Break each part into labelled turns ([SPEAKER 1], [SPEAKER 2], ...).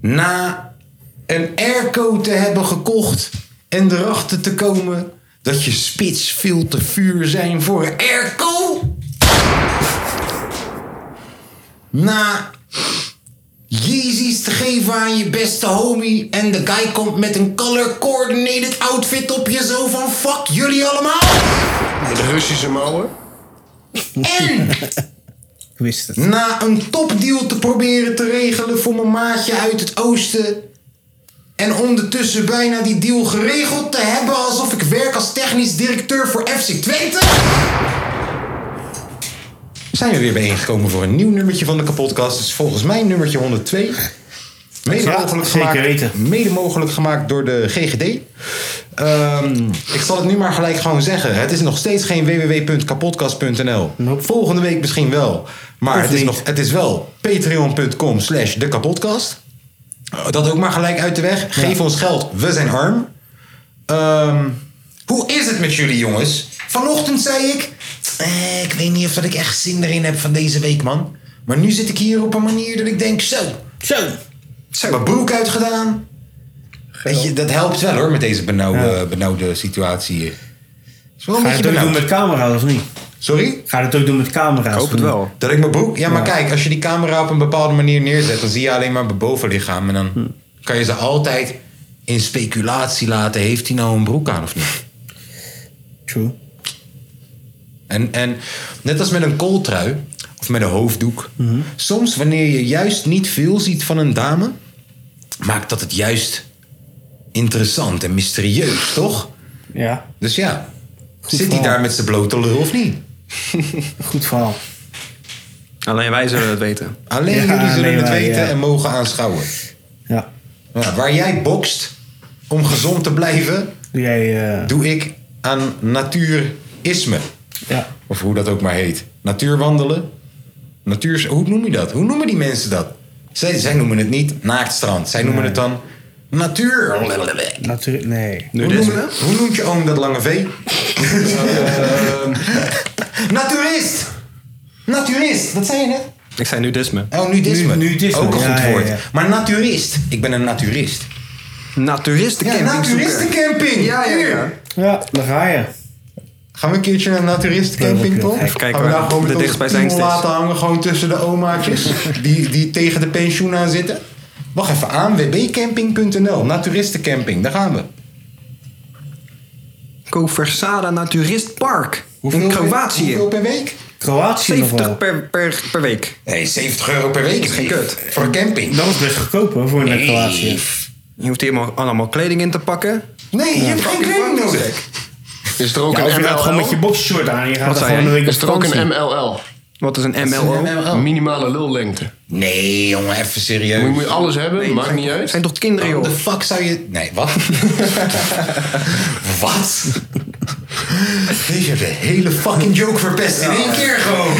[SPEAKER 1] Na een airco te hebben gekocht en erachter te komen dat je spits veel te vuur zijn voor een airco. Na Yeezys te geven aan je beste homie en de guy komt met een color coordinated outfit op je zo van fuck jullie allemaal.
[SPEAKER 2] De Russische mouwen.
[SPEAKER 1] En
[SPEAKER 3] Ik wist het.
[SPEAKER 1] na een topdeal te proberen te regelen voor mijn maatje uit het oosten. En ondertussen bijna die deal geregeld te hebben alsof ik werk als technisch directeur voor FC Twente. Zijn we weer bijeengekomen voor een nieuw nummertje van de kapotkast. Het is volgens mij nummertje 102. Mede,
[SPEAKER 3] Ja,
[SPEAKER 1] mogelijk,
[SPEAKER 3] zeker
[SPEAKER 1] gemaakt,
[SPEAKER 3] weten.
[SPEAKER 1] mede mogelijk gemaakt door de GGD. Ehm, ik zal het nu maar gelijk gewoon zeggen. Het is nog steeds geen www.kapotkast.nl.
[SPEAKER 3] Nope.
[SPEAKER 1] Volgende week misschien wel. Maar
[SPEAKER 3] Of
[SPEAKER 1] het is,
[SPEAKER 3] niet.
[SPEAKER 1] nog, het is wel patreon.com slash de kapotkast. Dat ook maar gelijk uit de weg. Geef ons geld, we zijn arm. Ehm, hoe is het met jullie jongens? Vanochtend zei ik... eh, ik weet niet of dat ik echt zin erin heb van deze week, man. Maar nu zit ik hier op een manier dat ik denk... Zo,
[SPEAKER 3] Zo.
[SPEAKER 1] zo mijn broek uitgedaan. Weet je, dat helpt wel hoor, met deze benauwde, benauwde situatie hier. Is wel een
[SPEAKER 3] Ga je
[SPEAKER 1] beetje
[SPEAKER 3] het ook doen
[SPEAKER 1] benauwd.
[SPEAKER 3] met camera's of niet?
[SPEAKER 1] Sorry?
[SPEAKER 3] Ga je het ook doen met camera's?
[SPEAKER 2] hoop het
[SPEAKER 3] of niet?
[SPEAKER 2] wel.
[SPEAKER 1] Dat ik mijn broek... Ja, maar kijk, als je die camera op een bepaalde manier neerzet... dan zie je alleen maar mijn bovenlichaam. En dan
[SPEAKER 3] Hm.
[SPEAKER 1] kan je ze altijd in speculatie laten... heeft hij nou een broek aan of niet?
[SPEAKER 3] True.
[SPEAKER 1] En, en net als met een kooltrui of met een hoofddoek.
[SPEAKER 3] Mm-hmm.
[SPEAKER 1] Soms wanneer je juist niet veel ziet van een dame, maakt dat het juist interessant en mysterieus, toch?
[SPEAKER 3] Ja,
[SPEAKER 1] Dus ja, zit hij
[SPEAKER 3] verhaal.
[SPEAKER 1] daar met zijn blote lul of niet?
[SPEAKER 3] goed verhaal.
[SPEAKER 2] nou. Alleen wij zullen het weten.
[SPEAKER 1] Alleen
[SPEAKER 3] Ja,
[SPEAKER 1] jullie zullen
[SPEAKER 3] alleen
[SPEAKER 1] het
[SPEAKER 3] wij,
[SPEAKER 1] weten
[SPEAKER 3] ja.
[SPEAKER 1] en mogen aanschouwen.
[SPEAKER 3] Ja.
[SPEAKER 1] Ja, waar jij bokst om gezond te blijven,
[SPEAKER 3] Doe jij... eh,
[SPEAKER 1] doe ik aan natuurisme.
[SPEAKER 3] ja.
[SPEAKER 1] Of hoe dat ook maar heet. Natuurwandelen. Natuur, hoe noem je dat? Hoe noemen die mensen dat? Zij, zij noemen het niet naaktstrand. Zij noemen het dan natuur.
[SPEAKER 3] Natuurlijk, nee.
[SPEAKER 1] Hoe,
[SPEAKER 4] dus.
[SPEAKER 1] noem, hoe noemt je oom dat lange vee? Naturist! Naturist, dat zei je net.
[SPEAKER 2] Ik zei nudisme.
[SPEAKER 1] Oh, nudisme.
[SPEAKER 3] Nu- nudisme,
[SPEAKER 1] Ook een
[SPEAKER 3] ja,
[SPEAKER 1] goed
[SPEAKER 3] ja,
[SPEAKER 1] woord.
[SPEAKER 3] ja.
[SPEAKER 1] Maar naturist. Ik ben een naturist. Ja,
[SPEAKER 2] Naturistencamping
[SPEAKER 1] naturistencamping.
[SPEAKER 2] Ja, ja, ja.
[SPEAKER 1] Hier.
[SPEAKER 3] Ja, daar ga je.
[SPEAKER 1] Gaan we een keertje naar een naturistencamping,
[SPEAKER 3] Ja,
[SPEAKER 1] toch?
[SPEAKER 3] even
[SPEAKER 2] kijken
[SPEAKER 1] Gaan we
[SPEAKER 2] waar
[SPEAKER 1] daar gewoon
[SPEAKER 2] de
[SPEAKER 1] met onze
[SPEAKER 2] dichtstbijzijnde
[SPEAKER 1] piemel
[SPEAKER 2] is.
[SPEAKER 1] laten hangen, gewoon tussen de omaatjes die, die tegen de pensioen aan zitten? Wacht even aan, wbcamping.nl, naturistencamping, daar gaan we.
[SPEAKER 2] Koversada Naturist Park. in
[SPEAKER 1] per-
[SPEAKER 2] Kroatië.
[SPEAKER 1] Hoeveel per week?
[SPEAKER 3] Kroatië nog
[SPEAKER 2] 70
[SPEAKER 3] wel.
[SPEAKER 2] per, per, per week.
[SPEAKER 1] Nee, 70 euro per week is geen
[SPEAKER 2] kut.
[SPEAKER 1] Voor een camping.
[SPEAKER 3] Dat is best goedkoop hoor, voor een Kroatië.
[SPEAKER 2] Je hoeft hier maar allemaal kleding in te pakken.
[SPEAKER 1] Nee, je hebt geen kleding nodig.
[SPEAKER 2] Is er ook
[SPEAKER 3] Ja, of je gaat gewoon met je boxshort aan. Je gaat
[SPEAKER 2] Wat
[SPEAKER 3] er
[SPEAKER 2] zei
[SPEAKER 3] gewoon een
[SPEAKER 2] jij?
[SPEAKER 3] week op
[SPEAKER 2] Is er ook
[SPEAKER 3] vakantie.
[SPEAKER 2] een
[SPEAKER 4] MLL.
[SPEAKER 2] Wat is een
[SPEAKER 1] een
[SPEAKER 2] MLO?
[SPEAKER 1] MLO?
[SPEAKER 4] Minimale lullengte.
[SPEAKER 1] Nee, jongen, even serieus.
[SPEAKER 4] Moet je, moet je alles hebben, maakt niet
[SPEAKER 2] Het
[SPEAKER 4] uit.
[SPEAKER 2] zijn toch kinderen,
[SPEAKER 1] Waarom
[SPEAKER 2] joh?
[SPEAKER 1] de fuck zou je... Nee, wat? wat? Je hebt de hele fucking joke verpest in één keer gewoon.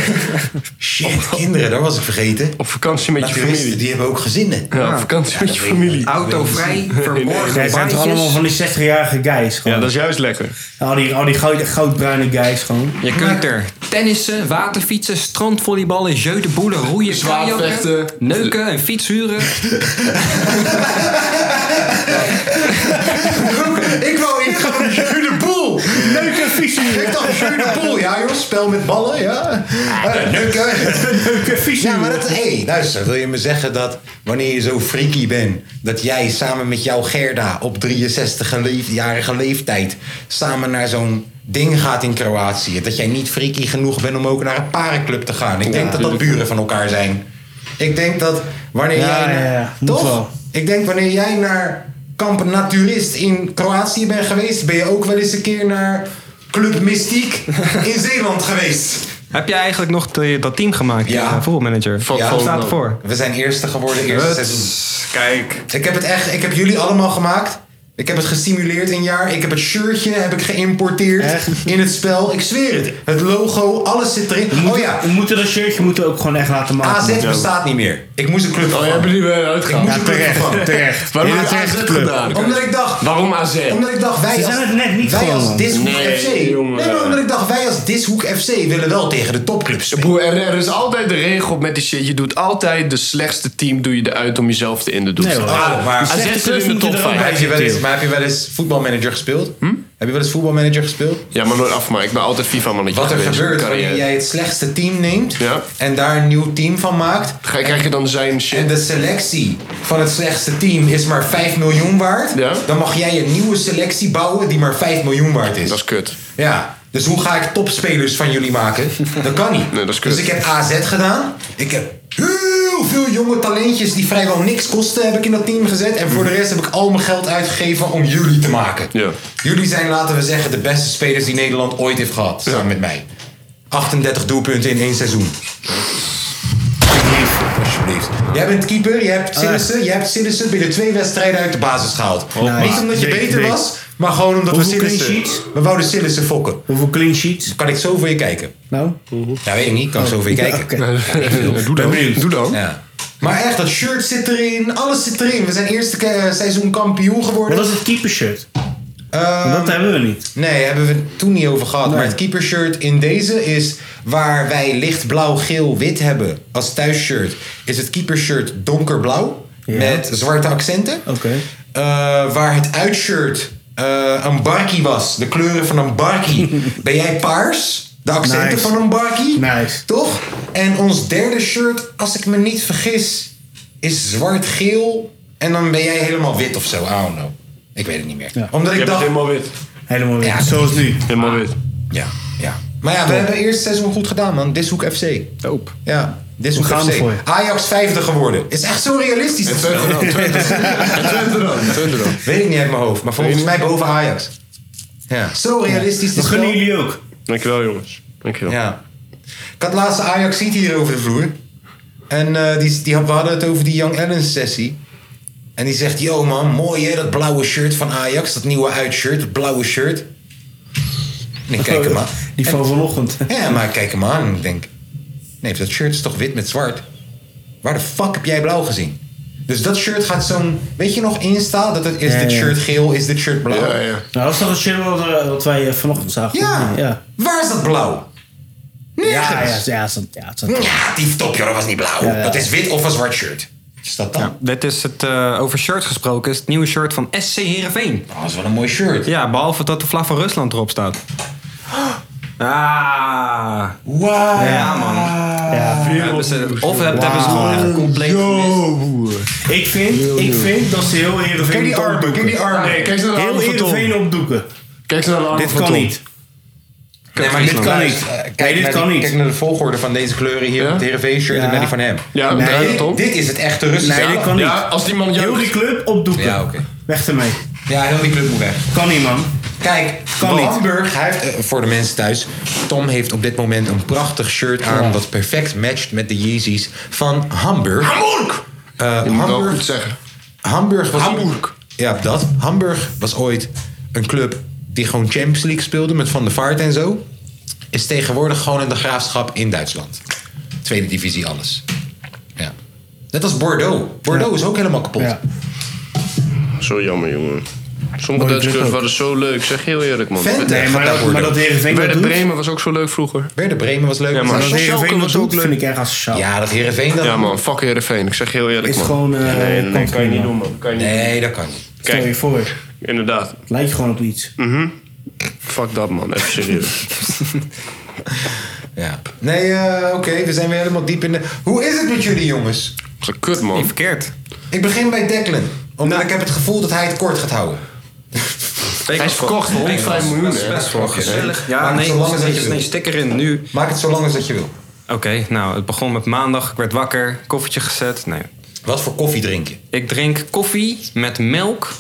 [SPEAKER 1] Shit, kinderen, daar was ik vergeten.
[SPEAKER 4] Op vakantie met je
[SPEAKER 1] Naturisten,
[SPEAKER 4] familie.
[SPEAKER 1] die hebben ook gezinnen.
[SPEAKER 4] Ja, op vakantie met je familie.
[SPEAKER 2] Autovrij, verborgen
[SPEAKER 3] Zij zijn toch allemaal
[SPEAKER 2] baantjes.
[SPEAKER 3] van die 60-jarige guys gewoon.
[SPEAKER 4] is juist lekker.
[SPEAKER 3] Al die, al die goud, goudbruine guys gewoon.
[SPEAKER 2] Je kunt er tennissen, waterfietsen, strandvolleyballen, jeu de boelen, roeien,
[SPEAKER 4] Zwaardvechten.
[SPEAKER 2] kajakken, neuken en fietshuren.
[SPEAKER 1] Ik wou ik gewoon Jeu de Boel.
[SPEAKER 3] Leuke visie!
[SPEAKER 1] Ik dacht Jeu de Boel. Ja joh, spel met ballen, ja. Eh, Neuken.
[SPEAKER 3] Leuke visie!
[SPEAKER 1] Ja, maar dat... Hé, luister. Wil je me zeggen dat wanneer je zo freaky bent... dat jij samen met jouw Gerda op 63-jarige leeftijd... samen naar zo'n ding gaat in Kroatië... dat jij niet freaky genoeg bent om ook naar een parenclub te gaan? Ik denk dat dat buren van elkaar zijn. Ik denk dat wanneer
[SPEAKER 3] Ja,
[SPEAKER 1] jij... naar-
[SPEAKER 3] ja, ja. Moet
[SPEAKER 1] Toch?
[SPEAKER 3] wel.
[SPEAKER 1] Ik denk wanneer jij naar kamp Naturist in Kroatië bent geweest... ben je ook wel eens een keer naar Club Mystiek in Zeeland geweest.
[SPEAKER 2] Heb jij eigenlijk nog de- dat team gemaakt?
[SPEAKER 1] Ja.
[SPEAKER 2] eh, voetbalmanager.
[SPEAKER 4] Van-
[SPEAKER 2] Wat
[SPEAKER 1] van-
[SPEAKER 2] staat ervoor?
[SPEAKER 1] We zijn eerste geworden, eerste seizoen.
[SPEAKER 4] Huts, Kijk.
[SPEAKER 1] Ik heb het echt, ik heb jullie allemaal gemaakt. Ik heb het gestimuleerd een jaar. Ik heb het shirtje heb ik geïmporteerd in het spel. Ik zweer het. Het logo, alles zit erin. Oh ja,
[SPEAKER 3] We moeten dat shirtje moeten we ook gewoon echt laten maken.
[SPEAKER 1] AZ
[SPEAKER 3] Ah, Joe.
[SPEAKER 1] bestaat niet meer. Ik moest een club
[SPEAKER 4] Oh,
[SPEAKER 1] van.
[SPEAKER 4] hebben jullie weer uitgehaald?
[SPEAKER 1] Ja, terecht,
[SPEAKER 3] terecht.
[SPEAKER 4] Waarom
[SPEAKER 3] Ja,
[SPEAKER 4] heb je
[SPEAKER 3] terecht,
[SPEAKER 4] AZ
[SPEAKER 3] club.
[SPEAKER 4] gedaan?
[SPEAKER 1] Omdat ik dacht,
[SPEAKER 4] Waarom AZ?
[SPEAKER 1] omdat ik dacht
[SPEAKER 3] Ze
[SPEAKER 1] wij als,
[SPEAKER 3] zijn het net niet
[SPEAKER 1] wij
[SPEAKER 3] gewoon,
[SPEAKER 1] als
[SPEAKER 3] man.
[SPEAKER 1] Dishoek
[SPEAKER 4] Nee,
[SPEAKER 1] FC.
[SPEAKER 4] jongen.
[SPEAKER 1] Nee, maar omdat ik dacht wij als Dishoek FC willen wel tegen de topclubs spelen.
[SPEAKER 4] Broer, er, er is altijd de regel met die shit. Je doet altijd de slechtste team doe je eruit om jezelf te in de doel te
[SPEAKER 3] Nee,
[SPEAKER 4] zetten.
[SPEAKER 3] hoor.
[SPEAKER 1] Ah, maar-
[SPEAKER 4] AZ
[SPEAKER 3] Die
[SPEAKER 4] zit
[SPEAKER 3] slechte clubs
[SPEAKER 4] in de
[SPEAKER 3] moeten
[SPEAKER 4] top
[SPEAKER 3] er ook
[SPEAKER 4] 5.
[SPEAKER 3] bij.
[SPEAKER 1] Heb je wel eens, maar heb je wel eens voetbalmanager gespeeld? Heb je wel eens voetbalmanager gespeeld?
[SPEAKER 4] Hm? Ja, maar nooit af, maar ik ben altijd FIFA-mannetje
[SPEAKER 1] Wat er
[SPEAKER 4] geweest in
[SPEAKER 1] gebeurt
[SPEAKER 4] mijn
[SPEAKER 1] wanneer
[SPEAKER 4] carrière.
[SPEAKER 1] jij het slechtste team neemt
[SPEAKER 4] Ja.
[SPEAKER 1] en daar een nieuw team van maakt.
[SPEAKER 4] Ga, krijg je dan zijn shit?
[SPEAKER 1] En de selectie van het slechtste team is maar 5 miljoen waard.
[SPEAKER 4] Ja.
[SPEAKER 1] Dan mag jij een nieuwe selectie bouwen die maar 5 miljoen waard is.
[SPEAKER 4] Dat is kut.
[SPEAKER 1] Ja. Dus hoe ga ik topspelers van jullie maken? Dat kan niet.
[SPEAKER 4] Nee, dat is kut.
[SPEAKER 1] dus ik heb AZ gedaan. Ik heb heel veel jonge talentjes die vrijwel niks kosten, heb ik in dat team gezet. En voor de rest heb ik al mijn geld uitgegeven om jullie te maken.
[SPEAKER 4] Mhm. Ja.
[SPEAKER 1] Jullie zijn, laten we zeggen, de beste spelers die Nederland ooit heeft gehad. Samen met mij. 38 doelpunten in één seizoen. Alsjeblieft, alsjeblieft. Jij bent keeper, jij
[SPEAKER 3] Ah.
[SPEAKER 1] hebt Sillissen, jij hebt Sillissen binnen twee wedstrijden uit de basis gehaald.
[SPEAKER 4] Oh
[SPEAKER 1] Niet omdat je
[SPEAKER 3] Dik,
[SPEAKER 1] beter
[SPEAKER 3] dik.
[SPEAKER 1] was, maar gewoon omdat we
[SPEAKER 3] Hoeveel clean
[SPEAKER 1] Sillissen...
[SPEAKER 3] sheets?
[SPEAKER 1] We wouden Sillissen fokken.
[SPEAKER 3] Hoeveel clean sheets?
[SPEAKER 1] Kan ik zo voor je kijken?
[SPEAKER 3] Nou?
[SPEAKER 1] Ja, weet ik niet. Kan ik zo voor je kijken.
[SPEAKER 3] Oké.
[SPEAKER 4] Doe dan. Doe dan.
[SPEAKER 1] Ja. Maar echt, dat shirt zit erin. Alles zit erin. We zijn eerste ke- eh, seizoen kampioen geworden.
[SPEAKER 3] Wat is het keepershirt?
[SPEAKER 1] Ehm,
[SPEAKER 3] Dat hebben we niet.
[SPEAKER 1] nee, hebben we het toen niet over gehad. Maar het keepershirt in deze is waar wij licht blauw, geel, wit hebben als thuisshirt. Is het keepershirt donkerblauw. Met zwarte accenten.
[SPEAKER 3] Oké.
[SPEAKER 1] Eh, waar het uitshirt eh, een barkie was. De kleuren van een barkie. ben jij paars? De accenten
[SPEAKER 3] Nice.
[SPEAKER 1] van een barkie?
[SPEAKER 3] Nice.
[SPEAKER 1] Toch? En ons derde shirt, als ik me niet vergis, is zwart-geel. En dan ben jij helemaal wit of zo. I don't know. Ik weet het niet meer. Omdat ik
[SPEAKER 4] Je bent
[SPEAKER 1] dacht...
[SPEAKER 4] helemaal wit.
[SPEAKER 3] Helemaal weer.
[SPEAKER 1] Ja.
[SPEAKER 3] Zoals nu.
[SPEAKER 4] Helemaal wit.
[SPEAKER 1] Ja, ja. Maar ja, we hebben eerst seizoen goed gedaan, man. Dishoek FC.
[SPEAKER 2] Doop.
[SPEAKER 1] Ja, Dishoek
[SPEAKER 3] We gaan
[SPEAKER 1] FC.
[SPEAKER 3] ervoor.
[SPEAKER 1] Ajax vijfde geworden. Is echt zo realistisch.
[SPEAKER 4] En Twente dan. Twente dan. Twente dan.
[SPEAKER 1] Weet ik niet uit mijn hoofd, maar volgens mij boven Ajax. Ja. Zo realistisch.
[SPEAKER 3] We
[SPEAKER 1] is
[SPEAKER 3] gunnen
[SPEAKER 1] wel.
[SPEAKER 3] jullie ook.
[SPEAKER 4] Dankjewel jongens. Dankjewel.
[SPEAKER 1] Ja. Ik had laatst Ajax ziet hier over de vloer. En eh, die, die, had- we hadden het over die Young Ellens sessie. En die zegt, yo man, mooi hè, dat blauwe shirt van Ajax. Dat nieuwe uitshirt, dat blauwe shirt. En ik kijk hem aan.
[SPEAKER 3] Die van vanochtend.
[SPEAKER 1] Ja, maar ik kijk hem aan en ik denk... Nee, dat shirt is toch wit met zwart? Waar de fuck heb jij blauw gezien? Dus dat shirt gaat zo'n... Weet je nog Insta? Dat het, is
[SPEAKER 3] Ja,
[SPEAKER 1] dit
[SPEAKER 3] ja.
[SPEAKER 1] shirt geel, is dit shirt blauw?
[SPEAKER 4] Ja, ja.
[SPEAKER 3] Nou, dat is toch een shirt wat, eh, wat wij eh, vanochtend zagen?
[SPEAKER 1] Ja.
[SPEAKER 3] Ja.
[SPEAKER 1] Waar is dat blauw? Nergens.
[SPEAKER 3] Ja, ja, ja, zo- ja, zo-
[SPEAKER 1] Ja, die topje dat was niet blauw.
[SPEAKER 3] Ja, ja.
[SPEAKER 1] Dat is wit of een zwart shirt. Is dat dan?
[SPEAKER 2] Dit is het, eh, over shirts gesproken, is het nieuwe shirt van SC Heerenveen.
[SPEAKER 1] Oh, dat is wel een mooi shirt.
[SPEAKER 2] Ja, behalve dat de vlag van Rusland erop staat. Ah.
[SPEAKER 1] Wow.
[SPEAKER 2] Ja, man.
[SPEAKER 3] ja.
[SPEAKER 2] Hebben ze, of heb- hebben ze gewoon echt compleet gemist.
[SPEAKER 3] Ik vind, ik vind dat ze heel Heerenveen
[SPEAKER 1] Kijk die
[SPEAKER 3] moeten
[SPEAKER 1] armen, kijk die
[SPEAKER 3] opdoeken.
[SPEAKER 1] armen.
[SPEAKER 4] Nee, kijk eens naar de
[SPEAKER 3] Heel
[SPEAKER 4] armen van Tom.
[SPEAKER 3] Heerenveen opdoeken.
[SPEAKER 4] Kijk eens naar de armen
[SPEAKER 3] Dit
[SPEAKER 4] van
[SPEAKER 3] kan
[SPEAKER 4] Tom.
[SPEAKER 3] niet.
[SPEAKER 1] Nee, maar
[SPEAKER 2] Friesland.
[SPEAKER 3] Kan niet.
[SPEAKER 1] Eh, Kijk,
[SPEAKER 3] Nee, dit
[SPEAKER 1] naar
[SPEAKER 3] kan
[SPEAKER 1] die-
[SPEAKER 3] niet.
[SPEAKER 1] Kijk naar de volgorde van deze kleuren hier.
[SPEAKER 4] Ja?
[SPEAKER 1] Het Heerenveen-shirt en
[SPEAKER 3] Ja.
[SPEAKER 1] naar die van hem.
[SPEAKER 4] Ja,
[SPEAKER 3] Nee,
[SPEAKER 4] draai dat
[SPEAKER 1] Dit-
[SPEAKER 4] om.
[SPEAKER 1] Dit is het echte Russische.
[SPEAKER 3] Nee, dit kan niet.
[SPEAKER 4] Ja, als die man
[SPEAKER 3] Heel die
[SPEAKER 4] juicht.
[SPEAKER 3] club opdoeken.
[SPEAKER 1] Ja, oké.
[SPEAKER 3] Weg ermee.
[SPEAKER 1] Ja, heel die club moet weg.
[SPEAKER 3] Kan niet, man.
[SPEAKER 1] Kijk,
[SPEAKER 3] Kan niet.
[SPEAKER 1] Hamburg, hij heeft, eh, voor de mensen thuis, Tom heeft op dit moment een prachtig shirt aan dat perfect matcht met de Yeezys van Hamburg. Hamburg!
[SPEAKER 4] Je moet wel goed zeggen.
[SPEAKER 1] Hamburg was
[SPEAKER 4] Hamburg.
[SPEAKER 1] Ja, dat. Hamburg was ooit een club die gewoon Champions League speelde met Van der Vaart en zo. Is tegenwoordig gewoon in de graafschap in Duitsland. Tweede divisie alles. Ja. Net als Bordeaux. Bordeaux is ook helemaal kapot.
[SPEAKER 3] Ja.
[SPEAKER 4] Zo jammer, jongen. Sommige
[SPEAKER 3] Mooie
[SPEAKER 4] Duitse
[SPEAKER 3] club
[SPEAKER 4] clubs
[SPEAKER 3] ook.
[SPEAKER 4] waren zo leuk. Zeg heel eerlijk, man.
[SPEAKER 1] Fan?
[SPEAKER 3] Nee, maar dat, maar dat Heerenveen dat
[SPEAKER 4] Werder
[SPEAKER 3] doet...
[SPEAKER 4] Bremen was ook zo leuk vroeger.
[SPEAKER 1] Werder Bremen was leuk.
[SPEAKER 4] Ja,
[SPEAKER 3] Maar
[SPEAKER 4] maar-
[SPEAKER 3] dat
[SPEAKER 4] Schalke
[SPEAKER 3] Heerenveen dat
[SPEAKER 4] was ook
[SPEAKER 3] doet,
[SPEAKER 4] leuk.
[SPEAKER 3] vind ik erg asociaal.
[SPEAKER 1] Ja, dat Heerenveen dat
[SPEAKER 4] Ja, man. Fuck Heerenveen. Ik zeg heel eerlijk,
[SPEAKER 3] Is
[SPEAKER 4] man.
[SPEAKER 3] gewoon, eh,
[SPEAKER 4] nee, nee, nee,
[SPEAKER 3] kant
[SPEAKER 4] kan je niet
[SPEAKER 3] prima.
[SPEAKER 4] doen, man. Kan je niet
[SPEAKER 1] Nee, dat kan niet.
[SPEAKER 3] Stel je
[SPEAKER 4] Kijk.
[SPEAKER 3] voor.
[SPEAKER 4] doen. Inderdaad.
[SPEAKER 3] Het lijkt je gewoon op iets.
[SPEAKER 4] Mhm. Fuck dat, man. Even serieus.
[SPEAKER 1] Ja. Nee, eh, oké, we zijn weer helemaal diep in de... Hoe is het met jullie jongens?
[SPEAKER 4] Dat is kut,
[SPEAKER 2] Niet
[SPEAKER 4] man.
[SPEAKER 2] verkeerd. Nou.
[SPEAKER 1] Ik begin bij Declan. Omdat ik heb het gevoel dat hij het kort gaat houden.
[SPEAKER 4] Hij is verkocht voor 105 miljoen,
[SPEAKER 2] Dat is
[SPEAKER 4] hè?
[SPEAKER 2] best wel gezellig.
[SPEAKER 1] Maar
[SPEAKER 2] Ja, nee,
[SPEAKER 1] zolang
[SPEAKER 2] er
[SPEAKER 1] als dat je
[SPEAKER 2] zit
[SPEAKER 1] wil.
[SPEAKER 2] een sticker in nu.
[SPEAKER 1] Maak het zo lang als dat je wil.
[SPEAKER 2] Oké, nou, het begon met maandag. Ik werd wakker, koffietje gezet. Nee.
[SPEAKER 1] Wat voor koffie drink je?
[SPEAKER 2] Ik drink koffie met melk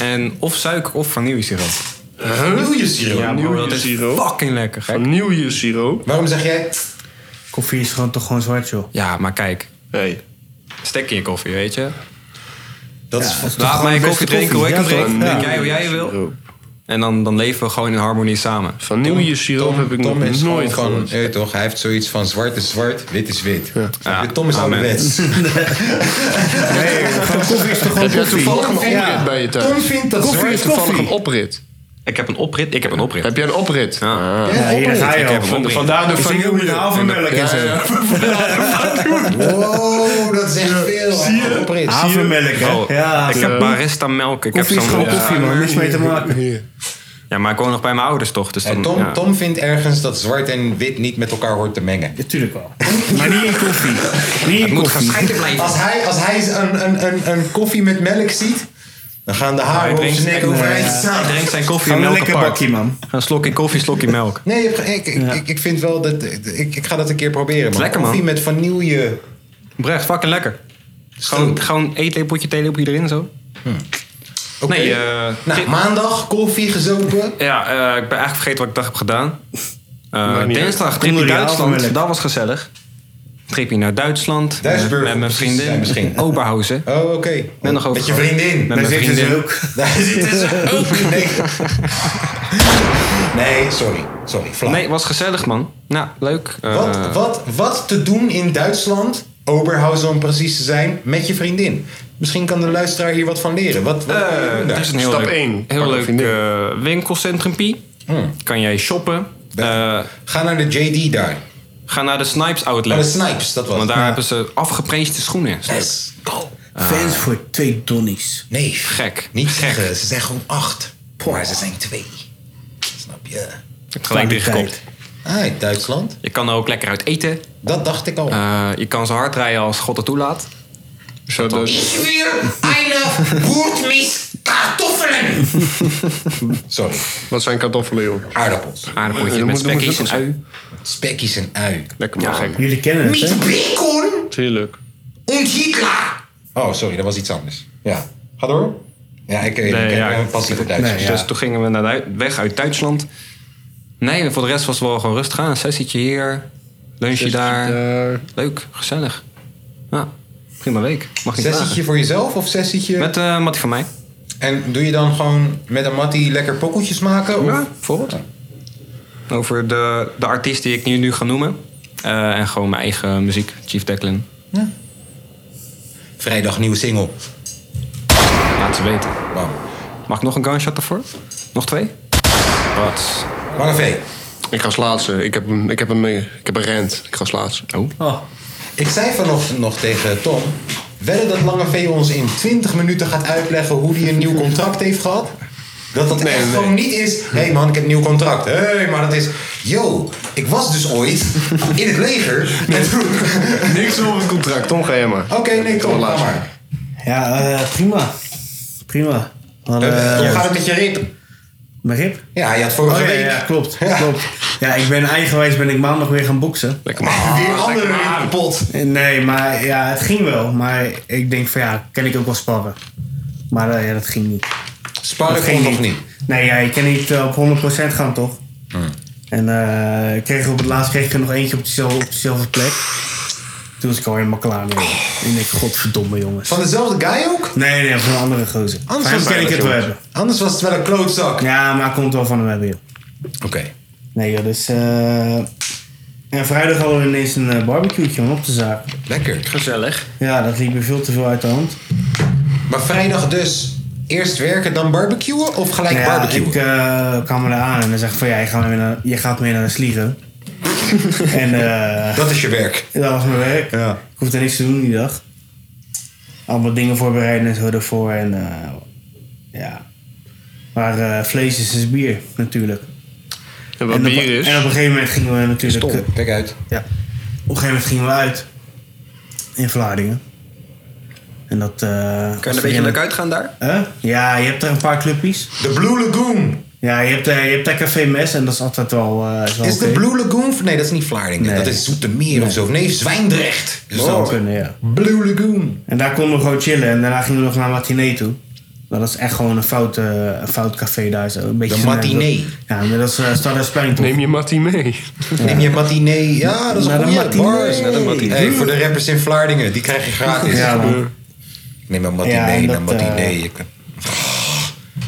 [SPEAKER 2] en of suiker of vanillesiroop.
[SPEAKER 4] Huh?
[SPEAKER 1] Nieuwjesiroop.
[SPEAKER 4] Ja,
[SPEAKER 2] Dat is
[SPEAKER 4] Vanillesiroop?
[SPEAKER 2] fucking lekker, gek.
[SPEAKER 4] Nieuwjesiroop?
[SPEAKER 1] Waarom zeg jij...
[SPEAKER 3] Koffie is gewoon toch gewoon zwart, joh.
[SPEAKER 2] Ja, maar kijk.
[SPEAKER 4] Hey.
[SPEAKER 2] Stek in je koffie, weet je.
[SPEAKER 1] Dat is toch
[SPEAKER 2] Laat
[SPEAKER 1] gewoon
[SPEAKER 2] mij
[SPEAKER 1] de beste
[SPEAKER 2] koffie drinken hoe ik hem
[SPEAKER 1] koffie.
[SPEAKER 2] drink.
[SPEAKER 1] Ja,
[SPEAKER 2] Drink jij hoe jij wil. En dan, dan leven we gewoon in harmonie samen.
[SPEAKER 4] Van nieuwe siroop
[SPEAKER 1] Tom,
[SPEAKER 4] heb ik
[SPEAKER 1] Tom
[SPEAKER 4] nog
[SPEAKER 1] is
[SPEAKER 4] nooit
[SPEAKER 1] gewoon,
[SPEAKER 4] gehoord.
[SPEAKER 1] van, eh, toch, hij heeft zoiets van zwart is zwart, wit is wit.
[SPEAKER 2] Ja,
[SPEAKER 1] Tom is
[SPEAKER 2] amen.
[SPEAKER 1] ouderwets.
[SPEAKER 3] Koffie is toch gewoon
[SPEAKER 4] Heb jij
[SPEAKER 3] koffie?
[SPEAKER 4] toevallig een oprit
[SPEAKER 1] Ja.
[SPEAKER 4] bij je thuis?
[SPEAKER 1] Tom vindt dat
[SPEAKER 4] Heb jij
[SPEAKER 1] zwart
[SPEAKER 4] toevallig
[SPEAKER 1] koffie.
[SPEAKER 4] een oprit?
[SPEAKER 2] Ik heb een oprit. Ik heb een oprit.
[SPEAKER 4] Heb jij een oprit?
[SPEAKER 2] Ja.
[SPEAKER 3] Ja, hier daar ga je
[SPEAKER 2] heb hem
[SPEAKER 3] al.
[SPEAKER 2] op. oprit.
[SPEAKER 4] Vandaar de
[SPEAKER 3] Ik
[SPEAKER 4] familie.
[SPEAKER 3] moet een halve melk en
[SPEAKER 4] Ja,
[SPEAKER 3] zo.
[SPEAKER 4] ja.
[SPEAKER 1] Wow, dat is echt veel. Zie
[SPEAKER 3] Havermelk,
[SPEAKER 2] Oh,
[SPEAKER 3] hè? Ja,
[SPEAKER 2] ik heb barista melk. Ik heb
[SPEAKER 3] koffie is
[SPEAKER 2] zo'n
[SPEAKER 3] gewoon koffie, man. Niks mee te maken.
[SPEAKER 2] Ja, maar ik woon nog bij mijn ouders toch. Dus dan,
[SPEAKER 1] Tom,
[SPEAKER 2] ja.
[SPEAKER 1] Tom vindt ergens dat zwart en wit niet met elkaar hoort te mengen.
[SPEAKER 3] Natuurlijk wel. Maar niet in koffie. Niet in
[SPEAKER 2] Moet
[SPEAKER 3] koffie.
[SPEAKER 2] gescheiden blijven.
[SPEAKER 1] Als hij, als hij een, een, een, een koffie met melk ziet, dan gaan de haren
[SPEAKER 2] Hij
[SPEAKER 1] op
[SPEAKER 2] drinkt-
[SPEAKER 1] zijn nek
[SPEAKER 2] hij-
[SPEAKER 1] overeind
[SPEAKER 2] hij
[SPEAKER 1] staan.
[SPEAKER 2] drinkt zijn koffie en
[SPEAKER 3] Gewoon een
[SPEAKER 2] melk
[SPEAKER 3] lekker
[SPEAKER 2] apart.
[SPEAKER 3] bakje, man.
[SPEAKER 2] Een slokje koffie, slokje melk.
[SPEAKER 1] Nee, je hebt ge- ik, ik, ik, ik vind wel dat. Ik, ik ga dat een keer proberen. Man.
[SPEAKER 2] Lekker, man.
[SPEAKER 1] Koffie met vanille.
[SPEAKER 2] Brecht, fucking lekker. Gewoon, gewoon eetlepeltje, theelepeltje erin zo.
[SPEAKER 1] Oké.
[SPEAKER 2] Nee, eh,
[SPEAKER 1] nou, maandag koffie gezopen.
[SPEAKER 2] Ja, eh, ik ben eigenlijk vergeten wat ik dag heb gedaan. Eh,
[SPEAKER 4] niet
[SPEAKER 2] dinsdag tripje
[SPEAKER 3] Onder
[SPEAKER 2] naar
[SPEAKER 3] die
[SPEAKER 2] Duitsland,
[SPEAKER 3] havermelk.
[SPEAKER 2] dat was gezellig. Tripje naar Duitsland. eh,
[SPEAKER 1] Duisburg.
[SPEAKER 2] Met mijn
[SPEAKER 1] Ja,
[SPEAKER 2] vriendin.
[SPEAKER 1] misschien.
[SPEAKER 2] Oberhausen.
[SPEAKER 1] Oh, oké.
[SPEAKER 2] Ben nog over.
[SPEAKER 1] Met je vriendin.
[SPEAKER 2] Met mijn
[SPEAKER 3] Daar zitten ze
[SPEAKER 2] vriendin.
[SPEAKER 3] ook.
[SPEAKER 1] Daar zitten ze ook. Nee, nee sorry. Sorry, flauw.
[SPEAKER 2] Nee, was gezellig man. Nou, leuk. Eh,
[SPEAKER 1] Wat, wat, wat te doen in Duitsland, Oberhausen om precies te zijn, met je vriendin? Misschien kan de luisteraar hier wat van leren. Wat, wat kan je doen
[SPEAKER 2] Eh,
[SPEAKER 1] daar?
[SPEAKER 2] het is een heel
[SPEAKER 4] Stap
[SPEAKER 2] leuk,
[SPEAKER 4] één, pak
[SPEAKER 2] heel
[SPEAKER 4] een
[SPEAKER 2] leuk
[SPEAKER 4] vriendin.
[SPEAKER 2] eh, winkelcentrumpie. Kan jij shoppen. Eh,
[SPEAKER 1] Hmm. Ga naar de JD daar.
[SPEAKER 2] ga naar de Snipes
[SPEAKER 1] Naar
[SPEAKER 2] Outlet.
[SPEAKER 1] de Snipes, dat was
[SPEAKER 2] Want daar
[SPEAKER 1] Ja.
[SPEAKER 2] hebben ze afgeprezen schoenen. Eh,
[SPEAKER 1] Yes. Go.
[SPEAKER 3] Fans voor twee donnies.
[SPEAKER 1] Nee,
[SPEAKER 2] Gek.
[SPEAKER 1] Niet
[SPEAKER 2] Gek.
[SPEAKER 1] zeggen, ze zijn gewoon acht. Maar ze zijn twee. Snap je?
[SPEAKER 2] Ik heb gelijk dichtgekopt.
[SPEAKER 1] Ah, Duitsland.
[SPEAKER 2] Je kan er ook lekker uit eten.
[SPEAKER 1] Dat dacht ik al.
[SPEAKER 2] Eh, je kan zo hard rijden als God het toelaat.
[SPEAKER 4] Zo,
[SPEAKER 5] dus-
[SPEAKER 4] dat is-
[SPEAKER 1] Ik dus- weer eine Boertmis kartoffelen. Sorry,
[SPEAKER 4] Wat zijn kartoffelen, joh?
[SPEAKER 1] aardappels.
[SPEAKER 2] Aardappeltje
[SPEAKER 4] Ja,
[SPEAKER 2] met
[SPEAKER 4] moet- moet-
[SPEAKER 2] spekjes en
[SPEAKER 4] moet-
[SPEAKER 2] ui.
[SPEAKER 1] Spekkies en ui.
[SPEAKER 4] Lekker maar gek.
[SPEAKER 3] Jullie kennen het, hè?
[SPEAKER 1] Met bacon
[SPEAKER 4] Tuurlijk.
[SPEAKER 1] en Hitler. Oh, sorry, dat was iets anders. Ja, ga door. Ja, ik, ik,
[SPEAKER 2] Nee,
[SPEAKER 1] ik eh,
[SPEAKER 2] ja.
[SPEAKER 1] ben passief Duits.
[SPEAKER 3] Nee,
[SPEAKER 2] Dus
[SPEAKER 3] Ja.
[SPEAKER 2] toen gingen we naar Duit- weg uit Duitsland. Nee, voor de rest was het wel gewoon rustig aan. Een sessietje hier, lunchje daar.
[SPEAKER 4] daar.
[SPEAKER 2] Leuk, gezellig. Ja, prima week. Mag niet
[SPEAKER 1] Sessietje
[SPEAKER 2] klagen.
[SPEAKER 1] voor jezelf of sessietje?
[SPEAKER 2] Met eh Mattie van mij.
[SPEAKER 1] En doe je dan gewoon met een mattie lekker pokkeltjes maken? Of?
[SPEAKER 2] Ja, bijvoorbeeld. Over de, de artiest die ik nu, nu ga noemen. Eh, en gewoon mijn eigen muziek, Chief Declan.
[SPEAKER 1] Vrijdag nieuwe single.
[SPEAKER 2] Laat ze weten.
[SPEAKER 1] Bam.
[SPEAKER 2] Mag ik nog een gunshot daarvoor? Nog twee? Wat?
[SPEAKER 1] Lange V.
[SPEAKER 4] Ik ga als laatste. Ik heb een, ik heb een, ik heb een rent. Ik ga als laatste.
[SPEAKER 2] Oh.
[SPEAKER 3] Oh,
[SPEAKER 1] Ik zei vanochtend nog tegen Tom... Wedden dat Lange V ons in 20 minuten gaat uitleggen hoe hij een nieuw contract heeft gehad? Dat dat echt gewoon niet is... Hé hey man, ik heb een nieuw contract. Hé, hey, maar dat is... Yo, ik was dus ooit in het leger. En toen...
[SPEAKER 4] Niks over het contract. Tom, ga jij maar.
[SPEAKER 1] Oké, nee Tom, ga maar.
[SPEAKER 3] ja, eh, prima. Prima. Maar,
[SPEAKER 1] Eh,
[SPEAKER 3] eh,
[SPEAKER 1] Hoe gaat het met je rib?
[SPEAKER 3] Mijn rib?
[SPEAKER 1] Ja, je had vorige
[SPEAKER 3] Oh ja,
[SPEAKER 1] week...
[SPEAKER 3] ja, klopt.
[SPEAKER 1] Ja.
[SPEAKER 3] klopt. Ja, ik ben eigenwijs ben ik maandag weer gaan boksen.
[SPEAKER 4] Lekker maar.
[SPEAKER 1] Weer andere rib kapot.
[SPEAKER 3] Nee, maar ja, het ging wel. Maar ik denk van ja, kan ik ook wel sparren. Maar eh, ja, dat ging niet.
[SPEAKER 1] Sparren kon nog niet.
[SPEAKER 3] Nee, ja, je kan niet eh, op 100% gaan, toch?
[SPEAKER 4] Hmm.
[SPEAKER 3] En eh, ik kreeg op het laatst kreeg ik er nog eentje op dezelfde, op dezelfde plek. Toen was ik al helemaal klaar mee. Ik denk, godverdomme jongens.
[SPEAKER 1] Van dezelfde guy ook?
[SPEAKER 3] Nee, nee, van een andere gozer.
[SPEAKER 1] Anders
[SPEAKER 3] Van hem
[SPEAKER 1] was
[SPEAKER 3] kan ik
[SPEAKER 1] het
[SPEAKER 3] het wel hebben.
[SPEAKER 1] Anders was het wel een klootzak.
[SPEAKER 3] Ja, maar hij komt wel van hem hebben, joh.
[SPEAKER 1] Oké.
[SPEAKER 3] Nee, joh, dus... eh, ja, vrijdag hadden we ineens een eh, barbecue'tje om op te zagen.
[SPEAKER 1] Lekker.
[SPEAKER 2] Gezellig.
[SPEAKER 3] Ja, dat liep me veel te veel uit de hand.
[SPEAKER 1] Maar vrijdag dus eerst werken, dan barbecuen? Of gelijk
[SPEAKER 3] Nou ja,
[SPEAKER 1] barbecuen?
[SPEAKER 3] ik eh, kwam er aan en dan zeg ik van ja, je gaat mee naar, je gaat mee naar de Sliegen. en eh,
[SPEAKER 1] Dat is je werk.
[SPEAKER 3] dat was mijn werk.
[SPEAKER 1] Ja.
[SPEAKER 3] Ik hoefde niks te doen die dag. Allemaal dingen voorbereiden en zo ervoor. En eh, ja. Maar eh, vlees is dus bier natuurlijk.
[SPEAKER 4] En wat
[SPEAKER 3] en, op,
[SPEAKER 4] bier is.
[SPEAKER 3] en op een gegeven moment gingen we natuurlijk. eh,
[SPEAKER 1] Kijk uit.
[SPEAKER 3] ja. Op een gegeven moment gingen we uit. In Vlaardingen. En dat. eh
[SPEAKER 2] Kan je er een beetje leuk uitgaan daar?
[SPEAKER 3] Huh? Ja, je hebt daar een paar clubjes.
[SPEAKER 1] De Blue Lagoon.
[SPEAKER 3] Ja, je hebt, eh, je hebt daar Café Mes en dat is altijd wel. eh, is wel
[SPEAKER 1] Is de
[SPEAKER 3] oké.
[SPEAKER 1] Blue Lagoon... Nee, dat is niet Vlaardingen.
[SPEAKER 3] Nee.
[SPEAKER 1] Dat is Zoetermeer of zo. Nee, Zwijndrecht. Dus
[SPEAKER 3] Zou
[SPEAKER 1] dan-
[SPEAKER 3] kunnen, ja.
[SPEAKER 1] Blue Lagoon.
[SPEAKER 3] En daar konden we gewoon chillen en daarna gingen we nog naar matinee toe. Maar dat is echt gewoon een fout, eh, een fout café daar. Zo. Een beetje
[SPEAKER 1] De
[SPEAKER 3] gemerkt dat-
[SPEAKER 1] matinee.
[SPEAKER 3] Ja, maar dat is uh, Stardust Spelling toch?
[SPEAKER 4] Neem je Mattie mee.
[SPEAKER 1] Neem je matinee. Ja, dat is
[SPEAKER 3] Naar
[SPEAKER 1] een
[SPEAKER 3] de
[SPEAKER 1] goeie.
[SPEAKER 3] matinee.
[SPEAKER 1] Bars.
[SPEAKER 3] Naar de matinee.
[SPEAKER 1] Hey, voor de rappers in Vlaardingen, die krijg je gratis.
[SPEAKER 3] Ja, man.
[SPEAKER 1] Neem een
[SPEAKER 3] Ja,
[SPEAKER 1] matinee,
[SPEAKER 3] en
[SPEAKER 1] een
[SPEAKER 3] dat, eh,
[SPEAKER 1] matinee. Je kunt-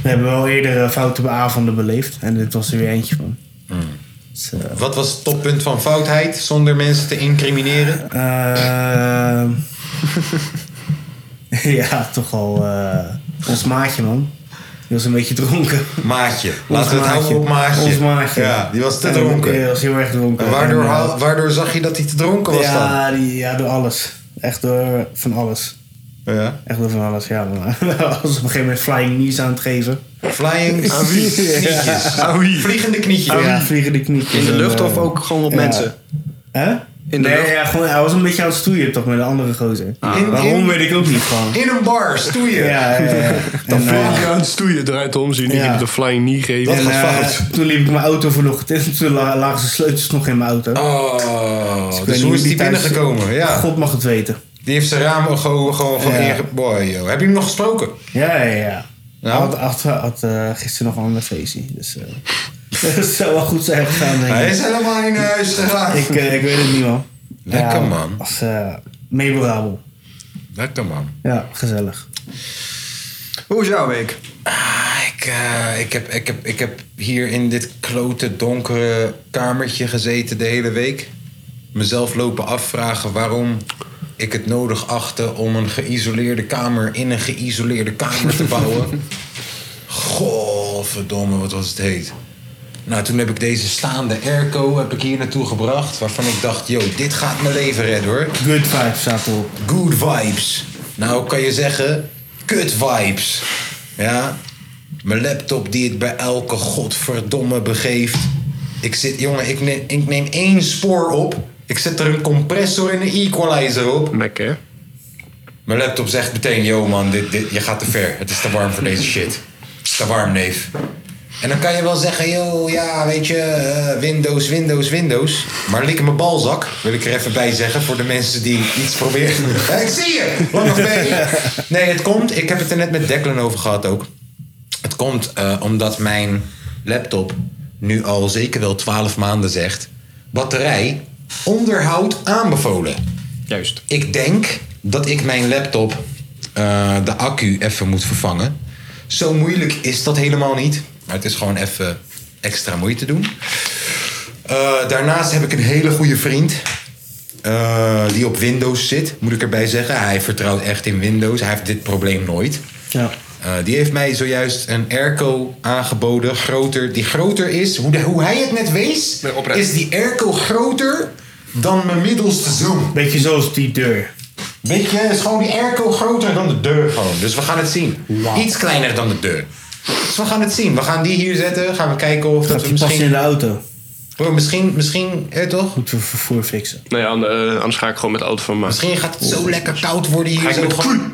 [SPEAKER 3] We hebben wel eerder eh, foute avonden beleefd. En dit was er weer eentje van.
[SPEAKER 1] Hmm.
[SPEAKER 3] Dus, eh,
[SPEAKER 1] Wat was het toppunt van foutheid zonder mensen te incrimineren?
[SPEAKER 3] Ehm. ja, toch al eh, ons maatje, man. Die was een beetje dronken.
[SPEAKER 1] Maatje.
[SPEAKER 3] Ons
[SPEAKER 1] Laten we het houden op maatje.
[SPEAKER 3] Ons maatje.
[SPEAKER 1] Ja, die was te
[SPEAKER 3] En,
[SPEAKER 1] dronken.
[SPEAKER 3] eh, Die was heel erg dronken.
[SPEAKER 1] En waardoor,
[SPEAKER 3] En, eh,
[SPEAKER 1] haal- waardoor zag je dat hij te dronken was
[SPEAKER 3] ja, die, ja, door alles. Echt door van alles.
[SPEAKER 1] dan? Oh Ja.
[SPEAKER 3] Echt door van alles, ja. Maar, we was op een gegeven moment flying knees aan het geven.
[SPEAKER 1] Flying knietjes. Vliegende knietjes.
[SPEAKER 3] Ja, vliegende knietjes.
[SPEAKER 2] In de
[SPEAKER 3] En,
[SPEAKER 2] lucht
[SPEAKER 3] eh,
[SPEAKER 2] of ook gewoon op
[SPEAKER 3] ja.
[SPEAKER 2] mensen?
[SPEAKER 3] Hè?
[SPEAKER 2] In de
[SPEAKER 3] nee,
[SPEAKER 2] lucht? Ah.
[SPEAKER 3] ja, gewoon, hij was een beetje aan het stoeien toch met de andere gozer.
[SPEAKER 1] In-
[SPEAKER 3] Waarom
[SPEAKER 1] in-
[SPEAKER 3] weet ik ook niet gewoon.
[SPEAKER 1] In een bar, stoeien.
[SPEAKER 3] Ja, ja, ja.
[SPEAKER 4] Dan
[SPEAKER 3] En,
[SPEAKER 4] vloog
[SPEAKER 3] eh,
[SPEAKER 4] je aan het stoeien, draait om, zie je
[SPEAKER 3] Ja.
[SPEAKER 4] niet de flying knee geven.
[SPEAKER 3] En, eh, toen liep ik mijn auto vanochtend en toen la- lagen zijn sleutels nog in mijn auto. Ik
[SPEAKER 1] Oh,
[SPEAKER 3] weet
[SPEAKER 1] dus
[SPEAKER 3] niet
[SPEAKER 1] hoe is die
[SPEAKER 3] thuis-
[SPEAKER 1] binnengekomen? Ja.
[SPEAKER 3] God mag het weten.
[SPEAKER 1] Die heeft zijn raam gewoon, gewoon van
[SPEAKER 3] Ja.
[SPEAKER 1] inge- Boy, joh. Heb je hem nog gesproken?
[SPEAKER 3] Ja, ja, ja.
[SPEAKER 1] Nou?
[SPEAKER 3] Hij had, had, had, eh, gisteren nog een ander feestje. Dus eh, dat zou wel goed zijn gegaan, denk
[SPEAKER 1] Hij
[SPEAKER 3] ik.
[SPEAKER 1] is helemaal in huis gegaan.
[SPEAKER 3] Ik, eh, ik weet het niet, man.
[SPEAKER 1] Lekker, man.
[SPEAKER 3] Als, eh, memorabel.
[SPEAKER 1] Lekker man.
[SPEAKER 3] Ja, gezellig.
[SPEAKER 2] Hoe is jouw week?
[SPEAKER 1] Ik, eh, ik, heb, ik, heb, ik heb hier in dit klote donkere kamertje gezeten de hele week. Mezelf lopen afvragen waarom ik het nodig achtte om een geïsoleerde kamer in een geïsoleerde kamer te bouwen. Godverdomme, wat was het heet. Nou, toen heb ik deze staande airco heb ik hier naartoe gebracht. Waarvan ik dacht, yo, dit gaat mijn leven redden hoor.
[SPEAKER 3] Good vibes zaten op.
[SPEAKER 1] Good vibes. Nou kan je zeggen, kut vibes. Ja. Mijn laptop die het bij elke godverdomme begeeft. Ik zit, jongen, ik neem, ik neem één spoor op. Ik zet er een compressor en een equalizer op.
[SPEAKER 4] Lekker, hè?
[SPEAKER 1] Mijn laptop zegt meteen, yo man, dit, dit, je gaat te ver. Het is te warm voor deze shit. Het is te warm, neef. En dan kan je wel zeggen, yo, ja, weet je, eh, Windows, Windows, Windows. Maar lik mijn balzak, wil ik er even bij zeggen voor de mensen die iets proberen. Hé, ik zie je! Lange been! Nee, het komt, ik heb het er net met Declan over gehad ook. Het komt eh, omdat mijn laptop nu al zeker wel 12 maanden zegt... batterij, onderhoud aanbevolen.
[SPEAKER 2] Juist.
[SPEAKER 1] Ik denk dat ik mijn laptop, eh, de accu, even moet vervangen. Zo moeilijk is dat helemaal niet. Maar het is gewoon even extra moeite doen. Eh, daarnaast heb ik een hele goede vriend. eh, die op Windows zit, moet ik erbij zeggen. Hij vertrouwt echt in Windows. Hij heeft dit probleem nooit.
[SPEAKER 3] Ja.
[SPEAKER 1] Eh, die heeft mij zojuist een airco aangeboden, groter, die groter is. Hoe, de- hoe hij het net wees,
[SPEAKER 2] Nee, oprecht.
[SPEAKER 1] is die airco groter dan mijn middelste zoom.
[SPEAKER 3] Beetje zoals die deur.
[SPEAKER 1] Weet je, is gewoon die airco groter dan de deur gewoon. Dus we gaan het zien. Iets kleiner dan de deur. Dus we gaan het zien. We gaan die hier zetten. Gaan we kijken of dat
[SPEAKER 3] Gaat
[SPEAKER 1] we
[SPEAKER 3] die passen in
[SPEAKER 1] misschien...
[SPEAKER 3] de auto.
[SPEAKER 1] Bro, misschien, misschien, hè toch?
[SPEAKER 3] Moeten we vervoer fixen.
[SPEAKER 4] Nou ja, an- eh, anders ga ik gewoon met de auto van maken.
[SPEAKER 1] Misschien gaat het zo lekker koud worden hier
[SPEAKER 4] ik
[SPEAKER 1] zo
[SPEAKER 4] met
[SPEAKER 1] gewoon.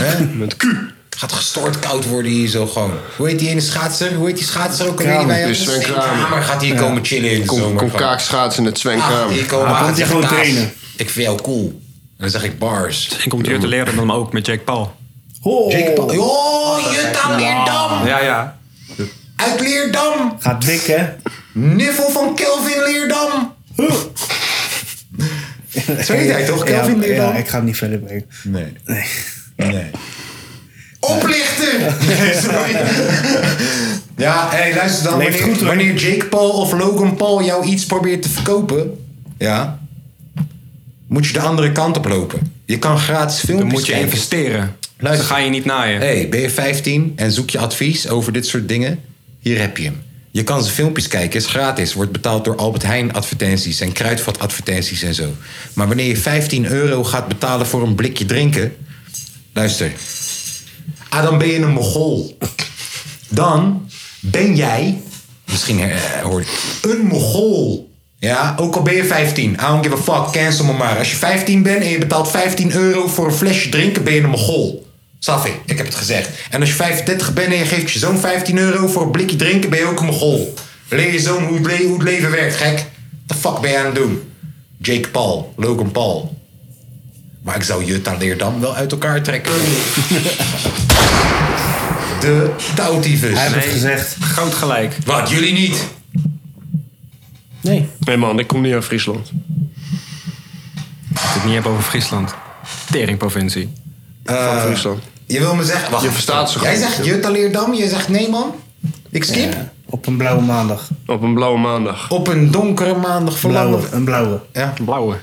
[SPEAKER 1] Hè?
[SPEAKER 4] Met Q.
[SPEAKER 1] Gaat gestoord koud worden hier zo gewoon. Hoe heet die ene schaatser? Hoe heet die schaatser ook alweer? die wij
[SPEAKER 4] Dus
[SPEAKER 1] hadden?
[SPEAKER 4] Sven Kramer.
[SPEAKER 1] Kramer gaat hier komen chillen in de
[SPEAKER 4] Kom,
[SPEAKER 1] zomer.
[SPEAKER 4] kom
[SPEAKER 1] gewoon.
[SPEAKER 4] kaak schaatsen met Sven
[SPEAKER 1] Ah,
[SPEAKER 4] Kramer.
[SPEAKER 1] hier komen
[SPEAKER 3] Hij
[SPEAKER 1] aan,
[SPEAKER 3] komt hier
[SPEAKER 1] zegt
[SPEAKER 3] gewoon
[SPEAKER 1] Kaas,
[SPEAKER 3] trainen.
[SPEAKER 1] Ik vind jou cool. En dan zeg ik bars.
[SPEAKER 2] En komt hier te leren dan ook met Jake Paul.
[SPEAKER 3] Oh.
[SPEAKER 1] Jake Paul. Oh, Jutta Leerdam.
[SPEAKER 2] Ja, ja.
[SPEAKER 1] Uit Leerdam.
[SPEAKER 3] Gaat dik, hè?
[SPEAKER 1] Niffel van Kelvin Leerdam. Zo heet hij toch? Kelvin
[SPEAKER 3] ja,
[SPEAKER 1] Leerdam?
[SPEAKER 3] ja, ik ga hem niet verder brengen.
[SPEAKER 1] Nee. Nee. Oplichter! Nee, sorry. ja, hé, luister dan.
[SPEAKER 3] Leeft goed,
[SPEAKER 1] Wanneer,
[SPEAKER 3] hoor.
[SPEAKER 1] wanneer Jake Paul of Logan Paul jou iets probeert te verkopen... Ja, moet je de andere kant op lopen. Je kan gratis filmpjes
[SPEAKER 2] Dan moet je
[SPEAKER 1] kijken.
[SPEAKER 2] investeren.
[SPEAKER 1] Luister.
[SPEAKER 2] Dan ga je niet naaien.
[SPEAKER 1] hey, ben je 15 en zoek je advies over dit soort dingen? Hier heb je hem. Je kan zijn filmpjes kijken, is gratis. Wordt betaald door Albert Heijn advertenties en Kruidvat advertenties en zo. Maar wanneer je 15 euro gaat betalen voor een blikje drinken... Luister. Ah, dan ben je een mogol. Dan ben jij... Misschien eh, hoor ik... Een mogol. Ja, ook al ben je 15. I don't give a fuck. Cancel me maar. Als je 15 bent en je betaalt 15 euro voor een flesje drinken, ben je een mogol. Safi, ik heb het gezegd. En als je 35 bent en je geeft je zoon 15 euro voor een blikje drinken, ben je ook een mogol. Leer je zoon hoe het, le- hoe het leven werkt, gek. The fuck ben je aan het doen? Jake Paul, Logan Paul. Maar ik zou Jutta Leerdam wel uit elkaar trekken. de touwtyfus.
[SPEAKER 3] Hij heeft het gezegd.
[SPEAKER 2] Groot gelijk.
[SPEAKER 1] Wat, jullie niet?
[SPEAKER 3] Nee.
[SPEAKER 4] Nee man, ik kom niet uit Friesland.
[SPEAKER 2] Dat ik het niet heb over Friesland. Teringprovincie.
[SPEAKER 4] Van Friesland.
[SPEAKER 1] Eh, Je wil me zeggen... Wacht,
[SPEAKER 4] Je verstaat ze
[SPEAKER 1] Jij
[SPEAKER 4] goed.
[SPEAKER 1] zegt Jutta Leerdam, jij zegt nee man. Ik skip.
[SPEAKER 3] Op een blauwe maandag.
[SPEAKER 4] Op een blauwe maandag.
[SPEAKER 1] Op een donkere maandag verlangen.
[SPEAKER 3] Blauwe, een blauwe.
[SPEAKER 1] Ja.
[SPEAKER 2] Blauwe.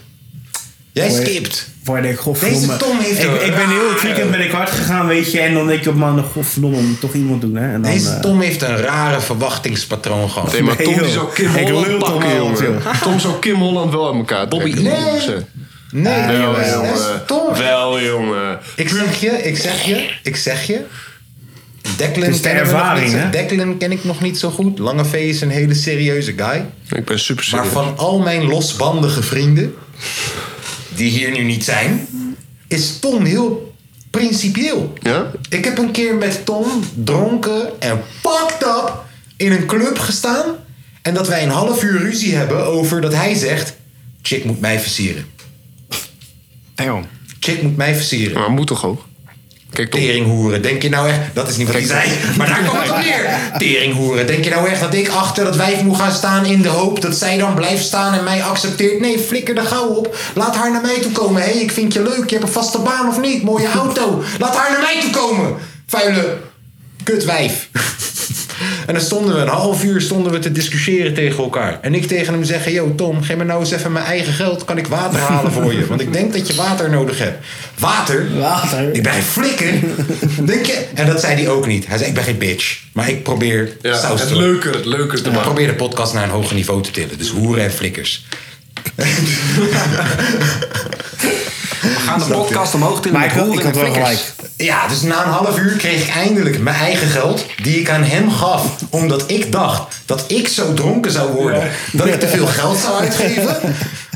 [SPEAKER 1] Jij
[SPEAKER 3] Hoi.
[SPEAKER 1] skipt.
[SPEAKER 3] Waar ik godverdomme...
[SPEAKER 1] Deze Tom heeft
[SPEAKER 3] ik,
[SPEAKER 1] een
[SPEAKER 3] ik ben heel het
[SPEAKER 1] rare-
[SPEAKER 3] weekend ben ik hard gegaan, weet je. En dan denk ik op maandag, godverdomme, moet toch iemand doen, hè. En dan,
[SPEAKER 1] Deze
[SPEAKER 3] eh,
[SPEAKER 1] Tom heeft een rare verwachtingspatroon gehad.
[SPEAKER 4] Nee, maar
[SPEAKER 3] Nee,
[SPEAKER 4] Tom die
[SPEAKER 3] joh.
[SPEAKER 4] zou Kim
[SPEAKER 3] Ik lul
[SPEAKER 4] Holland
[SPEAKER 3] toch
[SPEAKER 4] pakken,
[SPEAKER 3] wel,
[SPEAKER 4] jongen. Tom zou Kim Holland wel uit elkaar trekken.
[SPEAKER 1] Bobby, nee.
[SPEAKER 4] moet ik zeggen.
[SPEAKER 1] Nee,
[SPEAKER 4] Wel,
[SPEAKER 1] dat is- dat is
[SPEAKER 4] jongen.
[SPEAKER 1] Tom.
[SPEAKER 4] Wel, jongen.
[SPEAKER 1] Ik zeg je, ik zeg je, ik zeg je. Declan,
[SPEAKER 3] Het is de
[SPEAKER 1] ken,
[SPEAKER 3] ervaring,
[SPEAKER 1] ik nog
[SPEAKER 3] hè?
[SPEAKER 1] niet, zo- Declan ken ik nog niet zo goed. Lange V is een hele serieuze guy.
[SPEAKER 4] Ik ben super
[SPEAKER 1] Maar
[SPEAKER 4] serieus.
[SPEAKER 1] van al mijn losbandige vrienden, die hier nu niet zijn, is Tom heel principieel.
[SPEAKER 4] Ja?
[SPEAKER 1] Ik heb een keer met Tom dronken en pakt up in een club gestaan. En dat wij een half uur ruzie hebben over dat hij zegt: Chick moet mij versieren.
[SPEAKER 2] Damn.
[SPEAKER 1] Chick moet mij versieren.
[SPEAKER 4] Maar moet toch ook? Kijk, Tom.
[SPEAKER 1] Teringhoeren, denk je nou echt... Dat is niet wat hij zei, maar daar komt het op neer. Teringhoeren, denk je nou echt dat ik achter dat wijf moet gaan staan... in de hoop dat zij dan blijft staan en mij accepteert? Nee, flikker er gauw op. Laat haar naar mij toe komen. Hé, ik vind je leuk, je hebt een vaste baan of niet? Mooie auto. Laat haar naar mij toe komen. Vuile kutwijf. En dan stonden we een half uur stonden we te discussiëren tegen elkaar. En ik tegen hem zeggen: Yo, Tom, geef me nou eens even mijn eigen geld. Kan ik water halen voor je? Want ik denk dat je water nodig hebt. Water?
[SPEAKER 3] Water?
[SPEAKER 1] Ik ben geen flikker. Denk je? En dat zei hij ook niet. Hij zei: Ik ben geen bitch. Maar ik probeer
[SPEAKER 4] Ja,
[SPEAKER 1] saus
[SPEAKER 4] het
[SPEAKER 1] te maken.
[SPEAKER 4] leuker, het leuker te
[SPEAKER 1] Ik
[SPEAKER 4] maken.
[SPEAKER 1] probeer de podcast naar een hoger niveau te tillen. Dus hoeren en flikkers.
[SPEAKER 2] We gaan de podcast omhoog tillen
[SPEAKER 3] Maar
[SPEAKER 2] met
[SPEAKER 3] ik had,
[SPEAKER 2] hoeren
[SPEAKER 3] ik had
[SPEAKER 2] en
[SPEAKER 3] wel
[SPEAKER 2] flikkers.
[SPEAKER 3] gelijk.
[SPEAKER 1] Ja, dus na een half uur kreeg ik eindelijk mijn eigen geld. die ik aan hem gaf. Omdat ik dacht dat ik zo dronken zou worden. dat ik te veel geld zou uitgeven.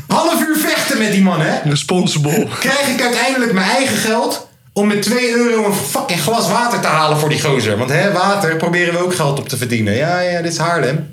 [SPEAKER 1] Half uur vechten met die man, hè?
[SPEAKER 4] Responsible.
[SPEAKER 1] Krijg ik uiteindelijk mijn eigen geld. om met 2 euro een fucking glas water te halen voor die gozer. Want hè, water proberen we ook geld op te verdienen. Ja, ja, dit is Haarlem.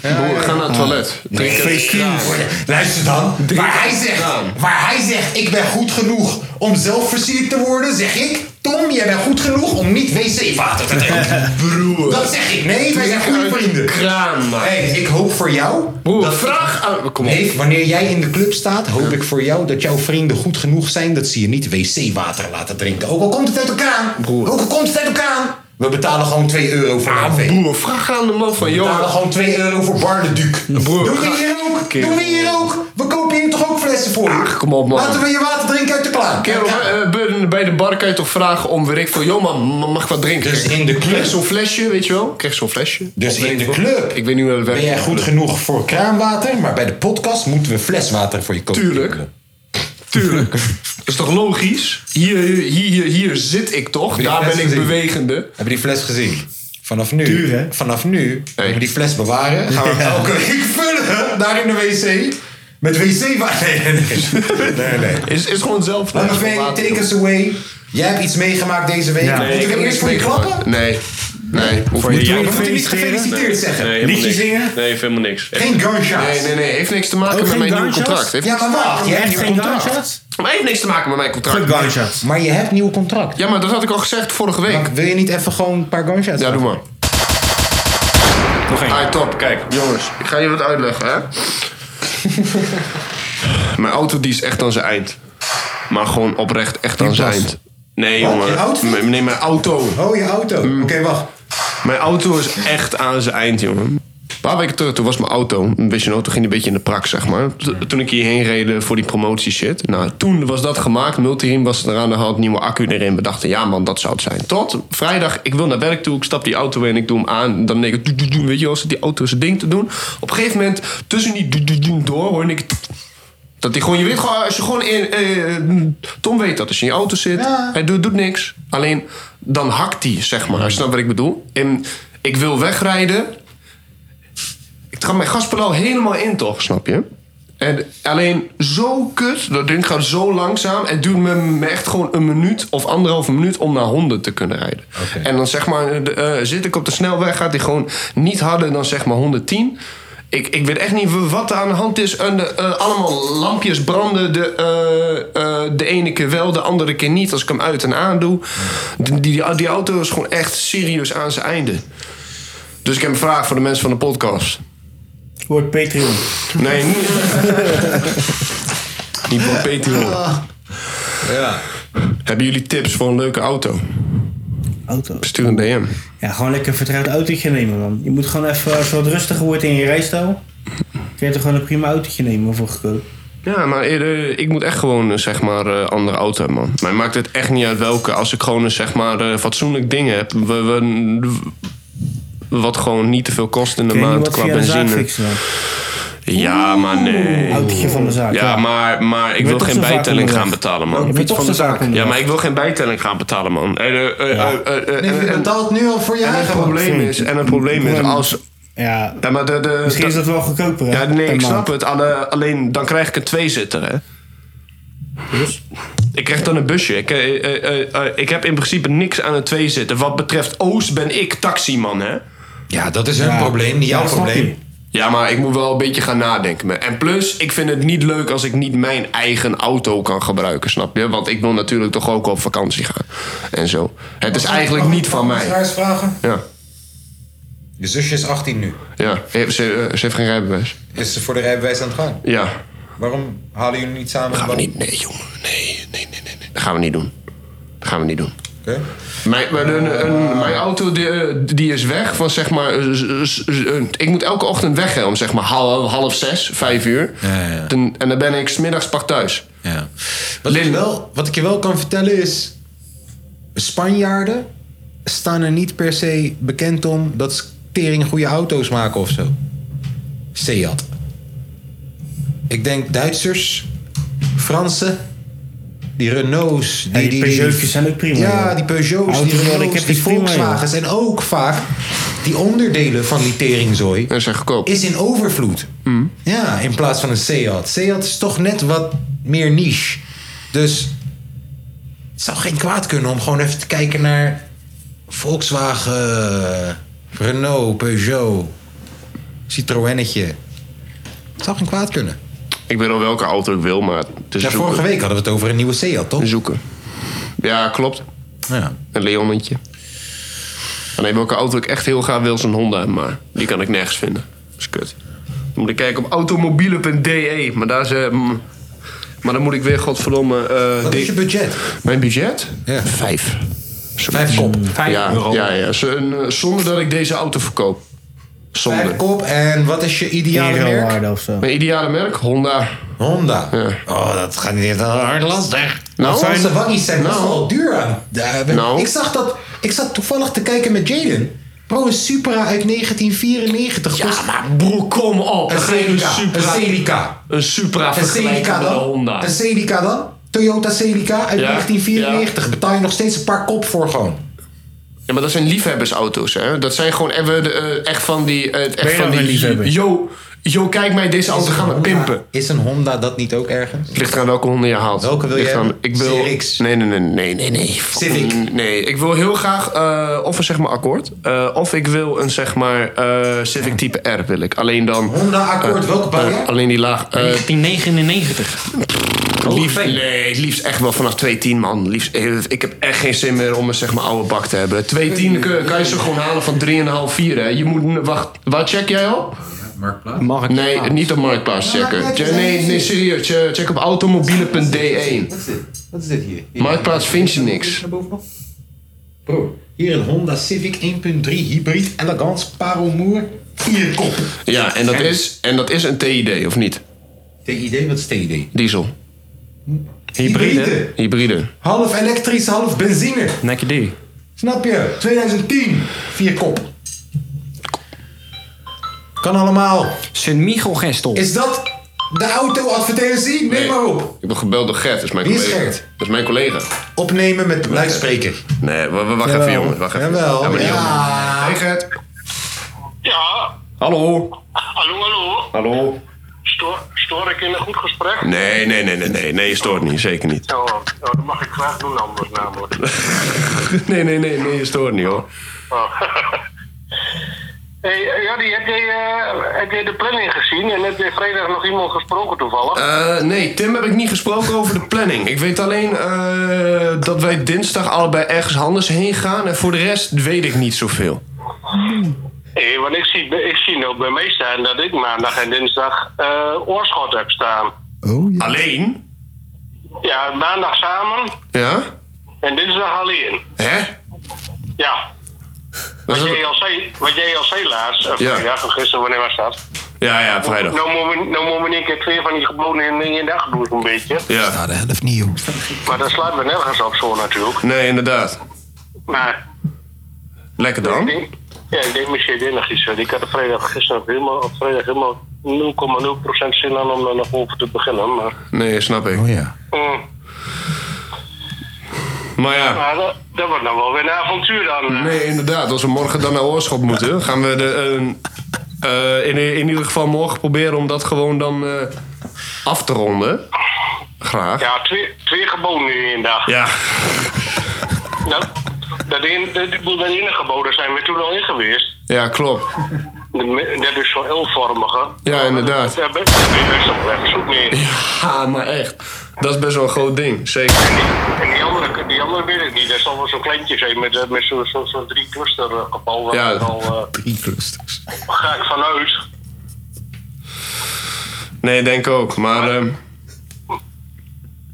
[SPEAKER 4] Broer, ga naar het
[SPEAKER 3] Ah.
[SPEAKER 4] toilet. Drink
[SPEAKER 1] Fake
[SPEAKER 4] even
[SPEAKER 1] news. Luister dan. Waar hij, zegt, waar hij zegt, ik ben goed genoeg om zelf versierd te worden, zeg ik... Tom, jij bent goed genoeg om niet wc-water te drinken.
[SPEAKER 4] Broer.
[SPEAKER 1] Dat zeg ik. Nee, wij zijn goede vrienden.
[SPEAKER 4] Kraan, man.
[SPEAKER 1] Hey, ik hoop voor jou...
[SPEAKER 4] Broer,
[SPEAKER 1] dat-
[SPEAKER 4] vraag aan... Kom op.
[SPEAKER 1] Nee, wanneer jij in de club staat, hoop ik voor jou dat jouw vrienden goed genoeg zijn dat ze je niet wc-water laten drinken. Ook al komt het uit elkaar. Ook al komt het uit elkaar. We betalen gewoon 2 euro voor
[SPEAKER 4] Ah,
[SPEAKER 1] een café.
[SPEAKER 4] broer, vraag aan de man van...
[SPEAKER 1] We
[SPEAKER 4] Joh,
[SPEAKER 1] betalen gewoon 2 euro voor Bar de Duc.
[SPEAKER 4] Broer,
[SPEAKER 1] Doen we
[SPEAKER 4] ga-
[SPEAKER 1] hier ook?
[SPEAKER 4] Kerel.
[SPEAKER 1] Doen we hier ook? We kopen hier toch ook flessen voor?
[SPEAKER 4] Ach, kom op, man.
[SPEAKER 1] Laten we je water drinken uit de kraan.
[SPEAKER 4] Kerel, eh, bij- bij de bar kan je toch vragen om, weet ik veel, joh man, ma- mag ik wat drinken?
[SPEAKER 1] Dus in de club.
[SPEAKER 4] Krijg zo'n flesje, weet je wel? Krijg zo'n flesje.
[SPEAKER 1] Dus
[SPEAKER 4] Of weet
[SPEAKER 1] in
[SPEAKER 4] ik
[SPEAKER 1] de
[SPEAKER 4] veel.
[SPEAKER 1] club
[SPEAKER 4] Ik weet niet hoe dat werkt.
[SPEAKER 1] ben jij goed genoeg voor kraanwater, maar bij de podcast moeten we fleswater voor je kopen.
[SPEAKER 4] Tuurlijk. Tuurlijk. Dat is toch logisch? Hier, hier, hier, hier zit ik toch?
[SPEAKER 1] Heb je
[SPEAKER 4] Daar
[SPEAKER 1] net
[SPEAKER 4] ben ik
[SPEAKER 1] gezien?
[SPEAKER 4] bewegende.
[SPEAKER 1] Heb je die fles gezien? Vanaf nu,
[SPEAKER 3] Duur, hè?
[SPEAKER 1] vanaf nu
[SPEAKER 4] Hey.
[SPEAKER 1] gaan we die fles bewaren. Gaan we hem elke week vullen daar in de wc. Met wc-water. Nee, nee, nee. nee, nee.
[SPEAKER 4] Is, is gewoon zelf.
[SPEAKER 1] Lange V, take us away. Jij hebt iets meegemaakt deze week.
[SPEAKER 3] Ja. Nee,
[SPEAKER 1] Moeten we eerst voor je klappen?
[SPEAKER 4] Nee. Nee. Hoeft niet.
[SPEAKER 1] We moeten niet
[SPEAKER 3] Feliciteren?
[SPEAKER 1] gefeliciteerd zeggen.
[SPEAKER 3] Liedje zingen?
[SPEAKER 6] Nee, heeft helemaal niks. Echt.
[SPEAKER 1] Geen gunshots.
[SPEAKER 4] Nee, nee, nee. Heeft niks te maken
[SPEAKER 3] Ook
[SPEAKER 4] met
[SPEAKER 3] geen
[SPEAKER 4] mijn nieuwe
[SPEAKER 3] gunshots?
[SPEAKER 4] contract. Heeft,
[SPEAKER 1] Ja, maar wacht. Je hebt
[SPEAKER 3] Echt
[SPEAKER 1] nieuw
[SPEAKER 3] geen
[SPEAKER 1] contract.
[SPEAKER 3] gunshots?
[SPEAKER 4] maar heeft niks te maken met mijn contract.
[SPEAKER 3] Gunshots.
[SPEAKER 1] Maar je hebt nieuw contract.
[SPEAKER 4] Ja, maar dat had ik al gezegd vorige week.
[SPEAKER 1] Maar Wil je niet even gewoon een paar gunshots?
[SPEAKER 4] Ja, doe maar.
[SPEAKER 2] Nog één.
[SPEAKER 4] Ah, top. Kijk, jongens. Ik ga je wat uitleggen, hè. mijn auto die is echt aan zijn eind. Maar gewoon oprecht echt aan zijn
[SPEAKER 1] past.
[SPEAKER 4] eind. Nee,
[SPEAKER 1] Wat? Je
[SPEAKER 4] jongen.
[SPEAKER 1] outfit?
[SPEAKER 4] M- Nee, mijn auto.
[SPEAKER 1] Oh, je auto.
[SPEAKER 4] Mm.
[SPEAKER 1] Oké, wacht.
[SPEAKER 4] Mijn auto is echt aan zijn eind, jongen. Een paar weken terug, toen was mijn auto, een beetje een auto, ging een beetje in de prak, zeg maar. T- Toen ik hierheen reed eh, voor die promotie shit. Nou, toen was dat gemaakt. Multiriem was eraan de hand, nieuwe accu erin. We dachten, ja man, dat zou het zijn. Tot vrijdag, ik wil naar werk toe, ik stap die auto in, ik doe hem aan. Dan denk ik, doe, doe, doe, weet je wel, zit die auto zijn ding te doen. Op een gegeven moment, tussen die doe, doe, doe door, hoor ik... Dat die gewoon, je weet gewoon, als je gewoon in. eh, Tom weet dat, als je in je auto zit, hij doet, doet niks. Alleen dan hakt hij, zeg maar. Snap wat ik bedoel? En ik wil wegrijden. Ik ga mijn gaspedaal helemaal in, toch? Snap je? En alleen zo kut, dat ding gaat zo langzaam. Het duurt me, me echt gewoon een minuut of anderhalve minuut om naar 100 te kunnen rijden. En dan zeg maar, eh, de, eh, zit ik op de snelweg, gaat hij gewoon niet harder dan zeg maar 110. Ik, ik weet echt niet wat er aan de hand is. En de, eh, allemaal lampjes branden. De, eh, eh, de ene keer wel, de andere keer niet. Als ik hem uit en aan doe. Die, die, die auto is gewoon echt serieus aan zijn einde. Dus ik heb een vraag voor de mensen van de podcast.
[SPEAKER 3] Wordt Patreon.
[SPEAKER 4] Nee, niet. niet voor
[SPEAKER 3] Oh.
[SPEAKER 4] Patreon.
[SPEAKER 1] Ja.
[SPEAKER 4] Hebben jullie tips voor een leuke auto?
[SPEAKER 3] Auto.
[SPEAKER 4] Stuur een DM.
[SPEAKER 3] Ja, gewoon lekker een vertrouwd autootje nemen, man. Je moet gewoon even, als het wat rustiger wordt in je rijstijl, kun je toch gewoon een prima autootje nemen voor goedkoop.
[SPEAKER 4] Ja, maar eh, eh, ik moet echt gewoon een zeg maar, eh, andere auto hebben, man. Mij maakt het echt niet uit welke. Als ik gewoon een zeg maar, eh, fatsoenlijk ding heb. we- we- wat gewoon niet te veel kost in de
[SPEAKER 3] Kun je niet
[SPEAKER 4] maand
[SPEAKER 3] wat
[SPEAKER 4] qua
[SPEAKER 3] via de zaak
[SPEAKER 4] benzine.
[SPEAKER 3] fixen dan?
[SPEAKER 4] Ja, maar Ah, nee.
[SPEAKER 3] Autootje van de zaak.
[SPEAKER 4] Ja, maar, maar ik wil
[SPEAKER 3] bent toch
[SPEAKER 4] geen
[SPEAKER 3] zo vaak
[SPEAKER 4] bijtelling
[SPEAKER 3] onderweg.
[SPEAKER 4] gaan betalen,
[SPEAKER 3] Je
[SPEAKER 4] man.
[SPEAKER 3] bent toch zo vaak
[SPEAKER 4] Ja,
[SPEAKER 3] onderweg.
[SPEAKER 4] maar ik wil geen bijtelling gaan betalen, man. En, eh, eh, eh, eh, eh,
[SPEAKER 1] Nee, je
[SPEAKER 4] en-
[SPEAKER 1] betaalt nu al voor je
[SPEAKER 4] en het
[SPEAKER 1] eigen probleem.
[SPEAKER 4] probleem is, en het probleem is, als...
[SPEAKER 3] Ja,
[SPEAKER 4] Ja, maar de, de,
[SPEAKER 3] misschien is dat wel goedkoper, hè?
[SPEAKER 4] ja, nee,
[SPEAKER 3] per
[SPEAKER 4] ik
[SPEAKER 3] maand.
[SPEAKER 4] snap het. Alle- Alleen, dan krijg ik een tweezitter, hè.
[SPEAKER 3] Dus?
[SPEAKER 4] Ik krijg dan een busje. Ik, eh, eh, eh, eh, ik heb in principe niks aan het twee zitten. Wat betreft Oost ben ik taximan, hè?
[SPEAKER 1] Ja, dat is hun probleem, niet jouw
[SPEAKER 3] Ja, snap je.
[SPEAKER 1] probleem.
[SPEAKER 4] Ja, maar ik moet wel een beetje gaan nadenken. En plus, ik vind het niet leuk als ik niet mijn eigen auto kan gebruiken, snap je? Want ik wil natuurlijk toch ook op vakantie gaan en zo. Het is eigenlijk niet van mij.
[SPEAKER 1] Vragen?
[SPEAKER 4] Ja,
[SPEAKER 1] Je zusje is 18 nu.
[SPEAKER 4] ja. Ze, ze ze heeft geen rijbewijs.
[SPEAKER 1] Is ze voor de rijbewijs aan het gaan?
[SPEAKER 4] Ja.
[SPEAKER 1] Waarom halen jullie niet samen?
[SPEAKER 4] Gaan we niet. Nee, jongen. Nee, nee, nee, nee. nee. Dat gaan we niet doen. Dat gaan we niet doen.
[SPEAKER 1] Oké.
[SPEAKER 4] Mijn, maar een, een- mijn auto die, eh, die is weg van zeg maar. eh, z- z- z- eh, ik moet elke ochtend weg hè, om zeg maar half, half zes, vijf uur.
[SPEAKER 1] Ja, ja.
[SPEAKER 4] Ten- en dan ben ik smiddags pak thuis.
[SPEAKER 1] Ja. Wat, ik je wel, wat ik je wel kan vertellen is... Spanjaarden staan er niet per se bekend om... dat ze tering goede auto's maken of zo. Seat. Ik denk Duitsers, Fransen... Die Renaults, die,
[SPEAKER 3] Ja, die Peugeotjes zijn ook prima,
[SPEAKER 1] Ja,
[SPEAKER 3] joh.
[SPEAKER 1] die Peugeots,
[SPEAKER 3] Auto's
[SPEAKER 1] die
[SPEAKER 3] wat ik
[SPEAKER 1] Renaults,
[SPEAKER 3] heb
[SPEAKER 1] die
[SPEAKER 3] is prima, joh.
[SPEAKER 1] Volkswagens. en ook vaak die onderdelen van die teringzooi
[SPEAKER 4] En zijn goedkoop.
[SPEAKER 1] is in overvloed.
[SPEAKER 3] Mm.
[SPEAKER 1] Ja, in plaats van een Seat. Seat is toch net wat meer niche. Dus het zou geen kwaad kunnen om gewoon even te kijken naar Volkswagen, Renault, Peugeot, Citroënnetje. Het zou geen kwaad kunnen.
[SPEAKER 4] Ik weet al welke auto ik wil, maar het is
[SPEAKER 1] Ja,
[SPEAKER 4] zoeken.
[SPEAKER 1] vorige week hadden we het over een nieuwe Seat, toch?
[SPEAKER 4] zoeken. Ja, klopt.
[SPEAKER 1] Ja.
[SPEAKER 4] Een Leonnetje. Alleen welke auto ik echt heel graag wil is een Honda, maar die kan ik nergens vinden. Dat is kut. Dan moet ik kijken op automobielen.de, maar daar is... eh, mm, maar dan moet ik weer, godverdomme... eh,
[SPEAKER 1] Wat
[SPEAKER 4] die-
[SPEAKER 1] is je budget?
[SPEAKER 4] Mijn budget?
[SPEAKER 1] Ja.
[SPEAKER 4] Vijf.
[SPEAKER 1] Vijf kop.
[SPEAKER 2] Vijf
[SPEAKER 4] Ja,
[SPEAKER 2] euro.
[SPEAKER 4] ja, ja. Zo- en, eh, Zonder dat ik deze auto verkoop.
[SPEAKER 1] Vijf
[SPEAKER 4] Zonder.
[SPEAKER 1] kop en wat is je ideale merk?
[SPEAKER 3] Herowaarde of zo.
[SPEAKER 4] Mijn ideale merk? Honda.
[SPEAKER 1] Honda.
[SPEAKER 4] Ja.
[SPEAKER 1] Oh, dat gaat niet echt hard lastig.
[SPEAKER 4] Nou,
[SPEAKER 1] Nou, Franse
[SPEAKER 4] zijn-
[SPEAKER 1] waggies zijn best
[SPEAKER 4] nou.
[SPEAKER 1] wel duur aan. Ja, we-
[SPEAKER 4] Nou.
[SPEAKER 1] Ik zag dat. Ik zat toevallig te kijken met Jaden. Bro, een Supra uit 1994 kost
[SPEAKER 4] broer, kom op.
[SPEAKER 1] een Celica. Een Celica.
[SPEAKER 4] Een Supra
[SPEAKER 1] Een Celica dan. Een Celica dan. Toyota Celica uit
[SPEAKER 4] Ja,
[SPEAKER 1] 1994. Betaal je nog steeds een paar kop voor gewoon.
[SPEAKER 4] Ja, maar dat zijn liefhebbersauto's, hè. Dat zijn gewoon even de, eh, echt van die... eh, echt
[SPEAKER 3] je
[SPEAKER 4] van
[SPEAKER 3] nou
[SPEAKER 4] die
[SPEAKER 3] een liefhebber?
[SPEAKER 4] Yo, yo, kijk mij deze auto gaan we
[SPEAKER 1] Honda-
[SPEAKER 4] pimpen.
[SPEAKER 1] Is een Honda dat niet ook ergens?
[SPEAKER 4] Ligt eraan welke honden je haalt.
[SPEAKER 1] Welke wil
[SPEAKER 4] Ligt
[SPEAKER 1] jij
[SPEAKER 4] eraan-
[SPEAKER 1] hebben?
[SPEAKER 4] Ik wil.
[SPEAKER 1] CRX?
[SPEAKER 4] Nee, nee, nee, nee, nee, nee. Fucking-
[SPEAKER 1] Civic?
[SPEAKER 4] Nee, ik wil heel graag eh, of een zeg maar akkoord, eh, of ik wil een zeg maar eh, Civic type R wil ik. Alleen dan.
[SPEAKER 1] Honda akkoord,
[SPEAKER 4] eh,
[SPEAKER 1] welke bouw
[SPEAKER 4] eh,
[SPEAKER 1] jij?
[SPEAKER 4] alleen die laag. eh,
[SPEAKER 2] 1999.
[SPEAKER 1] Oh,
[SPEAKER 4] liefst, nee, het liefst echt wel vanaf 210 man. Liefst, eh, ik heb echt geen zin meer om een zeg maar oude bak te hebben. 210 kun- kan je ze gewoon halen van 3,5, 4 hè. Je moet, wacht, wat check jij op?
[SPEAKER 2] Mag ik?
[SPEAKER 4] Nee, niet op Marktplaats
[SPEAKER 1] Nou,
[SPEAKER 4] checken. Ja, nee, nee, serieus. Check check op automobielen.de.
[SPEAKER 1] Wat is dit? Wat is dit hier?
[SPEAKER 4] E. Marktplaats vind je niks.
[SPEAKER 1] Bro, hier een Honda Civic 1.3 Hybrid Elegance Paromoer. Vier kop.
[SPEAKER 4] Ja, en dat is, en dat is een TID, of niet?
[SPEAKER 1] TID, wat is TID?
[SPEAKER 4] Diesel.
[SPEAKER 1] Hybride.
[SPEAKER 4] Hybride.
[SPEAKER 1] Half elektrisch, half benzine.
[SPEAKER 2] Nekje die.
[SPEAKER 1] Snap je? 2010. Vier kop. Kan allemaal.
[SPEAKER 2] Sint Michel Gestel.
[SPEAKER 1] Is dat de auto-advertentie? Neem maar op.
[SPEAKER 4] Ik ben gebeld door Gert, dat is mijn
[SPEAKER 1] Wie is
[SPEAKER 4] collega.
[SPEAKER 1] Gert?
[SPEAKER 4] Dat is mijn collega.
[SPEAKER 1] Opnemen met luidspreker.
[SPEAKER 4] Nee, w- w- wacht
[SPEAKER 1] Jawel.
[SPEAKER 4] even jongens, wacht even.
[SPEAKER 1] Jawel,
[SPEAKER 4] maar niet
[SPEAKER 1] ja.
[SPEAKER 4] allemaal. Hey Gert.
[SPEAKER 6] Ja,
[SPEAKER 4] Hallo.
[SPEAKER 6] hallo, hallo.
[SPEAKER 4] Hallo.
[SPEAKER 6] Stoor, stoor ik in een goed gesprek?
[SPEAKER 4] Nee, nee, nee, nee, nee, nee, je stoort niet, zeker niet.
[SPEAKER 6] Oh, oh, dat mag ik graag doen anders namelijk.
[SPEAKER 4] Nee, nee, nee, nee, je stoort niet hoor.
[SPEAKER 6] Oh.
[SPEAKER 7] Hey, eh, Jordi, heb jij, eh, heb jij de planning gezien? En heb jij vrijdag nog iemand gesproken toevallig?
[SPEAKER 4] Eh, nee, Tim heb ik niet gesproken over de planning. Ik weet alleen eh, dat wij dinsdag allebei ergens anders heen gaan. En voor de rest weet ik niet zoveel.
[SPEAKER 7] Nee, Eh, want ik zie, ik zie nou bij mij staan dat ik maandag en dinsdag eh, oorschot heb staan.
[SPEAKER 3] Oh,
[SPEAKER 4] Alleen?
[SPEAKER 7] Ja, maandag samen
[SPEAKER 4] Ja?
[SPEAKER 7] en dinsdag alleen.
[SPEAKER 4] Hè?
[SPEAKER 7] Ja.
[SPEAKER 4] Was
[SPEAKER 7] Wat
[SPEAKER 4] dat-
[SPEAKER 7] jij al zei, wat jij al zei laatst, of
[SPEAKER 4] Ja.
[SPEAKER 7] vrijdag, of gisteren, wanneer was dat?
[SPEAKER 4] Ja, ja, vrijdag.
[SPEAKER 7] Nou moeten we- nou moeten we in één keer twee van die geboden in, in de dag doen, een beetje.
[SPEAKER 4] Ja.
[SPEAKER 8] Nou, de helft niet, joh.
[SPEAKER 7] Maar dat slaat we nergens op zo natuurlijk.
[SPEAKER 4] Nee, inderdaad.
[SPEAKER 7] Maar
[SPEAKER 4] Lekker
[SPEAKER 7] ik
[SPEAKER 4] dan.
[SPEAKER 7] denk, ja, ik denk misschien dit nog iets. want Ik had er vrijdag gisteren op helemaal, op vrijdag helemaal 0,0% zin aan om er nog over te beginnen. Maar,
[SPEAKER 4] Nee, snap ik.
[SPEAKER 8] Oh ja.
[SPEAKER 7] mm,
[SPEAKER 4] Maar ja.
[SPEAKER 7] maar dat, dat wordt nou wel weer een avontuur dan. eh.
[SPEAKER 4] Nee, inderdaad. Als we morgen dan naar Oorschot moeten, gaan we de, eh, eh, in, in ieder geval morgen proberen om dat gewoon dan eh, af te ronden. Graag.
[SPEAKER 7] Ja, twee, twee geboden nu in één dag.
[SPEAKER 4] Ja.
[SPEAKER 7] Nou, dat, een, dat, ik bedoel, dat ene gebouw, daar zijn we toen al in geweest.
[SPEAKER 4] Ja, klopt.
[SPEAKER 7] De- Dat is zo'n L-vormige.
[SPEAKER 4] Ja, inderdaad.
[SPEAKER 7] Daar ben daar ben je best op weg. Zoek mee.
[SPEAKER 4] Ha, maar echt. Dat is best wel een groot ding. Zeker.
[SPEAKER 7] En die andere, die andere weet ik niet. Dat zal wel zo'n kleintje zijn met, eh, met zo'n zo, zo drie cluster eh, gebouw. Waar
[SPEAKER 4] Ja.
[SPEAKER 7] ik al, eh,
[SPEAKER 8] Drie clusters.
[SPEAKER 7] ga ik vanuit.
[SPEAKER 4] Nee, denk ook. Maar ehm,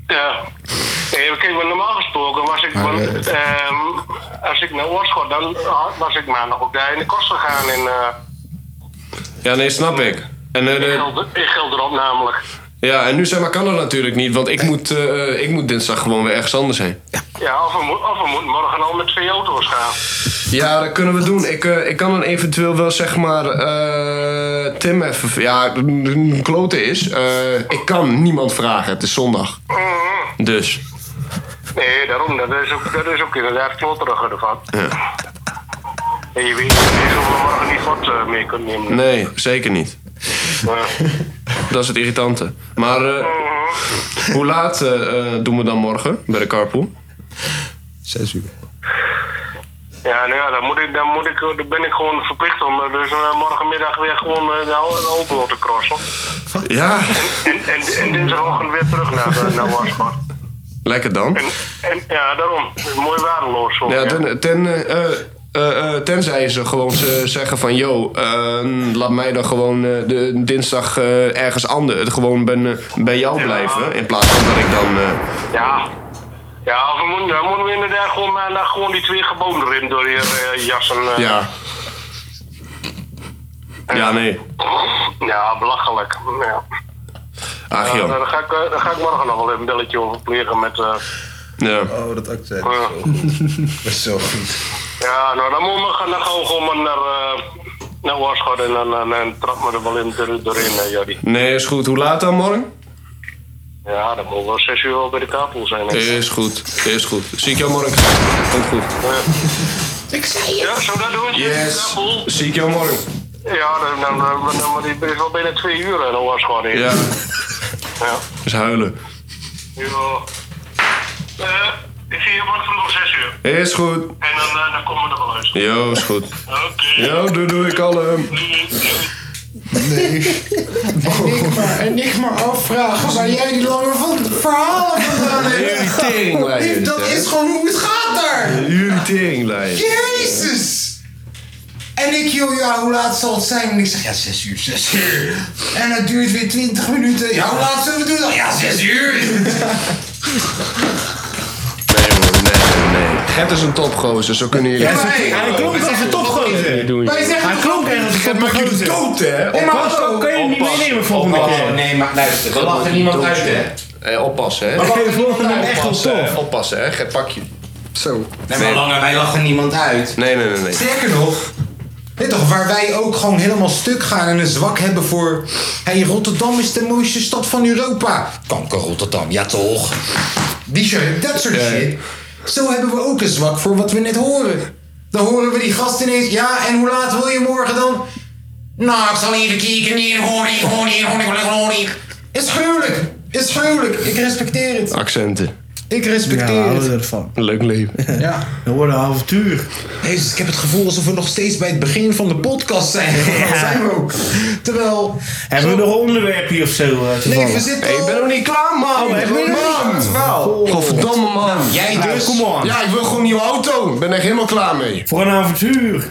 [SPEAKER 7] Ja. Eh, Kijk, maar normaal gesproken was ik... want, ehm, als ik naar Oorschot, dan had- was ik maandag ook daar in de kost gegaan in, eh
[SPEAKER 4] ja, nee, snap ik. En, eh,
[SPEAKER 7] in,
[SPEAKER 4] de-
[SPEAKER 7] Gelder, in Gelderop namelijk.
[SPEAKER 4] ja, en nu zeg maar kan dat natuurlijk niet, want ik moet, eh, ik moet dinsdag gewoon weer ergens anders heen.
[SPEAKER 7] Ja, of we, moet- of we moeten morgen al met twee auto's gaan.
[SPEAKER 4] Ja, dat kunnen we doen. Ik, eh, ik kan dan eventueel wel zeg maar eh, Tim even. Ja, een klote is. eh, ik kan niemand vragen. Het is zondag. Dus.
[SPEAKER 7] Nee, daarom. Dat is ook, dat is ook inderdaad klotteriger ervan. En je weet niet hoeveel morgen die fort eh, mee kunt nemen.
[SPEAKER 4] Nee, zeker niet.
[SPEAKER 7] Maar,
[SPEAKER 4] Dat is het irritante. Maar eh,
[SPEAKER 7] Mhm.
[SPEAKER 4] hoe laat eh, eh, doen we dan morgen bij de carpool?
[SPEAKER 8] Zes uur.
[SPEAKER 7] ja, nou ja, dan, moet ik, dan, moet ik, dan ben ik gewoon verplicht om eh, dus eh, morgenmiddag weer gewoon eh, de oude- de auto te crossen.
[SPEAKER 4] Ja,
[SPEAKER 7] En, en, en dinsdagochtend weer terug naar, de- naar Warschau.
[SPEAKER 4] lekker dan.
[SPEAKER 7] En, en ja, daarom. Mooi waardeloos. Zo,
[SPEAKER 4] Ja, ten, ten, eh, eh, eh, eh, tenzij ze gewoon ze zeggen van... yo, eh, laat mij dan gewoon eh, de, dinsdag eh, ergens anders... gewoon ben, eh, bij jou blijven... in plaats van dat ik dan... eh,
[SPEAKER 7] Ja. Ja, we moeten, dan moeten we inderdaad gewoon maandag gewoon die twee geboden erin door je eh, jassen. eh.
[SPEAKER 4] ja. Ja, nee.
[SPEAKER 7] ja, belachelijk. Ja.
[SPEAKER 4] Ach,
[SPEAKER 7] Ja,
[SPEAKER 4] joh.
[SPEAKER 7] daar, ga ik, eh, daar ga ik morgen nog wel even een belletje over plegen met... eh,
[SPEAKER 4] Ja.
[SPEAKER 1] Oh, dat accent.
[SPEAKER 7] eh,
[SPEAKER 1] Dat is zo goed.
[SPEAKER 7] ja, nou dan moeten we gaan, dan gaan we gewoon maar naar, eh naar Oorschot en dan, dan, dan trap me er wel in, door- doorheen, eh, Jordi.
[SPEAKER 4] Nee, is goed. Hoe laat dan morgen?
[SPEAKER 7] Ja, dan moet wel zes uur wel bij de kapel zijn. hè.
[SPEAKER 4] Is goed. Is goed. Zie ik jou morgen. Komt goed.
[SPEAKER 7] Ja, zo dat doen?
[SPEAKER 4] Yes.
[SPEAKER 7] Kapel?
[SPEAKER 4] Zie ik jou morgen.
[SPEAKER 7] Ja, dan, dan, dan, dan, dan- het is wel bijna twee uur in Oorschot. hè.
[SPEAKER 4] Ja.
[SPEAKER 7] Ja.
[SPEAKER 4] Is huilen.
[SPEAKER 7] Ja. Eh, ik zie je morgen nog zes uur.
[SPEAKER 4] Is goed.
[SPEAKER 7] En dan, eh, dan komen we er wel uit.
[SPEAKER 4] Jo, is goed.
[SPEAKER 7] Oké.
[SPEAKER 4] Jo, doei doei. Ik al hem.
[SPEAKER 7] Doei.
[SPEAKER 1] En ik maar afvragen waar jij die lange van verhalen vandaan
[SPEAKER 4] Jullie teringleiers,
[SPEAKER 1] Dat
[SPEAKER 4] hè?
[SPEAKER 1] is gewoon hoe het gaat daar.
[SPEAKER 4] Jullie teringleiers.
[SPEAKER 1] Jezus. En ik, joh, ja, hoe laat zal het zijn? En ik zeg, ja, zes uur, zes uur. En het duurt weer twintig minuten. Ja, hoe laat zullen we doen dan? Ja, zes uur.
[SPEAKER 4] Nee, man, nee, nee, nee. Gert is een topgozer, zo kunnen jullie.
[SPEAKER 1] Maar hey,
[SPEAKER 3] Hij klonk als een topgozer.
[SPEAKER 1] Wij
[SPEAKER 3] Hij
[SPEAKER 1] zeggen toch
[SPEAKER 3] klonk echt als een
[SPEAKER 4] Gert maakt jullie
[SPEAKER 3] topgozer.
[SPEAKER 4] dood, hè?
[SPEAKER 1] Nee, maar
[SPEAKER 3] Pascal,
[SPEAKER 1] hallo.
[SPEAKER 3] kan je hem niet meenemen volgende
[SPEAKER 1] Oh,
[SPEAKER 3] keer?
[SPEAKER 1] nee, maar luister, we lachen niemand uit, hè.
[SPEAKER 4] Eh, oppassen, hè?
[SPEAKER 3] Oké, de volgende keer echt wel
[SPEAKER 4] Oppassen,
[SPEAKER 3] tof.
[SPEAKER 4] hè? Oppassen, hè? Gert, pak je. Zo.
[SPEAKER 1] Nee, maar langer, wij lachen niemand uit.
[SPEAKER 4] Nee, nee, nee, nee.
[SPEAKER 1] Sterker nog, dit toch, waar wij ook gewoon helemaal stuk gaan en een zwak hebben voor... Hé, hey, Rotterdam is de mooiste stad van Europa. Kanker Rotterdam, ja toch? Die shirt, dat soort shit. Zo hebben we ook een zwak voor wat we net horen. Dan horen we die gast ineens... Ja, en hoe laat wil je morgen dan? Nou, ik zal even kijken. hier, Honing, honing, honing, honing, honing. Is gruwelijk, is gruwelijk. Ik respecteer het.
[SPEAKER 4] Accenten.
[SPEAKER 1] Ik
[SPEAKER 3] Ja,
[SPEAKER 1] respecteer
[SPEAKER 3] houden we
[SPEAKER 1] het.
[SPEAKER 3] ervan.
[SPEAKER 4] Een leuk leven.
[SPEAKER 1] Ja.
[SPEAKER 3] Dat wordt een avontuur.
[SPEAKER 1] Jezus, ik heb het gevoel alsof we nog steeds bij het begin van de podcast zijn. Dat zijn we ook. Terwijl...
[SPEAKER 3] Hebben we nog een onderwerp hier of zo? eh,
[SPEAKER 1] Nee,
[SPEAKER 3] toevallig?
[SPEAKER 1] we zitten
[SPEAKER 4] Hey, ik ben nog niet klaar, man.
[SPEAKER 3] Oh, heb je nog niet?
[SPEAKER 4] man. Godverdomme, man.
[SPEAKER 1] Jij
[SPEAKER 3] Nou,
[SPEAKER 1] dus.
[SPEAKER 3] kom op.
[SPEAKER 4] Ja, ik wil gewoon een nieuwe auto. Ik ben echt helemaal klaar mee.
[SPEAKER 3] Voor een avontuur.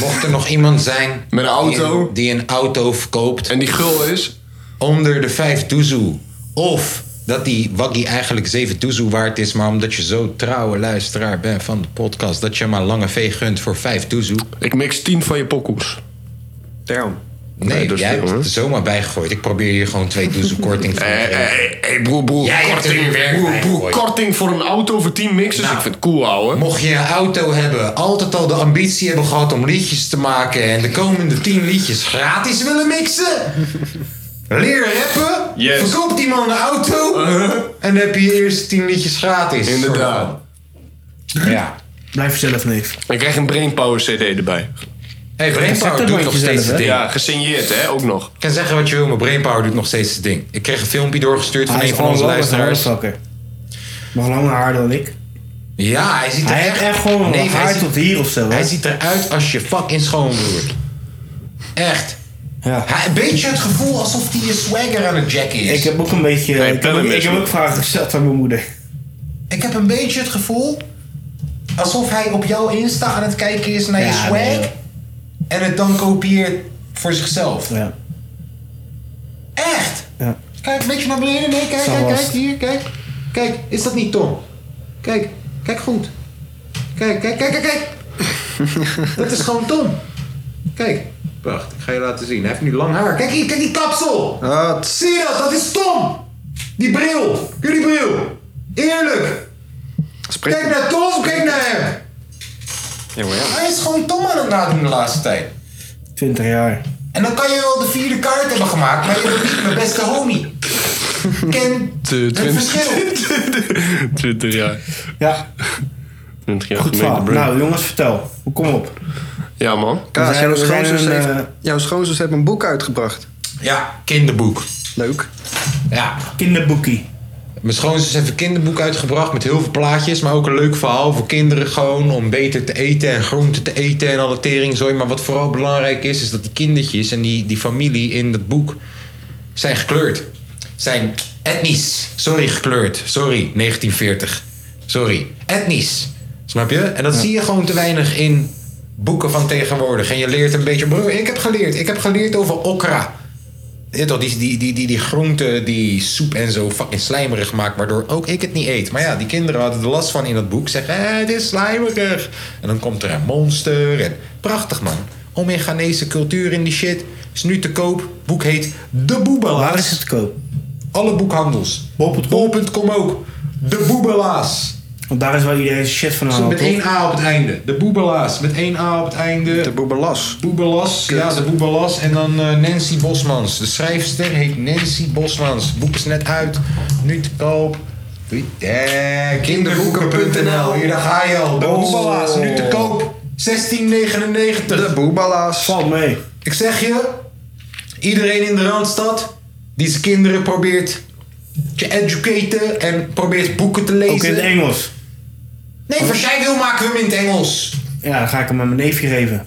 [SPEAKER 1] Mocht er nog iemand zijn...
[SPEAKER 4] Met een auto.
[SPEAKER 1] Die, die een auto verkoopt
[SPEAKER 4] En die gul is...
[SPEAKER 1] onder de 5 toezoe. Of dat die waggie eigenlijk 7 toezoe waard is... maar omdat je zo trouwe luisteraar bent van de podcast... dat je maar lange vee gunt voor 5 toezoe.
[SPEAKER 4] Ik mix 10 van je pokoes.
[SPEAKER 2] Daarom.
[SPEAKER 1] Nee,
[SPEAKER 4] Nee, dat is
[SPEAKER 1] jij
[SPEAKER 4] veel,
[SPEAKER 1] hebt het
[SPEAKER 4] hoor.
[SPEAKER 1] er zomaar bijgegooid. Ik probeer hier gewoon 2 toezoe korting van te
[SPEAKER 4] Hé,
[SPEAKER 1] geven.
[SPEAKER 4] hé, hé, broer, broer.
[SPEAKER 1] Jij hebt er
[SPEAKER 4] korting,
[SPEAKER 1] weer werk
[SPEAKER 4] broer,
[SPEAKER 1] bij
[SPEAKER 4] broer,
[SPEAKER 1] gegooid.
[SPEAKER 4] korting voor een auto voor 10 mixers.
[SPEAKER 1] Nou.
[SPEAKER 4] Ik vind het cool, ouwe.
[SPEAKER 1] Mocht je een auto hebben, altijd al de ambitie hebben gehad om liedjes te maken en de komende 10 liedjes gratis willen mixen? Leer rappen,
[SPEAKER 4] Yes. Uh-huh.
[SPEAKER 1] verkoop die man een auto en dan heb je je eerste 10 liedjes gratis.
[SPEAKER 4] Inderdaad.
[SPEAKER 1] Ja.
[SPEAKER 3] Blijf zelf, neef.
[SPEAKER 4] Ik krijg een Brainpower CD erbij.
[SPEAKER 1] Hey,
[SPEAKER 3] Zet dat
[SPEAKER 1] Brainpower doet nog
[SPEAKER 3] bandje
[SPEAKER 1] steeds
[SPEAKER 3] zelf,
[SPEAKER 1] zijn ding.
[SPEAKER 4] Ja, gesigneerd, hè, ook nog.
[SPEAKER 1] Ik kan zeggen wat je wil, maar Brainpower doet nog steeds zijn ding. Ik kreeg een filmpje doorgestuurd van een van onze luisteraars.
[SPEAKER 3] harder Nog langer haar dan ik.
[SPEAKER 1] Ja, hij ziet er
[SPEAKER 3] Hij heeft echt gewoon
[SPEAKER 1] Nee,
[SPEAKER 3] een
[SPEAKER 1] hij
[SPEAKER 3] haar
[SPEAKER 1] ziet-
[SPEAKER 3] tot hier of zo. hè?
[SPEAKER 1] Hij ziet eruit als je fucking schoonbroer. Echt.
[SPEAKER 3] Ja.
[SPEAKER 1] Hij, een beetje het gevoel alsof hij je swagger aan het jacken is.
[SPEAKER 3] Ik heb ook een beetje.
[SPEAKER 4] Nee,
[SPEAKER 3] ik, heb ook,
[SPEAKER 4] pellenmis,
[SPEAKER 3] ik heb
[SPEAKER 4] man.
[SPEAKER 3] ook vragen gesteld aan mijn moeder.
[SPEAKER 1] Ik heb een beetje het gevoel alsof hij op jouw Insta aan het kijken is naar je
[SPEAKER 3] Ja,
[SPEAKER 1] swag.
[SPEAKER 3] nee, joh.
[SPEAKER 1] en het dan kopieert voor zichzelf.
[SPEAKER 3] Ja.
[SPEAKER 1] Echt!
[SPEAKER 3] Ja.
[SPEAKER 1] Kijk, een beetje naar beneden. Nee, kijk,
[SPEAKER 3] Zo
[SPEAKER 1] kijk,
[SPEAKER 3] was
[SPEAKER 1] kijk,
[SPEAKER 3] het.
[SPEAKER 1] hier, kijk. Kijk, is dat niet Tom? Kijk, kijk goed. Kijk, kijk, kijk, kijk, kijk. dat is gewoon Tom. Kijk. Wacht, ik ga je laten zien. Hij heeft nu lang haar. Kijk hier, kijk die kapsel.
[SPEAKER 9] Wat?
[SPEAKER 1] Zie je dat? Dat is Tom! Die bril! Kijk die bril! Eerlijk! Kijk naar Tom, kijk naar hem! Hij is gewoon Tom aan het nadoen de laatste tijd.
[SPEAKER 3] 20 jaar.
[SPEAKER 1] En dan kan je wel de vierde kaart hebben gemaakt, maar je bent niet mijn beste homie. Ken het verschil.
[SPEAKER 4] 20 jaar.
[SPEAKER 3] Ja,
[SPEAKER 4] 20 jaar
[SPEAKER 3] goed verhaal. Nou, jongens, vertel. Hoe kom op?
[SPEAKER 4] Ja, man.
[SPEAKER 3] We
[SPEAKER 9] Klaas,
[SPEAKER 3] zijn-
[SPEAKER 9] jouw
[SPEAKER 3] we zijn
[SPEAKER 9] schoonzus
[SPEAKER 3] een,
[SPEAKER 9] heeft-
[SPEAKER 3] eh,
[SPEAKER 9] jouw schoonzus heeft een boek uitgebracht.
[SPEAKER 1] Ja, kinderboek.
[SPEAKER 9] Leuk.
[SPEAKER 1] Ja.
[SPEAKER 3] Kinderboekie.
[SPEAKER 1] Mijn schoonzus heeft een kinderboek uitgebracht met heel veel plaatjes, maar ook een leuk verhaal voor kinderen gewoon om beter te eten en groente te eten en alle teringzooi. Maar wat vooral belangrijk is, is dat die kindertjes en die, die familie in dat boek zijn gekleurd. Zijn etnisch. Sorry, gekleurd. Sorry, 1940. Sorry, etnisch. Snap je? En dat zie je gewoon te weinig in boeken van tegenwoordig. En je leert een beetje... Broer, ik heb geleerd. Ik heb geleerd over okra. Ja, toch, die, die, die, die, die groente, die soep en zo fucking slijmerig maakt, waardoor ook ik het niet eet. Maar ja, die kinderen hadden er last van in dat boek. Zeggen, eh, het is slijmerig. En dan komt er een monster. En... Prachtig, man. Om in Ghanese cultuur in die shit. Is nu te koop. Boek heet De Boebelaars.
[SPEAKER 3] Waar is het te koop?
[SPEAKER 1] Alle boekhandels.
[SPEAKER 3] Bol.com.
[SPEAKER 1] Bol.com ook. De Boebelaars.
[SPEAKER 3] Want daar is wel iedereen zijn shit van aan.
[SPEAKER 1] Met
[SPEAKER 3] het hoofd.
[SPEAKER 1] één A op het einde. De Boebelaars. Met één A op het einde.
[SPEAKER 9] De boebelas.
[SPEAKER 1] Boebelas, ja, de Boebelas. En dan eh, Nancy Bosmans. De schrijfster heet Nancy Bosmans. Het boek is net uit. Nu te koop. Eh, kinderboeken.nl. Hier, daar ga je al. De
[SPEAKER 9] Oh.
[SPEAKER 1] Boebelas, nu te koop. 16,99.
[SPEAKER 9] De boebelas.
[SPEAKER 3] Valt mee.
[SPEAKER 1] Ik zeg je, iedereen in de Randstad die zijn kinderen probeert te educaten en probeert boeken te lezen.
[SPEAKER 3] Ook in het Engels.
[SPEAKER 1] Nee, voor zij wil maken we hem in het Engels.
[SPEAKER 3] Ja, dan ga ik hem aan mijn neefje geven.
[SPEAKER 1] Dat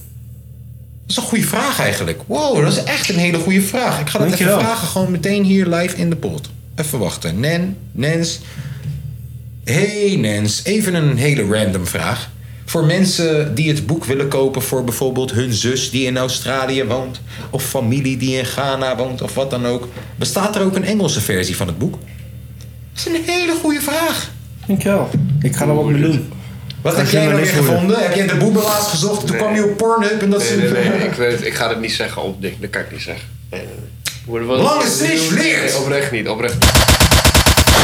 [SPEAKER 1] is een goede vraag eigenlijk. Wow, dat is echt een hele goede vraag. Ik ga dat even
[SPEAKER 3] Dankjewel.
[SPEAKER 1] vragen, gewoon meteen hier live in de pot. Even wachten. Nen, Nens. Hey Nens, even een hele random vraag. Voor mensen die het boek willen kopen voor bijvoorbeeld hun zus die in Australië woont, of familie die in Ghana woont, of wat dan ook, bestaat er ook een Engelse versie van het boek? Dat is een hele goede vraag.
[SPEAKER 3] Dankjewel. Ik ga er wat mee doen.
[SPEAKER 1] Wat
[SPEAKER 3] Als
[SPEAKER 1] heb
[SPEAKER 3] je
[SPEAKER 1] jij
[SPEAKER 3] maar
[SPEAKER 1] nou weer
[SPEAKER 3] lees worden.
[SPEAKER 1] gevonden? Heb jij de boebelaars gezocht? Toen kwam je op Pornhub en dat is
[SPEAKER 4] Nee, nee,
[SPEAKER 1] een-
[SPEAKER 4] nee, ik, weet, ik ga dat niet zeggen op dik. Dat kan ik niet zeggen. Nee, nee, nee. Worden we-
[SPEAKER 1] Lange Snish leert!
[SPEAKER 4] Nee, oprecht niet, oprecht niet.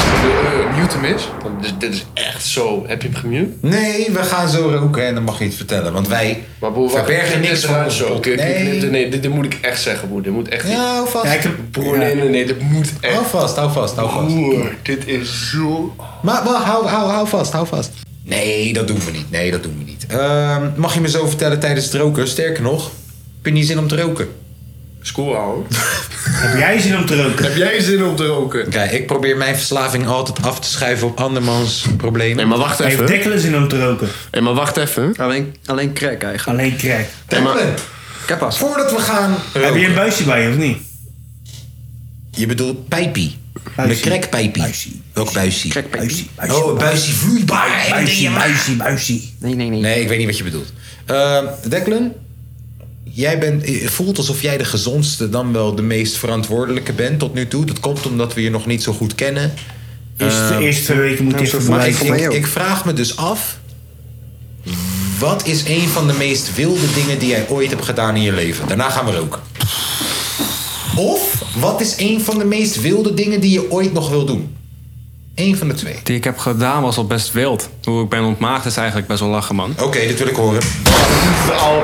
[SPEAKER 4] Eh, eh, Mute hem eens. Want dit, dit is echt zo. Heb je hem gemute?
[SPEAKER 1] Nee, we gaan zo roken en dan mag je het vertellen. Want wij
[SPEAKER 4] Maar broer, wacht,
[SPEAKER 1] verbergen
[SPEAKER 4] knip dit
[SPEAKER 1] niks van
[SPEAKER 4] eruit
[SPEAKER 1] onze
[SPEAKER 4] zo.
[SPEAKER 1] pot.
[SPEAKER 4] Oké, oké, knip dit-
[SPEAKER 1] Nee.
[SPEAKER 4] Nee, dit, dit moet ik echt zeggen, broer. Dit moet echt niet.
[SPEAKER 1] Ja, hou vast.
[SPEAKER 3] Ja, ik heb...
[SPEAKER 4] Broer, nee, nee, nee, dit moet
[SPEAKER 1] Hou
[SPEAKER 4] echt.
[SPEAKER 1] vast, hou vast, hou vast.
[SPEAKER 4] Broer, dit is zo...
[SPEAKER 1] Maar, maar hou, hou, hou vast, hou vast. Nee, dat doen we niet. Nee, dat doen we niet. Ehm, mag je me zo vertellen tijdens het roken? Sterker nog, heb je niet zin om te roken?
[SPEAKER 10] School houden.
[SPEAKER 3] Heb jij zin om te roken?
[SPEAKER 10] Heb jij zin om te roken?
[SPEAKER 1] Kijk, ik probeer mijn verslaving altijd af te schuiven op andermans problemen.
[SPEAKER 4] Nee, maar wacht
[SPEAKER 3] Heeft
[SPEAKER 4] even.
[SPEAKER 3] Declan zin om te roken?
[SPEAKER 4] Nee, maar wacht even.
[SPEAKER 2] Alleen, alleen crack eigenlijk.
[SPEAKER 3] Alleen crack.
[SPEAKER 4] Nee, maar,
[SPEAKER 2] Kappas.
[SPEAKER 1] Voordat we gaan
[SPEAKER 3] Heb
[SPEAKER 1] roken.
[SPEAKER 3] je een buisje bij je of niet?
[SPEAKER 1] Je bedoelt pijpie. Een
[SPEAKER 3] Buisie.
[SPEAKER 1] krekpijpie. Welk buisie?
[SPEAKER 3] Buisje, buisje.
[SPEAKER 1] Oh, een buisie vloeibaar.
[SPEAKER 3] Buisje, buisje, buisje.
[SPEAKER 2] Nee, nee, nee.
[SPEAKER 1] Nee, ik weet niet wat je bedoelt. Eh, Declan, jij bent, eh, voelt alsof jij de gezondste, dan wel de meest verantwoordelijke bent tot nu toe. Dat komt omdat we je nog niet zo goed kennen.
[SPEAKER 3] Eerst de eerste twee weken moet je even
[SPEAKER 9] Maar
[SPEAKER 1] Ik,
[SPEAKER 9] voor mij
[SPEAKER 1] ik,
[SPEAKER 9] ook.
[SPEAKER 1] ik vraag me dus af, wat is een van de meest wilde dingen die jij ooit hebt gedaan in je leven? Daarna gaan we roken. Of, wat is een van de meest wilde dingen die je ooit nog wil doen? Eén van de twee.
[SPEAKER 2] Die ik heb gedaan was al best wild. Hoe ik ben ontmaagd is eigenlijk best wel lachen, man.
[SPEAKER 1] Oké, dit wil ik horen.
[SPEAKER 10] Al,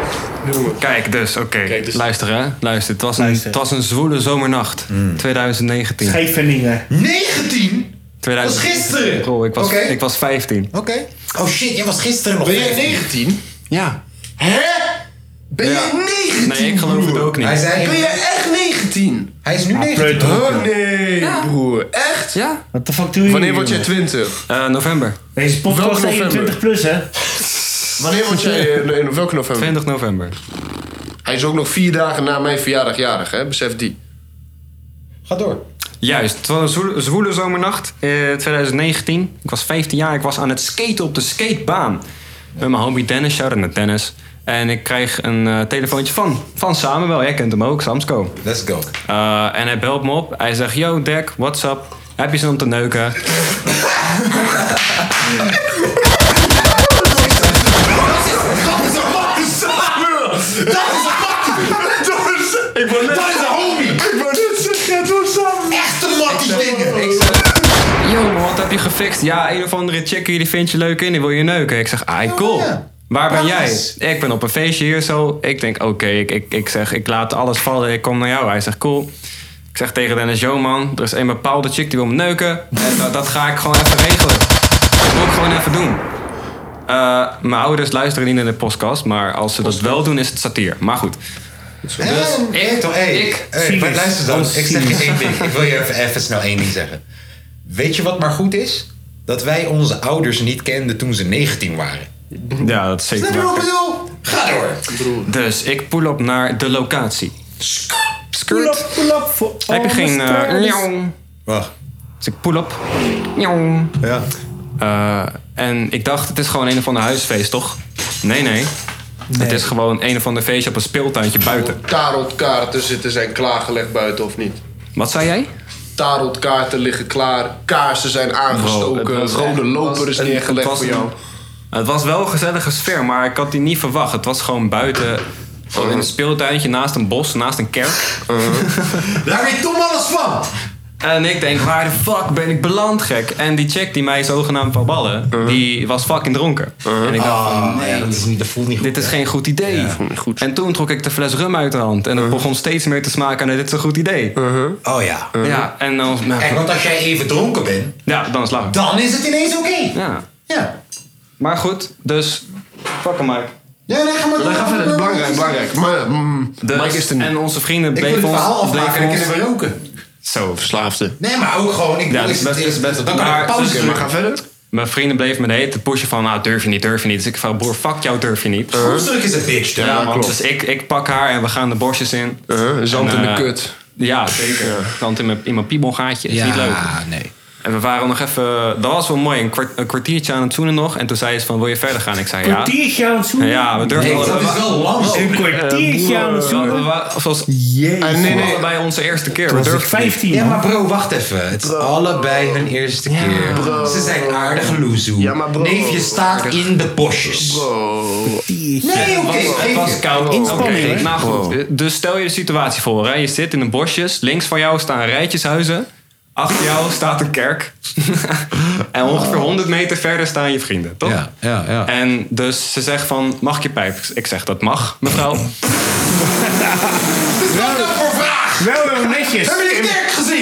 [SPEAKER 10] noem het.
[SPEAKER 2] Kijk, dus, oké.
[SPEAKER 10] Kijk, dus-
[SPEAKER 2] Luister, hè. Luister, het was een,
[SPEAKER 3] Luister.
[SPEAKER 2] het was een zwoele zomernacht.
[SPEAKER 1] Hmm.
[SPEAKER 2] 2019.
[SPEAKER 3] Scheveningen.
[SPEAKER 1] 19? was
[SPEAKER 2] 2019.
[SPEAKER 1] gisteren!
[SPEAKER 2] Bro, ik was,
[SPEAKER 1] Oké.
[SPEAKER 2] ik was 15.
[SPEAKER 1] Oké. Oh shit, jij was gisteren nog.
[SPEAKER 10] Ben jij 19?
[SPEAKER 2] Ja.
[SPEAKER 10] Hè? Ben
[SPEAKER 2] Ja.
[SPEAKER 10] jij 19?
[SPEAKER 2] Nee, ik geloof het
[SPEAKER 10] broer?
[SPEAKER 2] ook
[SPEAKER 1] Hij
[SPEAKER 2] niet.
[SPEAKER 1] zei,
[SPEAKER 10] Ben jij echt 19?
[SPEAKER 1] hij
[SPEAKER 3] Ah,
[SPEAKER 1] is nu 19.
[SPEAKER 3] Preut.
[SPEAKER 10] Oh nee, broer. Echt?
[SPEAKER 2] Ja?
[SPEAKER 3] Wat de fuck doe je
[SPEAKER 4] wanneer
[SPEAKER 3] hier,
[SPEAKER 4] word jij
[SPEAKER 3] jongen?
[SPEAKER 4] 20?
[SPEAKER 2] Eh, november.
[SPEAKER 3] Deze
[SPEAKER 4] Welk
[SPEAKER 3] podcast is
[SPEAKER 4] november?
[SPEAKER 3] 21 plus, hè?
[SPEAKER 4] Wanneer word jij... eh, in welke november?
[SPEAKER 2] 20 november.
[SPEAKER 4] Hij is ook nog vier dagen na mijn verjaardag jarig, hè? Besef die.
[SPEAKER 1] Ga door.
[SPEAKER 2] Juist, het was een zwoele, zwoele zomernacht eh, 2019. Ik was 15 jaar, ik was aan het skaten op de skatebaan. Met mijn homie Dennis, shout-out naar Dennis. En ik krijg een eh, telefoontje van, van Samuel, jij kent hem ook, Samsco.
[SPEAKER 1] Let's go.
[SPEAKER 2] Eh, en hij belt me op, hij zegt, yo Dek, what's up? Heb je zin om te neuken?
[SPEAKER 10] Ik word net... Dat is een homie! Ik word net zeggen, het was samen.
[SPEAKER 1] Echte matties dingen.
[SPEAKER 2] Ik zeg, yo man, wat heb je gefixt? Ja, een of andere chickie, die vindt je leuk in, die wil je neuken. Ik zeg, ah, cool.
[SPEAKER 1] Oh, ja.
[SPEAKER 2] Waar ben
[SPEAKER 1] Nice.
[SPEAKER 2] jij? Ik ben op een feestje hier zo. Ik denk, oké, ik, ik, ik zeg, ik laat alles vallen, ik kom naar jou. Hij zegt, cool. Ik zeg tegen Dennis, yo man, er is een bepaalde chick die wil me neuken. En eh, dat, dat ga ik gewoon even regelen. Dat moet ik gewoon even doen. Eh, mijn ouders luisteren niet naar de podcast, maar als ze dat wel doen, is het satire. Maar goed.
[SPEAKER 1] Dus,
[SPEAKER 2] ik-
[SPEAKER 1] toch, hey,
[SPEAKER 2] ik-
[SPEAKER 1] hey,
[SPEAKER 3] cynisch.
[SPEAKER 1] maar luister dan.
[SPEAKER 3] Oh,
[SPEAKER 1] Ik zeg je één ding. Ik wil je even, even snel één ding zeggen. Weet je wat maar goed is? Dat wij onze ouders niet kenden toen ze 19 waren.
[SPEAKER 2] Ja, dat is zeker.
[SPEAKER 1] Snap je
[SPEAKER 2] waar.
[SPEAKER 1] wat ik bedoel? Ga door.
[SPEAKER 2] Dus ik pull op naar de locatie.
[SPEAKER 3] Pull up, pull up voor
[SPEAKER 2] Heb je
[SPEAKER 3] alle
[SPEAKER 2] geen... eh,
[SPEAKER 3] stars.
[SPEAKER 2] njauw?
[SPEAKER 1] Wacht.
[SPEAKER 2] dus ik pull op. Njauw.
[SPEAKER 1] Ja.
[SPEAKER 2] Eh, en ik dacht, het is gewoon een of ander huisfeest, toch? Nee, nee. Het is gewoon een of ander feestje op een speeltuintje buiten.
[SPEAKER 4] Tarotkaarten zitten zijn klaargelegd buiten of niet?
[SPEAKER 2] Wat zei jij?
[SPEAKER 4] Tarotkaarten liggen klaar, kaarsen zijn aangestoken,
[SPEAKER 2] Bro, het was-
[SPEAKER 4] rode loper is
[SPEAKER 2] het
[SPEAKER 4] neergelegd
[SPEAKER 2] was
[SPEAKER 4] voor
[SPEAKER 2] een-
[SPEAKER 4] jou.
[SPEAKER 2] Het was wel een gezellige sfeer, maar ik had die niet verwacht. Het was gewoon buiten... Gewoon in een speeltuintje naast een bos, naast een kerk.
[SPEAKER 4] Uh-huh.
[SPEAKER 1] Daar weet Tom alles van.
[SPEAKER 2] En ik denk, waar de fuck ben ik beland, gek? En die chick die mij zogenaamd wou ballen, die was fucking dronken. En ik dacht,
[SPEAKER 1] Ah, nee. dat, is niet, dat voelt niet goed.
[SPEAKER 2] Dit is geen goed idee. En toen trok ik de fles rum uit de hand. En het begon steeds meer te smaken naar dit is een goed idee.
[SPEAKER 1] Oh ja.
[SPEAKER 2] Ja, en dan...
[SPEAKER 1] Kijk, want als jij even dronken bent,
[SPEAKER 2] Ja, dan is het lachen.
[SPEAKER 1] dan is het ineens oké.
[SPEAKER 2] Ja.
[SPEAKER 1] Ja.
[SPEAKER 2] Maar goed, dus... Fuck hem, Mike.
[SPEAKER 1] Ja, nee, ga maar
[SPEAKER 4] Wij gaan verder, belangrijk, belangrijk. Maar, mm,
[SPEAKER 2] Dus-
[SPEAKER 4] Mike is er niet.
[SPEAKER 2] En onze vrienden
[SPEAKER 1] Ik wil het
[SPEAKER 2] bleven ons...
[SPEAKER 1] verhaal afmaken en
[SPEAKER 2] bleven
[SPEAKER 1] dan
[SPEAKER 2] ons-
[SPEAKER 1] kunnen we roken.
[SPEAKER 2] Zo.
[SPEAKER 4] Verslaafde.
[SPEAKER 1] Nee, maar ook gewoon. Ik
[SPEAKER 2] Ja,
[SPEAKER 1] bedoel,
[SPEAKER 2] dat is best-
[SPEAKER 1] het-
[SPEAKER 2] dat is best-
[SPEAKER 1] Dan kan
[SPEAKER 2] maar-
[SPEAKER 1] ik pauze
[SPEAKER 2] oké,
[SPEAKER 4] Maar
[SPEAKER 1] doen.
[SPEAKER 4] ga verder.
[SPEAKER 2] Mijn vrienden bleven me de hele tijd pushen van... Nou, durf je niet, durf je niet. Dus ik van, broer, fuck jou, durf je niet.
[SPEAKER 1] Hoe druk is een bitch, dan?
[SPEAKER 2] Uh-huh. ja, man. Dus ik, ik pak haar en we gaan de borstjes in.
[SPEAKER 4] Uh-huh, zand
[SPEAKER 2] En,
[SPEAKER 4] in de
[SPEAKER 2] eh,
[SPEAKER 4] kut.
[SPEAKER 2] Ja, zeker. Want in mijn, in mijn piebelgaatje is niet leuk.
[SPEAKER 1] nee.
[SPEAKER 2] En we waren nog even, dat was wel mooi, een, kwart- een kwartiertje aan het zoenen nog. En toen zei ze van, wil je verder gaan? Ik
[SPEAKER 1] Ah,
[SPEAKER 2] zei ja.
[SPEAKER 3] Kwartiertje aan het zoeken.
[SPEAKER 2] Ja, we durfden
[SPEAKER 1] dat is wel lang.
[SPEAKER 3] Een kwartiertje aan het zoeken.
[SPEAKER 2] Zoals
[SPEAKER 4] Ah, nee, nee.
[SPEAKER 2] bij onze eerste keer. We
[SPEAKER 3] Durf
[SPEAKER 2] durfden niet.
[SPEAKER 3] 15,
[SPEAKER 1] Ja,
[SPEAKER 3] man.
[SPEAKER 1] maar bro, wacht even. Het is allebei hun eerste keer. Ze zijn aardig loezoe.
[SPEAKER 4] Ja, maar bro.
[SPEAKER 1] Neef, je staat in de bosjes. Nee, oké.
[SPEAKER 2] Het was- het was koud.
[SPEAKER 3] Inspanning,
[SPEAKER 2] Oké,
[SPEAKER 3] hè?
[SPEAKER 2] nou goed. Dus stel je de situatie voor. Hè. Je zit in een bosjes. Links van jou staan rijtjeshuizen. Achter jou staat een kerk. en ongeveer 100 meter verder staan je vrienden, toch?
[SPEAKER 1] Ja, ja, ja.
[SPEAKER 2] En dus ze zegt van, mag ik je pijp? Ik zeg, dat mag, mevrouw.
[SPEAKER 3] Wel heel netjes.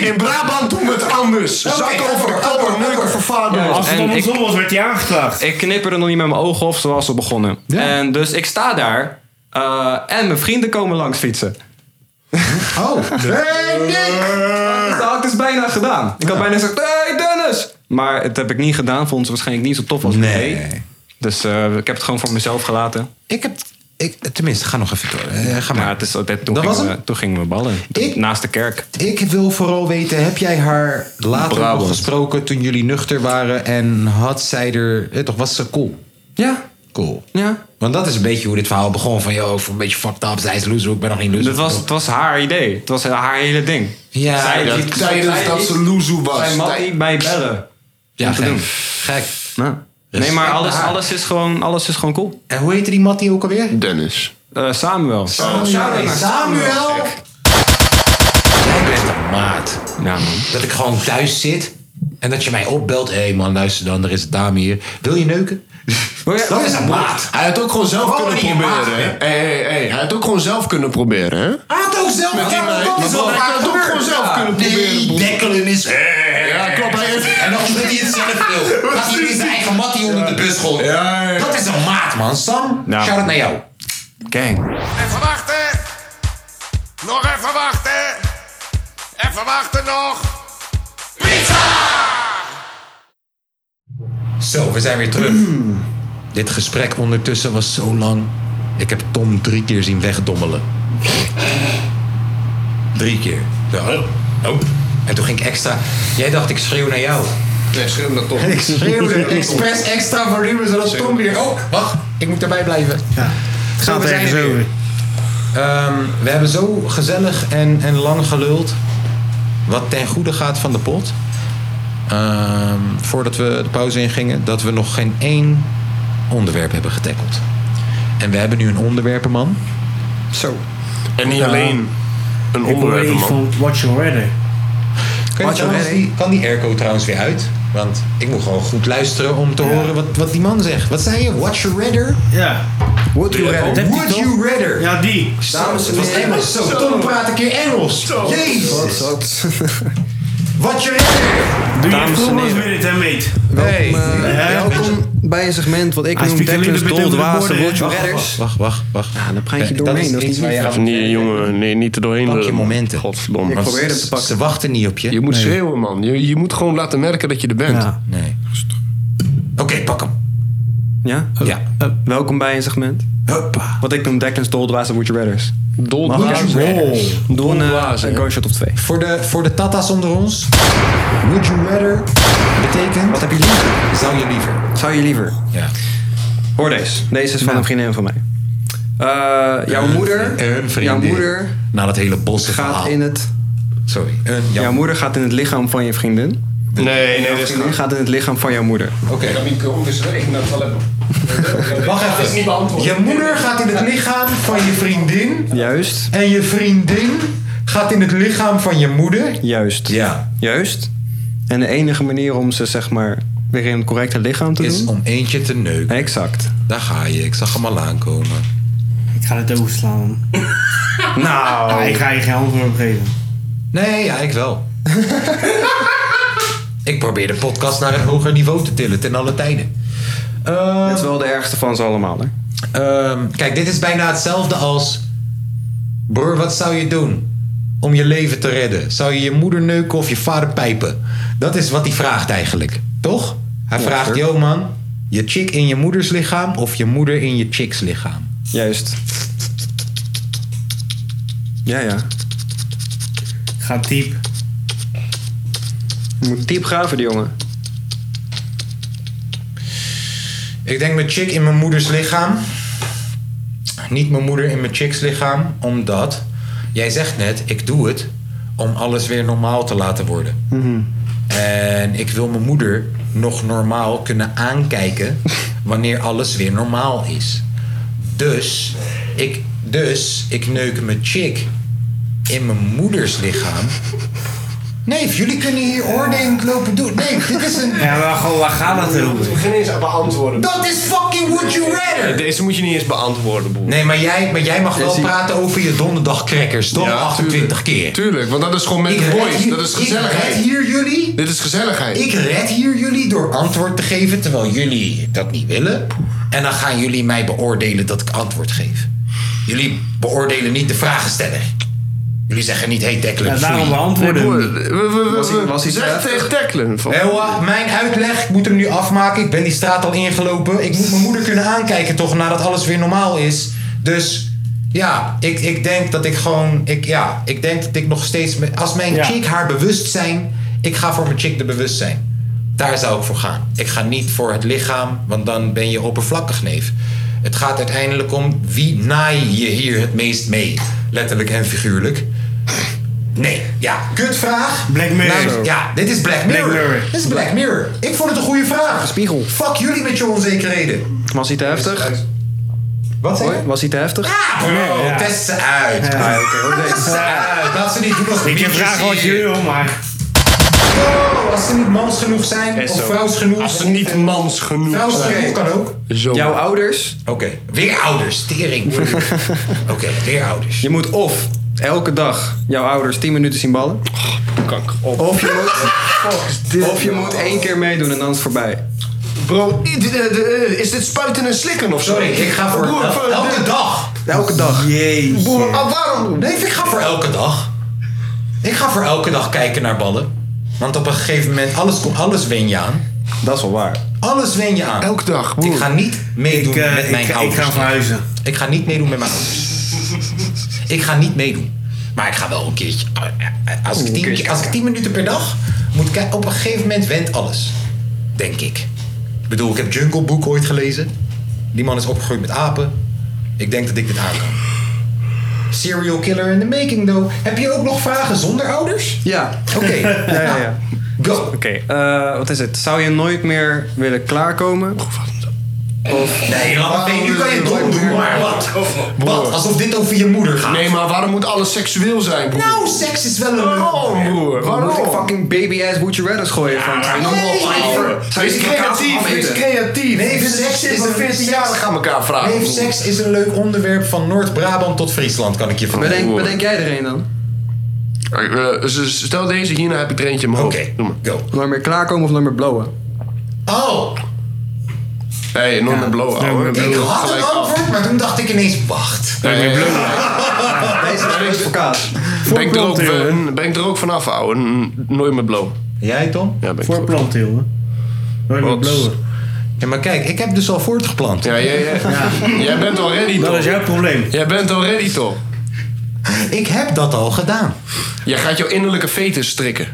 [SPEAKER 4] In Brabant doen we het anders. Zak over koppen, neuken voor vader.
[SPEAKER 3] Als het
[SPEAKER 2] En
[SPEAKER 3] andersom was, werd je aangeklaagd.
[SPEAKER 2] Ik knipper er nog niet met mijn ogen of zoals we begonnen. En dus ik sta daar. eh, en mijn vrienden komen langs fietsen.
[SPEAKER 1] Oké, Oh, hey Nick!
[SPEAKER 2] Dat had ik dus bijna gedaan. Ik had bijna gezegd, hey Dennis! Maar dat heb ik niet gedaan, vond ze waarschijnlijk niet zo tof als ik
[SPEAKER 1] Nee.
[SPEAKER 2] deed. Dus eh, ik heb het gewoon voor mezelf gelaten.
[SPEAKER 1] Ik heb... Ik, tenminste, ga nog even door. Eh, ga maar.
[SPEAKER 2] Maar het is, dat, toen,
[SPEAKER 1] Dat was
[SPEAKER 2] gingen
[SPEAKER 1] hem?
[SPEAKER 2] we, toen gingen we ballen.
[SPEAKER 1] Ik-
[SPEAKER 2] Naast de kerk.
[SPEAKER 1] Ik wil vooral weten, heb jij haar later nog gesproken toen jullie nuchter waren en had zij er... eh, toch was ze cool?
[SPEAKER 2] Ja,
[SPEAKER 1] Cool.
[SPEAKER 2] ja.
[SPEAKER 1] Want dat is een beetje hoe dit verhaal begon. Van, joh, ik voel me een beetje fucked up. Zij is loser, ik ben nog niet loser.
[SPEAKER 2] Het was, het was haar idee. Het was haar hele ding.
[SPEAKER 1] Ja,
[SPEAKER 2] zij,
[SPEAKER 1] dat-
[SPEAKER 2] liet-
[SPEAKER 4] Tijdens
[SPEAKER 2] zij
[SPEAKER 4] dat
[SPEAKER 2] liet-
[SPEAKER 4] ze loezoe was.
[SPEAKER 2] Zij mag niet mij bellen.
[SPEAKER 1] ja,
[SPEAKER 2] te
[SPEAKER 1] gek.
[SPEAKER 2] doen.
[SPEAKER 1] gek.
[SPEAKER 2] Nee, maar
[SPEAKER 1] Respect
[SPEAKER 2] alles,
[SPEAKER 1] naar haar.
[SPEAKER 2] alles, is gewoon, alles is gewoon cool.
[SPEAKER 1] En hoe heette die Mattie ook alweer?
[SPEAKER 4] Dennis.
[SPEAKER 2] Eh, Samuel.
[SPEAKER 4] Oh,
[SPEAKER 1] Samuel. Samuel. Jij bent een maat.
[SPEAKER 2] Ja, man.
[SPEAKER 1] Dat ik gewoon thuis zit en dat je mij opbelt. Hé hey man, luister dan, er is een dame hier. Wil je neuken?
[SPEAKER 2] Wil je-
[SPEAKER 1] Oh dat is een maat.
[SPEAKER 4] Hij had ook gewoon zelf
[SPEAKER 1] Gewoon
[SPEAKER 4] kunnen
[SPEAKER 1] niet
[SPEAKER 4] proberen.
[SPEAKER 1] maken,
[SPEAKER 4] hè?
[SPEAKER 1] hè?
[SPEAKER 4] Hey, hey, hey. Hij had ook gewoon zelf kunnen proberen, hè?
[SPEAKER 1] Hij had ook zelf
[SPEAKER 4] Met die meid. Maar wat- hij had ook gewoon zelf kunnen proberen,
[SPEAKER 1] Ah, Nee,
[SPEAKER 4] broer.
[SPEAKER 1] dekkelen is...
[SPEAKER 4] Ja, klopt. Hij heeft...
[SPEAKER 1] En dan wil hij het zelf wil. Gaat hij weer zijn eigen mattie onder de bus gooien. Dat is een maat, man. Sam,
[SPEAKER 2] Ja.
[SPEAKER 1] shout-out naar jou.
[SPEAKER 2] Gang.
[SPEAKER 11] Even wachten. Nog even wachten. Even wachten nog. Pizza!
[SPEAKER 1] Zo, we zijn weer terug.
[SPEAKER 4] Hmm.
[SPEAKER 1] Dit gesprek ondertussen was zo lang. Ik heb Tom drie keer zien wegdommelen. Drie keer. Zo.
[SPEAKER 4] Oh.
[SPEAKER 1] Hop. En toen ging ik extra... Jij dacht, ik schreeuw naar jou.
[SPEAKER 4] Nee, schreeuw dat toch.
[SPEAKER 1] Ik schreeuwde expres extra volume, zodat Tom weer... Oh, wacht. Ik moet erbij blijven.
[SPEAKER 3] Het
[SPEAKER 1] Zo,
[SPEAKER 3] gaat
[SPEAKER 1] we zijn
[SPEAKER 3] ergens
[SPEAKER 1] er weer.
[SPEAKER 3] over.
[SPEAKER 1] Ehm, we hebben zo gezellig en, en lang geluld. Wat ten goede gaat van de pot. Ehm, voordat we de pauze ingingen, dat we nog geen één onderwerp hebben getackled. En we hebben nu een onderwerpenman.
[SPEAKER 9] Zo.
[SPEAKER 4] En niet alleen een
[SPEAKER 3] Ik hoor
[SPEAKER 4] onderwerp,
[SPEAKER 3] iets
[SPEAKER 4] man.
[SPEAKER 3] van Watch Your Weather.
[SPEAKER 1] Kan, je
[SPEAKER 9] Wat,
[SPEAKER 1] trouwens
[SPEAKER 9] joh,
[SPEAKER 1] die, kan die airco trouwens weer uit? Want ik moet gewoon goed luisteren om te horen wat, wat die man zegt. Wat zei je? Watch your redder?
[SPEAKER 3] Ja.
[SPEAKER 9] Would you
[SPEAKER 3] Dat
[SPEAKER 9] rather?
[SPEAKER 3] heeft hij
[SPEAKER 1] Would
[SPEAKER 3] toch?
[SPEAKER 1] you rather?
[SPEAKER 3] Ja, die.
[SPEAKER 1] Dames en heren. Engels. Zo, Tom praat een keer Engels.
[SPEAKER 9] Wat,
[SPEAKER 1] Jezus.
[SPEAKER 9] wat?
[SPEAKER 1] Watch your redder?
[SPEAKER 3] Doe je
[SPEAKER 2] Dames en
[SPEAKER 3] volgens
[SPEAKER 2] heren.
[SPEAKER 3] minute, hè, mate?
[SPEAKER 9] Welkom, eh,
[SPEAKER 3] Ja, ja.
[SPEAKER 9] welkom bij een segment wat ik
[SPEAKER 3] Hij
[SPEAKER 9] noem
[SPEAKER 3] speakt alleen
[SPEAKER 9] Declan's
[SPEAKER 3] de witte
[SPEAKER 9] doldwazen
[SPEAKER 3] woorden, hè?
[SPEAKER 9] Would You
[SPEAKER 3] Wacht,
[SPEAKER 9] Rathers.
[SPEAKER 1] Wacht, wacht, wacht. Eh,
[SPEAKER 2] Ja, dan praat je
[SPEAKER 1] Dat
[SPEAKER 2] doorheen.
[SPEAKER 1] is
[SPEAKER 2] Dat is
[SPEAKER 1] iets
[SPEAKER 2] niet
[SPEAKER 1] waar je
[SPEAKER 2] lief.
[SPEAKER 1] aan-
[SPEAKER 4] Nee, jongen. Nee, niet er doorheen.
[SPEAKER 1] Pak je
[SPEAKER 4] lullen, man.
[SPEAKER 1] momenten.
[SPEAKER 4] Godverdomme.
[SPEAKER 9] Ik probeer het te pakken.
[SPEAKER 1] eh, Ze wachten niet op je.
[SPEAKER 4] Je moet schreeuwen, man. Je, je moet gewoon laten merken dat je er bent.
[SPEAKER 3] Ja.
[SPEAKER 1] Nee. Oh. Oké, pak hem.
[SPEAKER 2] Ja?
[SPEAKER 1] Ja.
[SPEAKER 2] Eh, welkom bij een segment.
[SPEAKER 1] Huppa.
[SPEAKER 2] Wat ik noem Declan's Doldwazen Would You Rathers.
[SPEAKER 4] Dol
[SPEAKER 2] Would you rathers? Doe een, eh,
[SPEAKER 4] Doldwazen,
[SPEAKER 2] een
[SPEAKER 4] ja.
[SPEAKER 2] go-shot of twee.
[SPEAKER 1] Voor de, voor de tata's onder ons. Would you rather betekent... Wat heb je liever? Zou je liever?
[SPEAKER 2] Zou je liever?
[SPEAKER 1] Ja.
[SPEAKER 2] Hoor deze. Deze is van een vriendin van mij. Eh, jouw moeder...
[SPEAKER 1] Een vriendin.
[SPEAKER 2] Jouw moeder
[SPEAKER 1] Na dat hele bosse
[SPEAKER 2] gaat
[SPEAKER 1] verhaal.
[SPEAKER 2] in het...
[SPEAKER 1] Sorry. Een, ja.
[SPEAKER 2] Jouw moeder gaat in het lichaam van je vriendin.
[SPEAKER 4] Nee, nee, dat
[SPEAKER 2] Jouw
[SPEAKER 4] is
[SPEAKER 2] vriendin gaat in het lichaam van jouw moeder.
[SPEAKER 1] Oké.
[SPEAKER 4] niet.
[SPEAKER 1] Wacht even. Je moeder gaat in het lichaam van je vriendin.
[SPEAKER 2] Juist.
[SPEAKER 1] En je vriendin gaat in het lichaam van je moeder.
[SPEAKER 2] Juist.
[SPEAKER 1] Ja.
[SPEAKER 2] Juist. En de enige manier om ze zeg maar weer in het correcte lichaam te
[SPEAKER 1] Is
[SPEAKER 2] doen.
[SPEAKER 1] om eentje te neuken.
[SPEAKER 2] Exact.
[SPEAKER 1] Daar ga je. Ik zag hem al aankomen.
[SPEAKER 3] Ik ga het overslaan.
[SPEAKER 2] Nou.
[SPEAKER 3] Ah, ik ga je geen antwoord op geven.
[SPEAKER 1] Nee, ja, ik wel. ik probeer de podcast naar een hoger niveau te tillen ten alle tijden. Ehm,
[SPEAKER 2] Dat is wel de ergste van ze allemaal. Hè?
[SPEAKER 1] ehm, kijk, dit is bijna hetzelfde als... Broer, wat zou je doen om je leven te redden? Zou je je moeder neuken of je vader pijpen? Dat is wat hij vraagt eigenlijk, toch? Hij vraagt, yo man, je chick in je moeders lichaam of je moeder in je chicks lichaam?
[SPEAKER 2] Juist. Ja, ja.
[SPEAKER 3] Ga diep.
[SPEAKER 2] Je moet diep graven, die jongen.
[SPEAKER 1] Ik denk mijn chick in mijn moeders lichaam. Niet mijn moeder in mijn chicks lichaam, omdat jij zegt net, ik doe het om alles weer normaal te laten worden.
[SPEAKER 2] Mhm.
[SPEAKER 1] En ik wil mijn moeder nog normaal kunnen aankijken wanneer alles weer normaal is. Dus ik, dus, ik neuk mijn chick in mijn moeders lichaam. Nee, jullie kunnen hier oordelend lopen doen. Nee, dit is een.
[SPEAKER 3] Ja, maar gewoon, waar gaat dat over?
[SPEAKER 10] Begin eens aan beantwoorden.
[SPEAKER 1] Dat is fucking would you rather!
[SPEAKER 4] Deze moet je niet eens beantwoorden, broer.
[SPEAKER 1] Nee, maar jij, maar jij mag wel
[SPEAKER 2] zie-
[SPEAKER 1] praten over je donderdagcrackers, toch? 28
[SPEAKER 4] tuurlijk.
[SPEAKER 1] keer.
[SPEAKER 4] Tuurlijk, want dat is gewoon met
[SPEAKER 1] Ik
[SPEAKER 4] de
[SPEAKER 1] red
[SPEAKER 4] boys.
[SPEAKER 1] hier-
[SPEAKER 4] Dat is
[SPEAKER 1] Ik red
[SPEAKER 4] gezelligheid.
[SPEAKER 1] hier jullie.
[SPEAKER 4] Dit is gezelligheid.
[SPEAKER 1] Ik red hier jullie door antwoord te geven, terwijl jullie dat niet willen. En dan gaan jullie mij beoordelen dat ik antwoord geef. Jullie beoordelen niet de vragensteller. Jullie zeggen niet, hey Declan,
[SPEAKER 3] Ja, daarom
[SPEAKER 1] foei.
[SPEAKER 3] beantwoorden we hem niet.
[SPEAKER 4] we,
[SPEAKER 9] Was hij
[SPEAKER 4] zeg
[SPEAKER 9] straat?
[SPEAKER 4] tegen Teklen. van-
[SPEAKER 1] Ewa, mijn uitleg, ik moet hem nu afmaken. Ik ben die straat al ingelopen. Ik moet mijn moeder kunnen aankijken toch, nadat alles weer normaal is. Dus ja, ik, ik denk dat ik gewoon... Ik, ja, ik denk dat ik nog steeds... me- Als mijn
[SPEAKER 3] Ja.
[SPEAKER 1] chick haar bewustzijn... Ik ga voor mijn chick de bewustzijn. Daar zou ik voor gaan. Ik ga niet voor het lichaam, want dan ben je oppervlakkig, neef. Het gaat uiteindelijk om wie naai je hier het meest mee. Letterlijk en figuurlijk. Nee, ja, kutvraag.
[SPEAKER 3] Black Mirror.
[SPEAKER 1] Nou, ja, dit is Black Mirror.
[SPEAKER 3] Black Mirror.
[SPEAKER 1] Dit is Black Mirror. Ik vond het een goede vraag.
[SPEAKER 9] Spiegel.
[SPEAKER 1] Fuck jullie met je onzekerheden.
[SPEAKER 2] Was hij te heftig?
[SPEAKER 1] Wat zei je?
[SPEAKER 2] Was hij te heftig?
[SPEAKER 1] Ah, bro,
[SPEAKER 3] Ja.
[SPEAKER 1] test ze uit. Test ze uit. Laat Ah, ze niet doen als
[SPEAKER 3] Ik heb
[SPEAKER 1] mietjes
[SPEAKER 3] vragen wat
[SPEAKER 1] hier.
[SPEAKER 3] jullie wil, maar...
[SPEAKER 1] Oh, als ze niet mans genoeg zijn, of vrouws genoeg.
[SPEAKER 4] Als ze niet mans genoeg
[SPEAKER 1] Vrouws
[SPEAKER 4] zijn.
[SPEAKER 1] genoeg kan ook.
[SPEAKER 4] Zo.
[SPEAKER 2] Jouw ouders?
[SPEAKER 1] Oké, weer ouders. Tering. Oké, weer ouders.
[SPEAKER 2] Je moet of elke dag jouw ouders 10 minuten zien ballen.
[SPEAKER 1] Oh,
[SPEAKER 2] Of je moet, of je moet één keer meedoen en dan is het voorbij.
[SPEAKER 4] nou Bro, i- de- de- eh, is dit spuiten en slikken of zo? Ah.
[SPEAKER 1] Sorry, ik ga voor
[SPEAKER 4] Broer,
[SPEAKER 1] el- elke dag.
[SPEAKER 2] Elke dag.
[SPEAKER 3] Jezus.
[SPEAKER 4] Broer, ah, waarom?
[SPEAKER 1] Nee, ik ga voor elke dag. Ik ga voor elke dag kijken naar ballen. Want op een gegeven moment, alles, komt- alles wen je aan.
[SPEAKER 2] Dat is wel waar.
[SPEAKER 1] Alles wen je aan.
[SPEAKER 4] Elke dag, broer.
[SPEAKER 1] Ik ga niet meedoen
[SPEAKER 3] Ik, eh,
[SPEAKER 1] met mijn
[SPEAKER 3] ik, ik
[SPEAKER 1] ouders.
[SPEAKER 3] ga verhuizen.
[SPEAKER 1] Ik ga niet meedoen met mijn ouders. ik ga niet meedoen. Maar ik ga wel een keertje. eh, Als ik tien, als ik tien minuten per dag moet kijken. Op een gegeven moment went alles. Denk ik. Ik bedoel, ik heb Jungle Book ooit gelezen. Die man is opgegroeid met apen. Ik denk dat ik dit aan kan. Serial killer in the making, though. Nou, Heb je ook nog vragen zonder ouders?
[SPEAKER 2] Ja.
[SPEAKER 1] Oké.
[SPEAKER 2] Ja, ja, ja.
[SPEAKER 1] Go.
[SPEAKER 2] Oké, eh, wat is het? Zou je nooit meer willen klaarkomen?
[SPEAKER 1] Nee, laat maar. Nu kan je dom doen, maar wat? Wat? Alsof dit over je moeder gaat.
[SPEAKER 4] Nee, maar waarom moet alles seksueel zijn, broer?
[SPEAKER 1] Nou, seks is wel een...
[SPEAKER 4] Waarom, broer?
[SPEAKER 2] Dan moet ik
[SPEAKER 4] Waarom?
[SPEAKER 2] fucking baby ass would you rather gooien van zijn
[SPEAKER 1] maar-
[SPEAKER 2] allemaal
[SPEAKER 1] Nee.
[SPEAKER 2] Zou
[SPEAKER 4] Wees
[SPEAKER 2] je die kaas
[SPEAKER 4] creatief,
[SPEAKER 2] afeten?
[SPEAKER 4] wees creatief.
[SPEAKER 1] Nee,
[SPEAKER 4] Nee,
[SPEAKER 1] seks
[SPEAKER 4] seks
[SPEAKER 1] is
[SPEAKER 4] is
[SPEAKER 1] een-
[SPEAKER 4] 14 jaar gaan elkaar vragen.
[SPEAKER 1] Nee, seks is een leuk onderwerp van Noord-Brabant tot Friesland, kan ik je vertellen.
[SPEAKER 2] Bedenk, bedenk jij er een dan?
[SPEAKER 4] Eh, eh, s- Stel deze, hierna heb ik er eentje in mijn hoofd.
[SPEAKER 1] Oké,
[SPEAKER 4] Doe maar.
[SPEAKER 1] go.
[SPEAKER 2] Nooit meer klaarkomen of nooit meer blowen?
[SPEAKER 1] Oh,
[SPEAKER 4] Hey, nooit meer blowen, ouwe.
[SPEAKER 1] ik had een antwoord, maar toen dacht ik ineens, wacht.
[SPEAKER 4] Nee, nee, nee.
[SPEAKER 2] Deze is voor kaas.
[SPEAKER 4] Ben ik er ook
[SPEAKER 3] Voorplanten,
[SPEAKER 4] van- ben ik er ook vanaf, ouwe. N- Nooit meer blowen.
[SPEAKER 1] Jij, Tom?
[SPEAKER 4] Ja, ben ik er
[SPEAKER 3] Voor
[SPEAKER 4] ook.
[SPEAKER 3] planten, jongen. Nooit meer
[SPEAKER 4] Wat?
[SPEAKER 3] blowen.
[SPEAKER 1] Ja, maar kijk, ik heb dus al voortgeplant.
[SPEAKER 4] Ja, jij, jij, jij bent al ready,
[SPEAKER 3] Dat
[SPEAKER 4] toch?
[SPEAKER 3] is jouw probleem.
[SPEAKER 4] Jij bent al ready, toch?
[SPEAKER 1] Ik heb dat al gedaan.
[SPEAKER 4] Jij gaat jouw innerlijke fetus strikken.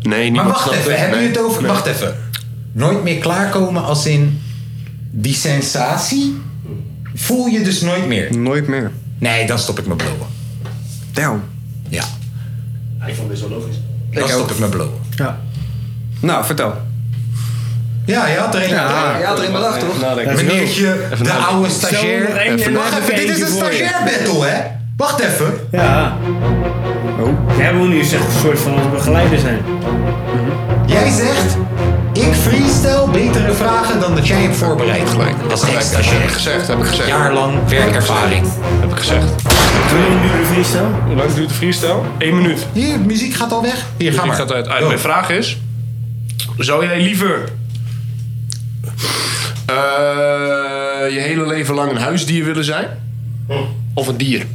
[SPEAKER 4] Nee,
[SPEAKER 1] Maar
[SPEAKER 4] niemand
[SPEAKER 1] wacht
[SPEAKER 4] snapt
[SPEAKER 1] even,
[SPEAKER 4] dit.
[SPEAKER 1] hebben
[SPEAKER 4] Nee.
[SPEAKER 1] jullie het over... Wacht even. Nooit meer klaarkomen als in die sensatie voel je dus nooit meer.
[SPEAKER 2] Nooit meer.
[SPEAKER 1] Nee, dan stop ik met blowen.
[SPEAKER 2] Damn.
[SPEAKER 1] Ja. Ik vond dit zo logisch. Dan stop ik met blowen.
[SPEAKER 3] Ja.
[SPEAKER 2] Nou, vertel.
[SPEAKER 1] Ja, je had er een.
[SPEAKER 2] Ja, je had er in bedacht, toch?
[SPEAKER 4] Nou,
[SPEAKER 1] Meneertje, de oude
[SPEAKER 3] Zo, nog
[SPEAKER 1] stagiair.
[SPEAKER 3] één
[SPEAKER 4] Even-
[SPEAKER 1] Wacht even, dit is een
[SPEAKER 3] momentje voor je.
[SPEAKER 1] stagiair battle, hè? Wacht even.
[SPEAKER 3] Ja. Oh. Jij wil nu eens echt een soort van begeleider zijn.
[SPEAKER 1] Jij zegt, ik freestyle betere vragen dan dat jij hebt voorbereid.
[SPEAKER 4] Gelijk. Gelijk.
[SPEAKER 1] Als
[SPEAKER 4] Heb ik
[SPEAKER 1] ex-stagiair.
[SPEAKER 4] gezegd, heb ik gezegd.
[SPEAKER 1] Jaarlang werkervaring.
[SPEAKER 4] Heb ik gezegd.
[SPEAKER 3] Wil je nu de freestyle?
[SPEAKER 4] Hoe lang duurt de freestyle? Eén minuut.
[SPEAKER 1] Hier, de muziek gaat al weg. Hier, ga
[SPEAKER 4] Ik
[SPEAKER 1] maar.
[SPEAKER 4] ga het uit.
[SPEAKER 1] Go.
[SPEAKER 4] Mijn vraag is: zou jij liever eh, je hele leven lang een huisdier willen zijn? Of een dier?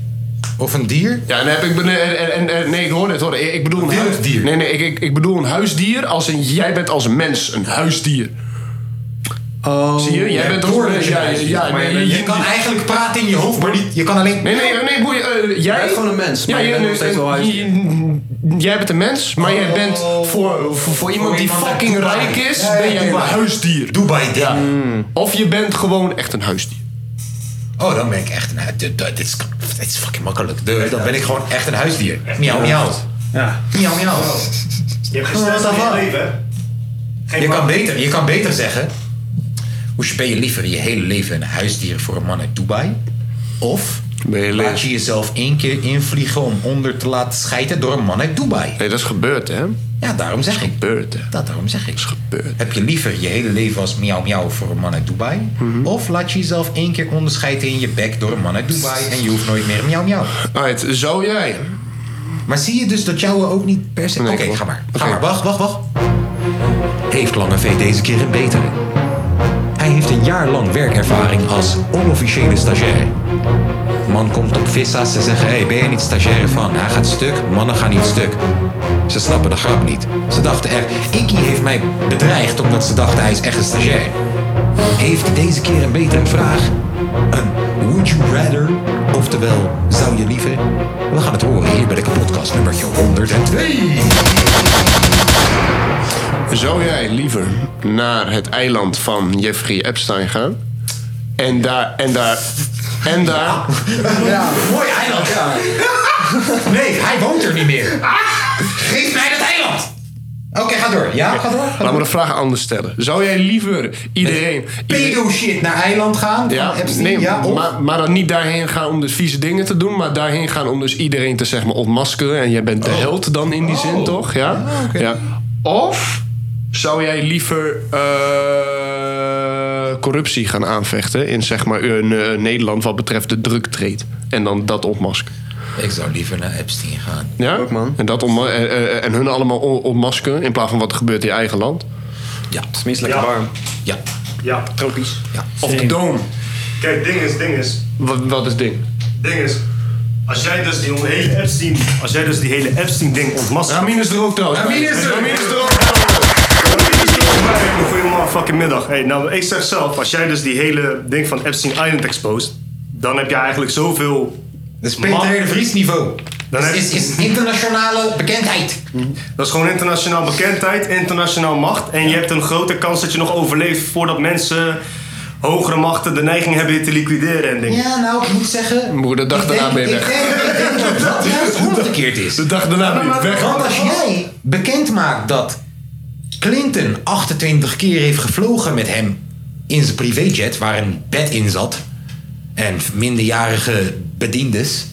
[SPEAKER 1] Of een dier?
[SPEAKER 4] Ja, dan heb ik. bene- en- en- en- nee, ik hoor het hoor. Ik ik bedoel een
[SPEAKER 1] Een
[SPEAKER 4] huisdier.
[SPEAKER 1] wilddier.
[SPEAKER 4] Nee, nee, ik, ik, ik bedoel een huisdier als een. Jij bent als een mens een huisdier.
[SPEAKER 2] Oh.
[SPEAKER 4] Zie je? Jij bent als een. Ja, ja, ja, nee,
[SPEAKER 1] Maar je, je kan eigenlijk praten in je hoofd, maar niet, je kan alleen...
[SPEAKER 4] Nee, nee, nee, boeien. eh, jij
[SPEAKER 2] bent gewoon een mens, maar je
[SPEAKER 4] jij-
[SPEAKER 2] bent nog steeds wel huisdier.
[SPEAKER 4] je- Jij bent een mens, maar jij bent voor, voor, voor iemand die
[SPEAKER 1] Oh. iemand uit
[SPEAKER 4] fucking
[SPEAKER 1] Dubai.
[SPEAKER 4] rijk is,
[SPEAKER 1] Ja, ja,
[SPEAKER 4] ben jij een
[SPEAKER 1] Dubai.
[SPEAKER 4] huisdier.
[SPEAKER 1] Dubai, ding.
[SPEAKER 4] Ja. Of je bent gewoon echt een huisdier.
[SPEAKER 1] Oh, dan ben ik echt... Nou, dit, dit is, dit is fucking makkelijk. De- Dan ben ik gewoon echt een huisdier. Miauw, miauw.
[SPEAKER 3] Ja.
[SPEAKER 1] Miauw, miauw.
[SPEAKER 7] Je hebt
[SPEAKER 1] Oh, wat dan wel?
[SPEAKER 7] leven. Geen
[SPEAKER 1] Je
[SPEAKER 7] man.
[SPEAKER 1] kan, beter, je kan beter zeggen. Hoe ben je liever je hele leven een huisdier voor een man uit Dubai? Of
[SPEAKER 4] Ben je
[SPEAKER 1] laat
[SPEAKER 4] leeg?
[SPEAKER 1] je jezelf één keer invliegen om onder te laten schijten door een man uit Dubai?
[SPEAKER 4] Nee, dat is gebeurd, hè?
[SPEAKER 1] Ja, daarom zeg ik.
[SPEAKER 4] Gebeurd, hè?
[SPEAKER 1] Dat daarom zeg ik.
[SPEAKER 4] gebeurd.
[SPEAKER 1] Heb je liever je hele leven als miauw miauw voor een man uit Dubai?
[SPEAKER 4] Mhm.
[SPEAKER 1] Of laat je jezelf één keer onderscheiden in je bek door een man uit Dubai en je hoeft nooit meer miauw miauw?
[SPEAKER 4] Alright, zou jij...
[SPEAKER 1] Maar zie je dus dat jouwe ook niet per se...
[SPEAKER 4] Nee,
[SPEAKER 1] Oké,
[SPEAKER 4] klopt.
[SPEAKER 1] ga maar. Ga
[SPEAKER 4] Oké.
[SPEAKER 1] maar. Wacht, wacht, wacht. Heeft Lange V deze keer een betere? Hij heeft een jaar lang werkervaring als onofficiële stagiair. Man komt op vissa's, ze zeggen, hey, ben je niet stagiair van? Hij gaat stuk, mannen gaan niet stuk. Ze snappen de grap niet. Ze dachten echt, Ikkie heeft mij bedreigd omdat ze dachten hij is echt een stagiair. Heeft hij deze keer een betere vraag? Een would you rather, oftewel zou je liever? We gaan het horen hier bij de kapotkast nummertje 102.
[SPEAKER 4] Zou jij liever naar het eiland van Jeffrey Epstein gaan? En daar, en daar, en daar...
[SPEAKER 1] Ja, mooi eiland. Ja. Nee, hij woont er niet meer. Geef mij dat eiland. Oké, ga door. Ja, ga door. Ga
[SPEAKER 4] Laat me de vraag anders stellen. Zou jij liever iedereen...
[SPEAKER 1] Pedo-shit naar eiland gaan?
[SPEAKER 4] Ja,
[SPEAKER 1] Epstein,
[SPEAKER 4] nee,
[SPEAKER 1] ja, of?
[SPEAKER 4] maar, maar dan niet daarheen gaan om dus vieze dingen te doen... maar daarheen gaan om dus iedereen te zeg maar ontmaskeren... en jij bent
[SPEAKER 1] Oh.
[SPEAKER 4] de held dan in die zin, toch? Ja? ja. Of zou jij liever eh, corruptie gaan aanvechten... in zeg maar een, eh, Nederland wat betreft de druktreed... en dan dat ontmaskeren?
[SPEAKER 1] Ik zou liever naar Epstein gaan.
[SPEAKER 4] Ja, En, dat ontma- eh, eh, en hun allemaal on- ontmaskeren in plaats van wat er gebeurt in je eigen land.
[SPEAKER 1] Ja. Het
[SPEAKER 2] is minstens lekker warm.
[SPEAKER 1] Ja.
[SPEAKER 7] Ja.
[SPEAKER 4] Tropisch. Of de doom.
[SPEAKER 7] Kijk, ding is, ding is.
[SPEAKER 4] Wat, wat is ding?
[SPEAKER 7] Ding is. Als jij dus die hele Epstein, als jij dus die hele Epstein ding ontmaskert.
[SPEAKER 4] Ramin is er ook trouwens.
[SPEAKER 7] Ramin is er.
[SPEAKER 4] Ramin is er ook.
[SPEAKER 7] Goedemorgen, fucking middag. Hey, nou, ik zeg zelf, als jij dus die hele ding van Epstein Island exposed, dan heb je eigenlijk zoveel.
[SPEAKER 1] Dat is Peter R. de Vries niveau.
[SPEAKER 7] Dan
[SPEAKER 1] Het
[SPEAKER 7] heb
[SPEAKER 1] is, is internationale bekendheid.
[SPEAKER 7] Dat is gewoon internationaal bekendheid, internationaal macht. En je hebt een grote kans dat je nog overleeft voordat mensen hogere machten de neiging hebben je te liquideren en dingen.
[SPEAKER 1] Ja, nou, ik moet zeggen...
[SPEAKER 4] Broer, de dag daarna ben je weg.
[SPEAKER 1] dat dat juist omgekeerd is.
[SPEAKER 4] De dag daarna ben je weg.
[SPEAKER 1] Want als Oh, jij bekend maakt dat Clinton 28 keer heeft gevlogen met hem in zijn privéjet, waar een bed in zat, en minderjarige bediendes,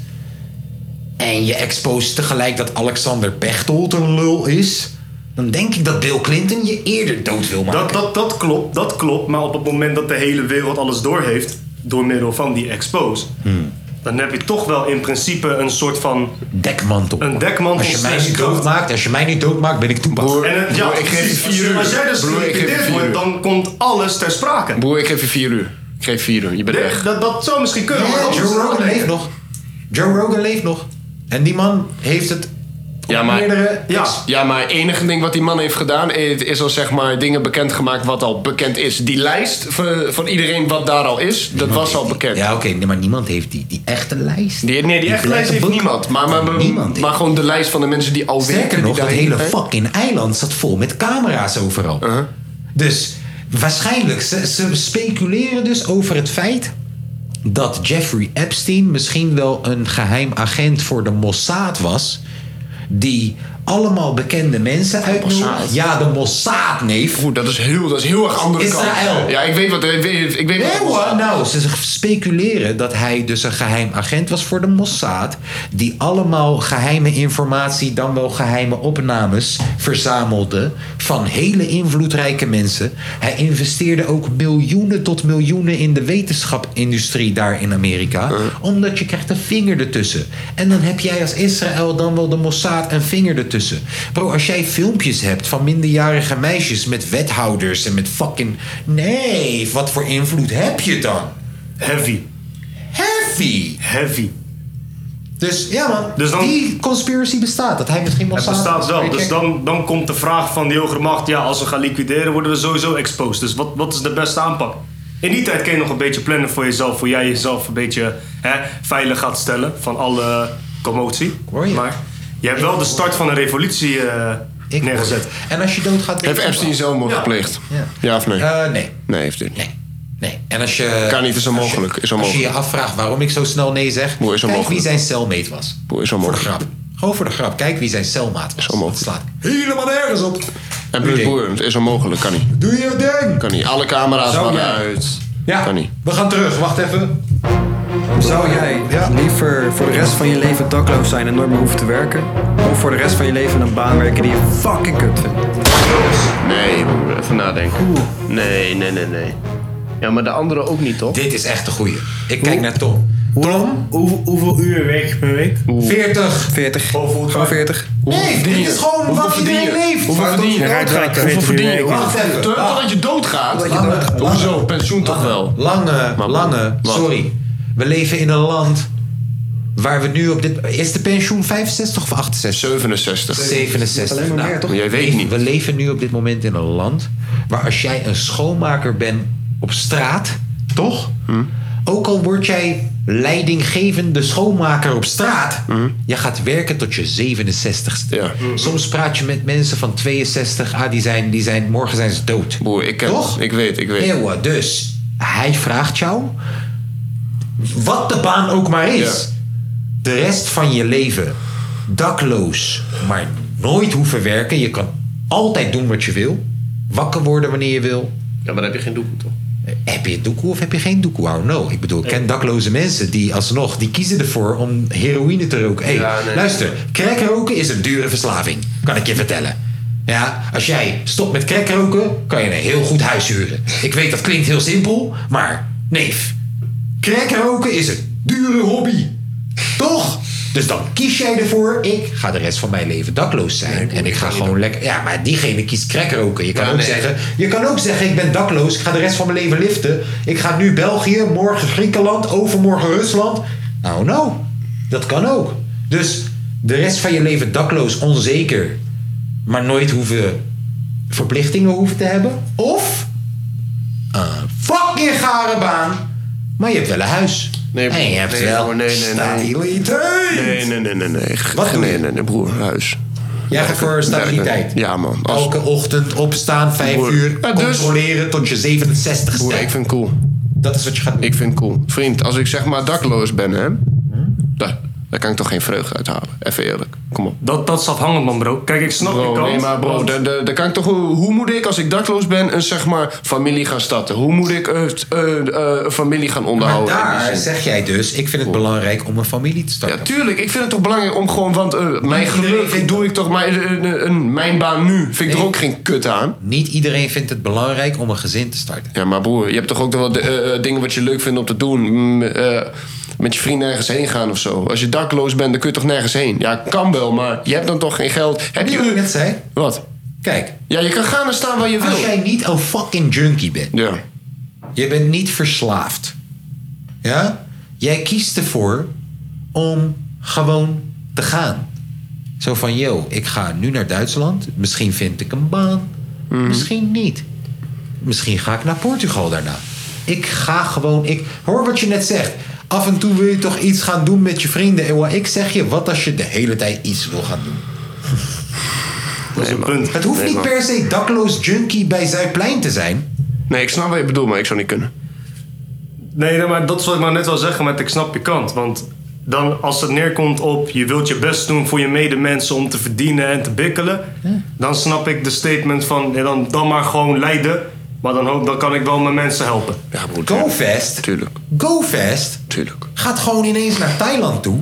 [SPEAKER 1] en je expost tegelijk dat Alexander Pechtold een lul is, dan denk ik dat Bill Clinton je eerder dood wil maken.
[SPEAKER 7] Dat, dat, dat klopt, dat klopt. Maar op het moment dat de hele wereld alles doorheeft, door middel van die expose,
[SPEAKER 4] Hmm.
[SPEAKER 7] dan heb je toch wel in principe een soort van...
[SPEAKER 1] Dekmantel.
[SPEAKER 7] Een dekmantel.
[SPEAKER 1] Als je mij
[SPEAKER 7] slash
[SPEAKER 1] niet doodmaakt, als je mij niet doodmaakt, ben ik toen bang.
[SPEAKER 7] En het- ja,
[SPEAKER 4] Broer, ik geef
[SPEAKER 7] precies.
[SPEAKER 4] je vier uur.
[SPEAKER 7] Als jij dus
[SPEAKER 4] Broer, ik geef je
[SPEAKER 7] geliquideerd
[SPEAKER 4] vier
[SPEAKER 7] wordt,
[SPEAKER 4] uur.
[SPEAKER 7] dan komt alles ter sprake.
[SPEAKER 4] Broer, ik geef je vier uur. Ik geef vier uur. Je bent
[SPEAKER 7] Dit-
[SPEAKER 4] weg.
[SPEAKER 7] Dat, dat zou misschien kunnen. maar
[SPEAKER 1] Ja,
[SPEAKER 7] dat is
[SPEAKER 1] Joe
[SPEAKER 7] een
[SPEAKER 1] Rogan
[SPEAKER 7] ander
[SPEAKER 1] leeft nog. Joe Rogan leeft nog. En die man heeft het
[SPEAKER 4] Ja, maar...
[SPEAKER 1] meerdere...
[SPEAKER 7] Ja,
[SPEAKER 4] Ja, maar het enige ding wat die man heeft gedaan is, is al zeg maar dingen bekendgemaakt wat al bekend is. Die lijst van, van iedereen wat daar al is, dat was al bekend.
[SPEAKER 1] Ja, oké, nee, maar niemand heeft die, die echte lijst.
[SPEAKER 4] Die, nee, die echte lijst heeft
[SPEAKER 1] boek.
[SPEAKER 4] niemand. Maar, maar, maar,
[SPEAKER 1] Niemand.
[SPEAKER 4] maar gewoon de lijst van de mensen die al werken.
[SPEAKER 1] Sterker
[SPEAKER 4] die
[SPEAKER 1] nog, dat
[SPEAKER 4] daarheen
[SPEAKER 1] hele
[SPEAKER 4] zijn.
[SPEAKER 1] fucking eiland zat vol met camera's overal.
[SPEAKER 4] Uh-huh.
[SPEAKER 1] Dus waarschijnlijk, ze, ze speculeren dus over het feit dat Jeffrey Epstein misschien wel een geheim agent voor de Mossad was. Die allemaal bekende mensen uitnodigt.
[SPEAKER 4] Mossad?
[SPEAKER 1] Ja, de Mossad, neef.
[SPEAKER 4] Oeh, dat is heel, dat is heel erg andere
[SPEAKER 1] Israël.
[SPEAKER 4] kant. Ja, ik weet wat. Ik weet, ik weet wat-
[SPEAKER 1] Nee hoor, nou, ze speculeren dat hij dus een geheim agent was voor de Mossad. Die allemaal geheime informatie, dan wel geheime opnames verzamelde. Van hele invloedrijke mensen. Hij investeerde ook miljoenen tot miljoenen in de wetenschapindustrie daar in Amerika. Omdat je krijgt een vinger ertussen. En dan heb jij als Israël dan wel de Mossad een vinger ertussen. Bro, als jij filmpjes hebt van minderjarige meisjes met wethouders en met fucking. Nee, wat voor invloed heb je dan?
[SPEAKER 7] Heavy,
[SPEAKER 1] Heavy!
[SPEAKER 7] heavy.
[SPEAKER 1] Dus ja, man.
[SPEAKER 7] Dus dan-
[SPEAKER 1] die conspiracy bestaat. Dat hij misschien
[SPEAKER 7] Het
[SPEAKER 1] Mossad.
[SPEAKER 7] bestaat wel. Dus
[SPEAKER 1] Kijk,
[SPEAKER 7] dan, dan komt de vraag van die hogere macht. Ja, als we gaan liquideren worden we sowieso exposed. Dus wat, wat is de beste aanpak? In die tijd kun je nog een beetje plannen voor jezelf. Hoe jij jezelf een beetje hè, veilig gaat stellen van alle commotie.
[SPEAKER 1] Hoor je?
[SPEAKER 7] Maar je hebt wel de start van een revolutie eh,
[SPEAKER 1] ik word-
[SPEAKER 7] neergezet.
[SPEAKER 1] En als je doodgaat.
[SPEAKER 4] Heeft Epstein zelfmoord
[SPEAKER 7] Ja.
[SPEAKER 4] gepleegd?
[SPEAKER 1] Ja.
[SPEAKER 4] Ja of nee?
[SPEAKER 1] Eh, nee.
[SPEAKER 4] Nee, heeft hij niet.
[SPEAKER 1] Nee. Nee. En als je.
[SPEAKER 4] Kan niet, is onmogelijk,
[SPEAKER 1] Als je,
[SPEAKER 4] is
[SPEAKER 1] Als
[SPEAKER 4] onmogelijk.
[SPEAKER 1] je je afvraagt waarom ik zo snel nee zeg.
[SPEAKER 4] Boer, is
[SPEAKER 1] kijk wie
[SPEAKER 4] onmogelijk.
[SPEAKER 1] zijn celmate was.
[SPEAKER 4] Boer, is
[SPEAKER 1] voor de
[SPEAKER 4] onmogelijk.
[SPEAKER 1] grap. Gewoon voor de grap. Kijk wie zijn celmaat was. Dat
[SPEAKER 4] onmogelijk.
[SPEAKER 1] slaat helemaal nergens op.
[SPEAKER 4] En plus
[SPEAKER 1] Doe je
[SPEAKER 4] broer, het is onmogelijk, kan niet.
[SPEAKER 1] ding. Doe je ding!
[SPEAKER 4] Kan niet. Alle camera's
[SPEAKER 1] Zou
[SPEAKER 4] waren
[SPEAKER 1] jij-
[SPEAKER 4] uit.
[SPEAKER 9] Ja.
[SPEAKER 4] Kan niet.
[SPEAKER 1] We gaan terug, wacht even.
[SPEAKER 9] Zou jij liever voor de rest van je leven dakloos zijn en nooit meer hoeven te werken? Of voor de rest van je leven een baan werken die je fucking kut vindt?
[SPEAKER 4] Nee, broer, even nadenken. Nee, nee, nee, nee. Ja, maar de andere ook niet, toch?
[SPEAKER 1] Dit is echt de goeie. Ik kijk naar Tom. Tom,
[SPEAKER 3] Hoe, hoeveel uur werk je per week?
[SPEAKER 1] 40.
[SPEAKER 9] 40. Gewoon 40.
[SPEAKER 1] Nee, dit is gewoon waar iedereen leeft.
[SPEAKER 4] Hoeveel verdien je?
[SPEAKER 3] rijdt gelijk
[SPEAKER 4] Hoeveel
[SPEAKER 3] twee, drie
[SPEAKER 4] verdien je?
[SPEAKER 3] weken.
[SPEAKER 4] Wacht even. Totdat je doodgaat?
[SPEAKER 1] je doodgaat.
[SPEAKER 4] Hoezo? Pensioen toch wel?
[SPEAKER 1] Lange, lange,
[SPEAKER 4] Maar-
[SPEAKER 1] lange,
[SPEAKER 4] Wat?
[SPEAKER 1] sorry. We leven in een land waar we nu op dit... Is de pensioen 65 of 68?
[SPEAKER 4] 67.
[SPEAKER 1] 67.
[SPEAKER 4] Alleen maar
[SPEAKER 1] Nou,
[SPEAKER 4] meer, toch? Jij weet niet.
[SPEAKER 1] We leven nu op dit moment in een land waar als jij een schoonmaker bent op straat, toch?
[SPEAKER 4] Hm?
[SPEAKER 1] Ook al word jij leidinggevende schoonmaker op straat,
[SPEAKER 4] Mhm.
[SPEAKER 1] je gaat werken tot je 67ste. Soms praat je met mensen van 62, ah, die zijn, die zijn, morgen zijn ze dood.
[SPEAKER 4] Boer, ik ken-
[SPEAKER 1] toch?
[SPEAKER 4] ik weet, ik weet.
[SPEAKER 1] Eeuwen, dus hij vraagt jou, wat de baan ook maar is, de rest van je leven dakloos, maar nooit hoeven werken. Je kan altijd doen wat je wil. Wakker worden wanneer je wil.
[SPEAKER 4] Ja, maar dan heb je geen doekoe, toch?
[SPEAKER 1] Heb je doekoe of heb je geen doekoe? Oh no. Ik bedoel, ik ken dakloze mensen die alsnog... die kiezen ervoor om heroïne te roken. Hey,
[SPEAKER 4] Ja, nee.
[SPEAKER 1] luister. Crack roken is een dure verslaving. Kan ik je vertellen. Ja, als jij stopt met crack roken... kan je een heel goed huis huren. Ik weet, dat klinkt heel simpel. Maar, neef. Crack roken is een dure hobby. Toch? Dus dan kies jij ervoor... ik ga de rest van mijn leven dakloos zijn. en ik ga gewoon lekker... Ja, maar diegene kiest crack roken. Je kan
[SPEAKER 4] Ja,
[SPEAKER 1] ook
[SPEAKER 4] nee.
[SPEAKER 1] zeggen... Je kan ook zeggen, ik ben dakloos. Ik ga de rest van mijn leven liften. Ik ga nu België, morgen Griekenland, overmorgen Rusland. Nou, nou. Dat kan ook. Dus de rest van je leven dakloos, onzeker. Maar nooit hoeven... Verplichtingen hoeven te hebben. Of... Een fucking gare baan. Maar je hebt wel een huis.
[SPEAKER 4] Nee,
[SPEAKER 1] en je hebt
[SPEAKER 4] nee,
[SPEAKER 1] wel
[SPEAKER 4] broer, nee, nee, nee.
[SPEAKER 1] stabiliteit.
[SPEAKER 4] Nee, nee, nee, nee. nee.
[SPEAKER 1] Wat doe
[SPEAKER 4] nee, nee, nee, broer, huis.
[SPEAKER 1] Jij gaat voor stabiliteit.
[SPEAKER 4] Ja, man.
[SPEAKER 1] Elke ochtend opstaan, vijf
[SPEAKER 4] Broer.
[SPEAKER 1] uur.
[SPEAKER 4] Ja, dus-
[SPEAKER 1] Controleren tot je 67
[SPEAKER 4] Broer, ik vind cool.
[SPEAKER 1] Dat is wat je gaat
[SPEAKER 4] Ik vind cool. Vriend, als ik zeg maar dakloos ben, hè? Daar, daar kan ik toch geen vreugde uit halen. Even eerlijk. Kom op.
[SPEAKER 7] Dat, dat is afhangend, man, bro. Kijk, ik snap
[SPEAKER 4] Bro,
[SPEAKER 7] je kant.
[SPEAKER 4] nee, maar bro,
[SPEAKER 7] want-
[SPEAKER 4] daar- daar daar kan ik toch, hoe hoe moet ik als ik dakloos ben een zeg maar familie gaan starten? Hoe moet ik eh, t- eh, eh, een familie gaan
[SPEAKER 1] Maar
[SPEAKER 4] onderhouden? in die
[SPEAKER 1] daar
[SPEAKER 4] zin?
[SPEAKER 1] zeg jij dus, ik vind het belangrijk om een familie te starten.
[SPEAKER 4] Tuurlijk, ik vind het toch belangrijk om gewoon, want eh, mijn geluk doe ik toch maar, eh, eh, een- mijn baan nu. Vind ik er ook geen kut aan.
[SPEAKER 1] Niet iedereen vindt het belangrijk om een gezin te starten.
[SPEAKER 4] Ja, maar broer, je hebt toch ook wel de, eh, eh, dingen wat je leuk vindt om te doen. Mm, eh, met je vrienden ergens heen gaan of zo. Als je dakloos bent, dan kun je toch nergens heen. Ja, kan wel, maar je hebt dan toch geen geld. Heb je
[SPEAKER 1] Wat ik net zei.
[SPEAKER 4] Wat?
[SPEAKER 1] Kijk.
[SPEAKER 4] Ja, je kan gaan en staan waar je wil.
[SPEAKER 1] Als jij niet een fucking junkie bent.
[SPEAKER 4] Ja.
[SPEAKER 1] Je bent niet verslaafd. Ja? Jij kiest ervoor om gewoon te gaan. Zo van, yo, ik ga nu naar Duitsland. Misschien vind ik een baan. Misschien niet. Misschien ga ik naar Portugal daarna. Ik ga gewoon... Ik, hoor wat je net zegt. Af en toe wil je toch iets gaan doen met je vrienden. En wat ik zeg je, wat als je de hele tijd iets wil gaan doen?
[SPEAKER 7] Dat is een punt.
[SPEAKER 1] Het hoeft niet per se dakloos junkie bij Zuidplein te zijn.
[SPEAKER 4] Nee, ik snap wat je bedoelt, maar ik zou niet kunnen.
[SPEAKER 7] Nee, nee, maar dat is wat ik maar net wil zeggen, maar ik snap je kant. Want dan, als het neerkomt op je wilt je best doen voor je medemensen om te verdienen en te bikkelen, dan snap ik de statement van ja, dan, dan maar gewoon lijden. Maar dan, hoop, dan kan ik wel mijn mensen helpen.
[SPEAKER 4] Ja, broer.
[SPEAKER 1] Go fast.
[SPEAKER 4] Tuurlijk,
[SPEAKER 1] Go fast.
[SPEAKER 4] tuurlijk.
[SPEAKER 1] Gaat gewoon ineens naar Thailand toe.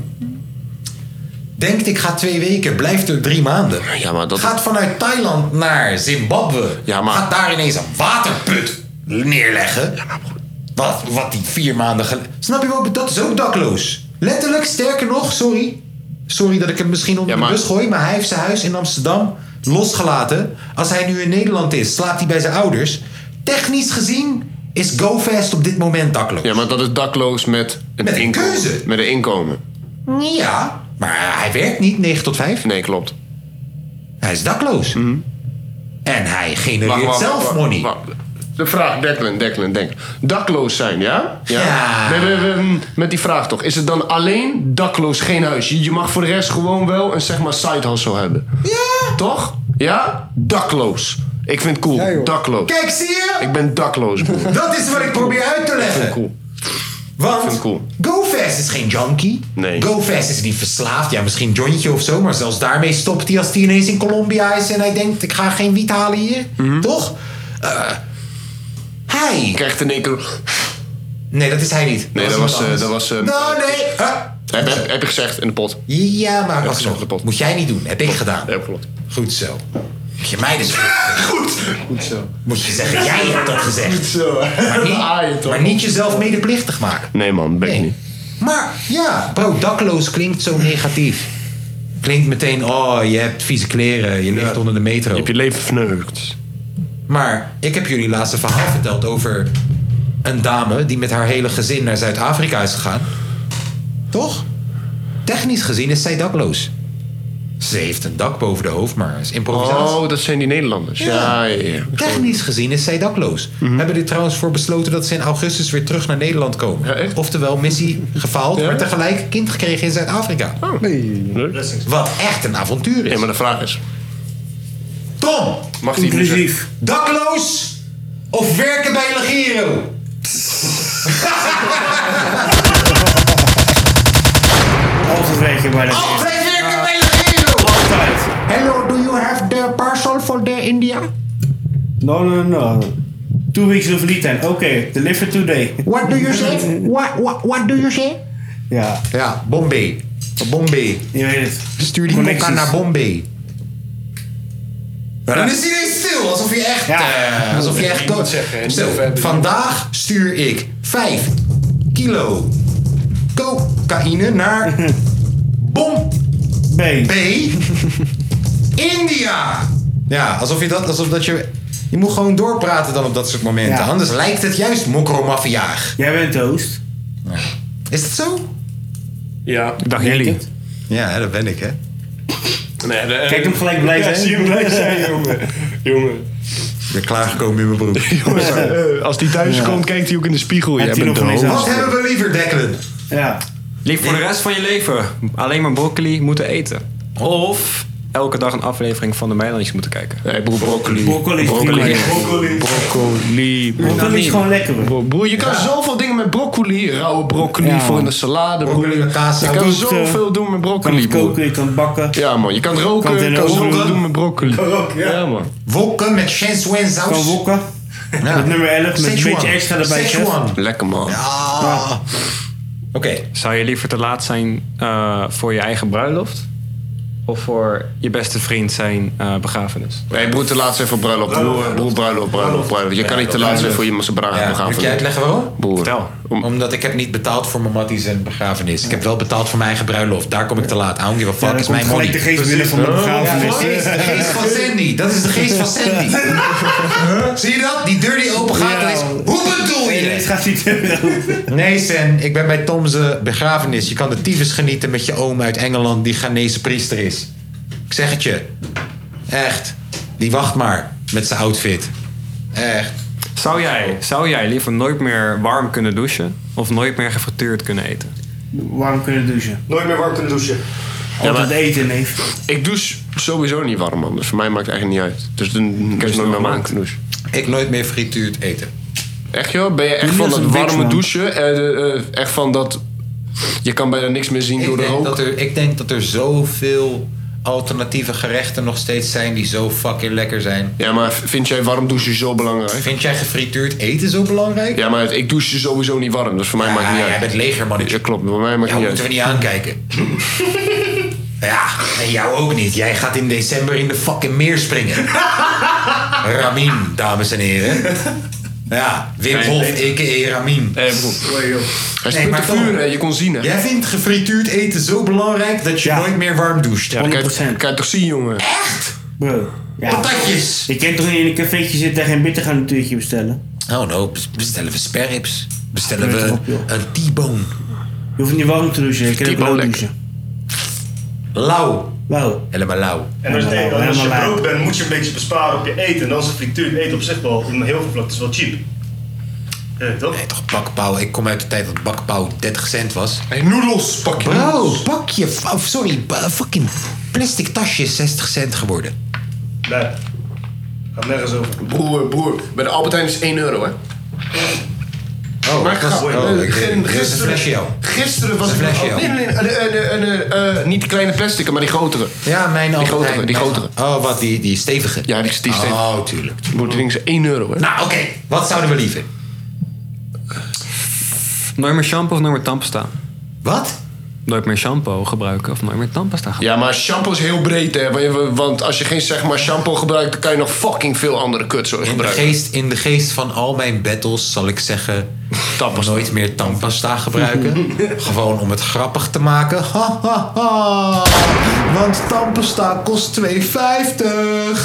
[SPEAKER 1] Denkt ik ga twee weken, blijft er drie maanden.
[SPEAKER 4] Ja, maar dat...
[SPEAKER 1] Gaat vanuit Thailand naar Zimbabwe.
[SPEAKER 4] Ja, maar-
[SPEAKER 1] Gaat daar ineens een waterput neerleggen. Wat, wat die vier maanden geleden. Snap je wel? Dat is ook dakloos. Letterlijk, sterker nog, sorry. Sorry dat ik hem misschien onder
[SPEAKER 4] Ja,
[SPEAKER 1] de
[SPEAKER 4] maar-
[SPEAKER 1] bus gooi, maar hij heeft zijn huis in Amsterdam losgelaten. Als hij nu in Nederland is, slaapt hij bij zijn ouders. Technisch gezien is GoFast op dit moment dakloos.
[SPEAKER 4] Ja, maar dat is dakloos met een,
[SPEAKER 1] Met een
[SPEAKER 4] inkomen.
[SPEAKER 1] keuze.
[SPEAKER 4] Met een inkomen.
[SPEAKER 1] Ja, maar hij werkt niet 9 tot 5.
[SPEAKER 4] Nee, klopt. Mhm.
[SPEAKER 1] Hij is dakloos. En hij genereert zelf money.
[SPEAKER 4] wacht. De vraag, Declan, Declan, denk. Dakloos zijn, ja?
[SPEAKER 1] Ja.
[SPEAKER 4] We- we- we- met die vraag toch. Is het dan alleen dakloos geen huis? Je, je mag voor de rest gewoon wel een zeg maar side hustle hebben. Ja. Toch? Ja? Dakloos. Ik vind het cool. dakloos.
[SPEAKER 1] Kijk, zie je?
[SPEAKER 4] Ik ben dakloos, broer. Ik
[SPEAKER 1] Dat is wat ik probeer uit te
[SPEAKER 4] vind het
[SPEAKER 1] leggen.
[SPEAKER 4] cool. ik vind
[SPEAKER 1] Want
[SPEAKER 4] het cool.
[SPEAKER 1] GoFast is geen junkie.
[SPEAKER 4] Nee.
[SPEAKER 1] GoFast is niet verslaafd. Ja, misschien jointje of zo. Maar zelfs daarmee stopt hij als hij ineens in Colombia is... en hij denkt, ik ga geen wiet halen hier. Toch? Eh, hij.
[SPEAKER 4] Mhm. Je krijgt in één keer...
[SPEAKER 1] Nee, dat is hij niet.
[SPEAKER 4] Nee, dat
[SPEAKER 1] iemand
[SPEAKER 4] was... eh,
[SPEAKER 1] anders.
[SPEAKER 4] dat was eh,
[SPEAKER 1] Nou, nee. Huh?
[SPEAKER 4] heb, heb, heb ik gezegd, in de pot.
[SPEAKER 1] Ja,
[SPEAKER 4] is
[SPEAKER 1] maar
[SPEAKER 4] op de
[SPEAKER 1] alsnog.
[SPEAKER 4] pot.
[SPEAKER 1] Moet jij niet doen. Heb ik gedaan.
[SPEAKER 4] Ja, klopt.
[SPEAKER 1] Goed zo. Moet je mij dus... Goed. Goed zo. Moet je zeggen, jij hebt dat gezegd. Goed zo. Maar
[SPEAKER 4] Ah, je
[SPEAKER 1] niet,
[SPEAKER 4] toch.
[SPEAKER 1] maar niet jezelf medeplichtig maken.
[SPEAKER 4] Nee, man. Ben ik
[SPEAKER 1] Nee.
[SPEAKER 4] niet.
[SPEAKER 1] Maar ja, bro, dakloos klinkt zo negatief. Klinkt meteen, oh, je hebt vieze kleren, je ligt onder de metro.
[SPEAKER 4] Je hebt je leven verneukt.
[SPEAKER 1] Maar ik heb jullie laatste verhaal verteld over een dame die met haar hele gezin naar Zuid-Afrika is gegaan. Toch? Technisch gezien is zij dakloos. Ze heeft een dak boven de hoofd, maar is improvisatie.
[SPEAKER 4] Oh, dat zijn die Nederlanders. Ja, ja, ja.
[SPEAKER 1] Technisch gezien is zij dakloos. Hebben er trouwens voor besloten dat ze in augustus weer terug naar Nederland komen. Oftewel, missie gefaald, maar tegelijk kind gekregen in Zuid-Afrika. Wat echt een avontuur is.
[SPEAKER 4] Ja, maar de vraag is...
[SPEAKER 1] Tom!
[SPEAKER 4] Mag die
[SPEAKER 1] Inclusief. Dakloos of werken bij Legiro?
[SPEAKER 3] Altijd werken bij de...
[SPEAKER 1] Altijd werken bij Legiro! Altijd. Hello, do you have the parcel for the India?
[SPEAKER 3] No, no, no. Two weeks of lead time. Oké, deliver today.
[SPEAKER 1] What do you say? What, what, what do you say?
[SPEAKER 3] Ja.
[SPEAKER 1] Ja, Bombay. Bombay.
[SPEAKER 3] Je weet het.
[SPEAKER 1] Stuur die mokka
[SPEAKER 3] Connecties.
[SPEAKER 1] naar Bombay. Maar dan is hij ineens stil, alsof je echt... eh, alsof je echt dood... Stil, vandaag stuur ik 5 kilo cocaïne naar Bom...
[SPEAKER 3] B.
[SPEAKER 1] B. India. Ja, alsof je dat... Alsof dat je, je moet gewoon doorpraten dan op dat soort momenten.
[SPEAKER 3] Ja.
[SPEAKER 1] Anders lijkt het juist mokromaffiaag.
[SPEAKER 3] Jij bent de host.
[SPEAKER 1] Is dat zo?
[SPEAKER 4] Ja.
[SPEAKER 2] Dag jullie.
[SPEAKER 1] Ja, hè, dat ben ik, hè.
[SPEAKER 4] Nee, de-
[SPEAKER 3] Kijk hem gelijk blij zijn.
[SPEAKER 4] zie hem blij zijn, jongen. jongen.
[SPEAKER 1] Ik ben klaargekomen in mijn broek.
[SPEAKER 4] Eh, Als die thuis komt, kijkt hij ook in de spiegel. Jij
[SPEAKER 3] Heeft hij
[SPEAKER 4] bent
[SPEAKER 3] nog
[SPEAKER 4] dood.
[SPEAKER 3] geen
[SPEAKER 1] Wat hebben we liever, Declan?
[SPEAKER 3] Ja.
[SPEAKER 2] Lief voor de rest van je leven alleen maar broccoli moeten eten. Of elke dag een aflevering van de Meilandjes moeten kijken.
[SPEAKER 4] Nee, broer, broccoli.
[SPEAKER 3] Broccoli.
[SPEAKER 4] Broccoli.
[SPEAKER 3] Broccoli.
[SPEAKER 4] Broccoli.
[SPEAKER 3] Broccoli is gewoon lekker. hoor.
[SPEAKER 4] Bro- Broer, je kan zoveel dingen met broccoli. Rauwe broccoli
[SPEAKER 3] Ja,
[SPEAKER 4] voor in
[SPEAKER 3] man.
[SPEAKER 4] de salade. broer.
[SPEAKER 1] Broccoli met kaas.
[SPEAKER 4] Je
[SPEAKER 1] Ja,
[SPEAKER 4] kan
[SPEAKER 3] kookt,
[SPEAKER 4] zoveel doen met
[SPEAKER 3] eh, Kan
[SPEAKER 4] broccoli,
[SPEAKER 3] het
[SPEAKER 4] broer.
[SPEAKER 3] koken, je kan het bakken.
[SPEAKER 4] Ja, man. Je kan het roken.
[SPEAKER 3] Kan het in
[SPEAKER 4] Je
[SPEAKER 3] de
[SPEAKER 4] kan
[SPEAKER 3] oven
[SPEAKER 4] zoveel
[SPEAKER 3] doen.
[SPEAKER 4] doen met broccoli. Ja, man.
[SPEAKER 1] Wokken met Shenzhen
[SPEAKER 3] Kan
[SPEAKER 1] saus.
[SPEAKER 3] wokken.
[SPEAKER 1] Ja.
[SPEAKER 3] Met nummer 11, met een
[SPEAKER 1] Szechuan.
[SPEAKER 3] beetje extra erbij. chef.
[SPEAKER 1] Szechuan.
[SPEAKER 4] Lekker, man.
[SPEAKER 1] Ah. Oké.
[SPEAKER 2] Zou je liever te laat zijn eh, voor je eigen bruiloft? Of voor je beste vriend zijn eh, begrafenis?
[SPEAKER 4] Hey, broer, te laat zijn voor bruiloft. Broer, broer, bruiloft, bruiloft, bruiloft. Je kan niet te laat zijn voor je
[SPEAKER 1] Ja,
[SPEAKER 4] bruiloft.
[SPEAKER 1] moet ik je uitleggen waarom?
[SPEAKER 4] Broer.
[SPEAKER 2] Vertel.
[SPEAKER 4] Om-
[SPEAKER 1] Omdat ik heb niet betaald voor mijn matties en begrafenis. Ik heb wel betaald voor mijn eigen bruiloft. Daar kom ik te laat. I don't give a fuck.
[SPEAKER 3] Ja, dan
[SPEAKER 1] is
[SPEAKER 3] komt
[SPEAKER 1] mijn money.
[SPEAKER 3] gelijk de geest binnen van de
[SPEAKER 1] Ja,
[SPEAKER 3] begrafenis.
[SPEAKER 1] de geest- de geest van Sandy. Dat is de geest van Sandy. Zie je dat? Die deur die open gaat.
[SPEAKER 3] Ja.
[SPEAKER 1] dat is, hoe bedoel je
[SPEAKER 3] Nee,
[SPEAKER 1] dit?
[SPEAKER 3] het gaat niet open.
[SPEAKER 1] Nee, Sen, ik ben bij Tom's eh, begrafenis. Je kan de tyfus genieten met je oom uit Engeland die Ghanese priester is. Ik zeg het je. Echt. Die wacht maar met zijn outfit. Echt.
[SPEAKER 2] Zou jij, zou jij liever nooit meer warm kunnen douchen? Of nooit meer gefrituurd kunnen eten?
[SPEAKER 3] Warm kunnen douchen.
[SPEAKER 7] Nooit meer warm kunnen douchen.
[SPEAKER 3] Altijd eten, neef.
[SPEAKER 4] Ik douche sowieso niet warm, man. Dus voor mij maakt het eigenlijk niet uit. Dus dan is
[SPEAKER 2] je
[SPEAKER 4] nooit
[SPEAKER 2] wel
[SPEAKER 4] meer warm
[SPEAKER 2] maken.
[SPEAKER 4] te douchen.
[SPEAKER 1] Ik nooit meer frituurd eten.
[SPEAKER 4] Echt joh? Ben je echt
[SPEAKER 3] Jullie
[SPEAKER 4] van
[SPEAKER 3] is
[SPEAKER 4] dat
[SPEAKER 3] een bitch,
[SPEAKER 4] warme
[SPEAKER 3] man.
[SPEAKER 4] douchen? Eh, eh, eh, echt van dat... Je kan bijna niks meer zien door de
[SPEAKER 1] Ik denk,
[SPEAKER 4] rook.
[SPEAKER 1] dat er, ik denk dat er zoveel alternatieve gerechten nog steeds zijn die zo fucking lekker zijn.
[SPEAKER 4] Ja, maar v- vind jij warm douchen zo belangrijk?
[SPEAKER 1] Vind jij gefrituurd eten zo belangrijk?
[SPEAKER 4] Ja, maar ik douche sowieso niet warm. Dus voor mij maakt het niet
[SPEAKER 1] jij
[SPEAKER 4] uit.
[SPEAKER 1] bent legermannetje.
[SPEAKER 4] Ja, klopt. Voor mij maakt het
[SPEAKER 1] Jou
[SPEAKER 4] niet
[SPEAKER 1] moeten we
[SPEAKER 4] uit.
[SPEAKER 1] niet aankijken. ja, en jou ook niet. Jij gaat in december in de fucking meer springen. Ramin, dames en heren. Ja, Wim Hof, a.k.a. Ramin.
[SPEAKER 4] Hé, broer. Hij
[SPEAKER 1] Nee,
[SPEAKER 4] springt
[SPEAKER 1] maar
[SPEAKER 4] te vuur,
[SPEAKER 1] kom.
[SPEAKER 4] hè. Je kon zien, hè.
[SPEAKER 1] Jij vindt gefrituurd eten zo belangrijk dat je
[SPEAKER 3] Ja.
[SPEAKER 1] nooit meer warm doucht.
[SPEAKER 4] Kan je-
[SPEAKER 3] 100%.
[SPEAKER 4] Kan je toch zien, jongen?
[SPEAKER 1] Echt?
[SPEAKER 3] Bro. Ja.
[SPEAKER 1] Patatjes.
[SPEAKER 3] Je kent toch niet in een cafeetje zitten en geen bitter gaan een tuurtje bestellen?
[SPEAKER 1] Oh no, bes- bestellen we sperrips. Bestellen
[SPEAKER 3] Weet
[SPEAKER 1] we
[SPEAKER 3] erop, joh.
[SPEAKER 1] een T-bone.
[SPEAKER 3] Je hoeft niet warm te douchen, je kan ook
[SPEAKER 4] Typo
[SPEAKER 3] lauw
[SPEAKER 4] lekker.
[SPEAKER 3] douchen.
[SPEAKER 1] Lauw.
[SPEAKER 3] Lauw.
[SPEAKER 1] Helemaal lauw.
[SPEAKER 7] En als, je-
[SPEAKER 3] Helemaal
[SPEAKER 7] en als je
[SPEAKER 3] lauw.
[SPEAKER 7] brood bent, moet je een beetje besparen op je eten. En dan is een frituur eten op zich wel, in heel veel vlakken, is wel cheap. Eh, toch?
[SPEAKER 1] Nee, toch bakpauw. Ik kom uit de tijd dat bakpauw 30 cent was.
[SPEAKER 4] Hey, noedels. Pak je
[SPEAKER 1] Bro,
[SPEAKER 4] noedels.
[SPEAKER 1] pak je. Oh, sorry, ba- fucking plastic tasje is 60 cent geworden.
[SPEAKER 7] Nee. Gaat nergens over.
[SPEAKER 4] Broer, broer. Bij de Albert Heijn is 1 euro, hè.
[SPEAKER 1] Oh,
[SPEAKER 4] Maar ga- eh, gisteren,
[SPEAKER 1] jou.
[SPEAKER 4] gisteren was
[SPEAKER 1] Een
[SPEAKER 4] ik...
[SPEAKER 1] flesje, joh.
[SPEAKER 4] nee, nee, nee, eh, eh, eh, eh, niet die kleine plastic, maar die grotere.
[SPEAKER 1] Ja, mijn Albert
[SPEAKER 4] grotere,
[SPEAKER 1] Heijn.
[SPEAKER 4] die grotere.
[SPEAKER 1] Oh, wat, die, die stevige?
[SPEAKER 4] Ja, die, die steeds.
[SPEAKER 1] Oh, tuurlijk.
[SPEAKER 4] Broer, die ding is 1 euro, hè.
[SPEAKER 1] Nou, oké. Wat zouden we liever?
[SPEAKER 2] Nooit meer shampoo of nooit meer tandpasta?
[SPEAKER 1] Wat?
[SPEAKER 2] Nooit meer shampoo gebruiken of nooit meer tandpasta gebruiken?
[SPEAKER 4] Ja, maar shampoo is heel breed, hè. Want- Want als je geen zeg maar shampoo gebruikt, dan kan je nog fucking veel andere kutzooi
[SPEAKER 1] In de,
[SPEAKER 4] gebruiken.
[SPEAKER 1] geest, in de geest van al mijn battles zal ik zeggen... Nooit meer tandpasta gebruiken. Gewoon om het grappig te maken. Ha, ha, ha. Want tandpasta kost 2,50. Zo,
[SPEAKER 10] Je weet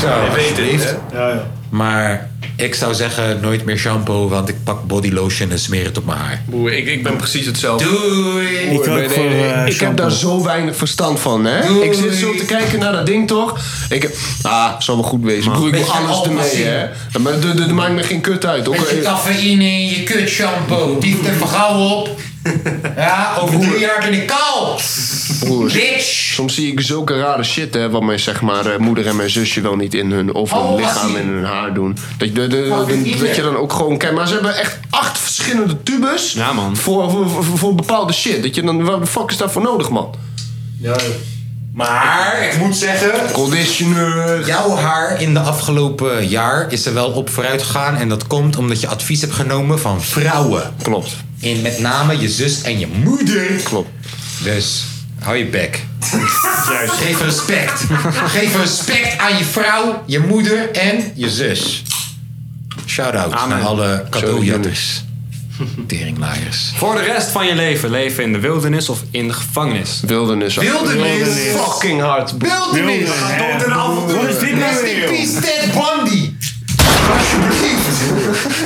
[SPEAKER 10] het,
[SPEAKER 1] alsjeblieft.
[SPEAKER 7] hè? Ja, ja.
[SPEAKER 1] Maar ik zou zeggen nooit meer shampoo, want ik pak body lotion en smeer het op mijn haar.
[SPEAKER 4] Boe, ik, ik ben precies hetzelfde.
[SPEAKER 1] Doei!
[SPEAKER 4] Ik, heb daar zo weinig verstand van, hè?
[SPEAKER 1] Doei.
[SPEAKER 4] Ik zit zo te kijken naar dat ding, toch? Ik heb, ah, zal wel goed wezen. Broer, ik
[SPEAKER 1] Beetje
[SPEAKER 4] doe alles
[SPEAKER 1] alpha
[SPEAKER 4] ermee,
[SPEAKER 1] zien.
[SPEAKER 4] hè? Ja, Maar dat- dat dat maakt me geen kut uit. Ook,
[SPEAKER 1] Beetje
[SPEAKER 4] al-
[SPEAKER 1] cafeïne in je kut shampoo. Dief er van gauw op. Ja, over drie jaar ben ik kaal.
[SPEAKER 4] Broers,
[SPEAKER 1] Bitch!
[SPEAKER 4] Soms zie ik zulke rare shit, hè, wat mijn zeg maar, eh, moeder en mijn zusje wel niet in hun of hun
[SPEAKER 10] Oh,
[SPEAKER 4] lichaam
[SPEAKER 10] zie.
[SPEAKER 4] en hun haar doen. Dat, je- de, de-
[SPEAKER 10] Fucking
[SPEAKER 4] dat-
[SPEAKER 10] ieder.
[SPEAKER 4] dat je dan ook gewoon kijkt. Maar ze hebben echt acht verschillende tubes Voor, voor, voor, voor bepaalde shit. Dat je dan, wat de fuck is daarvoor nodig, man?
[SPEAKER 1] Maar ik moet zeggen.
[SPEAKER 4] Conditioner.
[SPEAKER 1] Jouw haar in de afgelopen jaar is er wel op vooruit gegaan. En dat komt omdat je advies hebt genomen van vrouwen.
[SPEAKER 4] Klopt.
[SPEAKER 1] In met name je zus en je moeder. Klopt. Dus hou je bek. Juist. Geef respect. Geef respect aan je vrouw, je moeder en je zus. Shout-out aan alle cadeaujatters. Teringlaaiers.
[SPEAKER 2] Voor de rest van je leven. Leven in de wildernis of in de gevangenis?
[SPEAKER 4] Wildernis.
[SPEAKER 1] Wildernis. Wildernis.
[SPEAKER 4] Fucking hard.
[SPEAKER 1] Wildernis.
[SPEAKER 10] Wat is dit nou
[SPEAKER 1] Rest in
[SPEAKER 10] weer,
[SPEAKER 1] peace, Ted Bundy.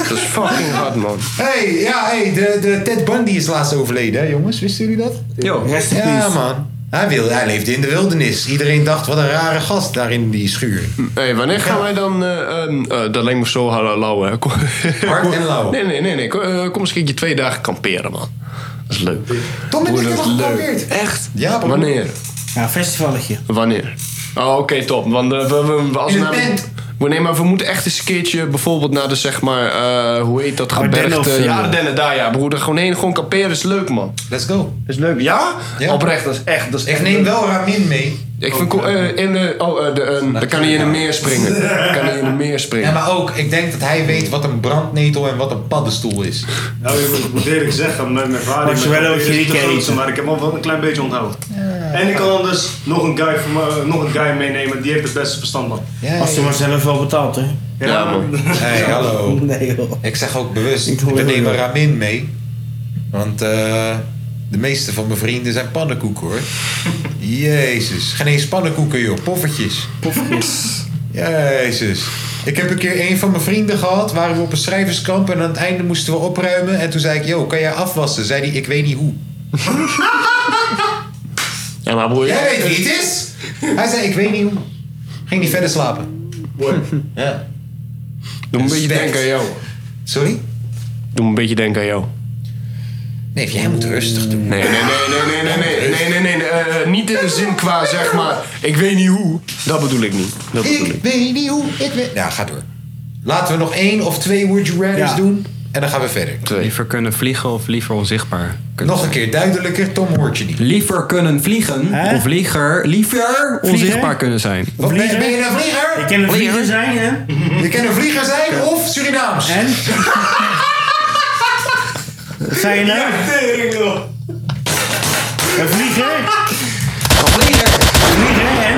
[SPEAKER 4] Dat is fucking hard, man.
[SPEAKER 1] Hey, ja, hey, de, de Ted Bundy is laatst overleden, hè, jongens? Wisten jullie dat?
[SPEAKER 2] Yo,
[SPEAKER 1] rest in Ja, peace. man. Hij, wilde, hij leefde in de wildernis. Iedereen dacht, wat een rare gast daar in die schuur.
[SPEAKER 4] Hey, wanneer gaan wij dan... eh, ehm, eh, dat lijkt me zo hard lauw, hè? Kom-
[SPEAKER 1] Hard en lauw.
[SPEAKER 4] Nee, nee, nee. nee. Kom, eh, kom eens een keertje twee dagen kamperen, man. Dat is leuk.
[SPEAKER 1] Tom en
[SPEAKER 4] Broer, dat
[SPEAKER 1] ik hebben
[SPEAKER 4] is leuk.
[SPEAKER 1] geprobeerd.
[SPEAKER 4] Echt?
[SPEAKER 1] Ja, broer.
[SPEAKER 4] Wanneer?
[SPEAKER 3] Ja, festivalletje.
[SPEAKER 4] Wanneer? Oh, oké, top. Want eh, we, we, we- als
[SPEAKER 3] In de
[SPEAKER 4] nou-
[SPEAKER 3] tent.
[SPEAKER 4] we, nee, maar we moeten echt eens een keertje bijvoorbeeld naar de, zeg maar, eh, hoe heet dat, gebergte...
[SPEAKER 3] Ardennen of
[SPEAKER 1] eh,
[SPEAKER 3] zo.
[SPEAKER 4] ja, Ardennen, daar ja, broer. Daar gewoon heen, gewoon kamperen is leuk, man.
[SPEAKER 1] Let's go.
[SPEAKER 4] Is leuk, ja? Oprecht, dat is echt... Dat is
[SPEAKER 1] Ik
[SPEAKER 4] echt
[SPEAKER 1] neem
[SPEAKER 4] leuk.
[SPEAKER 1] wel Ramin mee.
[SPEAKER 4] Ik vind cool, eh, in de, oh, eh, de, eh, dan kan hij in een meer springen. Dan kan hij in een meer springen.
[SPEAKER 1] Ja, maar ook, ik denk dat hij weet wat een brandnetel en wat een paddenstoel is.
[SPEAKER 7] Nou, ik moet eerlijk zeggen, met mijn vader met
[SPEAKER 1] Marshmallow
[SPEAKER 7] mijn is de
[SPEAKER 1] chicken
[SPEAKER 7] grootste,
[SPEAKER 1] eten.
[SPEAKER 7] maar ik heb hem wel een klein beetje onthouden. En ik kan anders nog een, guy voor me- nog een guy meenemen, die heeft het beste verstand, man.
[SPEAKER 3] Als je maar zelf wel betaalt, hè?
[SPEAKER 7] Ja, Ja, man.
[SPEAKER 1] Hey, hallo. Ik zeg ook bewust, we nemen Ramin mee. Want eh, de meeste van mijn vrienden zijn pannenkoeken hoor. Jezus, geen eens pannenkoeken joh, poffertjes. Poffertjes. Jezus. Ik heb een keer een van mijn vrienden gehad, waren we op een schrijverskamp en aan het einde moesten we opruimen. En toen zei ik, yo, kan jij afwassen? Zei hij, ik weet niet hoe.
[SPEAKER 4] Ja, maar broer...
[SPEAKER 1] Jij weet wie het is? Hij zei, ik weet niet hoe. Ging niet verder slapen. Ja.
[SPEAKER 4] Doe me een beetje denken aan jou.
[SPEAKER 1] Sorry?
[SPEAKER 4] Doe me een beetje denken aan jou.
[SPEAKER 1] Nee, jij moet rustig doen.
[SPEAKER 4] Nee, nee, nee, nee, nee, nee, nee, nee, nee, nee, nee, eh, niet in de zin qua zeg maar, ik weet niet hoe. Dat bedoel ik niet. Dat bedoel ik.
[SPEAKER 1] Ik weet niet hoe, ik weet... Ja, ga door. Laten we nog één of twee Would You Rathers doen. En dan gaan we verder.
[SPEAKER 2] Liever kunnen vliegen of liever onzichtbaar kunnen
[SPEAKER 1] Nog een keer duidelijker, Tom hoort je niet.
[SPEAKER 2] Liever kunnen vliegen
[SPEAKER 1] Hè?
[SPEAKER 2] of liever, liever
[SPEAKER 1] Vliegen?
[SPEAKER 2] onzichtbaar kunnen zijn.
[SPEAKER 1] Wat ben, je- ben je een vlieger?
[SPEAKER 3] Ik ken een vlieger zijn, hè?
[SPEAKER 1] Je kan een vlieger zijn of Surinaams. En?
[SPEAKER 3] Zijn je nou? Een vlieger?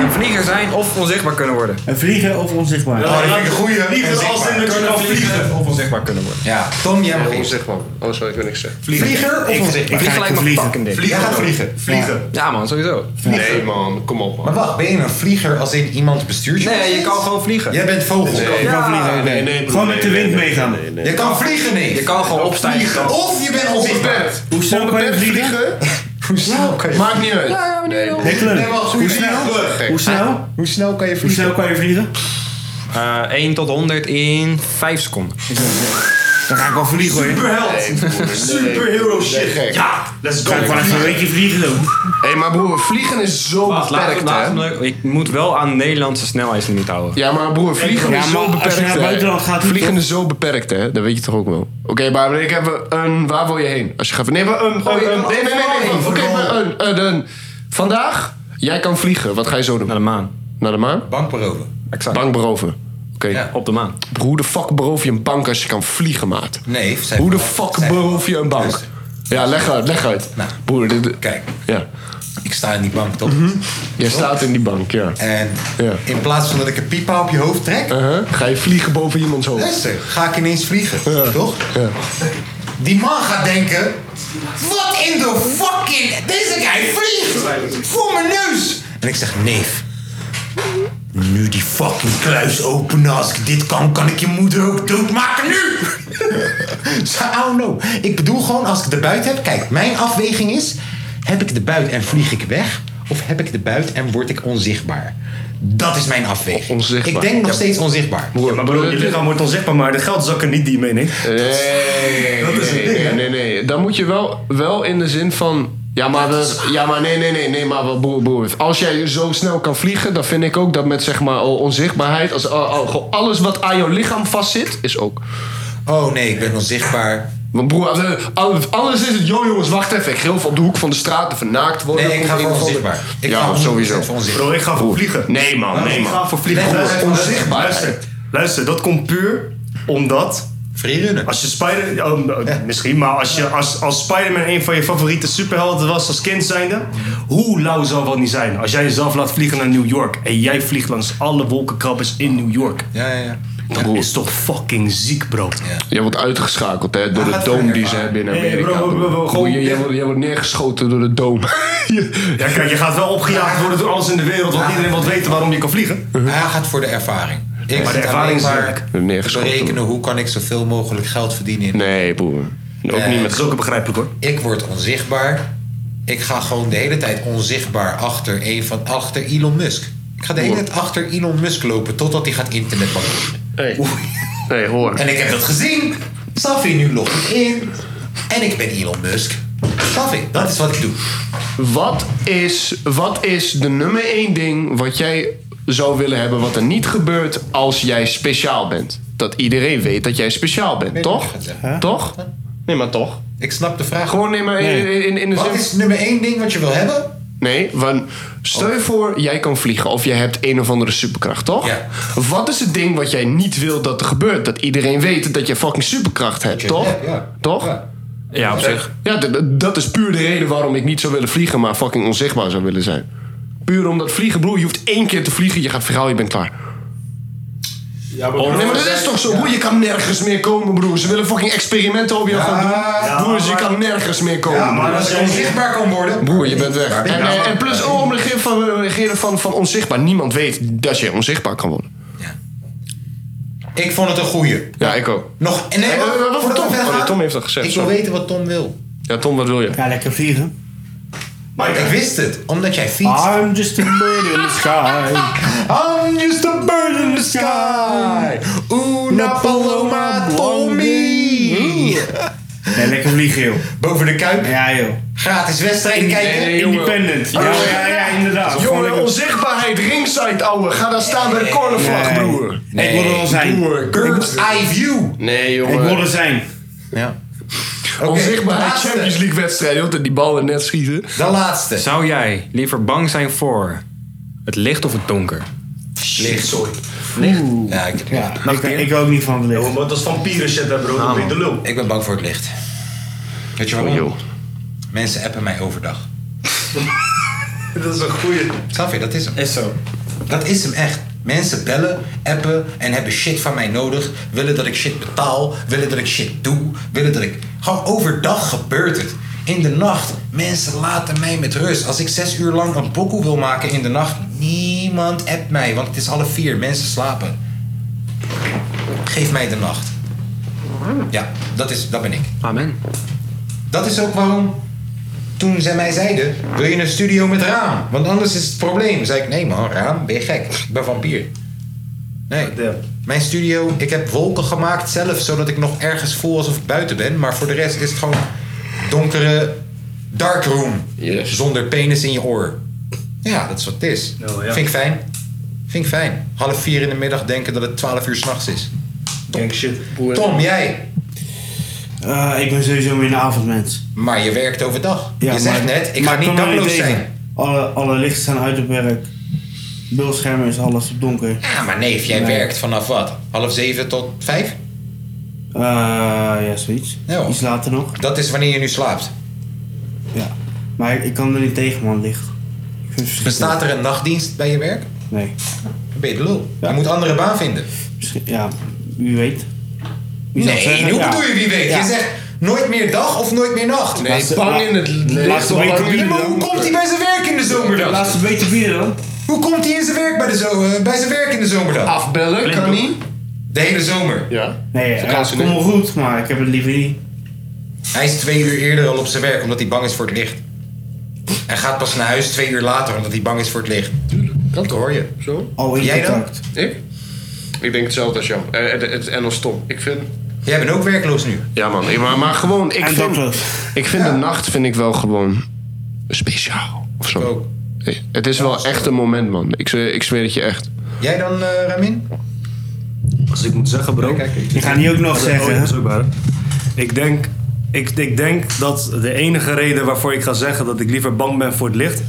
[SPEAKER 2] Een vlieger zijn of onzichtbaar kunnen worden.
[SPEAKER 3] Een vlieger of onzichtbaar?
[SPEAKER 2] Ja,
[SPEAKER 1] dat vind Nou, ik een goeie.
[SPEAKER 2] Vliegen als in dat je
[SPEAKER 1] Kunnen
[SPEAKER 2] kan
[SPEAKER 1] vliegen
[SPEAKER 2] Of onzichtbaar kunnen worden.
[SPEAKER 1] Ja, Tom, jij mag
[SPEAKER 4] onzichtbaar. Oh, sorry, ik wil niks zeggen.
[SPEAKER 1] Vlieger of
[SPEAKER 2] Ik
[SPEAKER 1] onzichtbaar?
[SPEAKER 2] vlieg gelijk mijn fucking ding.
[SPEAKER 1] Vliegen. Jij gaat vliegen.
[SPEAKER 2] Ja. Ja man, sowieso.
[SPEAKER 4] Nee man, kom op man.
[SPEAKER 1] Maar wacht, ben je een vlieger als in iemand bestuurt je?
[SPEAKER 2] Nee, je kan gewoon vliegen.
[SPEAKER 1] Jij bent vogel.
[SPEAKER 2] Nee,
[SPEAKER 1] je
[SPEAKER 2] ja.
[SPEAKER 1] kan vliegen.
[SPEAKER 4] Nee, nee, broer,
[SPEAKER 3] Gewoon met de
[SPEAKER 4] nee, nee,
[SPEAKER 3] wind
[SPEAKER 4] nee,
[SPEAKER 3] meegaan.
[SPEAKER 4] nee, nee.
[SPEAKER 1] Je kan vliegen, nee.
[SPEAKER 2] Je kan gewoon opstijgen.
[SPEAKER 1] Vliegen of je bent onzichtbaar.
[SPEAKER 4] Onbeperkt.
[SPEAKER 3] Hoezo kan je
[SPEAKER 4] Onbeperkt
[SPEAKER 3] vliegen?
[SPEAKER 4] vliegen?
[SPEAKER 1] Hoezo kan je
[SPEAKER 4] Maakt niet uit.
[SPEAKER 2] Ja, ja,
[SPEAKER 4] Nee,
[SPEAKER 2] nee,
[SPEAKER 4] broer.
[SPEAKER 3] Hikkelen.
[SPEAKER 1] Nee, wacht,
[SPEAKER 3] Hoe snel?
[SPEAKER 4] Gek.
[SPEAKER 3] Hoe snel?
[SPEAKER 1] Hoe snel kan je
[SPEAKER 3] Hoe
[SPEAKER 1] vliegen?
[SPEAKER 3] snel kan je vliegen?
[SPEAKER 2] Eh, 1 tot 100 in 5 seconden.
[SPEAKER 3] Dan ga ik wel vliegen hoor.
[SPEAKER 7] Superheld! Superhero
[SPEAKER 4] Nee,
[SPEAKER 7] shit!
[SPEAKER 4] gek.
[SPEAKER 7] Ja, let's go!
[SPEAKER 3] Ga ik wel even een weekje vliegen doen.
[SPEAKER 4] Hé, maar broer, vliegen is zo
[SPEAKER 2] Wacht, laat-
[SPEAKER 4] beperkt
[SPEAKER 2] laat
[SPEAKER 4] hè.
[SPEAKER 2] me- Ik moet wel aan Nederlandse snelheidslimiet houden.
[SPEAKER 4] Ja, maar broer, vliegen
[SPEAKER 3] Ja,
[SPEAKER 4] is
[SPEAKER 3] maar
[SPEAKER 4] zo
[SPEAKER 3] als je
[SPEAKER 4] beperkt.
[SPEAKER 3] naar het
[SPEAKER 4] hè.
[SPEAKER 3] buitenland gaat, niet
[SPEAKER 4] vliegen
[SPEAKER 3] toch?
[SPEAKER 4] is zo beperkt, hè? Dat weet je toch ook wel. Oké, maar ik heb een. Waar wil je heen? Als je gaat. Nee, maar een. een,
[SPEAKER 1] Oh, je
[SPEAKER 4] een-
[SPEAKER 1] wil
[SPEAKER 4] nee, nee, nee, nee.
[SPEAKER 1] overal.
[SPEAKER 4] Oké, maar een, een, een. Vandaag, jij kan vliegen. Wat ga je zo doen?
[SPEAKER 2] Naar de maan.
[SPEAKER 4] Naar de maan?
[SPEAKER 1] Bank beroven.
[SPEAKER 2] Exact.
[SPEAKER 4] Bank beroven. Oké.
[SPEAKER 1] Ja.
[SPEAKER 2] Op de maan.
[SPEAKER 4] Broer, Hoe de fuck beroof je een bank als je kan vliegen, maat?
[SPEAKER 1] Nee, zij-
[SPEAKER 4] Hoe de fuck
[SPEAKER 1] zij-
[SPEAKER 4] beroof je een bank? Ja, leg uit, leg uit.
[SPEAKER 1] Dus- Nou.
[SPEAKER 4] Broer, dit.
[SPEAKER 1] Kijk,
[SPEAKER 4] Ja.
[SPEAKER 1] ik sta in die bank, toch?
[SPEAKER 4] Jij staat in die bank, ja. Uh-huh.
[SPEAKER 1] En in plaats van dat ik een pipa op je hoofd trek...
[SPEAKER 4] Ga je vliegen boven iemands hoofd.
[SPEAKER 1] Luister, ga ik ineens vliegen, toch?
[SPEAKER 4] Ja.
[SPEAKER 1] Die man gaat denken... Wat in de fucking... Deze guy vliegt! Voor mijn neus! En ik zeg, neef... Nu die fucking kluis openen. Als ik dit kan, kan ik je moeder ook doodmaken nu! Zo, oh no. Ik bedoel gewoon, als ik de buit heb... Kijk, mijn afweging is... Heb ik de buit en vlieg ik weg? Of heb ik de buit en word ik onzichtbaar? Dat is mijn afweging. Ik denk nog steeds onzichtbaar.
[SPEAKER 7] Ja, maar broer, je lichaam wordt onzichtbaar, maar de geldzakken niet die je meeneemt.
[SPEAKER 4] Nee,
[SPEAKER 7] Dat is het
[SPEAKER 4] nee,
[SPEAKER 7] ding,
[SPEAKER 4] nee,
[SPEAKER 7] hè?
[SPEAKER 4] nee, nee. Dan moet je wel, wel in de zin van... Ja, maar, we, ja, maar nee, nee, nee, nee, maar wel broer, broer. Als jij zo snel kan vliegen, dan vind ik ook dat met zeg maar al onzichtbaarheid... Als, al- al- gewoon alles wat aan jouw lichaam vastzit, is ook...
[SPEAKER 1] Oh nee, ik ben onzichtbaar.
[SPEAKER 4] Want broer, eh, al- alles is het... Yo jongens, wacht even. Ik heel op de hoek van de straat of naakt worden.
[SPEAKER 1] Nee, ik ga voor
[SPEAKER 4] Iemand-
[SPEAKER 1] onzichtbaar. Ik
[SPEAKER 4] ja,
[SPEAKER 1] ga
[SPEAKER 4] sowieso.
[SPEAKER 1] voor onzichtbaar. Bro, ik ga voor
[SPEAKER 4] Broer,
[SPEAKER 7] vliegen.
[SPEAKER 4] Nee man, nee
[SPEAKER 7] ik
[SPEAKER 4] man.
[SPEAKER 7] ga voor vliegen.
[SPEAKER 4] Nee,
[SPEAKER 7] Luister,
[SPEAKER 4] onzichtbaar.
[SPEAKER 7] Ah, Luister, luister, dat komt puur omdat...
[SPEAKER 1] Freerunnen.
[SPEAKER 7] Als je Spider... oh, nou, Misschien, maar als, je, als, als Spider-Man een van je favoriete superhelden was als kind zijnde... Hoe lauw zou dat niet zijn? Als jij jezelf laat vliegen naar New York... en jij vliegt langs alle wolkenkrabbers in New York.
[SPEAKER 1] Ja, ja, ja.
[SPEAKER 7] Dat is toch fucking ziek, bro.
[SPEAKER 4] Jij wordt uitgeschakeld hè, door de
[SPEAKER 7] gaat
[SPEAKER 4] doom
[SPEAKER 7] verder,
[SPEAKER 4] die ze hebben in
[SPEAKER 7] Nee,
[SPEAKER 4] Amerika.
[SPEAKER 7] bro, bro, bro,
[SPEAKER 4] Broer,
[SPEAKER 7] gewoon-
[SPEAKER 4] jij, jij wordt, jij wordt neergeschoten door de doom.
[SPEAKER 7] Ja, kijk, je gaat wel opgejaagd worden door alles in de wereld... want iedereen wil weten waarom je kan vliegen.
[SPEAKER 1] Hij gaat voor de ervaring. Ik
[SPEAKER 7] Maar de
[SPEAKER 1] zit
[SPEAKER 7] ervaring is
[SPEAKER 1] alleen maar
[SPEAKER 7] leuk.
[SPEAKER 1] te berekenen hoe kan ik zoveel mogelijk geld verdienen. In.
[SPEAKER 4] Nee, broer. Ook
[SPEAKER 1] Eh,
[SPEAKER 4] niet met
[SPEAKER 7] ook begrijpelijk hoor.
[SPEAKER 1] Ik word onzichtbaar. Ik ga gewoon de hele tijd onzichtbaar achter, een van, achter Elon Musk. Ik ga de hele tijd achter Elon Musk lopen totdat hij gaat internetbanken.
[SPEAKER 4] Hey. Hey, hoor.
[SPEAKER 1] En ik heb dat gezien. Safi, nu log ik in. En ik ben Elon Musk. Safi, dat is wat ik doe.
[SPEAKER 4] Wat is, wat is de nummer één ding wat jij zou willen hebben wat er niet gebeurt als jij speciaal bent? Dat iedereen weet dat jij speciaal bent, toch? Toch? Nee, maar toch?
[SPEAKER 1] Ik snap de vraag.
[SPEAKER 4] Gewoon nee, maar in, in, in, de
[SPEAKER 1] Wat
[SPEAKER 4] zin...
[SPEAKER 1] is nummer één ding wat je wil hebben?
[SPEAKER 4] Nee, want stel je voor, jij kan vliegen of jij hebt een of andere superkracht, toch?
[SPEAKER 1] Ja.
[SPEAKER 4] Wat is het ding wat jij niet wil dat er gebeurt? Dat iedereen weet dat je fucking superkracht hebt, toch?
[SPEAKER 1] Ja, ja.
[SPEAKER 4] Toch?
[SPEAKER 2] Ja, op zich.
[SPEAKER 4] Ja, d- d- dat is puur de reden waarom ik niet zou willen vliegen, maar fucking onzichtbaar zou willen zijn. Puur omdat vliegen, broer, je hoeft één keer te vliegen, je gaat verhaal, je bent klaar.
[SPEAKER 7] Oh,
[SPEAKER 4] nee, maar dat is toch zo, broer? Je kan nergens meer komen, broer. Ze willen fucking experimenten op jou gaan doen. broer, dus je kan nergens meer komen. broer.
[SPEAKER 1] Als je onzichtbaar kan worden.
[SPEAKER 4] Broer, je bent weg. En, eh, en, en plus oh, ook om de geer van, de geer van, van onzichtbaar. Niemand weet dat je onzichtbaar kan worden.
[SPEAKER 1] Ik vond het een goeie.
[SPEAKER 4] Ja, ik ook.
[SPEAKER 1] Nog. en
[SPEAKER 4] Eh,
[SPEAKER 1] Nee,
[SPEAKER 4] eh, wat voor
[SPEAKER 1] voordat we
[SPEAKER 4] Tom?
[SPEAKER 1] verder
[SPEAKER 4] Oh, nee,
[SPEAKER 1] gaan,
[SPEAKER 4] Tom heeft dat gezegd,
[SPEAKER 1] Ik wil
[SPEAKER 4] sorry.
[SPEAKER 1] weten wat Tom wil.
[SPEAKER 4] Ja, Tom, wat wil je?
[SPEAKER 3] Ja, lekker vliegen.
[SPEAKER 1] Maar ik wist het, omdat jij fietst.
[SPEAKER 3] I'm just a bird in the sky.
[SPEAKER 1] I'm just a bird in the sky. Una paloma told me.
[SPEAKER 3] Nee, lekker vliegen, joh.
[SPEAKER 1] Boven de kuip.
[SPEAKER 3] Ja, joh.
[SPEAKER 1] Gratis wedstrijden kijken.
[SPEAKER 3] Independent. Ja, ja, ja, inderdaad.
[SPEAKER 4] Jongen, onzichtbaarheid ringside, ouwe. Ga daar staan bij de cornervlag,
[SPEAKER 3] Nee.
[SPEAKER 4] broer.
[SPEAKER 3] Ik wil er wel zijn.
[SPEAKER 4] Broer,
[SPEAKER 1] Bird's eye view.
[SPEAKER 4] Nee,
[SPEAKER 3] Ik
[SPEAKER 4] jongen.
[SPEAKER 3] wil er zijn.
[SPEAKER 1] Ja.
[SPEAKER 4] Onzichtbaarheid
[SPEAKER 1] laatste.
[SPEAKER 4] Champions League wedstrijden. Joh, dat die ballen net schieten.
[SPEAKER 1] De laatste.
[SPEAKER 2] Zou jij liever bang zijn voor het licht of het donker?
[SPEAKER 1] Licht. Sorry. Ja, ik,
[SPEAKER 3] Ik, ik ook niet van het licht.
[SPEAKER 7] Want dat is vampieren shit, hè, bro. Dat ben je de lul.
[SPEAKER 1] Ah, ik ben bang voor het licht. Weet je waarom?
[SPEAKER 4] Oh, joh.
[SPEAKER 1] Mensen appen mij overdag.
[SPEAKER 7] Dat is een goeie.
[SPEAKER 1] Xavier, dat is hem. Is zo. Dat is hem echt. Mensen bellen, appen en hebben shit van mij nodig. Willen dat ik shit betaal. Willen dat ik shit doe. Willen dat ik... Gewoon overdag gebeurt het. In de nacht. Mensen laten mij met rust. Als ik zes uur lang een pokoe wil maken in de nacht... Niemand appt mij, want het is alle vier. Mensen slapen. Geef mij de nacht. Ja, dat, is, dat ben ik.
[SPEAKER 2] Amen.
[SPEAKER 1] Dat is ook waarom toen zij mij zeiden: Wil je een studio met raam? Want anders is het probleem. Zei ik: Nee, man, raam, ben je gek? Ik ben vampier. Nee. Mijn studio, ik heb wolken gemaakt zelf, zodat ik nog ergens voel alsof ik buiten ben. Maar voor de rest is het gewoon donkere darkroom.
[SPEAKER 4] Yes.
[SPEAKER 1] Zonder penis in je oor. Ja, dat is wat het is.
[SPEAKER 7] Oh, ja.
[SPEAKER 1] Vind ik fijn. Vind ik fijn. Half vier in de middag denken dat het twaalf uur s'nachts is.
[SPEAKER 7] Gang shit.
[SPEAKER 1] Tom, jij.
[SPEAKER 3] Eh, ik ben sowieso meer een avondmens.
[SPEAKER 1] Maar je werkt overdag.
[SPEAKER 3] Ja,
[SPEAKER 1] je zegt net, ik ga
[SPEAKER 3] maar
[SPEAKER 1] niet
[SPEAKER 3] kan er
[SPEAKER 1] dakloos
[SPEAKER 3] tegen.
[SPEAKER 1] zijn.
[SPEAKER 3] Alle, alle lichten zijn uit op werk. Beeldschermen is alles op donker.
[SPEAKER 1] Ja, maar neef, jij
[SPEAKER 3] Nee.
[SPEAKER 1] werkt vanaf wat? Half zeven tot vijf?
[SPEAKER 3] Eh, ja, zoiets.
[SPEAKER 1] Ja.
[SPEAKER 3] Iets later nog.
[SPEAKER 1] Dat is wanneer je nu slaapt.
[SPEAKER 3] Ja. Maar ik, ik kan er niet tegen, man, licht.
[SPEAKER 1] Bestaat er een nachtdienst bij je werk?
[SPEAKER 3] Nee.
[SPEAKER 1] Dan ben je de lul. Je moet een andere baan vinden.
[SPEAKER 3] Misschien, ja, wie weet. Wie zou
[SPEAKER 1] nee,
[SPEAKER 3] het zeggen?
[SPEAKER 1] hoe
[SPEAKER 3] Ja.
[SPEAKER 1] bedoel je wie weet?
[SPEAKER 3] Ja.
[SPEAKER 1] Je zegt nooit meer dag of nooit meer nacht.
[SPEAKER 3] Nee, Laat ze- bang laat- in het laat licht ze of weten bang in- wie
[SPEAKER 1] Ja, maar
[SPEAKER 3] dan.
[SPEAKER 1] hoe komt hij bij zijn werk in de zomerdag?
[SPEAKER 3] Laat ze weten wie dan.
[SPEAKER 1] Hoe komt hij in zijn werk bij, de zo eh, bij zijn werk in de zomerdag? Afbellen,
[SPEAKER 3] kan niet.
[SPEAKER 1] De hele zomer?
[SPEAKER 4] Ja.
[SPEAKER 3] Nee, ja,
[SPEAKER 1] Vakantie
[SPEAKER 3] het komt
[SPEAKER 1] niet.
[SPEAKER 3] wel goed, maar ik heb het liever niet.
[SPEAKER 1] Hij is twee uur eerder al op zijn werk omdat hij bang is voor het licht. Hij gaat pas naar huis twee uur later omdat hij bang is voor het licht. Dat hoor je.
[SPEAKER 4] Zo?
[SPEAKER 3] Oh,
[SPEAKER 1] Jij dan?
[SPEAKER 4] Ik? Ik denk hetzelfde als jou. Eh, eh, het- en als Tom. Ik vind...
[SPEAKER 1] Jij bent ook werkloos nu.
[SPEAKER 4] Ja man, ik- maar, maar gewoon... Ik
[SPEAKER 3] En
[SPEAKER 4] vind,
[SPEAKER 3] dakloos.
[SPEAKER 4] ik vind de nacht vind ik wel gewoon speciaal. Of zo. Eh, Het is wel echt een moment man. Ik, zweer- ik zweer het je echt.
[SPEAKER 1] Jij dan, eh, Ramin?
[SPEAKER 7] Als ik moet zeggen, bro.
[SPEAKER 3] Je gaat niet ook nog zeggen,
[SPEAKER 7] Oh,
[SPEAKER 3] hè?
[SPEAKER 7] dat is ook waar. Ik denk, ik, ik denk dat de enige reden waarvoor ik ga zeggen dat ik liever bang ben voor het licht,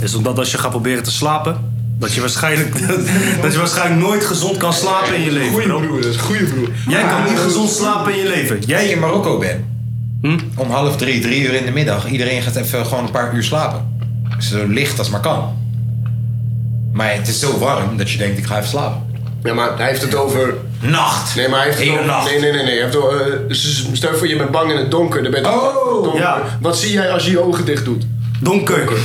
[SPEAKER 7] is omdat als je gaat proberen te slapen, dat je waarschijnlijk, dat, je waarschijnlijk nooit gezond kan slapen in je leven. Goeie broer,
[SPEAKER 4] dat is goede broer.
[SPEAKER 7] Jij kan niet gezond slapen in je leven. Jij
[SPEAKER 1] in Marokko bent. Om half drie, drie uur in de middag. Iedereen gaat even gewoon een paar uur slapen. Zo licht als maar kan. Maar het is zo warm dat je denkt, ik ga even slapen.
[SPEAKER 4] Ja, maar hij heeft het over...
[SPEAKER 1] Nacht!
[SPEAKER 4] Nee, maar hij heeft het
[SPEAKER 1] Hele
[SPEAKER 4] over-
[SPEAKER 1] nacht.
[SPEAKER 4] Nee, nee, nee. nee. Hij heeft het over, eh, s- s- stel je voor, je bent bang in het donker. Dan ben je oh, donker. Wat zie jij als je je ogen dicht doet?
[SPEAKER 7] Donker. Donker.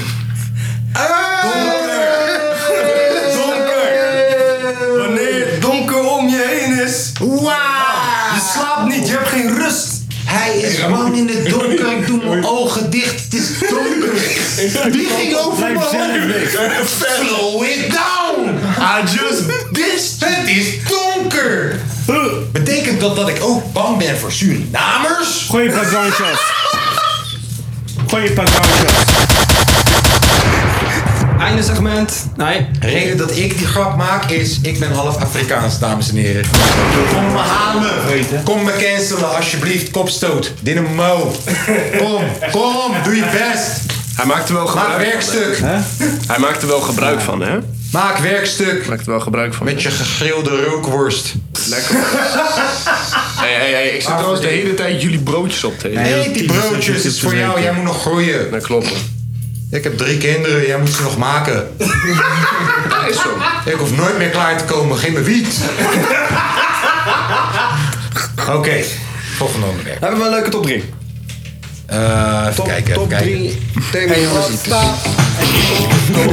[SPEAKER 7] Wanneer het donker om je heen is. Je slaapt niet, je hebt geen rust.
[SPEAKER 1] Hij is gewoon in het donker. Ik doe mijn ogen dicht. Het is donker. Die ging over mijn hoofd. Slow it down. I just this. Het is donker. Betekent dat dat ik ook bang ben voor Surinamers?
[SPEAKER 3] Gooi je paar groundjes. Gooi je paar groundjes.
[SPEAKER 1] Einde segment. Nee. Reden dat ik die grap maak is, ik ben half Afrikaans, dames en heren. Kom me halen. Kom me cancelen, alsjeblieft. Kopstoot. Dit een mouw. Kom, kom. Doe je best.
[SPEAKER 4] Hij maakt er wel gebruik
[SPEAKER 1] Maak
[SPEAKER 4] van,
[SPEAKER 1] werkstuk.
[SPEAKER 4] hè? Hij maakt er wel gebruik van, hè?
[SPEAKER 1] Maak werkstuk.
[SPEAKER 4] Maakt er wel gebruik van.
[SPEAKER 1] Met je gegrilde rookworst.
[SPEAKER 4] Lekker. hey, hey, hey, ik zit trouwens de hele tijd jullie broodjes op te eten.
[SPEAKER 1] Eet die broodjes, het is voor jou. Jij moet nog groeien.
[SPEAKER 4] Dat klopt.
[SPEAKER 1] Ik heb drie kinderen, jij moet ze nog maken.
[SPEAKER 4] Dat is zo.
[SPEAKER 1] Ik hoef nooit meer klaar te komen, geef me wiet. Oké, volgende onderwerp.
[SPEAKER 9] Hebben we een leuke top 3?
[SPEAKER 1] Eh, even kijken, even kijken.
[SPEAKER 9] Thema muziek.
[SPEAKER 1] Nee,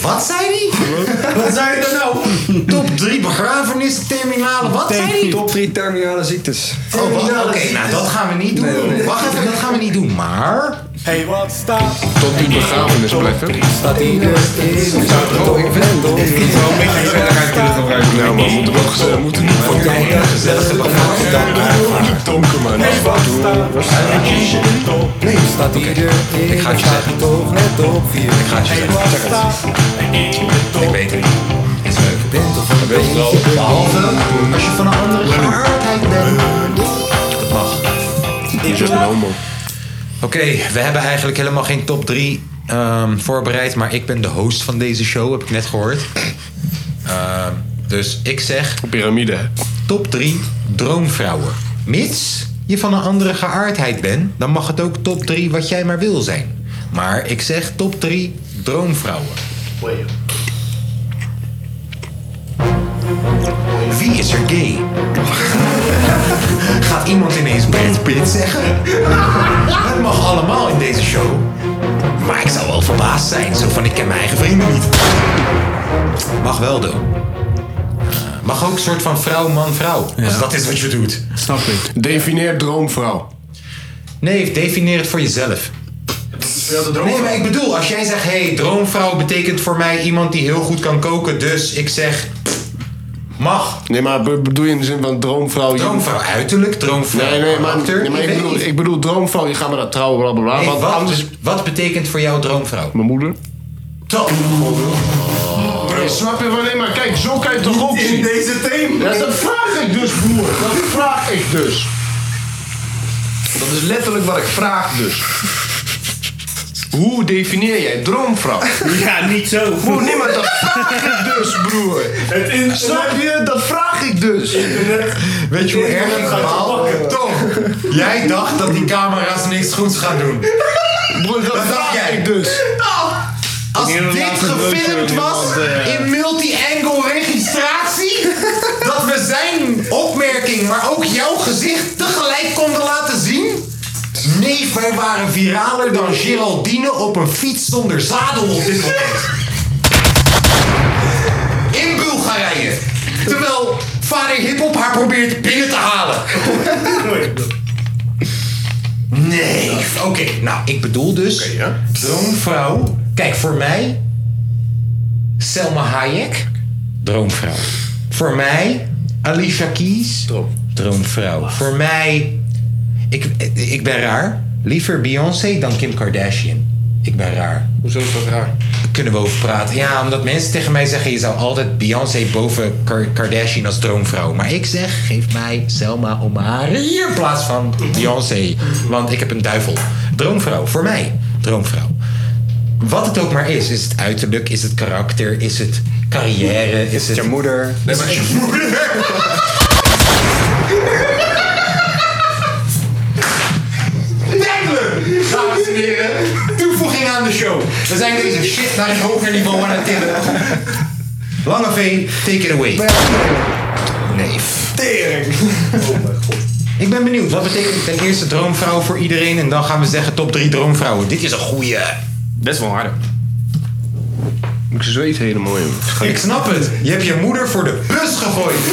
[SPEAKER 1] wat zei die? wat zei je dan nou? Top 3 begrafenis, terminale, wat zei die?
[SPEAKER 9] Top 3 terminale ziektes.
[SPEAKER 1] Oh, wat? Oké, nou dat gaan we niet doen.
[SPEAKER 9] Nee, nee, nee.
[SPEAKER 1] Wacht even, dat gaan we niet doen, maar...
[SPEAKER 3] Hey, wat staat?
[SPEAKER 4] Tot die begrafenisplekken.
[SPEAKER 1] eh, Oh, ik vind het wel een beetje gezellig uit kunnen gebruiken.
[SPEAKER 4] Nou, maar moeten we ook gezellig moeten niet voor
[SPEAKER 1] Een gezellige begrafenis.
[SPEAKER 4] donker, man.
[SPEAKER 9] Nee, staat hier.
[SPEAKER 1] Ik ga het je zeggen.
[SPEAKER 9] Toch net op 4.
[SPEAKER 1] Ik ga het je zeggen. Check het. Ik weet het niet. Het is leuk. Dat weet je wel. Behalve als je van een andere geaardheid bent. Dat mag.
[SPEAKER 4] Je bent een homo.
[SPEAKER 1] Oké, we hebben eigenlijk helemaal geen top 3 voorbereid. Maar ik ben de host van deze show, heb ik net gehoord. Ehm, dus ik zeg
[SPEAKER 4] Piramide, hè?
[SPEAKER 1] top 3 droomvrouwen. Mits je van een andere geaardheid bent, dan mag het ook top 3 wat jij maar wil zijn. Maar ik zeg top 3 droomvrouwen. Wie is er gay? Gaat iemand ineens Brad Pitt zeggen? Dat mag allemaal in deze show. Maar ik zou wel verbaasd zijn, zo van ik ken mijn eigen vrienden niet. Mag wel, though. Eh, Mag ook een soort van vrouw, man, vrouw. Als dat is wat je doet.
[SPEAKER 3] Snap ik.
[SPEAKER 4] Defineer droomvrouw.
[SPEAKER 1] Nee, defineer het voor jezelf. Nee, maar ik bedoel, als jij zegt, hey, droomvrouw betekent voor mij iemand die heel goed kan koken, dus ik zeg, pff, mag.
[SPEAKER 4] Nee, maar be- bedoel je in de zin van droomvrouw? je-
[SPEAKER 1] Droomvrouw uiterlijk, droomvrouw
[SPEAKER 4] Nee, nee, maar,
[SPEAKER 1] karakter,
[SPEAKER 4] nee, maar
[SPEAKER 1] ik
[SPEAKER 4] ik,
[SPEAKER 1] weet
[SPEAKER 4] bedoel,
[SPEAKER 1] niet.
[SPEAKER 4] ik bedoel droomvrouw, je gaat me naar trouwen, bla bla bla.
[SPEAKER 1] Hey,
[SPEAKER 4] want
[SPEAKER 1] wat,
[SPEAKER 4] anders...
[SPEAKER 1] wat betekent voor jou droomvrouw?
[SPEAKER 4] Mijn moeder.
[SPEAKER 1] Top.
[SPEAKER 10] Oh.
[SPEAKER 4] Snap je wat alleen maar? Kijk, zo kijk toch op.
[SPEAKER 7] In deze thema.
[SPEAKER 4] Ja, dat vraag ik dus, broer. Dat vraag ik dus. Dat is letterlijk wat ik vraag dus. Hoe definieer jij droomvrouw?
[SPEAKER 3] Ja, niet zo.
[SPEAKER 4] Broer, nee, maar dat vraag ik dus, broer.
[SPEAKER 7] Het internet-
[SPEAKER 4] Snap je? Dat vraag ik dus.
[SPEAKER 1] Weet je hoe erg het verhaal? Tom, jij dacht dat die camera's niks goeds gaan doen.
[SPEAKER 4] Broer, dat
[SPEAKER 1] Dat dacht
[SPEAKER 4] vraag
[SPEAKER 1] jij. Kijk dus. Als
[SPEAKER 10] Ik neem
[SPEAKER 1] dit
[SPEAKER 10] hem later leuk
[SPEAKER 1] gefilmd
[SPEAKER 10] voor
[SPEAKER 1] was
[SPEAKER 10] iemand, eh.
[SPEAKER 1] in multi-angle registratie, dat we zijn opmerking, maar ook jouw gezicht tegelijk konden laten zien. Nee, wij waren viraler dan Geraldine op een fiets zonder zadel op dit moment. In Bulgarije. Terwijl vader Hiphop haar probeert binnen te halen. Nee. Oké, nou, ik bedoel dus droomvrouw. Kijk, voor mij, Selma Hayek. Droomvrouw. Voor mij, Alicia Keys. Droomvrouw. Voor mij, ik, ik ben raar. Liever Beyoncé dan Kim Kardashian. Ik ben raar. Hoezo is dat raar? Daar kunnen we over praten. Ja, omdat mensen tegen mij zeggen... je zou altijd Beyoncé boven Kar- Kardashian als droomvrouw. Maar ik zeg, geef mij Selma Omari in plaats van Beyoncé. Want ik heb een duivel. Droomvrouw, voor mij. Droomvrouw. Wat het ook maar is. Is het uiterlijk? Is het karakter? Is het carrière? Is het je moeder? Is het je moeder?
[SPEAKER 10] Demmelen, dames en heren.
[SPEAKER 1] Toevoeging aan de show. We zijn deze shit naar een hoger niveau aan het tillen. Lange V, take it away. Nee. Tering. Oh mijn god. Ik ben benieuwd. Wat betekent ten eerste droomvrouw voor iedereen? En dan gaan we zeggen top 3 droomvrouwen. Dit is een goeie. Best wel harder.
[SPEAKER 4] Ik zweet helemaal in.
[SPEAKER 1] Ik snap het. Je hebt je moeder voor de bus gegooid.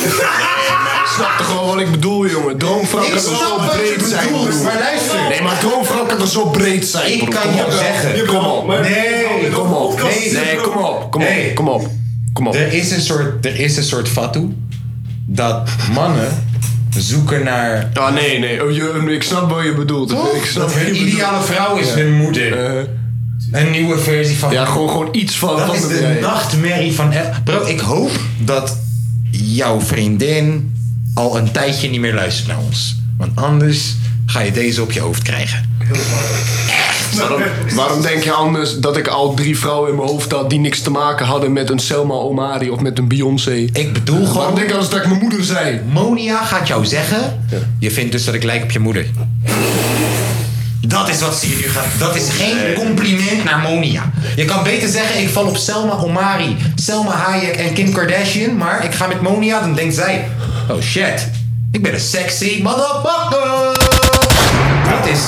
[SPEAKER 4] Ik snap gewoon wat ik bedoel, jongen. Droomvrouw
[SPEAKER 10] Ik
[SPEAKER 4] kan toch
[SPEAKER 10] snap
[SPEAKER 4] zo
[SPEAKER 10] wat je
[SPEAKER 4] breed zijn,
[SPEAKER 10] bedoelt,
[SPEAKER 4] broer.
[SPEAKER 10] maar luister.
[SPEAKER 4] Nee, maar droomvrouw kan toch zo breed zijn,
[SPEAKER 10] Ik
[SPEAKER 4] broer.
[SPEAKER 10] kan
[SPEAKER 4] Kom
[SPEAKER 10] je
[SPEAKER 4] op.
[SPEAKER 10] zeggen.
[SPEAKER 4] Kom op.
[SPEAKER 10] Maar-
[SPEAKER 4] Nee, kom op. Nee, nee, kom op. Kom op.
[SPEAKER 1] Nee.
[SPEAKER 4] Kom op. Kom op.
[SPEAKER 1] Er is een soort, er is een soort fatu dat mannen zoeken naar.
[SPEAKER 4] Ah, nee, nee. Oh, je, ik snap wat je bedoelt. Ik snap wat
[SPEAKER 1] dat
[SPEAKER 4] je
[SPEAKER 1] hun
[SPEAKER 4] bedoelt.
[SPEAKER 1] ideale vrouw is
[SPEAKER 4] Ja. Eh.
[SPEAKER 1] hun moeder. een nieuwe versie van.
[SPEAKER 4] Ja, gewoon, gewoon iets van.
[SPEAKER 1] Dat
[SPEAKER 4] wat
[SPEAKER 1] is
[SPEAKER 4] ben
[SPEAKER 1] de
[SPEAKER 4] jij?
[SPEAKER 1] nachtmerrie van. El- Bro, ik hoop dat jouw vriendin al een tijdje niet meer luistert naar ons. Want anders ga je deze op je hoofd krijgen.
[SPEAKER 4] Waarom, waarom denk je anders dat ik al drie vrouwen in mijn hoofd had die niks te maken hadden met een Selma Omari of met een Beyoncé?
[SPEAKER 1] Ik bedoel
[SPEAKER 4] Waarom
[SPEAKER 1] gewoon-
[SPEAKER 4] denk je anders dat ik mijn moeder zei?
[SPEAKER 1] Monia gaat jou zeggen. Je vindt dus dat ik lijk op je moeder. Dat is wat ze je nu gaat. Dat is geen compliment naar Monia. Je kan beter zeggen: ik val op Selma Omari, Selma Hayek en Kim Kardashian. Maar ik ga met Monia, dan denkt zij: oh shit, ik ben een sexy motherfucker. Dat is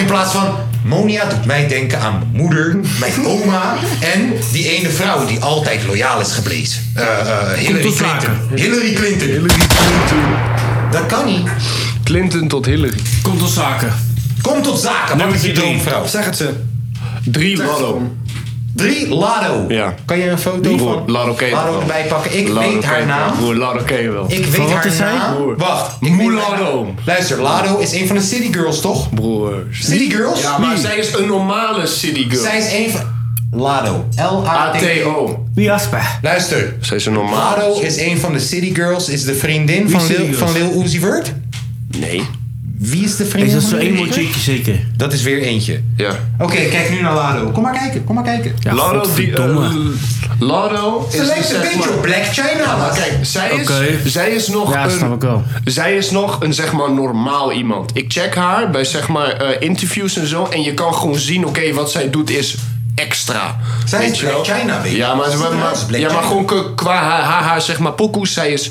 [SPEAKER 1] in plaats van. Monia doet mij denken aan mijn moeder, mijn oma en die ene vrouw die altijd loyaal is gebleven. Eh, eh, Hillary
[SPEAKER 4] tot
[SPEAKER 1] Clinton.
[SPEAKER 4] zaken.
[SPEAKER 1] Hillary Clinton.
[SPEAKER 4] Hillary Clinton.
[SPEAKER 1] Dat kan niet.
[SPEAKER 4] Clinton tot Hillary.
[SPEAKER 2] Komt tot zaken.
[SPEAKER 1] Komt tot zaken. Wat is je droomvrouw? Zeg het ze.
[SPEAKER 4] Drie Lado.
[SPEAKER 1] Drie Lado.
[SPEAKER 4] Ja.
[SPEAKER 1] Kan je een foto
[SPEAKER 4] Broer,
[SPEAKER 1] van
[SPEAKER 4] Lado Kay
[SPEAKER 1] Lado
[SPEAKER 4] wel.
[SPEAKER 1] erbij pakken? Ik
[SPEAKER 4] Lado
[SPEAKER 1] weet
[SPEAKER 4] Kay wel.
[SPEAKER 1] haar naam.
[SPEAKER 4] Broer, Lado Kay wel.
[SPEAKER 1] Ik weet haar naam.
[SPEAKER 4] Broer.
[SPEAKER 1] Wacht.
[SPEAKER 4] Mulado.
[SPEAKER 1] Luister, Lado is een van de City Girls, toch?
[SPEAKER 4] Broer.
[SPEAKER 1] City Girls?
[SPEAKER 4] Ja, maar
[SPEAKER 1] Wie?
[SPEAKER 4] zij is een normale city girl.
[SPEAKER 1] Zij is een van... Lado. L-A-T-O.
[SPEAKER 3] Jasper.
[SPEAKER 1] Luister.
[SPEAKER 4] Zij is een normale.
[SPEAKER 1] Lado is een van de City Girls, is de vriendin van
[SPEAKER 3] City
[SPEAKER 1] Lil,
[SPEAKER 3] Girls?
[SPEAKER 1] van Lil Uzi Vert.
[SPEAKER 4] Nee.
[SPEAKER 1] Wie is de
[SPEAKER 3] Is
[SPEAKER 1] vriendin
[SPEAKER 3] dat
[SPEAKER 1] van
[SPEAKER 3] zo
[SPEAKER 1] Lil Uzi
[SPEAKER 3] eenmaal
[SPEAKER 1] Vert?
[SPEAKER 3] chickje zeker?
[SPEAKER 1] Dat is weer eentje.
[SPEAKER 4] Ja.
[SPEAKER 1] Oké, kijk nu naar Lado. Kom maar kijken, kom maar kijken.
[SPEAKER 3] Ja,
[SPEAKER 4] Lado, die,
[SPEAKER 3] godverdomme.
[SPEAKER 4] eh, Lado is
[SPEAKER 1] Ze lijkt
[SPEAKER 4] zeg
[SPEAKER 1] een beetje
[SPEAKER 4] maar-
[SPEAKER 1] op Black China.
[SPEAKER 4] Ja,
[SPEAKER 1] man.
[SPEAKER 4] kijk, zij is,
[SPEAKER 3] Oké.
[SPEAKER 4] zij is nog
[SPEAKER 3] Ja,
[SPEAKER 4] een...
[SPEAKER 3] snap ik wel.
[SPEAKER 4] Zij is nog een zeg maar normaal iemand. Ik check haar bij zeg maar eh, interviews en zo. En je kan gewoon zien, oké, wat zij doet is extra.
[SPEAKER 1] Zij
[SPEAKER 4] Weet
[SPEAKER 1] is
[SPEAKER 4] je
[SPEAKER 1] Black
[SPEAKER 4] wel?
[SPEAKER 1] China, weet je.
[SPEAKER 4] Ja, maar, maar,
[SPEAKER 1] Ze ziet eruit
[SPEAKER 4] maar-
[SPEAKER 1] als Black
[SPEAKER 4] ja, maar
[SPEAKER 1] China.
[SPEAKER 4] gewoon ke- qua haar, haar, haar, zeg maar pokoes, zij is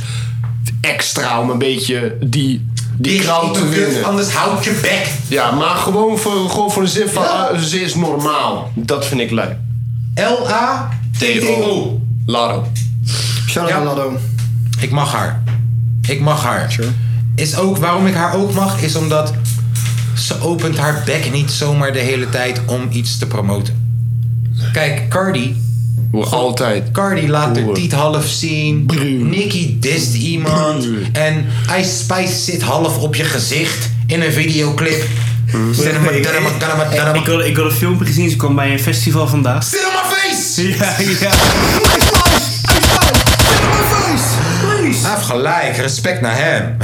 [SPEAKER 4] extra om een beetje die, die
[SPEAKER 1] Ik
[SPEAKER 4] crowd te
[SPEAKER 1] doe dit,
[SPEAKER 4] winnen.
[SPEAKER 1] Anders houd je bek.
[SPEAKER 4] Ja, maar gewoon voor, gewoon voor de zin van, ah, ze is normaal. Dat vind ik leuk.
[SPEAKER 1] L-A-T-T-O.
[SPEAKER 4] Laro.
[SPEAKER 3] Shout
[SPEAKER 1] Ja.
[SPEAKER 3] Lado.
[SPEAKER 1] Ik mag haar. Ik mag haar. Is ook, waarom ik haar ook mag, is omdat ze opent haar bek niet zomaar de hele tijd om iets te promoten. Kijk, Cardi.
[SPEAKER 4] Hoe altijd.
[SPEAKER 1] Cardi laat haar
[SPEAKER 4] Broer.
[SPEAKER 1] tiet half zien. Nicki dist iemand. En Ice Spice zit half op je gezicht in een videoclip. Zet hem maar,
[SPEAKER 3] Mm. Ik-
[SPEAKER 1] zet hem maar, zet hem maar, zet hem maar.
[SPEAKER 3] Ik had, ik had een filmpje gezien, ze kwam bij een festival vandaag.
[SPEAKER 1] Zit op mijn face!
[SPEAKER 3] Ja, ja.
[SPEAKER 1] Hij heeft gelijk, respect naar hem.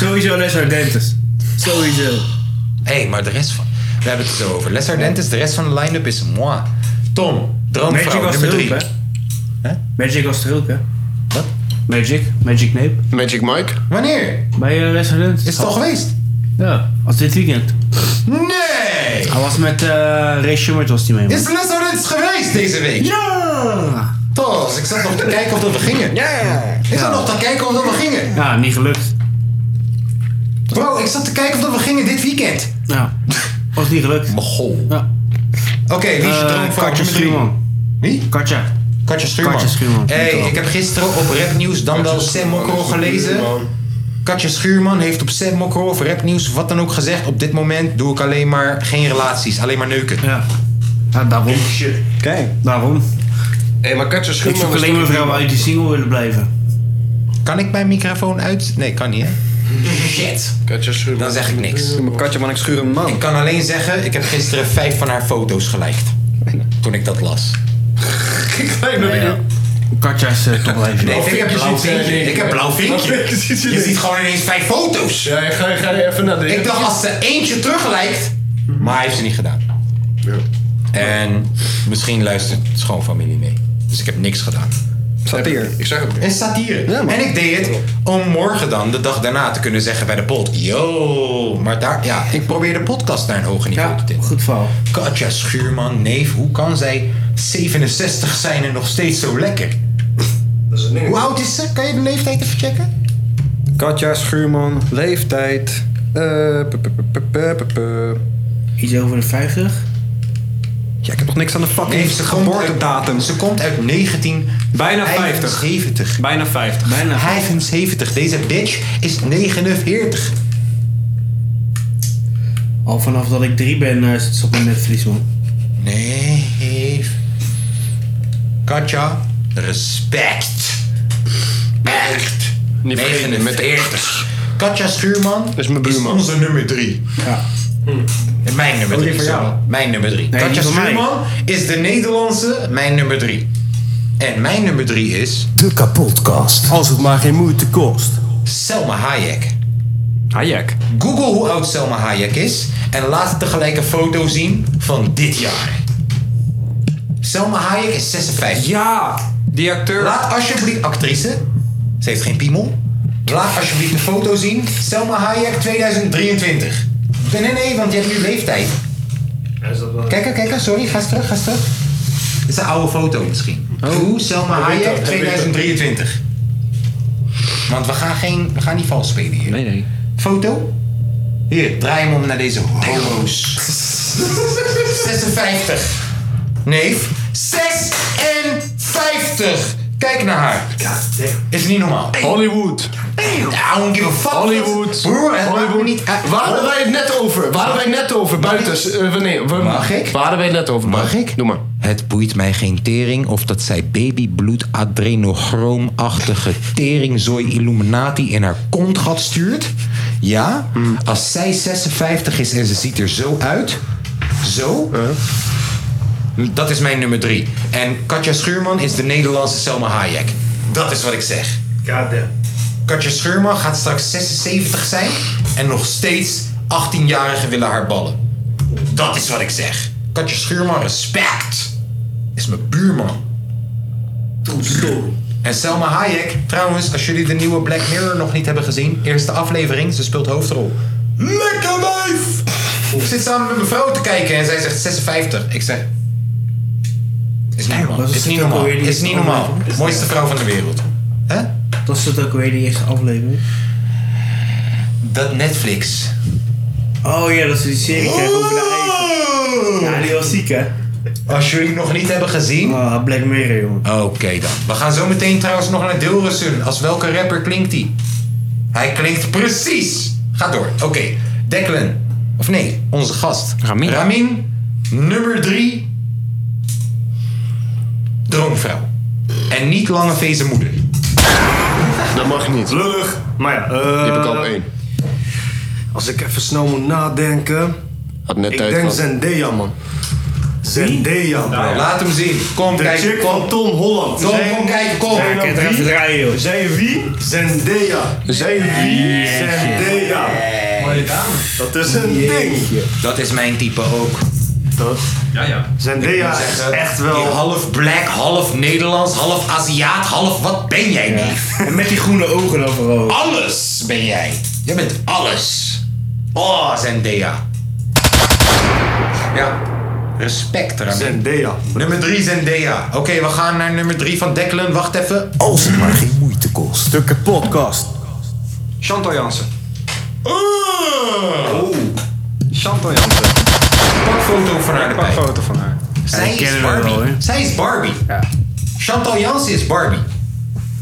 [SPEAKER 3] Sowieso Les Ardentes. Sowieso.
[SPEAKER 1] Hé, hey, maar de rest van... We hebben het er zo over. Les Ardentes, de rest van de line-up is moi. Tom,
[SPEAKER 3] Magic
[SPEAKER 1] droomvrouw,
[SPEAKER 3] was
[SPEAKER 1] nummer
[SPEAKER 3] de
[SPEAKER 1] drie.
[SPEAKER 3] hulp, hè? Magic was de hulp, hè?
[SPEAKER 1] Wat?
[SPEAKER 3] Magic, Magic Nape. eh,
[SPEAKER 4] Magic Mike?
[SPEAKER 1] Wanneer?
[SPEAKER 3] Bij uh, Les Ardentes.
[SPEAKER 1] Is het al geweest?
[SPEAKER 3] Ja, als dit weekend.
[SPEAKER 1] Nee! Hey.
[SPEAKER 3] Hij was met eh Ray Schummert was die mee. man.
[SPEAKER 1] Dit is de laatste wat het is geweest deze week.
[SPEAKER 3] Ja!
[SPEAKER 1] Tos, ik zat nog te kijken of dat we gingen. Ja. Ik zat nog te kijken of dat we gingen.
[SPEAKER 3] Ja, niet gelukt.
[SPEAKER 1] Bro, ik zat te kijken of dat we gingen dit weekend.
[SPEAKER 3] Ja. Was niet gelukt.
[SPEAKER 1] Mogol.
[SPEAKER 3] Ja. Eh,
[SPEAKER 1] Oké, wie is je droomvrouw
[SPEAKER 3] Katja
[SPEAKER 1] nummer drie?
[SPEAKER 3] Schuurman.
[SPEAKER 1] Wie?
[SPEAKER 3] Katja.
[SPEAKER 1] Katja Schuurman.
[SPEAKER 3] Katja Schuurman.
[SPEAKER 1] Hey, ik heb gisteren op rapnieuws dan wel Sam Mokro gelezen. Katja Schuurman heeft op Sam Mokro of rapnieuws of wat dan ook gezegd. Op dit moment doe ik alleen maar geen relaties, alleen maar neuken.
[SPEAKER 3] Ja. Ja, daarom.
[SPEAKER 9] Kijk.
[SPEAKER 3] Daarom.
[SPEAKER 1] Hé, maar Katja
[SPEAKER 3] Ik zoek alleen maar vrouwen uit die single willen blijven.
[SPEAKER 1] Kan ik mijn microfoon uit? Nee, kan niet hè? Shit.
[SPEAKER 4] Katja Schuurman.
[SPEAKER 1] Dan zeg ik niks.
[SPEAKER 9] Mijn katje, man, ik schuur een man.
[SPEAKER 1] Ik kan alleen zeggen, ik heb gisteren vijf van haar foto's geliked. Toen ik dat las.
[SPEAKER 3] Katja is eh, toch wel even.
[SPEAKER 1] Nee, ik heb blauw vinkje.
[SPEAKER 4] eh,
[SPEAKER 1] Ik heb blauw vinkje. Je ziet gewoon ineens vijf foto's.
[SPEAKER 4] Ja, ga, ga je even naar de...
[SPEAKER 1] Ik dacht als ze eentje teruglijkt. Maar hij heeft ze niet gedaan. En misschien luistert schoonfamilie mee. Dus ik heb niks gedaan.
[SPEAKER 9] Satire.
[SPEAKER 4] Ik zeg het.
[SPEAKER 1] En satire.
[SPEAKER 9] Ja, man.
[SPEAKER 1] en ik deed het om morgen dan, de dag daarna, te kunnen zeggen bij de pod. Yo, maar daar, ja, ik probeer de podcast naar een hoger niveau te tillen.
[SPEAKER 3] Goed verhaal.
[SPEAKER 1] Katja Schuurman, neef, hoe kan zij 67 zijn en nog steeds zo lekker? Hoe oud is ze? Kan je de leeftijd even checken?
[SPEAKER 9] Katja Schuurman, leeftijd. Eh, pu- pu- pu- pu- pu- pu- pu.
[SPEAKER 3] Iets over de 50?
[SPEAKER 9] Ja, ik heb nog niks aan de fucking geboortedatum.
[SPEAKER 1] Ze komt uit 19...
[SPEAKER 2] Bijna 50.
[SPEAKER 1] 70.
[SPEAKER 2] Bijna 50.
[SPEAKER 3] Bijna.
[SPEAKER 1] 75. Deze bitch is 49.
[SPEAKER 3] Al Oh, vanaf dat ik drie ben eh, zit ze op mijn netvlies, man.
[SPEAKER 1] Nee. Katja, respect. Echt.
[SPEAKER 4] Niet vergeten, met de
[SPEAKER 1] 49. Katja Schuurman
[SPEAKER 4] is mijn buurman.
[SPEAKER 1] onze nummer 3.
[SPEAKER 3] Ja.
[SPEAKER 1] Mijn nummer
[SPEAKER 9] die
[SPEAKER 1] 3.
[SPEAKER 9] voor jou.
[SPEAKER 1] Mijn nummer 3.
[SPEAKER 3] Nee,
[SPEAKER 1] Katja
[SPEAKER 3] die van mij.
[SPEAKER 1] Schuurman is de Nederlandse mijn nummer 3. En mijn nummer 3 is
[SPEAKER 12] De kapotkast.
[SPEAKER 3] Als het maar geen moeite kost.
[SPEAKER 1] Selma Hayek.
[SPEAKER 2] Hayek.
[SPEAKER 1] Google hoe oud Selma Hayek is en laat tegelijk een foto zien van dit jaar. Selma Hayek is 56.
[SPEAKER 2] Ja, die acteur.
[SPEAKER 1] Laat alsjeblieft, actrice, ze heeft geen piemel. Laat alsjeblieft de foto zien. Selma Hayek 2023. Nee, nee, nee, want je hebt nu leeftijd. Kijk, kijk, sorry, ga eens terug, ga eens terug. Dit is een oude foto misschien.
[SPEAKER 2] Oh.
[SPEAKER 1] Hoe Selma Hayek 2023. Want we gaan, geen, we gaan niet vals spelen hier.
[SPEAKER 2] Nee, nee.
[SPEAKER 1] Foto? Hier, draai hem om naar deze homo's. 56. Neef, 56. Kijk naar haar. Is niet normaal.
[SPEAKER 4] Hollywood.
[SPEAKER 1] I don't give a fuck.
[SPEAKER 4] Hollywood.
[SPEAKER 1] Broer, het maakt me
[SPEAKER 4] Hollywood.
[SPEAKER 1] niet uit.
[SPEAKER 4] Waar hadden wij het net over? Waar hadden wij het net over? Buitens. eh, wanneer? We-
[SPEAKER 1] Mag ik?
[SPEAKER 4] Waar hadden wij het net over?
[SPEAKER 1] Mag ik?
[SPEAKER 4] Doe maar.
[SPEAKER 1] Het boeit mij geen tering of dat zij babybloed adrenochroomachtige teringzooi Illuminati in haar kontgat stuurt. Ja,
[SPEAKER 4] Hm.
[SPEAKER 1] als zij 56 is en ze ziet er zo uit. Zo. Dat is mijn nummer drie. En Katja Schuurman is de Nederlandse Selma Hayek. Dat is wat ik zeg.
[SPEAKER 7] Goddamn.
[SPEAKER 1] Katja Schuurman gaat straks 76 zijn en nog steeds 18-jarigen willen haar ballen. Dat is wat ik zeg. Katja Schuurman, respect! Is mijn buurman. En Selma Hayek, trouwens, als jullie de nieuwe Black Mirror nog niet hebben gezien, eerste aflevering, ze speelt hoofdrol. Lekker wijf! Ik zit samen met mijn vrouw te kijken en zij zegt 56. Ik zeg. Is niet normaal.
[SPEAKER 3] dat is
[SPEAKER 1] Is niet
[SPEAKER 3] het ook
[SPEAKER 1] normaal.
[SPEAKER 3] alweer die
[SPEAKER 1] Is niet
[SPEAKER 3] eerste
[SPEAKER 1] normaal.
[SPEAKER 3] aflevering.
[SPEAKER 1] Mooiste vrouw van de wereld. Hè?
[SPEAKER 3] Dat is het ook weer, die eerste aflevering.
[SPEAKER 1] Dat Netflix.
[SPEAKER 3] Oh ja, dat ze die serie krijgen over de
[SPEAKER 1] Oh.
[SPEAKER 3] eigen. Ja, die was ziek, hè?
[SPEAKER 1] Als jullie nog niet hebben gezien.
[SPEAKER 3] Oh, Black Mirror, jongen.
[SPEAKER 1] Oké dan. We gaan zo meteen trouwens nog naar Dilrussen. Als welke rapper klinkt hij? Hij klinkt precies. Ga door. Oké. Declan. Of nee, onze gast.
[SPEAKER 2] Ramin.
[SPEAKER 1] Ramin, nummer drie. Droomvrouw. En niet lange vezen moeder.
[SPEAKER 4] Dat mag niet. Die
[SPEAKER 7] Lullig. Maar ja, eh,
[SPEAKER 4] heb ik al op één.
[SPEAKER 7] Als ik even snel moet nadenken.
[SPEAKER 4] Had net
[SPEAKER 7] Ik
[SPEAKER 4] tijd
[SPEAKER 7] denk
[SPEAKER 4] gehad.
[SPEAKER 7] Zendaya, man. Zendaya, man.
[SPEAKER 1] Nou, Laat hem zien. Kom
[SPEAKER 7] De
[SPEAKER 1] kijken.
[SPEAKER 7] chick
[SPEAKER 1] Kom,
[SPEAKER 7] van Tom Holland.
[SPEAKER 1] Tom,
[SPEAKER 7] Zij-
[SPEAKER 1] kom kijken. Kom.
[SPEAKER 7] Zij
[SPEAKER 3] Ik
[SPEAKER 7] nou
[SPEAKER 3] kan er even
[SPEAKER 7] wie?
[SPEAKER 3] draaien, joh.
[SPEAKER 7] Zij wie? Zendaya.
[SPEAKER 4] Dus-
[SPEAKER 7] Zij wie? Zendaya. Dat is een ding.
[SPEAKER 1] Dat is mijn type ook.
[SPEAKER 7] Zendaya is
[SPEAKER 1] Zeggen,
[SPEAKER 7] echt wel...
[SPEAKER 1] Half black, half Nederlands, half Aziat, half wat ben jij neef?
[SPEAKER 3] En met die groene ogen dan vooral.
[SPEAKER 1] Alles ben jij. Jij bent alles. Oh, Zendaya. Ja. Respect eraan.
[SPEAKER 7] Zendaya.
[SPEAKER 1] Nummer 3 Zendaya. Oké, we gaan naar nummer 3 van Declan. Wacht even. Oh, Als het maar geen moeite kost. Stukken podcast.
[SPEAKER 9] Chantal Jansen.
[SPEAKER 1] Oh.
[SPEAKER 9] Chantal Jansen.
[SPEAKER 1] Pak foto van haar erbij.
[SPEAKER 9] Pak foto van haar.
[SPEAKER 1] Zij is Barbie. Zij is Barbie. Chantal Jansen is Barbie.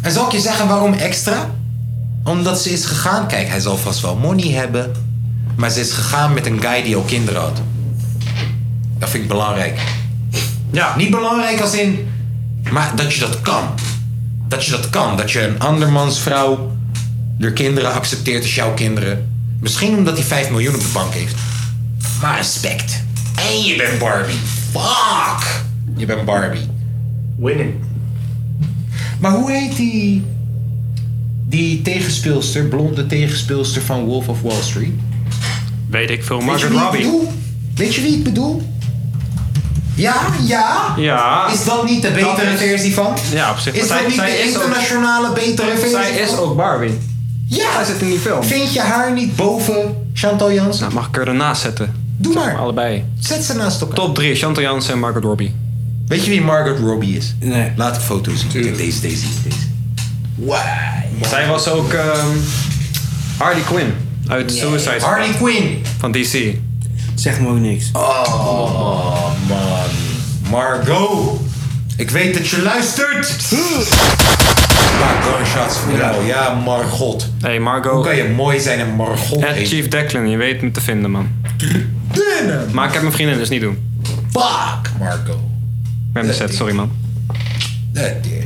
[SPEAKER 1] En zal ik je zeggen waarom extra? Omdat ze is gegaan. Kijk, hij zal vast wel money hebben. Maar ze is gegaan met een guy die al kinderen had. Dat vind ik belangrijk. Ja. Niet belangrijk als in. Maar dat je dat kan. Dat je dat kan. Dat je een andermans vrouw. door kinderen accepteert als jouw kinderen. Misschien omdat hij 5 miljoen op de bank heeft. Maar respect. En je bent Barbie. Fuck! Je bent Barbie.
[SPEAKER 7] Winning.
[SPEAKER 1] Maar hoe heet die. die tegenspeelster, blonde tegenspeelster van Wolf of Wall Street?
[SPEAKER 2] Weet ik veel,
[SPEAKER 1] Weet je
[SPEAKER 2] Margaret
[SPEAKER 1] wie ik
[SPEAKER 2] Robbie.
[SPEAKER 1] bedoel? Weet je wie ik bedoel? Ja, ja.
[SPEAKER 2] Ja.
[SPEAKER 1] Is dat niet de
[SPEAKER 2] Dat
[SPEAKER 1] betere
[SPEAKER 2] is-
[SPEAKER 1] versie van?
[SPEAKER 2] Ja, op zich.
[SPEAKER 1] Is dat
[SPEAKER 2] Zij-
[SPEAKER 1] niet
[SPEAKER 2] zij
[SPEAKER 1] de
[SPEAKER 2] is ook-
[SPEAKER 1] internationale betere versie?
[SPEAKER 2] Zij is ook Barbie.
[SPEAKER 1] Ja.
[SPEAKER 2] Zij zit in die film.
[SPEAKER 1] Vind je haar niet boven Chantal Jansen?
[SPEAKER 2] Nou, mag ik er ernaast zetten?
[SPEAKER 1] Doe maar.
[SPEAKER 2] Allebei.
[SPEAKER 1] Zet ze naast elkaar.
[SPEAKER 2] Top 3, Chantal Jansen en Margaret Robbie.
[SPEAKER 1] Weet je wie Margaret Robbie is? Nee. Laat ik foto's zien. Kijk, deze, deze, deze. Wow.
[SPEAKER 2] Zij was ook ehm, Harley Quinn uit Suicide Squad.
[SPEAKER 1] Harley Quinn.
[SPEAKER 2] Van DC.
[SPEAKER 3] Zeg me ook niks.
[SPEAKER 1] Oh man. Margot. Ik weet dat je luistert. Maar gunshots voor jou. Ja, Margot.
[SPEAKER 2] Hey Margot.
[SPEAKER 1] Hoe kan je mooi zijn en Margot
[SPEAKER 2] En
[SPEAKER 1] heet?
[SPEAKER 2] Chief Declan, je weet me te vinden, man. Maar ik heb mijn vriendin, dus niet doen.
[SPEAKER 1] Fuck, Margot.
[SPEAKER 2] Ik ben bezet, sorry man.
[SPEAKER 1] Dat ding.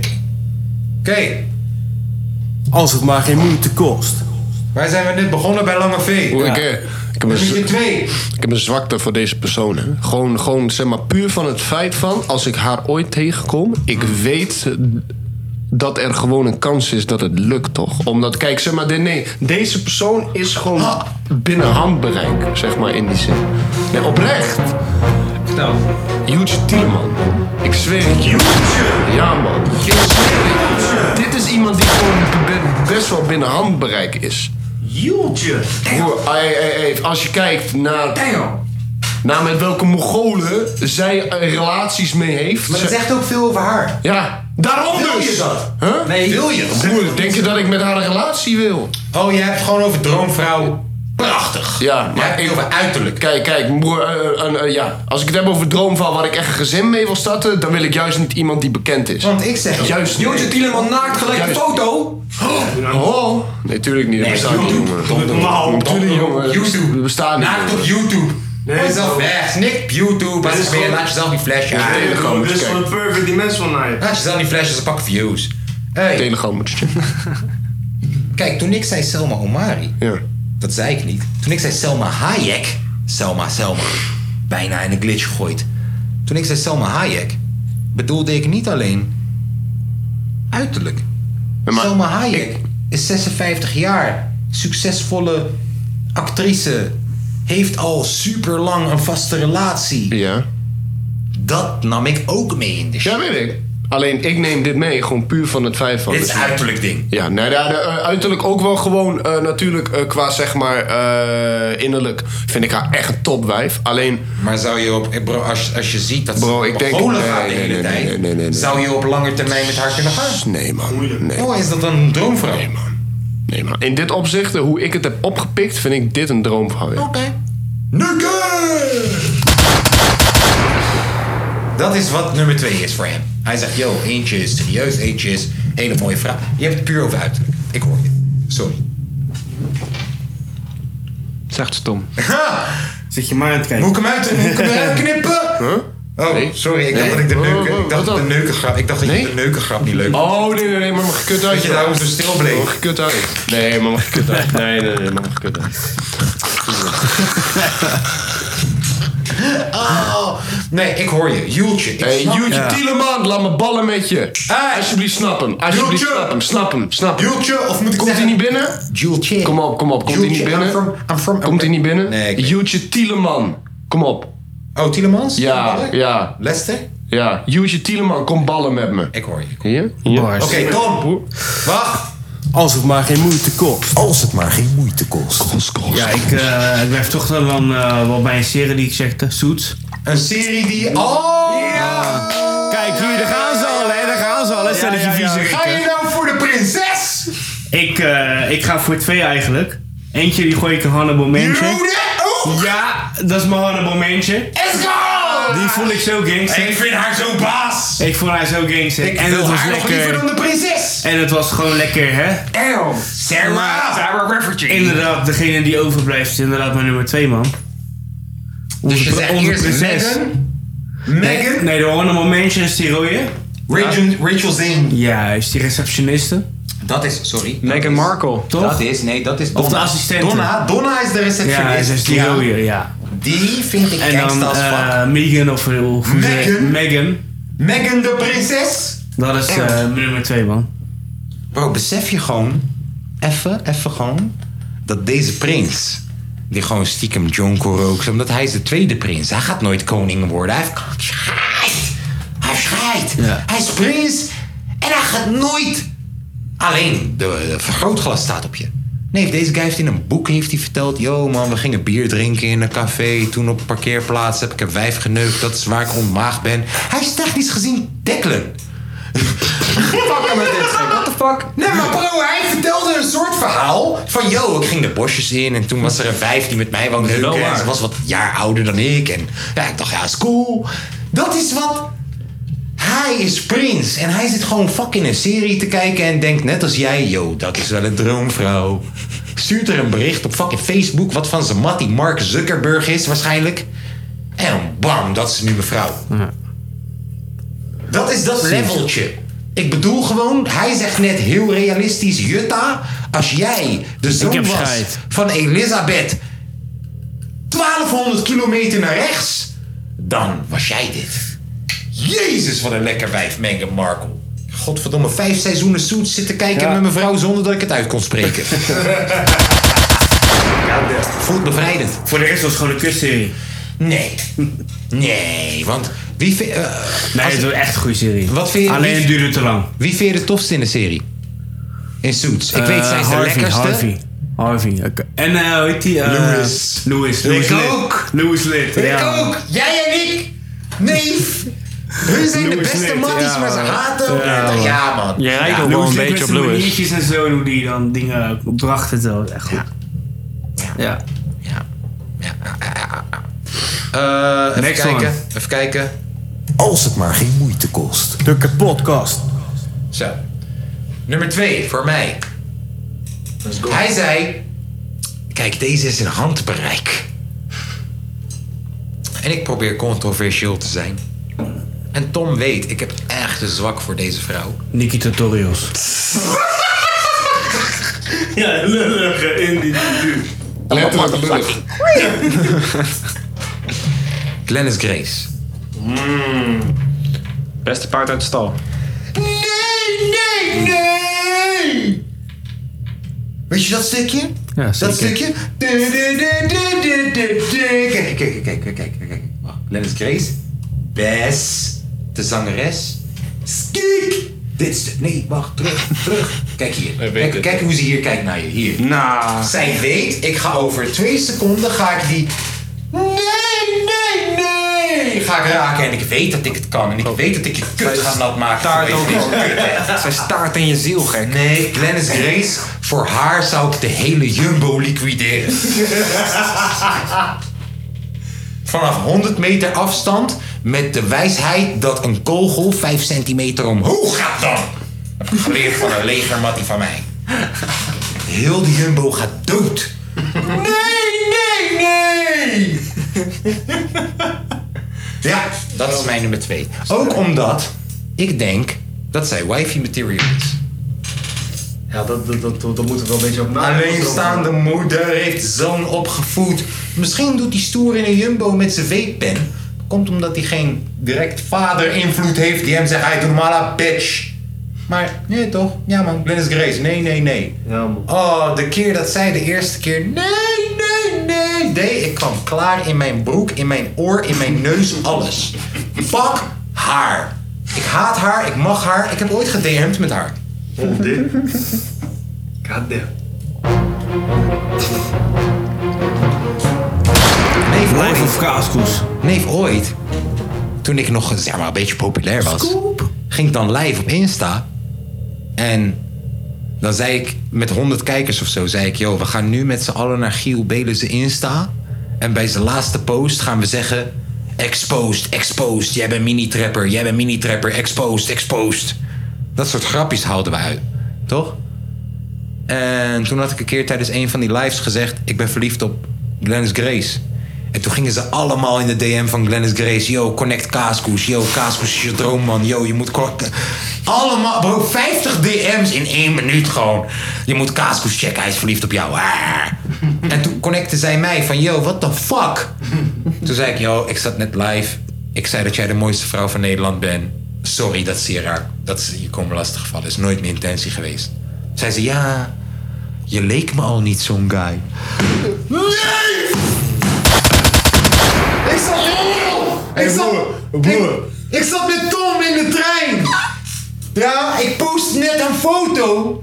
[SPEAKER 1] Oké.
[SPEAKER 3] Als het maar geen moeite kost.
[SPEAKER 1] Waar zijn we net begonnen bij Lange V?
[SPEAKER 4] Hoe Ik, eh, ik, heb een,
[SPEAKER 1] Nummer
[SPEAKER 4] z-
[SPEAKER 1] twee.
[SPEAKER 4] ik heb een zwakte voor deze persoon. Hè. Gewoon, gewoon zeg maar, puur van het feit van... als ik haar ooit tegenkom... ik weet eh, dat er gewoon een kans is dat het lukt, toch? Omdat, kijk, zeg maar... de- nee, deze persoon is gewoon binnen handbereik, zeg maar, in die zin. Nee, oprecht.
[SPEAKER 2] Nou.
[SPEAKER 4] Huge Tieleman. Ik zweer het je. Ja, man. Ik zweer het je. Dit is iemand die gewoon be- best wel binnen handbereik is.
[SPEAKER 7] Joeltje.
[SPEAKER 4] Broer, ey, ey, ey, als je kijkt naar, naar met welke Mongolen zij eh, relaties mee heeft.
[SPEAKER 1] Maar dat
[SPEAKER 4] zij-
[SPEAKER 1] zegt ook veel over haar.
[SPEAKER 4] Ja, daarom
[SPEAKER 1] Wil
[SPEAKER 4] dus.
[SPEAKER 1] je dat?
[SPEAKER 4] Huh?
[SPEAKER 1] Nee. Wil je dat?
[SPEAKER 4] Broer, denk je dat ik met haar een relatie wil?
[SPEAKER 1] Oh, je hebt het gewoon over droomvrouw. Prachtig.
[SPEAKER 4] Ja,
[SPEAKER 1] Je hebt
[SPEAKER 4] maar
[SPEAKER 1] het over uiterlijk.
[SPEAKER 4] Kijk, kijk, broer, eh, een, eh, ja. als ik het heb over droomval waar ik echt een gezin mee wil starten, dan wil ik juist niet iemand die bekend is.
[SPEAKER 1] Want ik zeg...
[SPEAKER 4] Juist
[SPEAKER 9] Jozef Tieleman naakt gelijk een
[SPEAKER 4] Juist.
[SPEAKER 9] foto.
[SPEAKER 4] Oh. Nee, tuurlijk niet. Dat bestaat niet,
[SPEAKER 1] YouTube.
[SPEAKER 4] jongen.
[SPEAKER 1] Doe het
[SPEAKER 7] normaal.
[SPEAKER 4] Natuurlijk, jongen.
[SPEAKER 1] YouTube.
[SPEAKER 4] Dat bestaat niet.
[SPEAKER 1] Naakt
[SPEAKER 4] jongen.
[SPEAKER 1] op YouTube. Nee,
[SPEAKER 7] Nee,
[SPEAKER 1] jezelf weg. Niks YouTube. Als
[SPEAKER 7] is
[SPEAKER 1] je weer-
[SPEAKER 7] gewoon-
[SPEAKER 1] Laat jezelf niet flashen.
[SPEAKER 4] Ja,
[SPEAKER 1] Ja.
[SPEAKER 4] Telegram moet
[SPEAKER 7] Dit
[SPEAKER 4] je
[SPEAKER 7] is van
[SPEAKER 4] kijken.
[SPEAKER 7] een perfect dimension naar je.
[SPEAKER 1] Laat jezelf niet flashen, ze pakken views. Hey,
[SPEAKER 4] Telegram moet je checken.
[SPEAKER 1] kijk, toen ik zei Selma Omari,
[SPEAKER 4] Ja.
[SPEAKER 1] dat zei ik niet. Toen ik zei Selma Hayek, Selma, Selma, bijna in een glitch gegooid. Toen ik zei Selma Hayek, bedoelde ik niet alleen uiterlijk.
[SPEAKER 4] Nee, maar
[SPEAKER 1] Selma Hayek is 56 jaar, succesvolle actrice, heeft al super lang een vaste relatie.
[SPEAKER 4] Ja.
[SPEAKER 1] Dat nam ik ook mee in de show.
[SPEAKER 4] Ja, weet ik. Alleen ik neem dit mee, gewoon puur van het feit van.
[SPEAKER 1] Dit is
[SPEAKER 4] dus-
[SPEAKER 1] een uiterlijk ding.
[SPEAKER 4] ja, nou ja, de, eh, uiterlijk ook wel gewoon eh, natuurlijk eh, qua zeg maar eh, innerlijk vind ik haar echt een topwijf. Alleen
[SPEAKER 1] Maar zou je op, eh, bro, als, als je ziet dat
[SPEAKER 4] Bro,
[SPEAKER 1] ze
[SPEAKER 4] ik denk-
[SPEAKER 1] Polen
[SPEAKER 4] nee,
[SPEAKER 1] gaat de
[SPEAKER 4] nee,
[SPEAKER 1] hele
[SPEAKER 4] nee,
[SPEAKER 1] tijd,
[SPEAKER 4] nee, nee, nee, nee.
[SPEAKER 1] zou je op lange termijn met haar kunnen gaan?
[SPEAKER 4] nee man, nee,
[SPEAKER 1] Oh, is dat een droomvrouw?
[SPEAKER 4] nee man, nee man. In dit opzicht, eh, hoe ik het heb opgepikt, vind ik dit een droomvrouw. ja.
[SPEAKER 1] Oké. Nukke! Dat is wat nummer twee is voor hem. Hij zegt, yo, eentje is serieus, eentje is hele mooie vrouw. Je hebt het puur over uiterlijk. Ik hoor je. Sorry.
[SPEAKER 2] Zegt stom.
[SPEAKER 1] Ha!
[SPEAKER 3] Zit je maar aan het kijken.
[SPEAKER 1] Moet ik hem uit moet ik hem eruit knippen? Oh,
[SPEAKER 4] Nee.
[SPEAKER 1] sorry. Ik dacht
[SPEAKER 4] Nee.
[SPEAKER 1] dat ik de
[SPEAKER 4] Oh,
[SPEAKER 1] neuken...
[SPEAKER 4] oh,
[SPEAKER 1] Ik dacht
[SPEAKER 4] wat
[SPEAKER 1] dat de
[SPEAKER 4] dan?
[SPEAKER 1] neukengrap... Ik dacht dat je
[SPEAKER 4] Nee?
[SPEAKER 1] de neukengrap niet leuk vond.
[SPEAKER 4] Oh nee, nee, nee, maar mag ik kut uit?
[SPEAKER 1] Dat je
[SPEAKER 4] joh.
[SPEAKER 1] daarom zo stil bleef.
[SPEAKER 4] Mag ik kut uit? Nee, maar mag ik kut uit? Nee, nee, nee, maar mag ik kut uit?
[SPEAKER 1] Oh. Nee, ik hoor je. Joeltje. Ik
[SPEAKER 4] Hey,
[SPEAKER 1] snap-
[SPEAKER 4] Jutje Tieleman, laat me ballen met je.
[SPEAKER 1] Hey.
[SPEAKER 4] Alsjeblieft, snap hem. Alsjeblieft,
[SPEAKER 1] Jutje.
[SPEAKER 4] snap hem, snap hem, snap hem.
[SPEAKER 1] Joeltje, of moet ik
[SPEAKER 4] Komt hij
[SPEAKER 1] zeggen-
[SPEAKER 4] niet binnen?
[SPEAKER 1] Joeltje.
[SPEAKER 4] Kom op, kom op, komt hij
[SPEAKER 1] Joeltje,
[SPEAKER 4] niet
[SPEAKER 1] I'm
[SPEAKER 4] binnen?
[SPEAKER 1] from- I'm from-
[SPEAKER 4] Komt hij niet binnen?
[SPEAKER 1] Nee, ik weet-
[SPEAKER 4] Jutje Tieleman, kom op.
[SPEAKER 1] Oh, Tielemans?
[SPEAKER 4] Ja, ja,
[SPEAKER 1] Lester?
[SPEAKER 4] ja. Jutje Tieleman, kom ballen met me.
[SPEAKER 1] Ik hoor je. Oké,
[SPEAKER 4] Hier? Hier?
[SPEAKER 3] Bars.
[SPEAKER 1] Tom. Wacht.
[SPEAKER 3] Als het maar geen moeite kost.
[SPEAKER 12] Als het maar geen moeite kost.
[SPEAKER 3] Ja, ik, eh, ik blijf toch wel, dan, eh, wel bij een serie die ik zeg, Suits.
[SPEAKER 1] Een serie die Oh! al... Ja!
[SPEAKER 3] Kijk hier, daar gaan ze al, hè. Daar gaan ze al, hè. Stelletje vieze
[SPEAKER 1] Ga je
[SPEAKER 3] rikken.
[SPEAKER 1] nou voor de prinses?
[SPEAKER 3] Ik, eh, ik ga voor twee eigenlijk. Eentje die gooi ik een Hannibal Mansion. Ja, dat is mijn Hannibal Mansion.
[SPEAKER 1] Let's go!
[SPEAKER 3] Die voel ik zo gangster.
[SPEAKER 1] Ik vind haar zo baas.
[SPEAKER 3] Ik vond haar zo gangster.
[SPEAKER 1] Ik
[SPEAKER 3] en
[SPEAKER 1] wil
[SPEAKER 3] het was
[SPEAKER 1] haar nog
[SPEAKER 3] lekker.
[SPEAKER 1] liever dan de prinses.
[SPEAKER 3] En het was gewoon lekker, hè?
[SPEAKER 4] Ehm,
[SPEAKER 1] Ew, Sarah! Sarah Rafferty.
[SPEAKER 3] Inderdaad, degene die overblijft is inderdaad mijn nummer 2, man. Onze,
[SPEAKER 1] Dus je
[SPEAKER 3] pr-
[SPEAKER 1] zegt
[SPEAKER 3] onze
[SPEAKER 1] eerst
[SPEAKER 3] prinses.
[SPEAKER 1] Meghan?
[SPEAKER 3] Nee,
[SPEAKER 1] Meghan?
[SPEAKER 3] nee, de Hannibal Mansion is die rode.
[SPEAKER 1] Rachel, Rachel Zane.
[SPEAKER 3] Juist, die receptioniste.
[SPEAKER 1] Dat is, sorry.
[SPEAKER 2] Meghan Markle.
[SPEAKER 3] Toch?
[SPEAKER 1] Dat is, nee, dat is
[SPEAKER 3] of de
[SPEAKER 1] Donna.
[SPEAKER 3] assistente.
[SPEAKER 1] Donna, Donna is de
[SPEAKER 3] Ja, ze is
[SPEAKER 1] receptionist.
[SPEAKER 3] die rode, ja.
[SPEAKER 1] Die vind ik
[SPEAKER 3] En dan
[SPEAKER 1] gangsta als fuck.
[SPEAKER 3] eh Megan of eh, hoe hoe ze-
[SPEAKER 1] Meghan?
[SPEAKER 3] Meghan.
[SPEAKER 1] Meghan de prinses.
[SPEAKER 3] Dat is eh, mijn nummer 2, man.
[SPEAKER 1] Bro, besef je gewoon, even, even gewoon, dat deze prins, die gewoon stiekem jonko rookt, omdat hij is de tweede prins. Hij gaat nooit koning worden. Hij heeft schijt. Hij heeft schijt.
[SPEAKER 3] Ja.
[SPEAKER 1] Hij is prins en hij gaat nooit. Alleen, de, de vergrootglas staat op je. Nee, deze guy heeft in een boek heeft hij verteld... Yo man, we gingen bier drinken in een café. Toen op een parkeerplaats heb ik een wijf geneukt. Dat is waar ik ontmaagd ben. Hij is technisch gezien Declan. Fuck hem met dit. gek. What the fuck? Nee, maar bro, hij vertelde een soort verhaal. Van, yo, ik ging de bosjes in en toen was er een vijf die met mij wou
[SPEAKER 2] wel
[SPEAKER 1] neuken. En
[SPEAKER 2] waar.
[SPEAKER 1] ze was wat jaar ouder dan ik. En ja, ik dacht, ja, is cool. Dat is wat... Hij is prins en hij zit gewoon fucking een serie te kijken en denkt net als jij... Yo, dat is wel een droomvrouw. Stuurt er een bericht op fucking Facebook wat van zijn mattie Mark Zuckerberg is waarschijnlijk. En bam, dat is nu mevrouw. Dat is dat leveltje. Ik bedoel gewoon, hij zegt net heel realistisch... Jutta, als jij de zoon
[SPEAKER 3] heb
[SPEAKER 1] was
[SPEAKER 3] scheid.
[SPEAKER 1] van Elisabeth... 1200 kilometer naar rechts, dan was jij dit. Jezus, wat een lekker wijf, Meghan Markle. Godverdomme, vijf seizoenen zoet zitten kijken met mijn vrouw zonder dat ik het uit kon spreken. Voelt bevrijdend.
[SPEAKER 3] Voor de rest was het gewoon een kutserie.
[SPEAKER 1] Nee. Nee, want wie, vi- eh,
[SPEAKER 3] Nee,
[SPEAKER 1] als-
[SPEAKER 3] het was echt een goede serie.
[SPEAKER 1] Wat vind je-
[SPEAKER 3] Alleen het duurde te lang.
[SPEAKER 1] wie vind je de tofste in de serie? In Suits. Ik weet,
[SPEAKER 3] Eh,
[SPEAKER 1] zij is de
[SPEAKER 3] Harvey,
[SPEAKER 1] lekkerste.
[SPEAKER 3] Harvey. Harvey, oké. En eh hoe heet die? eh,
[SPEAKER 1] Louis.
[SPEAKER 3] Louis.
[SPEAKER 1] Ik
[SPEAKER 3] Louis Lid.
[SPEAKER 1] ook.
[SPEAKER 3] Louis Lid.
[SPEAKER 1] Ik
[SPEAKER 3] ja.
[SPEAKER 1] ook. Jij en ik. Neef. Hun zijn de
[SPEAKER 3] Louis
[SPEAKER 1] beste
[SPEAKER 3] Lid,
[SPEAKER 1] matties,
[SPEAKER 3] ja,
[SPEAKER 1] maar ze
[SPEAKER 3] man.
[SPEAKER 1] haten
[SPEAKER 3] Ja,
[SPEAKER 1] elkaar.
[SPEAKER 3] man.
[SPEAKER 1] Ja, man.
[SPEAKER 2] Je rijdt
[SPEAKER 3] Ja,
[SPEAKER 2] ook wel
[SPEAKER 3] Louis
[SPEAKER 2] een
[SPEAKER 3] Lid
[SPEAKER 2] beetje op
[SPEAKER 3] met zijn
[SPEAKER 2] Louis.
[SPEAKER 3] maniertjes en zo, en hoe die dan dingen bracht het wel. Echt goed. Ja.
[SPEAKER 1] Ja. ja. Eh, even
[SPEAKER 3] Next
[SPEAKER 1] kijken.
[SPEAKER 3] one.
[SPEAKER 1] Even kijken.
[SPEAKER 12] Als het maar geen moeite kost.
[SPEAKER 3] De kapotkast.
[SPEAKER 1] Zo. Nummer twee, voor mij. Hij zei... Kijk, deze is in handbereik. En ik probeer controversieel te zijn. En Tom weet, ik heb echt een zwak voor deze vrouw.
[SPEAKER 3] Nicky Tutorials.
[SPEAKER 7] Ja, lullige individu.
[SPEAKER 4] Letterlijk lullig.
[SPEAKER 1] Glennis Grace.
[SPEAKER 2] Hmm. Beste paard uit de stal.
[SPEAKER 1] Nee, nee, nee! Weet je dat stukje?
[SPEAKER 3] Ja,
[SPEAKER 1] Dat
[SPEAKER 3] zeker.
[SPEAKER 1] stukje? Du- du- du- du- du- du- du- Kijk, kijk, kijk, kijk, kijk, kijk, kijk. Wacht, Lennis Grace. Bes. De zangeres. Skik! Dit is de... Nee, wacht, terug, terug. Kijk hier. Kijk, kijk hoe ze hier kijkt naar je. Hier.
[SPEAKER 2] Nou.
[SPEAKER 1] Zij weet, ik ga over twee seconden ga ik die. Nee, nee, nee! Ga ik raken en ik weet dat ik het kan. En ik weet dat ik je kut ga nat maken.
[SPEAKER 2] Daar
[SPEAKER 1] Ik weet
[SPEAKER 2] ook
[SPEAKER 1] dat
[SPEAKER 2] wel.
[SPEAKER 1] je kut hebt.
[SPEAKER 2] Zij staart in je ziel, gek.
[SPEAKER 1] Nee, Glennis Grace, voor haar zou ik de hele Jumbo liquideren. Vanaf 100 meter afstand met de wijsheid dat een kogel 5 centimeter omhoog gaat dan. Dat heb ik geleerd van een legermattie van mij. Heel die Jumbo gaat dood. Nee, nee, nee! Ja, dat is mijn nummer twee. Ook omdat ik denk dat zij wifey material is.
[SPEAKER 7] Ja, dat, dat, dat, dat moeten we wel een beetje op nadenken.
[SPEAKER 1] Alleenstaande moeder heeft zoon opgevoed. Misschien doet hij stoer in een jumbo met zijn weekpen. Komt omdat hij geen direct vader invloed heeft die hem zegt: hij doet mala bitch. Maar nee toch? Ja man, Glennis Grace. Nee, nee, nee.
[SPEAKER 7] Ja, man.
[SPEAKER 1] Oh, de keer dat zij de eerste keer nee, nee, nee deed. Ik kwam klaar in mijn broek, in mijn oor, in mijn neus, alles. Fuck haar. Ik haat haar, ik mag haar. Ik heb ooit gedm'd met haar.
[SPEAKER 7] Oh, dit. Goddamn.
[SPEAKER 1] Neef ooit. of kaaskoes? Neef ooit. Toen ik nog zeg maar, een beetje populair was. Ging ik dan live op Insta. En dan zei ik met 100 kijkers of zo. Zei ik, joh, we gaan nu met z'n allen naar Giel Belen zijn Insta. En bij zijn laatste post gaan we zeggen... Exposed, exposed. Jij bent mini-trapper, jij bent mini-trapper. Exposed, exposed. Dat soort grapjes haalden we uit. Toch? En toen had ik een keer tijdens een van die lives gezegd... ik ben verliefd op Glennis Grace. En toen gingen ze allemaal in de DM van Glennis Grace... yo, connect Kaaskoes, yo, Kaaskoes is je droomman, yo, je moet... cor- Allemaal, bro, 50 DM's in één minuut gewoon. Je moet Kaaskoes checken, hij is verliefd op jou. Ah. En toen connecten zij mij van, yo, what the fuck? Toen zei ik, yo, ik zat net live. Ik zei dat jij de mooiste vrouw van Nederland bent. Sorry, dat is zeer raar. Dat is je komen lastig gevallen. is nooit mijn intentie geweest. Zei ze, ja, je leek me al niet zo'n guy.
[SPEAKER 10] Nee! Ik zat... ik zat...
[SPEAKER 1] Ik zat met Tom in de trein. Ja, ik post net een foto.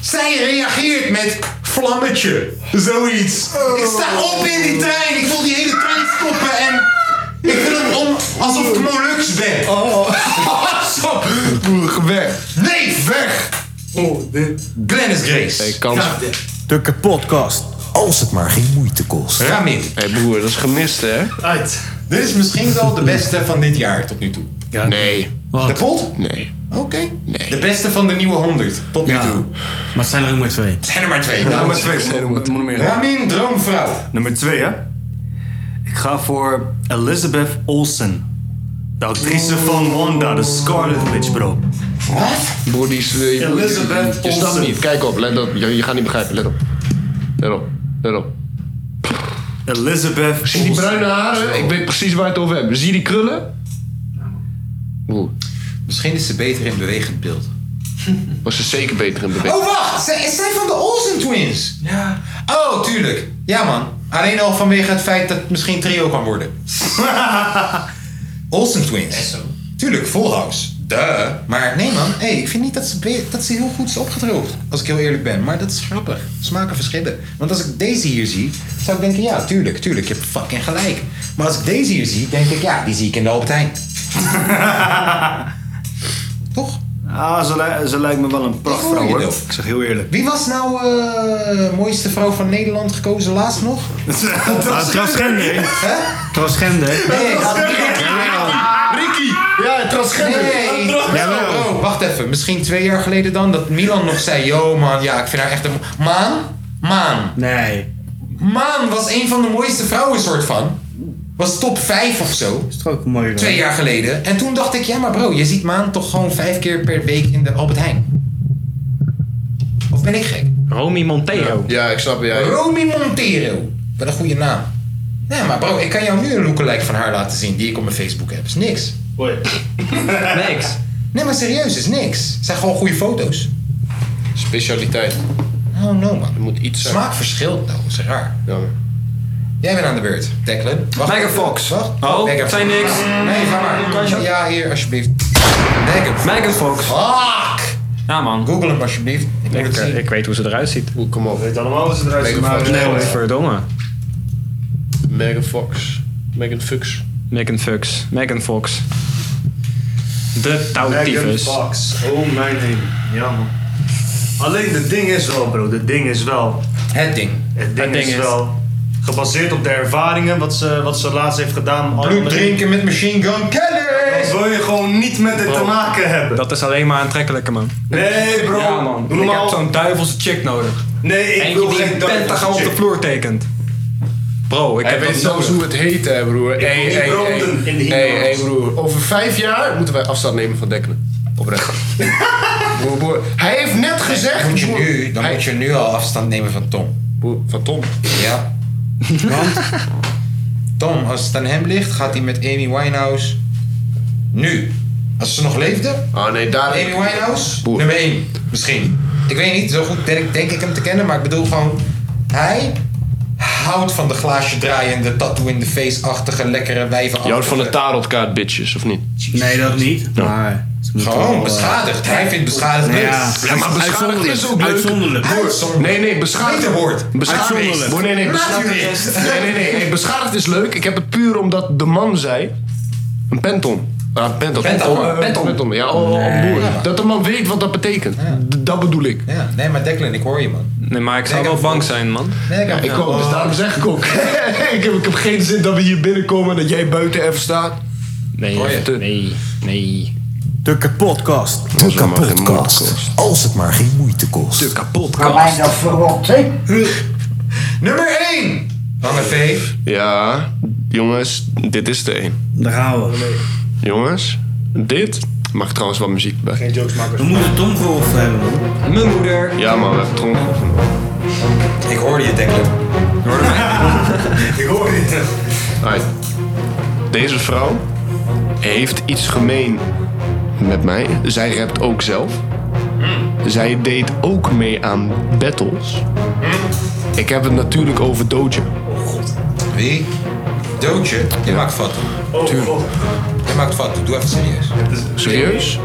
[SPEAKER 1] Zij reageert met vlammetje. Zoiets. Ik sta op in die trein. Ik wil die hele trein stoppen en... Ik wil hem om alsof ik Molux ben. Oh. Stop. Weg. Nee, weg. Oh, dit. Glennis Grace.
[SPEAKER 3] De kapotkast.
[SPEAKER 1] Als het maar geen moeite kost. Ramin.
[SPEAKER 4] Hé broer, dat is gemist hè?
[SPEAKER 1] Uit. Dit is misschien wel de beste van dit jaar tot nu toe.
[SPEAKER 4] Nee.
[SPEAKER 1] De pot?
[SPEAKER 4] Nee.
[SPEAKER 1] Oké. De beste van de nieuwe 100 tot nu toe.
[SPEAKER 3] Maar zijn er ook maar twee.
[SPEAKER 1] Zijn er maar twee.
[SPEAKER 3] Ja,
[SPEAKER 1] Nou,
[SPEAKER 3] maar twee.
[SPEAKER 1] zijn er maar
[SPEAKER 3] Moet er meer zijn.
[SPEAKER 1] Ramin, droomvrouw.
[SPEAKER 7] Nummer 2, hè? Ik ga voor Elizabeth Olsen. De actrice van Wanda, de Scarlet Witch, bro.
[SPEAKER 4] Wat? Broer, die is... eh, je-
[SPEAKER 7] Elizabeth
[SPEAKER 4] Je snapt
[SPEAKER 7] Olsen.
[SPEAKER 4] niet. Kijk op, let op. Je, je gaat niet begrijpen, let op. Let op. Let op.
[SPEAKER 7] Elizabeth
[SPEAKER 4] Zie die bruine haren? Ik weet precies waar je het over hebt. Zie je die krullen? Broer.
[SPEAKER 1] Misschien is ze beter in bewegend beeld.
[SPEAKER 4] Was ze zeker beter in bewegend
[SPEAKER 1] Oh, wacht. Zij, is zij van de Olsen Twins? Ja. Oh, tuurlijk. Ja, man. Alleen al vanwege het feit dat het misschien trio kan worden. Olsen Twins. Tuurlijk, Full House. Duh. Maar nee, man. Hey, ik vind niet dat ze, be- dat ze heel goed is opgedroogd. Als ik heel eerlijk ben. Maar dat is grappig. Smaken verschillen. Want als ik deze hier zie, zou ik denken... Ja, tuurlijk, tuurlijk. Je hebt fucking gelijk. Maar als ik deze hier zie, denk ik... Ja, die zie ik in de Albert Heijn.
[SPEAKER 7] Ah, ze, li- ze lijkt me wel een prachtvrouw, hoor. Ik zeg heel eerlijk.
[SPEAKER 1] Wie was nou eh mooiste vrouw van Nederland gekozen laatst nog?
[SPEAKER 7] Transgender.
[SPEAKER 3] Ah, Transgender.
[SPEAKER 1] Nee, dat is Ricky! Ja, transgender. Nee.
[SPEAKER 3] Jawel.
[SPEAKER 1] Oh, wacht even. Misschien twee jaar geleden dan dat Milan nog zei... Yo man, ja, ik vind haar echt een... mo- Maan? Maan.
[SPEAKER 3] Nee.
[SPEAKER 1] Maan was een van de mooiste vrouwen soort van. Was top 5 of zo. Is
[SPEAKER 3] toch ook mooi
[SPEAKER 1] Twee jaar geleden. En toen dacht ik, ja maar bro, je ziet Maan toch gewoon vijf keer per week in de Albert Heijn. Of ben ik gek?
[SPEAKER 2] Romy Montero.
[SPEAKER 4] Ja, ik snap jij.
[SPEAKER 1] Romy Montero. Wat een goede naam. Nee, maar bro, ik kan jou nu een lookalike van haar laten zien die ik op mijn Facebook heb. Is niks.
[SPEAKER 7] Hoi.
[SPEAKER 1] niks. Nee, maar serieus, is niks. Het zijn gewoon goede foto's.
[SPEAKER 4] Specialiteit.
[SPEAKER 1] Oh no, man.
[SPEAKER 4] Er moet iets eh, zijn.
[SPEAKER 1] Smaak verschilt nou, is raar.
[SPEAKER 4] Jammer.
[SPEAKER 1] Jij bent aan de beurt, Declan. Mega Fox. Wacht.
[SPEAKER 2] Oh,
[SPEAKER 1] Megan
[SPEAKER 2] zijn
[SPEAKER 1] Fox.
[SPEAKER 2] niks.
[SPEAKER 1] Nee, ga maar. Ja, hier, alsjeblieft. Megan Fox.
[SPEAKER 2] Megan Fox.
[SPEAKER 1] Fuck!
[SPEAKER 2] Ja, man.
[SPEAKER 1] Google hem alsjeblieft. Ik,
[SPEAKER 2] ik, weet hoe ze eruit ziet.
[SPEAKER 4] Kom op.
[SPEAKER 7] Weet allemaal hoe ze eruit ziet, maar-
[SPEAKER 2] Nee,
[SPEAKER 7] Nee,
[SPEAKER 2] hoor.
[SPEAKER 7] hoor.
[SPEAKER 2] Verdomme.
[SPEAKER 4] Megan Fox. Megan Fox.
[SPEAKER 2] Megan Fox. Megan Fox. De
[SPEAKER 7] Megan
[SPEAKER 2] touwtyfus.
[SPEAKER 7] Fox. Oh mijn hemel. Ja man. Alleen de ding is wel bro, de ding is wel.
[SPEAKER 1] Het ding.
[SPEAKER 7] Het ding,
[SPEAKER 2] ding
[SPEAKER 7] is,
[SPEAKER 2] is-
[SPEAKER 7] wel. Gebaseerd op de ervaringen wat ze, wat ze laatst heeft gedaan.
[SPEAKER 1] Bloed drinken met machine gun killers.
[SPEAKER 7] Dat wil je gewoon niet met dit te maken hebben.
[SPEAKER 2] Dat is alleen maar aantrekkelijker, man.
[SPEAKER 7] Nee bro.
[SPEAKER 2] Ja, man.
[SPEAKER 7] Doe
[SPEAKER 2] Ik
[SPEAKER 7] normaal.
[SPEAKER 2] heb zo'n duivelse chick nodig.
[SPEAKER 7] Nee, ik
[SPEAKER 2] Eentje
[SPEAKER 7] wil
[SPEAKER 2] die
[SPEAKER 7] geen
[SPEAKER 2] een
[SPEAKER 7] duivelse
[SPEAKER 2] pentagram op
[SPEAKER 7] chick.
[SPEAKER 2] de vloer tekent. Bro, ik
[SPEAKER 4] Hij
[SPEAKER 2] heb
[SPEAKER 4] weet
[SPEAKER 2] dat
[SPEAKER 4] zelfs
[SPEAKER 2] nodig.
[SPEAKER 4] hoe het heet, hè, broer. Hé,
[SPEAKER 7] wil niet
[SPEAKER 4] hé,
[SPEAKER 7] branden in de
[SPEAKER 4] hé. Hé, hé, broer. Over vijf jaar moeten wij afstand nemen van Dekkelen. Oprecht. broer, broer. Hij heeft net gezegd...
[SPEAKER 1] Moet je
[SPEAKER 4] broer,
[SPEAKER 1] nu, dan moet je nu al afstand nemen van Tom.
[SPEAKER 4] broer, van Tom.
[SPEAKER 1] Ja. Want Tom, als het aan hem ligt, gaat hij met Amy Winehouse nu. Als ze nog leefde,
[SPEAKER 4] Ah, nee, daar...
[SPEAKER 1] Amy Winehouse,
[SPEAKER 4] Boer.
[SPEAKER 1] nummer 1. Misschien. Ik weet niet, zo goed denk, denk ik hem te kennen, maar ik bedoel gewoon... Hij houdt van de glaasje draaiende, tattoo in de face-achtige, lekkere wijven.
[SPEAKER 4] Je houdt van de tarotkaart, bitches, of niet?
[SPEAKER 3] Nee, dat niet. Maar
[SPEAKER 1] Gewoon Oh, beschadigd. Hij vindt beschadigd leuk.
[SPEAKER 4] Ja, maar beschadigd is ook leuk. Nee, nee, beschadigd.
[SPEAKER 1] Beter woord.
[SPEAKER 4] Beschadigd.
[SPEAKER 1] Uitzonderlijk.
[SPEAKER 4] Nee, nee, nee, beschadigd.
[SPEAKER 1] Natuurist.
[SPEAKER 4] Nee, nee, nee, nee. Beschadigd is leuk. Ik heb het puur omdat de man zei. Een penton. Ja, penton.
[SPEAKER 1] Penton.
[SPEAKER 4] Oh, eh,
[SPEAKER 1] Penton.
[SPEAKER 4] penton. Ja, oh, oh,
[SPEAKER 1] Nee.
[SPEAKER 4] boer. Dat de man weet wat dat betekent. D- Dat bedoel ik.
[SPEAKER 1] Ja, nee, maar Declan, ik hoor je, man.
[SPEAKER 2] Nee, maar ik zou wel bang zijn, man.
[SPEAKER 1] Nee,
[SPEAKER 4] Ja, ik ook.
[SPEAKER 2] Ja.
[SPEAKER 4] Dus daarom zeg ik ook. ik, heb, ik heb geen zin dat we hier binnenkomen en dat jij buiten even staat.
[SPEAKER 2] Nee, nee, nee.
[SPEAKER 3] De kapotcast.
[SPEAKER 4] De kapotcast.
[SPEAKER 12] Als het maar geen moeite kost. De
[SPEAKER 13] Mijn dat verrot, hè?
[SPEAKER 1] Nummer 1! Lange V.
[SPEAKER 4] Ja, jongens, dit is de één.
[SPEAKER 3] Daar gaan we.
[SPEAKER 4] Jongens, dit mag trouwens wat muziek bij.
[SPEAKER 3] Geen jokes maken. We moeten domgeroffel hebben, man.
[SPEAKER 2] Mijn moeder.
[SPEAKER 4] Ja, maar we hebben tronk.
[SPEAKER 1] Ik hoorde je, Declan. Je hoorde mij? ik hoorde je.
[SPEAKER 4] Ai. Deze vrouw heeft iets gemeen met mij. Zij rapt ook zelf. Zij deed ook mee aan battles. Ik heb het natuurlijk over Doja.
[SPEAKER 1] Wie? Doodje? Je maakt foto.
[SPEAKER 7] Oh,
[SPEAKER 1] Tuurlijk. Je maakt foto. Doe even serieus.
[SPEAKER 4] Serieus?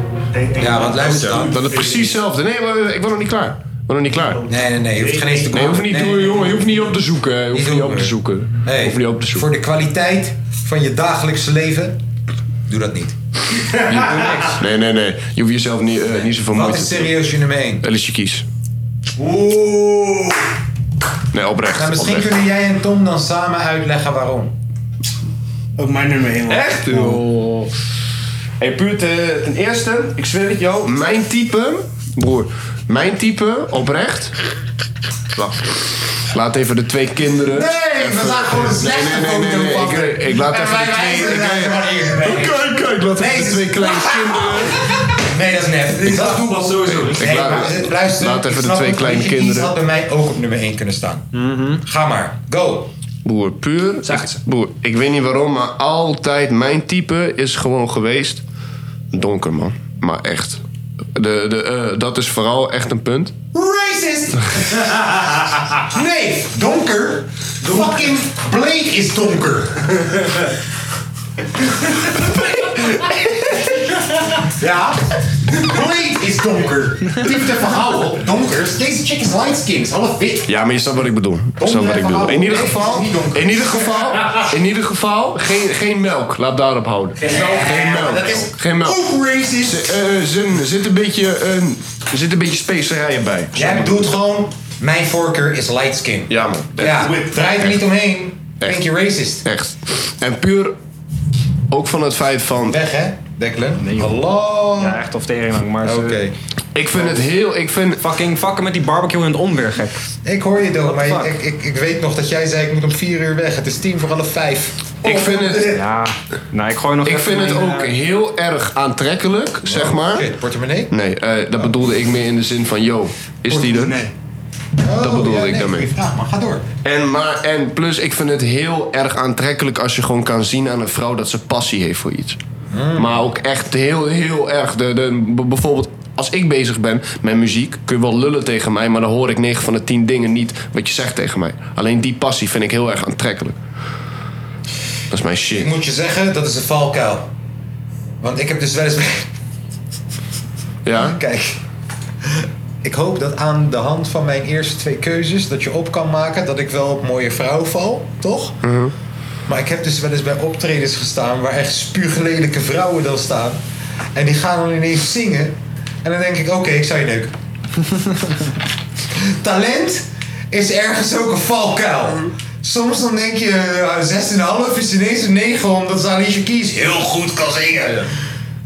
[SPEAKER 1] Ja, want luister dan.
[SPEAKER 4] Dat is precies hetzelfde. Nee, maar eh, ik ben nog niet klaar. Ik ben nog niet klaar.
[SPEAKER 1] Nee, nee, nee. Je hoeft geen eens te
[SPEAKER 4] Nee, hoef niet,
[SPEAKER 1] Nee,
[SPEAKER 4] doen, jongen, je hoeft niet op te zoeken. eh, Je hoeft niet op te zoeken.
[SPEAKER 1] Nee.
[SPEAKER 4] Hoef niet op te zoeken.
[SPEAKER 1] Voor de kwaliteit van je dagelijkse leven, doe dat niet.
[SPEAKER 4] Nee, nee, nee. Je hoeft jezelf niet, eh, niet zoveel
[SPEAKER 1] Wat
[SPEAKER 4] moeite
[SPEAKER 1] is
[SPEAKER 4] te doen.
[SPEAKER 1] serieus je nummer 1?
[SPEAKER 4] Alicia Keys.
[SPEAKER 1] Oeh.
[SPEAKER 4] Nee, oprecht.
[SPEAKER 1] Nou, misschien
[SPEAKER 4] oprecht.
[SPEAKER 1] kunnen jij en Tom dan samen uitleggen waarom.
[SPEAKER 3] Ook mijn nummer 1, man.
[SPEAKER 4] Echt? joh. Hey, puur te- ten eerste, ik zweer het jou, mijn type, broer, mijn type, oprecht. Wacht. Laat even de twee kinderen.
[SPEAKER 1] Nee, we laten gewoon een slechte
[SPEAKER 4] nee, nee, nee,
[SPEAKER 1] foto
[SPEAKER 4] nee,
[SPEAKER 1] pakken.
[SPEAKER 4] Ik, ik laat
[SPEAKER 1] En
[SPEAKER 4] even de
[SPEAKER 1] wij wijzen
[SPEAKER 4] twee. Ik,
[SPEAKER 1] er gewoon hier. Nee. dus-
[SPEAKER 4] kijk, kijk, laat even de twee kleine kinderen.
[SPEAKER 1] Nee, dat is nep. Dat is voetbal sowieso.
[SPEAKER 4] Ik
[SPEAKER 1] Nee,
[SPEAKER 4] laat-
[SPEAKER 1] maar luister.
[SPEAKER 4] laat
[SPEAKER 1] ik
[SPEAKER 4] even de
[SPEAKER 1] snap
[SPEAKER 4] twee
[SPEAKER 1] het,
[SPEAKER 4] kleine
[SPEAKER 1] Alicia Keys
[SPEAKER 4] kinderen. Mhm.
[SPEAKER 1] had bij mij ook op nummer 1 kunnen staan. Ga maar. Go.
[SPEAKER 4] Broer, puur.
[SPEAKER 1] Zegt
[SPEAKER 4] ik-
[SPEAKER 1] ze.
[SPEAKER 4] Broer, ik weet niet waarom, maar altijd mijn type is gewoon geweest. Donker, man. Maar echt. De, de, eh, dat is vooral echt een punt.
[SPEAKER 1] Racist! nee, donker. Fucking bleek is donker. ja, bleek is donker. Diep de verhaal op. Donkers, deze chick is light skins, half wit.
[SPEAKER 4] Ja, maar je snapt wat ik bedoel. Je snapt wat ik bedoel. In ieder geval, in ieder geval, in ieder geval, geen, geen melk. Laat daarop houden. Geen melk. Geen melk.
[SPEAKER 1] Dat is
[SPEAKER 4] Geen melk.
[SPEAKER 1] ook racist.
[SPEAKER 4] Z- eh, zin- Er zit een beetje, eh, er zit een beetje specerijen bij.
[SPEAKER 1] Jij bedoelt gewoon, mijn voorkeur is light skin.
[SPEAKER 4] Ja, man. Echt.
[SPEAKER 1] Ja, draai er niet omheen.
[SPEAKER 4] Echt.
[SPEAKER 1] Denk je racist.
[SPEAKER 4] Echt. En puur ook van het feit van...
[SPEAKER 1] Weg hè, Declan. Hallo.
[SPEAKER 2] Ja, echt of tegenhang, maar ze-
[SPEAKER 1] Oké.
[SPEAKER 4] Ik vind het heel, ik vind...
[SPEAKER 2] Fucking fucken met die barbecue in het onweer, gek.
[SPEAKER 1] Ik hoor je dood,
[SPEAKER 2] What the
[SPEAKER 1] maar ik,
[SPEAKER 2] fuck?
[SPEAKER 1] ik, ik weet nog dat jij zei ik moet om vier uur weg. Het is tien voor half vijf.
[SPEAKER 4] Ik vind
[SPEAKER 1] oh, eh.
[SPEAKER 4] het,
[SPEAKER 2] Ja, nou, ik gooi nog
[SPEAKER 4] ik
[SPEAKER 2] even
[SPEAKER 4] vind het
[SPEAKER 2] mijn,
[SPEAKER 4] ook
[SPEAKER 2] eh,
[SPEAKER 4] heel erg aantrekkelijk, zeg maar.
[SPEAKER 1] Oh, Shit, portemonnee? Oh.
[SPEAKER 4] Nee, eh, dat bedoelde ik meer in de zin van, yo, is die er?
[SPEAKER 1] dat
[SPEAKER 4] bedoelde ik daarmee.
[SPEAKER 1] Vraag maar, ga door.
[SPEAKER 4] En, maar, en plus, ik vind het heel erg aantrekkelijk als je gewoon kan zien aan een vrouw dat ze passie heeft voor iets. Maar ook echt heel, heel erg. De, de, b- bijvoorbeeld, als ik bezig ben met muziek, kun je wel lullen tegen mij, maar dan hoor ik 9 van de 10 dingen niet wat je zegt tegen mij. Alleen die passie vind ik heel erg aantrekkelijk. Dat is mijn shit.
[SPEAKER 1] Ik moet je zeggen, dat is een valkuil. Want ik heb dus wel eens...
[SPEAKER 4] Ja?
[SPEAKER 1] Kijk. Ik hoop dat aan de hand van mijn eerste twee keuzes... dat je op kan maken dat ik wel op mooie vrouw val, toch?
[SPEAKER 4] Mhm.
[SPEAKER 1] Maar ik heb dus wel eens bij optredens gestaan... waar echt spuuglelijke vrouwen dan staan. En die gaan dan ineens zingen. En dan denk ik, oké, ik zou je neuken. Talent is ergens ook een valkuil. Soms dan denk je, eh, 6,5 is ineens een 9... omdat ze Alicia Keys heel goed kan zingen.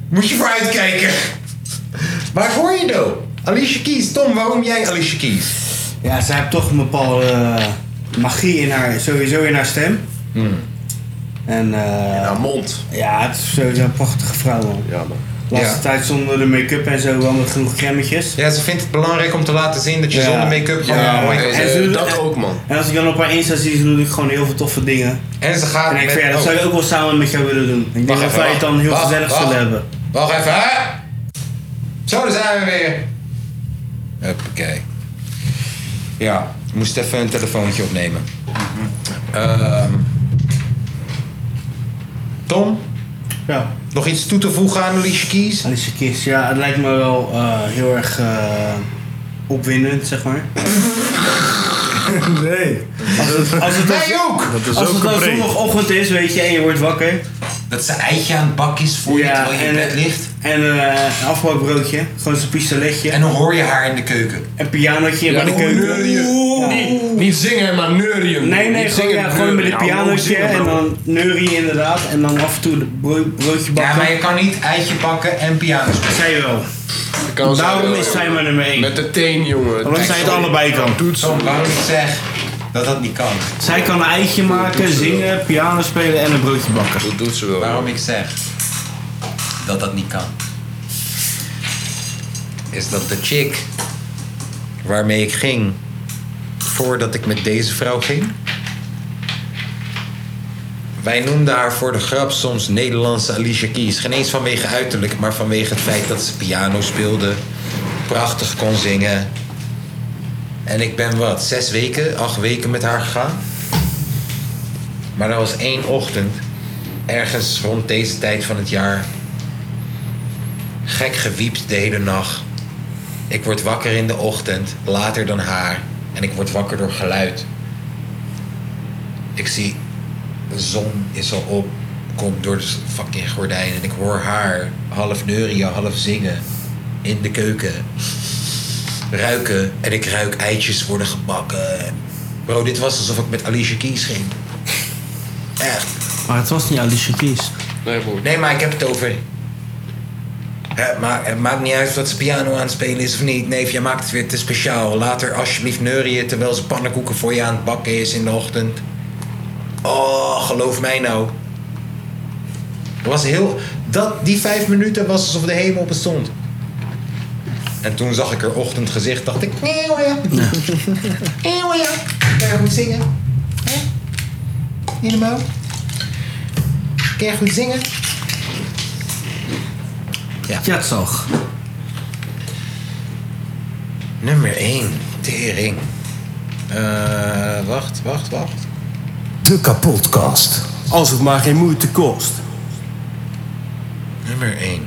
[SPEAKER 1] Moet je voor uitkijken. Waar hoor je nou? Alicia Keys. Tom, waarom jij Alicia Keys?
[SPEAKER 3] Ja, zij heeft toch een bepaalde eh, magie in haar, sowieso in haar stem. En eh,
[SPEAKER 4] Nou, mond.
[SPEAKER 3] ja, het is sowieso een prachtige vrouw, man.
[SPEAKER 4] Ja, man.
[SPEAKER 3] Laatste
[SPEAKER 1] Ja.
[SPEAKER 3] tijd zonder de make-up en zo, wel met genoeg cremmetjes.
[SPEAKER 1] Ja, ze vindt het belangrijk om te laten zien dat je
[SPEAKER 3] Ja.
[SPEAKER 1] zonder make-up gewoon...
[SPEAKER 3] Ja,
[SPEAKER 1] mooi
[SPEAKER 3] nee,
[SPEAKER 1] kan
[SPEAKER 3] En
[SPEAKER 1] zijn.
[SPEAKER 3] ze-
[SPEAKER 4] Eh, dat ook, man.
[SPEAKER 3] En als ik dan op haar Insta zie, ze doet ik gewoon heel veel toffe dingen.
[SPEAKER 1] En ze gaat
[SPEAKER 3] En ik
[SPEAKER 1] met-
[SPEAKER 3] vind, ja, dat
[SPEAKER 1] oh,
[SPEAKER 3] zou ik ook wel samen met jou willen doen. Ik denk
[SPEAKER 1] wacht
[SPEAKER 3] dat
[SPEAKER 1] even,
[SPEAKER 3] wij het dan heel
[SPEAKER 1] wacht,
[SPEAKER 3] gezellig
[SPEAKER 1] wacht,
[SPEAKER 3] zullen hebben.
[SPEAKER 1] Wacht even, hè? Zo, daar zijn we weer. Huppakee. Ja, ik moest even een telefoontje opnemen. Ehm Tom,
[SPEAKER 3] Ja.
[SPEAKER 1] Nog iets toe te voegen aan Alicia Keys?
[SPEAKER 3] Alicia Keys, ja, het lijkt me wel eh, heel erg eh, opwindend, zeg maar.
[SPEAKER 7] Nee.
[SPEAKER 3] Als het
[SPEAKER 1] Wij ook!
[SPEAKER 3] Dat als het dan zondagochtend is, weet je, en je wordt wakker. Dat zijn eitje aan het bak is voor je terwijl je in bed ligt. En eh, een afbakbroodje, gewoon zo'n pistoletje. En dan hoor je haar in de keuken. Een pianotje bij de keuken.
[SPEAKER 4] Niet, niet zingen, maar neurien.
[SPEAKER 3] Nee, nee,
[SPEAKER 4] Niet
[SPEAKER 3] gewoon,
[SPEAKER 4] zingen,
[SPEAKER 3] ja, gewoon met
[SPEAKER 4] neurien. Nou,
[SPEAKER 3] een
[SPEAKER 4] Ja, hoe
[SPEAKER 3] pianotje
[SPEAKER 4] zingen,
[SPEAKER 3] en
[SPEAKER 4] bro?
[SPEAKER 3] dan neurie inderdaad. En dan af en toe het brood- broodje bakken.
[SPEAKER 1] Ja, maar je kan niet eitje bakken en piano spelen.
[SPEAKER 3] Zij wel.
[SPEAKER 4] Kan ze
[SPEAKER 3] Daarom
[SPEAKER 4] wel,
[SPEAKER 3] is
[SPEAKER 4] joh.
[SPEAKER 3] zij maar nummer 1.
[SPEAKER 4] Met de teen, jongen.
[SPEAKER 3] Omdat zij het allebei kan.
[SPEAKER 4] Doet zo
[SPEAKER 1] lang zeg dat dat niet kan.
[SPEAKER 3] Zij kan een eitje
[SPEAKER 1] Doet
[SPEAKER 3] maken,
[SPEAKER 1] ze wel.
[SPEAKER 3] zingen, piano spelen en een broodje bakken.
[SPEAKER 4] Dat doet ze wel.
[SPEAKER 1] Waarom ik zeg dat dat niet kan, is dat de chick waarmee ik ging voordat ik met deze vrouw ging. Wij noemden haar voor de grap soms Nederlandse Alicia Keys. Geen eens vanwege uiterlijk, maar vanwege het feit dat ze piano speelde, prachtig kon zingen. En ik ben wat, zes weken, acht weken met haar gegaan. Maar er was één ochtend ergens rond deze tijd van het jaar. Gek gewiept de hele nacht. Ik word wakker in de ochtend, later dan haar. En ik word wakker door geluid. Ik zie, de zon is al op. Komt door de fucking gordijn. En ik hoor haar half neurien, half zingen. In de keuken. Ruiken. En ik ruik eitjes worden gebakken. Bro, dit was alsof ik met Alicia Keys ging. Echt.
[SPEAKER 3] Maar het was niet Alicia Keys.
[SPEAKER 4] Nee, broer.
[SPEAKER 1] Nee, maar ik heb het over. Het, ma- het maakt niet uit wat ze piano aan het spelen is of niet. Nee, jij maakt het weer te speciaal. Later alsjeblieft neurieën terwijl ze pannenkoeken voor je aan het bakken is in de ochtend. Oh, geloof mij nou. Het was heel... Dat, die vijf minuten was alsof de hemel bestond. En toen zag ik haar ochtendgezicht, dacht ik... Eeuw ja. Eeuw ja. Kan je goed zingen? Hè? Niet normaal? Kan je goed zingen? Ja.
[SPEAKER 3] Jatzog.
[SPEAKER 1] Nummer 1, tering. Eh, wacht, wacht, wacht.
[SPEAKER 3] De kapotkast. Als het maar geen moeite kost.
[SPEAKER 1] Nummer 1.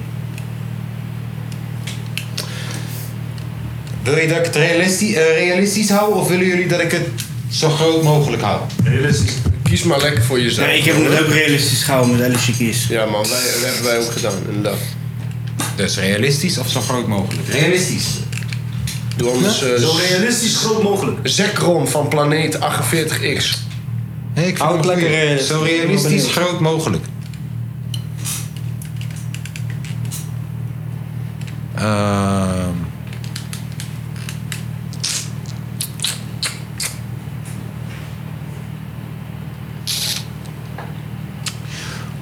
[SPEAKER 1] Wil je dat ik het realistisch, realistisch hou of willen jullie dat ik het zo groot mogelijk hou?
[SPEAKER 4] Realistisch. Kies maar lekker voor jezelf.
[SPEAKER 1] Nee, ik heb het ook
[SPEAKER 3] realistisch gehouden met Alicia Keys.
[SPEAKER 4] Ja, man, wij, dat hebben wij ook gedaan, inderdaad.
[SPEAKER 1] Dus realistisch of zo groot mogelijk? eh, Realistisch.
[SPEAKER 4] Doe anders...
[SPEAKER 1] Ja, zo realistisch
[SPEAKER 4] groot mogelijk. Zekrom eh, van planeet 48X.
[SPEAKER 1] Hey, ik Houd lekker eh, Zo realistisch groot mogelijk. Ehm.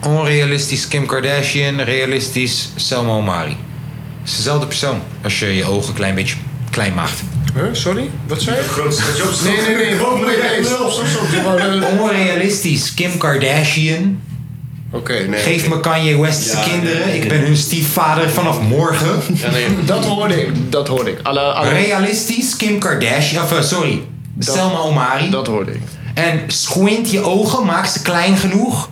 [SPEAKER 1] Onrealistisch Kim Kardashian, realistisch Selma Omari. Het is dezelfde persoon als je je ogen een klein beetje klein maakt.
[SPEAKER 4] Huh, sorry? Wat zei je?
[SPEAKER 1] Nee,
[SPEAKER 4] Nee, nee, nee. Wat moet je eens?
[SPEAKER 1] Onrealistisch Kim Kardashian.
[SPEAKER 4] Oké, nee.
[SPEAKER 1] Geef me Kanye West zijn
[SPEAKER 4] Ja,
[SPEAKER 1] kinderen.
[SPEAKER 4] nee, nee.
[SPEAKER 1] Ik ben hun stiefvader vanaf morgen.
[SPEAKER 4] Ja, nee, dat hoorde ik. Dat hoorde ik. Alle, alle...
[SPEAKER 1] Realistisch Kim Kardashian. Of, eh, sorry,
[SPEAKER 4] Dat-
[SPEAKER 1] Selma Omari.
[SPEAKER 4] Dat hoorde ik.
[SPEAKER 1] En squint je ogen, maak ze klein genoeg.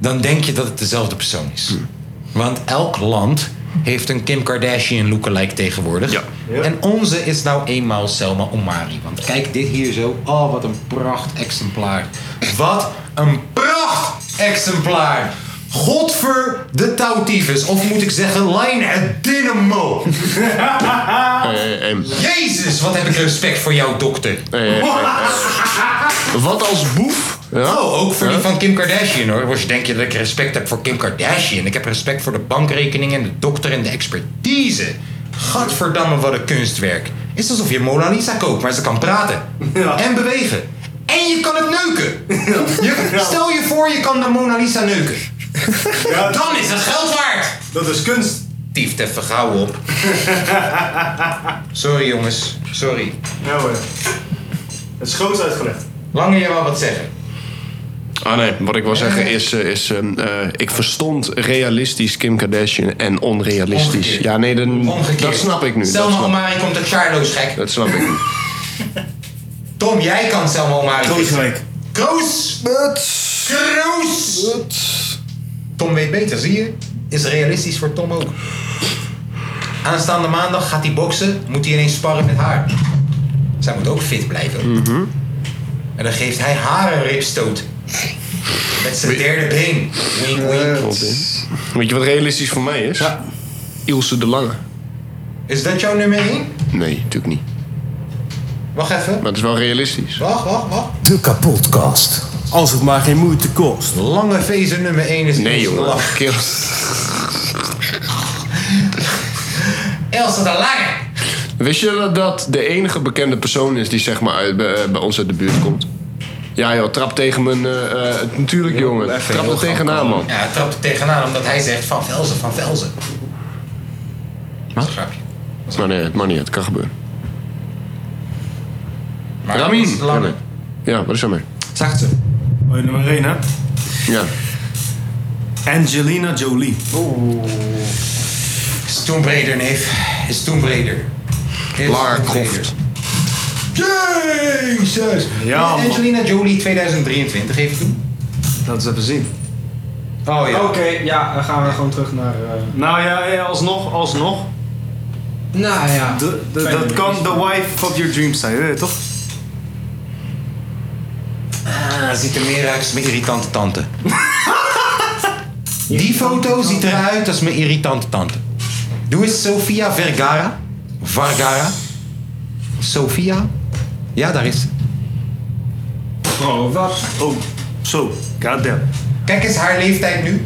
[SPEAKER 1] Dan denk je dat het dezelfde persoon is.
[SPEAKER 4] Hmm.
[SPEAKER 1] Want elk land heeft een Kim Kardashian lookalike tegenwoordig. En onze is nou eenmaal Selma Omari. Want kijk dit hier zo. Oh, wat een pracht exemplaar. Wat een pracht exemplaar. Godver de touwtyfus. Of moet ik zeggen, lijn het dynamo. Jezus, wat heb ik respect voor jou, dokter.
[SPEAKER 4] Wat als boef?
[SPEAKER 1] Oh, ook voor die van Kim Kardashian hoor. Was je denk je dat ik respect heb voor Kim Kardashian? Ik heb respect voor de bankrekening en de dokter en de expertise. Gadverdamme, wat een kunstwerk. Is alsof je Mona Lisa koopt, maar ze kan praten. En bewegen. En je kan het neuken. Je- stel je voor, je kan de Mona Lisa neuken. Dan is het geld waard.
[SPEAKER 7] Dat is kunst.
[SPEAKER 1] Tieft even gauw op. Sorry jongens, sorry.
[SPEAKER 7] Ja hoor. Het is groots uitgelegd.
[SPEAKER 1] Lange, jij wou wat zeggen.
[SPEAKER 4] Ah nee, wat ik wil zeggen is, eh, is ehm, eh, ik verstond realistisch Kim Kardashian en onrealistisch.
[SPEAKER 1] Omgekeerd.
[SPEAKER 4] Ja, nee, dan,
[SPEAKER 1] Omgekeerd.
[SPEAKER 4] dat snap ik nu. dat
[SPEAKER 1] Selma
[SPEAKER 4] snap-
[SPEAKER 1] Omari komt uit Charlo's gek.
[SPEAKER 4] Dat snap ik nu.
[SPEAKER 1] Tom, jij kan Selma Omari Krooswijk. Kroos. Kroos. Tom weet beter, zie je? Is realistisch voor Tom ook. Aanstaande maandag gaat hij boksen, moet hij ineens sparren met haar. Zij moet ook fit blijven. En dan geeft hij haar een ripstoot. Met zijn derde been. Wink, wink.
[SPEAKER 4] Weet je wat realistisch voor mij is? Ja. Ilse de Lange.
[SPEAKER 1] Is dat jouw nummer 1?
[SPEAKER 4] Nee, natuurlijk niet.
[SPEAKER 1] Wacht even.
[SPEAKER 4] Maar het is wel realistisch.
[SPEAKER 1] Wacht, wacht, wacht.
[SPEAKER 4] De kapotkast.
[SPEAKER 14] Als het maar geen moeite kost.
[SPEAKER 1] Lange vezen nummer 1 is
[SPEAKER 4] Nee, jongen. Kill.
[SPEAKER 1] Elsa de Lange.
[SPEAKER 4] Wist je dat dat de enige bekende persoon is die zeg maar uit, bij, bij ons uit de buurt komt? Ja joh, trap tegen mijn... eh, eh, natuurlijk jongen, trap er tegenaan man.
[SPEAKER 1] Ja, hij trapt er tegenaan omdat hij zegt van Velzen, van Velzen.
[SPEAKER 4] Wat? Maar nee, het mag niet, het kan gebeuren.
[SPEAKER 1] Maar
[SPEAKER 4] Ramin!
[SPEAKER 1] is lang.
[SPEAKER 4] Ja, nee. Ja, wat is er mee?
[SPEAKER 1] Zegt ze.
[SPEAKER 7] Oh, je nummer 1, hè?
[SPEAKER 4] Ja.
[SPEAKER 7] Angelina Jolie.
[SPEAKER 1] Oeh. Is toen breder, neef. Is toen breder.
[SPEAKER 4] Lara
[SPEAKER 1] Croft. Jezus!
[SPEAKER 7] Ja,
[SPEAKER 1] Is Angelina Jolie 2023 even doen.
[SPEAKER 7] Dat is even zien.
[SPEAKER 1] Oh ja.
[SPEAKER 2] Oké, ja, dan gaan we gewoon terug naar... eh,
[SPEAKER 7] Nou ja, ja, alsnog, alsnog.
[SPEAKER 2] Nou ja.
[SPEAKER 7] De- de- dat kan the wife of your dreams zijn, weet je toch?
[SPEAKER 1] Ah, ziet er meer uit als mijn irritante tante. Die foto ziet eruit als mijn irritante tante. Doe eens Sofia Vergara. Vargara. Sofia. Ja, daar is ze.
[SPEAKER 7] Oh, wat? Oh, zo. Goddamn.
[SPEAKER 1] Kijk eens haar leeftijd nu.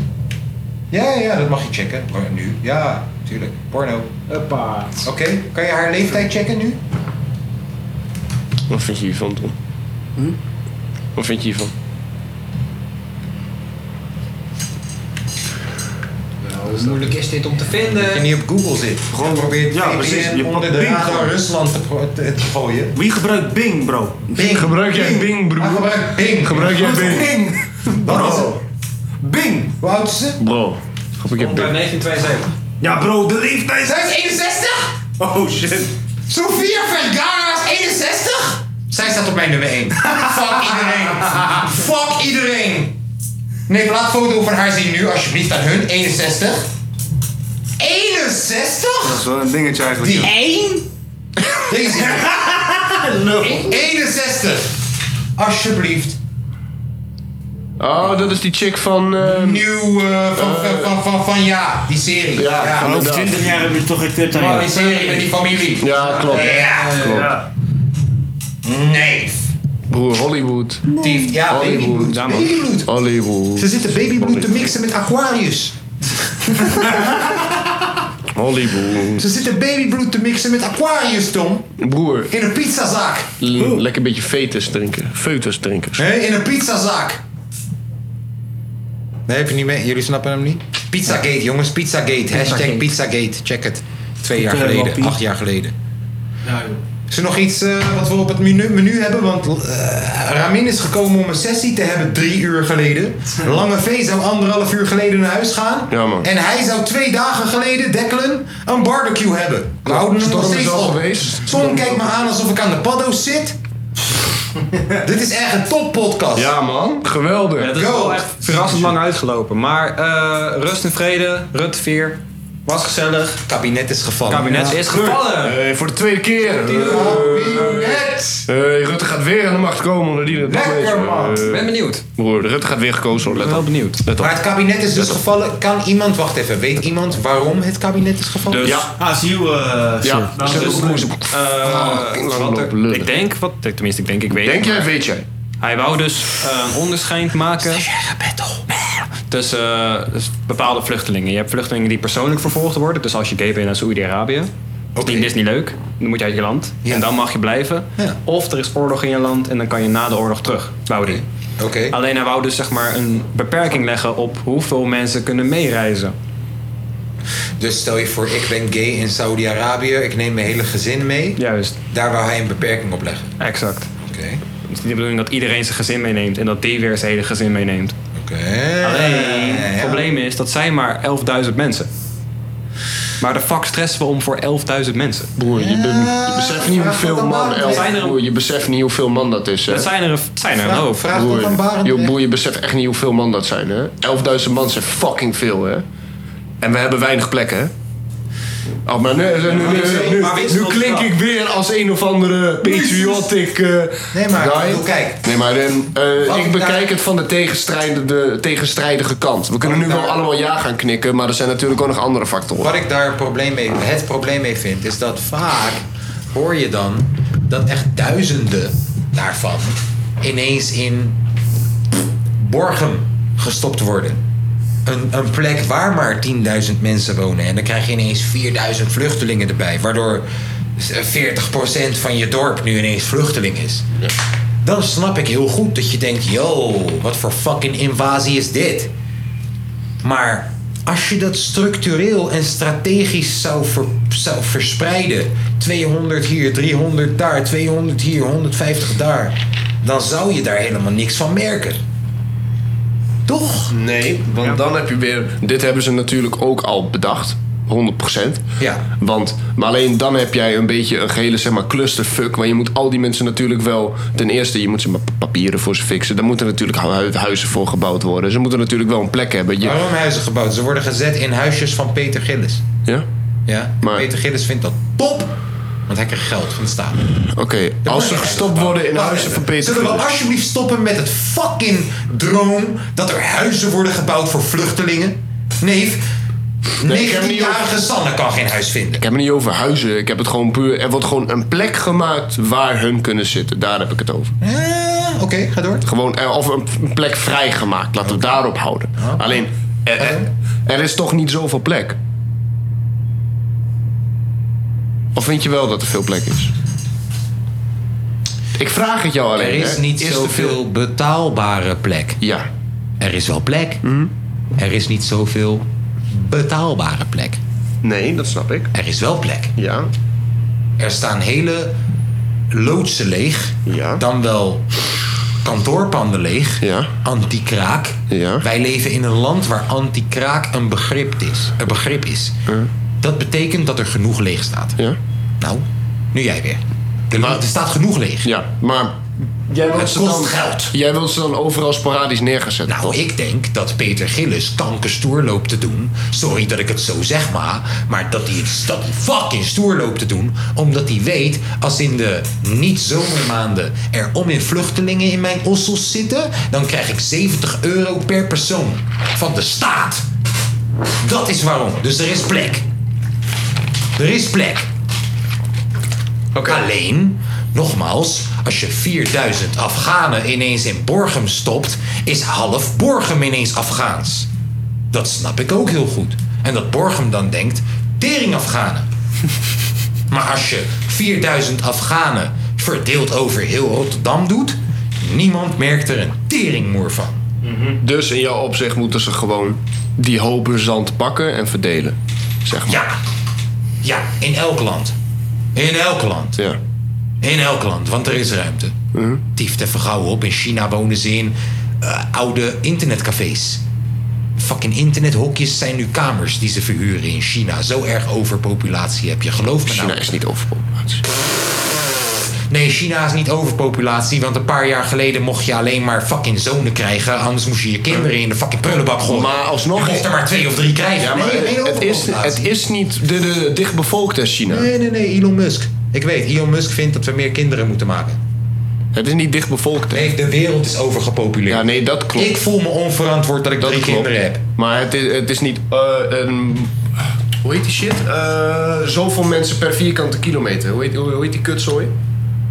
[SPEAKER 1] Ja, ja, dat mag je checken. Maar nu? Ja, tuurlijk. Porno. Hoppa. Oké, kan je haar leeftijd checken nu?
[SPEAKER 4] Wat vind je hiervan, Tom?
[SPEAKER 1] Hm?
[SPEAKER 4] Wat vind je hiervan?
[SPEAKER 9] Hoe moeilijk is dit om te
[SPEAKER 1] Dat je
[SPEAKER 9] vinden?
[SPEAKER 1] niet op Google zit. Gewoon probeert
[SPEAKER 9] Ja,
[SPEAKER 1] VPN
[SPEAKER 9] precies. Je
[SPEAKER 1] onder
[SPEAKER 9] pakt
[SPEAKER 1] de
[SPEAKER 9] Bing
[SPEAKER 1] radar
[SPEAKER 9] gewoon.
[SPEAKER 1] Rusland te, pro- te, te gooien.
[SPEAKER 7] Wie gebruikt Bing, bro?
[SPEAKER 1] Bing. Ah,
[SPEAKER 4] Gebruik jij Bing, broer?
[SPEAKER 1] gebruik Bing.
[SPEAKER 4] Gebruik jij
[SPEAKER 1] Wat is
[SPEAKER 4] Bing?
[SPEAKER 1] Wat is het?
[SPEAKER 7] Bing!
[SPEAKER 1] Hoe oud is ze?
[SPEAKER 4] Bro. Grap, ik heb Bing.
[SPEAKER 2] 1972.
[SPEAKER 7] Ja, bro, de leeftijd.
[SPEAKER 1] Zij is 61?
[SPEAKER 7] Oh shit.
[SPEAKER 1] Sofia Vergara is 61? Zij staat op mijn nummer 1. Fuck iedereen. Fuck iedereen. Nee, laat foto van haar zien nu alsjeblieft aan hun. 61. 61?
[SPEAKER 7] Dat is wel een dingetje eigenlijk.
[SPEAKER 1] Die
[SPEAKER 7] ja.
[SPEAKER 1] 1? Deze. 61. Alsjeblieft.
[SPEAKER 4] Oh, dat is die chick van... eh,
[SPEAKER 1] Nieuw eh, van, van, van, van, van ja, die serie.
[SPEAKER 4] Ja, van
[SPEAKER 1] over
[SPEAKER 4] inderdaad.
[SPEAKER 1] 20 jaar
[SPEAKER 3] heb je toch een kut
[SPEAKER 1] Maar die serie met die familie.
[SPEAKER 4] Ja, klopt.
[SPEAKER 1] Ja.
[SPEAKER 4] klopt.
[SPEAKER 1] Nee.
[SPEAKER 4] Broer, Hollywood.
[SPEAKER 1] Dief, ja,
[SPEAKER 4] Hollywood.
[SPEAKER 1] babybloed, babybloed.
[SPEAKER 4] Hollywood.
[SPEAKER 1] Ze zitten babybloed te mixen met Aquarius.
[SPEAKER 4] Hollywood.
[SPEAKER 1] Ze zitten babybloed te mixen met Aquarius, Tom.
[SPEAKER 4] Broer,
[SPEAKER 1] In een pizzazaak.
[SPEAKER 4] l- lekker een beetje fetus drinken. Feutus drinken.
[SPEAKER 1] Hé, in een pizzazaak. Nee, heb je niet mee? Jullie snappen hem niet? Pizzagate, jongens. Pizzagate. Hashtag Pizzagate. Check het. Twee jaar
[SPEAKER 3] Oké,
[SPEAKER 1] geleden.
[SPEAKER 3] wappie.
[SPEAKER 1] Acht jaar geleden. Is er nog iets eh, wat we op het menu, menu hebben? Want eh, Ramin is gekomen om een sessie te hebben drie uur geleden. Lange V zou anderhalf uur geleden naar huis gaan.
[SPEAKER 4] Ja, man.
[SPEAKER 1] En hij zou twee dagen geleden, Declan, een barbecue hebben. We
[SPEAKER 4] Ja,
[SPEAKER 1] houden hem nog
[SPEAKER 4] Storm is
[SPEAKER 1] steeds
[SPEAKER 4] al
[SPEAKER 1] op.
[SPEAKER 4] geweest.
[SPEAKER 1] Tom kijkt me aan alsof ik aan de paddo's zit. Dit is echt een toppodcast.
[SPEAKER 4] Ja, man. Geweldig.
[SPEAKER 2] Het is wel echt verrassend lang uitgelopen. Maar eh, rust en vrede, Rut 4. Was gezellig.
[SPEAKER 1] Kabinet is gevallen.
[SPEAKER 2] Kabinet is gevallen.
[SPEAKER 4] Hey, Eh, voor de tweede keer.
[SPEAKER 1] Kabinet.
[SPEAKER 4] Hey, Rutte gaat weer aan de macht komen. Omdat die dat eh.
[SPEAKER 1] Lekker, man.
[SPEAKER 2] ben benieuwd.
[SPEAKER 4] Broer, Rutte gaat weer gekozen worden. Let
[SPEAKER 2] ben
[SPEAKER 4] op.
[SPEAKER 2] wel benieuwd.
[SPEAKER 4] Let op.
[SPEAKER 1] Maar het kabinet is dus
[SPEAKER 4] Let op.
[SPEAKER 1] gevallen. Kan iemand, wacht even, weet iemand waarom het kabinet is gevallen?
[SPEAKER 2] Dus,
[SPEAKER 4] Ja.
[SPEAKER 3] ACU, eh
[SPEAKER 4] Ja, Ze
[SPEAKER 2] Nou, dus,
[SPEAKER 4] hebben ook-
[SPEAKER 2] eh, wat er-
[SPEAKER 4] lopen lullen.
[SPEAKER 2] ik denk, wat, tenminste ik denk, ik weet
[SPEAKER 4] Denk
[SPEAKER 2] het,
[SPEAKER 4] jij,
[SPEAKER 2] maar
[SPEAKER 4] weet jij?
[SPEAKER 2] Hij wou dus eh, een onderscheid maken tussen eh, dus bepaalde vluchtelingen. Je hebt vluchtelingen die persoonlijk vervolgd worden. Dus als je gay bent naar Saoedi-Arabië,
[SPEAKER 1] Oké.
[SPEAKER 2] die is niet leuk. Dan moet je uit je land en dan mag je blijven.
[SPEAKER 1] Ja.
[SPEAKER 2] Of er is oorlog in je land en dan kan je na de oorlog terug, wou die.
[SPEAKER 1] Oké.
[SPEAKER 2] Alleen hij wou dus zeg maar een beperking leggen op hoeveel mensen kunnen meereizen.
[SPEAKER 1] Dus stel je voor, ik ben gay in Saudi-Arabië, ik neem mijn hele gezin mee.
[SPEAKER 2] Juist,
[SPEAKER 1] Daar wou hij een beperking op leggen.
[SPEAKER 2] exact.
[SPEAKER 1] Oké.
[SPEAKER 2] Het is niet de bedoeling dat iedereen zijn gezin meeneemt en dat die weer zijn hele gezin meeneemt.
[SPEAKER 1] Oké.
[SPEAKER 2] Alleen, het
[SPEAKER 1] Ja.
[SPEAKER 2] probleem is, dat zijn maar 11.000 mensen. Maar de fuck stressen we om voor 11.000 mensen.
[SPEAKER 4] Broer, je, be- je beseft niet hoeveel man elf, broer, je beseft niet hoeveel man dat is. Hè?
[SPEAKER 2] Dat zijn er, het zijn er een hoop.
[SPEAKER 4] broer, joh, broer, je beseft echt niet hoeveel man dat zijn. hè? 11.000 man zijn fucking veel, hè? En we hebben weinig plekken, hè? Oh, maar nu, nu, nu, nu, nu klink ik weer als een of andere patriotic eh
[SPEAKER 1] Nee, maar, ik
[SPEAKER 4] guy.
[SPEAKER 1] bedoel, kijk.
[SPEAKER 4] Nee, maar eh, eh,
[SPEAKER 1] Wat
[SPEAKER 4] ik
[SPEAKER 1] ik
[SPEAKER 4] bekijk
[SPEAKER 1] daar-
[SPEAKER 4] het van de tegenstrijdige, tegenstrijdige kant. We kunnen nu
[SPEAKER 1] Wat ik
[SPEAKER 4] wel
[SPEAKER 1] daar-
[SPEAKER 4] allemaal ja gaan knikken, maar er zijn natuurlijk ook nog andere factoren.
[SPEAKER 1] Wat ik daar een probleem mee, het probleem mee vind, is dat vaak hoor je dan dat echt duizenden daarvan ineens in Borgum gestopt worden. Een, een plek waar maar 10.000 mensen wonen. En dan krijg je ineens 4.000 vluchtelingen erbij. Waardoor 40% van je dorp nu ineens vluchteling is. Dan snap ik heel goed dat je denkt: yo, wat voor fucking invasie is dit? Maar als je dat structureel en strategisch zou, ver- zou verspreiden, 200 hier, 300 daar, 200 hier, 150 daar, dan zou je daar helemaal niks van merken. Toch?
[SPEAKER 4] Nee, want dan heb je weer. Dit hebben ze natuurlijk ook al bedacht. 100%.
[SPEAKER 1] Ja.
[SPEAKER 4] Want, maar alleen dan heb jij een beetje een gehele zeg maar, clusterfuck. Want je moet al die mensen natuurlijk wel. Ten eerste, je moet ze maar papieren voor ze fixen. Daar moeten natuurlijk hu- huizen voor gebouwd worden. Ze moeten natuurlijk wel een plek hebben. Je-
[SPEAKER 1] Waarom huizen gebouwd? Ze worden gezet in huisjes van Peter Gillis.
[SPEAKER 4] Ja?
[SPEAKER 1] Ja?
[SPEAKER 4] Maar-
[SPEAKER 1] Peter Gillis vindt dat top, want hij krijgt geld van de staat.
[SPEAKER 4] Oké, als ze gestopt worden in huizen van Peter
[SPEAKER 1] Zullen we
[SPEAKER 4] Gillis?
[SPEAKER 1] alsjeblieft stoppen met het fucking droom dat er huizen worden gebouwd voor vluchtelingen? Neef,
[SPEAKER 4] Nee, ik heb het niet
[SPEAKER 1] 19-jarige
[SPEAKER 4] over-
[SPEAKER 1] Sanne kan geen huis vinden.
[SPEAKER 4] Ik heb het niet over huizen. Ik heb het gewoon puur. Er wordt gewoon een plek gemaakt waar hun kunnen zitten. Daar heb ik het over.
[SPEAKER 1] Oké, ga door.
[SPEAKER 4] Gewoon, eh, of een p- plek vrijgemaakt. Laten we daarop houden. Alleen, eh, eh, er is toch niet zoveel plek? Of vind je wel dat er veel plek is? Ik vraag het jou alleen.
[SPEAKER 1] Er is
[SPEAKER 4] hè.
[SPEAKER 1] niet
[SPEAKER 4] er
[SPEAKER 1] zoveel betaalbare plek.
[SPEAKER 4] Ja.
[SPEAKER 1] Er is wel plek.
[SPEAKER 15] Hm?
[SPEAKER 1] Er is niet zoveel betaalbare plek.
[SPEAKER 4] Nee, dat snap ik.
[SPEAKER 1] Er is wel plek.
[SPEAKER 4] Ja.
[SPEAKER 1] Er staan hele loodsen leeg. Dan wel kantoorpanden leeg. Anti-kraak. Wij leven in een land waar anti-kraak een begrip is. Een begrip is. Dat betekent dat er genoeg leeg staat. Nou, nu jij weer. Er, er staat genoeg leeg.
[SPEAKER 4] Ja, maar... Jij wilt
[SPEAKER 1] het
[SPEAKER 4] ze
[SPEAKER 1] kost
[SPEAKER 4] dan-
[SPEAKER 1] geld.
[SPEAKER 4] Jij wilt ze dan overal sporadisch neergezet.
[SPEAKER 1] Nou, ik denk dat Peter Gillis kankerstoer loopt te doen. Sorry dat ik het zo zeg, maar. Maar dat hij het- dat hij fucking stoer loopt te doen. Omdat hij weet, als in de niet-zomermaanden er om in vluchtelingen in mijn ossels zitten. dan krijg ik 70 euro per persoon van de staat. Dat is waarom. Dus er is plek. Er is plek. Alleen, nogmaals, als je 4000 Afghanen ineens in Borgum stopt, is half Borgum ineens Afghaans. Dat snap ik ook heel goed. En dat Borgum dan denkt, tering Afghanen. maar als je 4000 Afghanen verdeeld over heel Rotterdam doet, niemand merkt er een teringmoer van.
[SPEAKER 4] Dus in jouw opzicht moeten ze gewoon die hopen zand pakken en verdelen. Zeg maar.
[SPEAKER 1] Ja. Ja, in elk land. In elk land.
[SPEAKER 4] Ja. Mhm.
[SPEAKER 1] In elk land, want er is ruimte. Tieft even gauw op. In China wonen ze in eh, oude internetcafés. Fucking internethokjes zijn nu kamers die ze verhuren in China. Zo erg overpopulatie heb je, geloof me nou.
[SPEAKER 4] China is niet overpopulatie.
[SPEAKER 1] Nee, China is niet overpopulatie, want een paar jaar geleden mocht je alleen maar fucking zonen krijgen. Anders moest je je kinderen in de fucking prullenbak gooien.
[SPEAKER 4] Maar alsnog...
[SPEAKER 1] Je mocht er maar twee of drie krijgen.
[SPEAKER 4] Ja, maar
[SPEAKER 1] Nee, geen
[SPEAKER 4] het, is,
[SPEAKER 1] overpopulatie.
[SPEAKER 4] het is niet de, de, dichtbevolkt is China.
[SPEAKER 1] Nee, nee, nee, Elon Musk. Ik weet, Elon Musk vindt dat we meer kinderen moeten maken.
[SPEAKER 4] Het is niet dichtbevolkt.
[SPEAKER 1] Nee, de wereld is overgepopuleerd.
[SPEAKER 4] Ja, nee, dat klopt.
[SPEAKER 1] Ik voel me onverantwoord dat ik drie kinderen heb.
[SPEAKER 4] Maar het is, het is niet... eh, een, hoe heet die shit? Eh, zoveel mensen per vierkante kilometer. Hoe heet, hoe, hoe heet die kutzooi?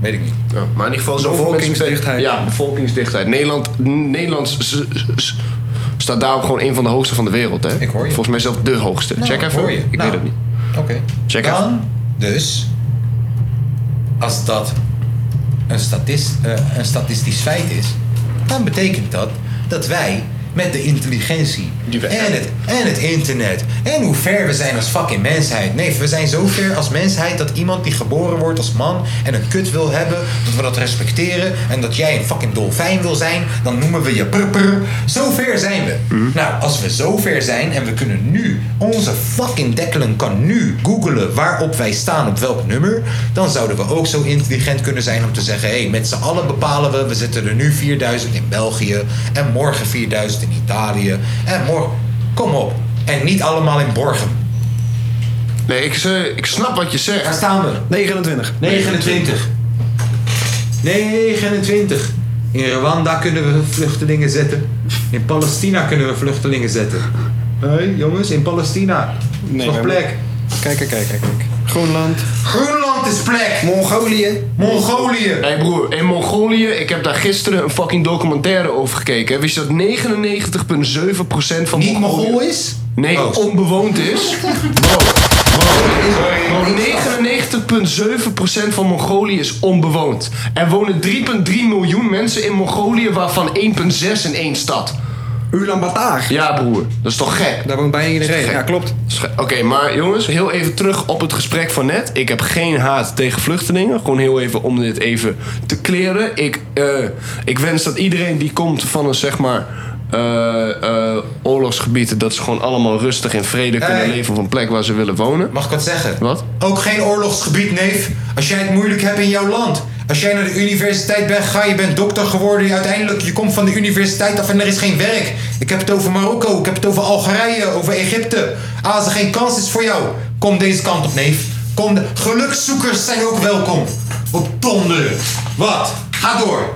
[SPEAKER 1] Weet ik niet.
[SPEAKER 4] maar in ieder geval zoveel mensen...
[SPEAKER 1] Bevolkingsdichtheid.
[SPEAKER 4] Ja, bevolkingsdichtheid. Nederland, Nederland s- s- staat daarom gewoon een van de hoogste van de wereld. Hè? Ik hoor je. Volgens mij zelf de hoogste.
[SPEAKER 1] Nou,
[SPEAKER 4] Check even.
[SPEAKER 1] hoor je.
[SPEAKER 4] Ik
[SPEAKER 1] Nou.
[SPEAKER 4] weet het niet.
[SPEAKER 1] Oké.
[SPEAKER 4] Check
[SPEAKER 1] Dan,
[SPEAKER 4] even.
[SPEAKER 1] Dus, als dat een, statist, eh, een statistisch feit is, dan betekent dat dat wij met de intelligentie. En het, en het internet. En hoe ver we zijn als fucking mensheid. Nee, we zijn zo ver als mensheid dat iemand die geboren wordt als man en een kut wil hebben, dat we dat respecteren. En dat jij een fucking dolfijn wil zijn, dan noemen we je purper. Zo ver zijn we. Nou, als we zo ver zijn en we kunnen nu, onze fucking dekkelen kan nu googelen waarop wij staan, op welk nummer, dan zouden we ook zo intelligent kunnen zijn om te zeggen: hé, hey, met z'n allen bepalen we, we zitten er nu 4000 in België en morgen 4000 in Italië en morgen. Kom op. En niet allemaal in Borgen.
[SPEAKER 4] Nee, ik, eh, ik snap wat je zegt.
[SPEAKER 1] Daar staan we.
[SPEAKER 9] 29.
[SPEAKER 1] 29. 29. In Rwanda kunnen we vluchtelingen zetten. In Palestina kunnen we vluchtelingen zetten. Hé, jongens, in Palestina. Nee, is nog
[SPEAKER 9] maar-
[SPEAKER 1] plek.
[SPEAKER 9] Kijk, kijk, kijk, kijk. Groenland.
[SPEAKER 1] Groenland is plek!
[SPEAKER 9] Mongolië.
[SPEAKER 1] Mongolië!
[SPEAKER 4] Hé broer, in Mongolië, ik heb daar gisteren een fucking documentaire over gekeken. Wist je dat 99,7% van Niet
[SPEAKER 1] Mongol is?
[SPEAKER 4] Nee,
[SPEAKER 1] Oh.
[SPEAKER 4] onbewoond is. Wow. wow. 99,7% van Mongolië is onbewoond. Er wonen 3,3 miljoen mensen in Mongolië, waarvan 1,6 in één stad.
[SPEAKER 9] Ulaanbaatar.
[SPEAKER 4] Ja, broer. Dat is toch gek?
[SPEAKER 9] Daar woont bijna iedereen. Ja, klopt.
[SPEAKER 4] Oké, maar jongens, heel even terug op het gesprek van net. Ik heb geen haat tegen vluchtelingen. Gewoon heel even om dit even te kleren. Ik, eh, ik wens dat iedereen die komt van een zeg maar. eh, eh, oorlogsgebied, dat ze gewoon allemaal rustig in vrede kunnen
[SPEAKER 1] Hey.
[SPEAKER 4] leven op een plek waar ze willen wonen.
[SPEAKER 1] Mag ik wat zeggen?
[SPEAKER 4] Wat?
[SPEAKER 1] Ook geen oorlogsgebied, neef. Als jij het moeilijk hebt in jouw land. Als jij naar de universiteit bent gegaan, je bent dokter geworden. Je uiteindelijk, je komt van de universiteit af en er is geen werk. Ik heb het over Marokko, ik heb het over Algerije, over Egypte. Als er geen kans is voor jou, kom deze kant op, neef. Kom de... Gelukzoekers zijn ook welkom. Op donderen. Wat? Ga door.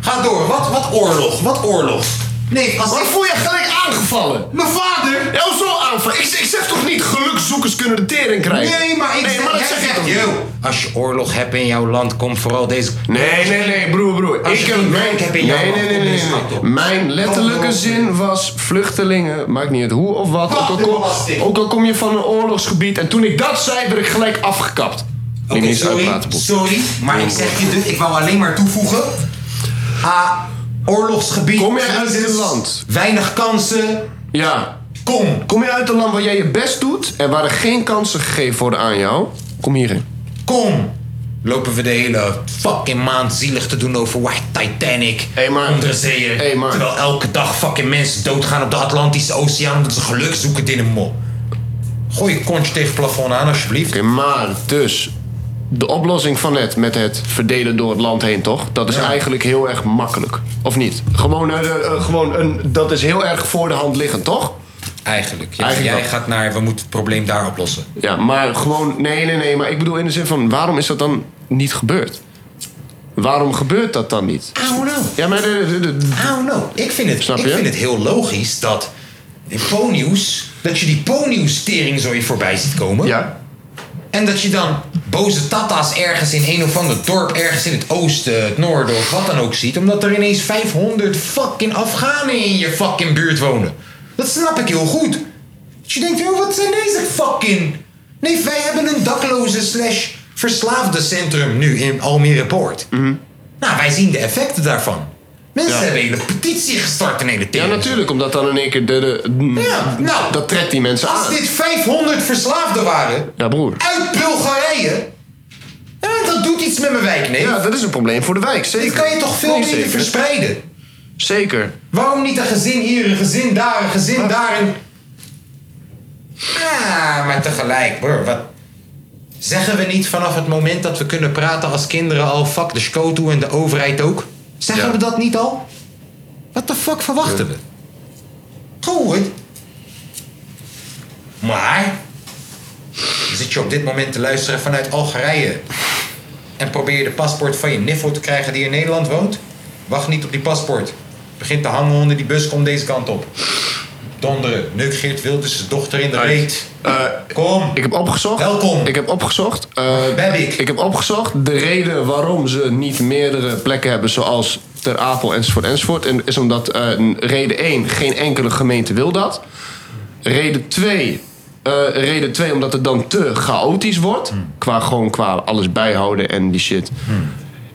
[SPEAKER 1] Ga door. Wat, wat oorlog? Wat oorlog? Nee, als
[SPEAKER 4] Wat voel je gelijk aangevallen?
[SPEAKER 1] Mijn vader!
[SPEAKER 4] Ja, zo aanvallen. Ik, ik zeg toch niet gelukzoekers kunnen de tering krijgen?
[SPEAKER 1] Nee, maar ik
[SPEAKER 4] nee,
[SPEAKER 1] zeg-
[SPEAKER 4] maar dat
[SPEAKER 1] jij
[SPEAKER 4] zeg ik
[SPEAKER 1] zegt,
[SPEAKER 4] toch niet?
[SPEAKER 1] yo, Als je oorlog hebt in jouw land, kom vooral deze.
[SPEAKER 4] Nee, nee, nee, broer, broer.
[SPEAKER 1] Als
[SPEAKER 4] ik
[SPEAKER 1] je
[SPEAKER 4] heb
[SPEAKER 1] geen
[SPEAKER 4] mijn,
[SPEAKER 1] werk hebt
[SPEAKER 4] nee,
[SPEAKER 1] in jouw
[SPEAKER 4] nee,
[SPEAKER 1] land,
[SPEAKER 4] nee, nee,
[SPEAKER 1] kom
[SPEAKER 4] nee,
[SPEAKER 1] deze kant op.
[SPEAKER 4] Mijn letterlijke zin was vluchtelingen, maakt niet uit hoe of wat. Ook al, kom, ook al kom je van een oorlogsgebied. En toen ik dat zei, werd ik gelijk afgekapt. Niet
[SPEAKER 1] Oké,
[SPEAKER 4] eens
[SPEAKER 1] sorry,
[SPEAKER 4] uitpraten, boek.
[SPEAKER 1] sorry, maar ik zeg je dus, ik wou alleen maar toevoegen. Ah, oorlogsgebied. Kom je uit dit land? Weinig kansen.
[SPEAKER 4] Ja.
[SPEAKER 1] Kom.
[SPEAKER 4] Kom je uit een land waar jij je best doet en waar er geen kansen gegeven worden aan jou? Kom hierin.
[SPEAKER 1] Kom. Lopen we de hele fucking maand zielig te doen over White Titanic. Hey maar. Onderzeeën. Terwijl elke dag fucking mensen doodgaan op de Atlantische Oceaan omdat ze geluk zoeken in een mop. Gooi je kontje tegen het plafond aan alsjeblieft.
[SPEAKER 4] Oké, maar dus. De oplossing van net met het verdelen door het land heen, toch? Dat is eigenlijk heel erg makkelijk. Of niet? Gewoon, eh, eh, gewoon een, dat is heel erg voor de hand liggend, toch?
[SPEAKER 1] Eigenlijk. Ja,
[SPEAKER 4] Eigenlijk
[SPEAKER 1] jij
[SPEAKER 4] wel.
[SPEAKER 1] gaat naar, we moeten het probleem daar oplossen.
[SPEAKER 4] Ja, maar gewoon, nee, nee, nee. Maar ik bedoel in de zin van, waarom is dat dan niet gebeurd? Waarom gebeurt dat dan niet?
[SPEAKER 1] I don't know.
[SPEAKER 4] Ja, maar... De,
[SPEAKER 1] I don't know. Ik vind het,
[SPEAKER 4] Snap
[SPEAKER 1] ik
[SPEAKER 4] je?
[SPEAKER 1] vind het heel logisch dat in ponyhoes... dat je die ponyhoes-tering zo je voorbij ziet komen.
[SPEAKER 4] Ja.
[SPEAKER 1] En dat je dan boze tata's ergens in een of ander dorp... ergens in het oosten, het noorden of wat dan ook ziet... omdat er ineens 500 fucking Afghanen in je fucking buurt wonen. Dat snap ik heel goed. Dat je denkt, joh, wat zijn deze fucking... Nee, wij hebben een dakloze slash verslaafde centrum nu in Almere Poort. Nou, wij zien de effecten daarvan. Mensen
[SPEAKER 4] Mhm. Ja.
[SPEAKER 1] hebben een hele petitie gestart en hele
[SPEAKER 4] Ja, natuurlijk, omdat dan in één keer de... de- de-
[SPEAKER 1] nou.
[SPEAKER 4] dat trekt die mensen
[SPEAKER 1] Als
[SPEAKER 4] aan.
[SPEAKER 1] dit 500 verslaafden waren
[SPEAKER 4] Ja, broer.
[SPEAKER 1] uit Bulgarije. Ja, dat doet iets met mijn wijk, nee.
[SPEAKER 4] Ja, dat is een probleem voor de wijk, zeker.
[SPEAKER 1] Dit kan je toch veel
[SPEAKER 4] Nee,
[SPEAKER 1] beter
[SPEAKER 4] zeker.
[SPEAKER 1] verspreiden?
[SPEAKER 4] Zeker.
[SPEAKER 1] Waarom niet een gezin hier, een gezin daar, een gezin daar? En... Ah, maar tegelijk, broer, wat... Zeggen we niet vanaf het moment dat we kunnen praten als kinderen al... fuck de schotel en de overheid ook? Zeggen we dat niet al? Wat de fuck verwachten we? Goed. Maar... Zit je op dit moment te luisteren vanuit Algerije... en probeer je de paspoort van je niffel te krijgen die in Nederland woont? Wacht niet op die paspoort. Begint te hangen onder die bus, kom deze kant op. Donderen, neuk Geert Wilders' zijn dochter in de reet. Kom.
[SPEAKER 4] Ik heb opgezocht.
[SPEAKER 1] Welkom.
[SPEAKER 4] Ik heb opgezocht. eh, ik heb opgezocht de reden waarom ze niet meerdere plekken hebben, zoals Ter Apel enzovoort enzovoort. En is omdat eh, reden 1, geen enkele gemeente wil dat. Reden 2, reden 2 omdat het dan te chaotisch wordt. Qua gewoon qua alles bijhouden en die shit.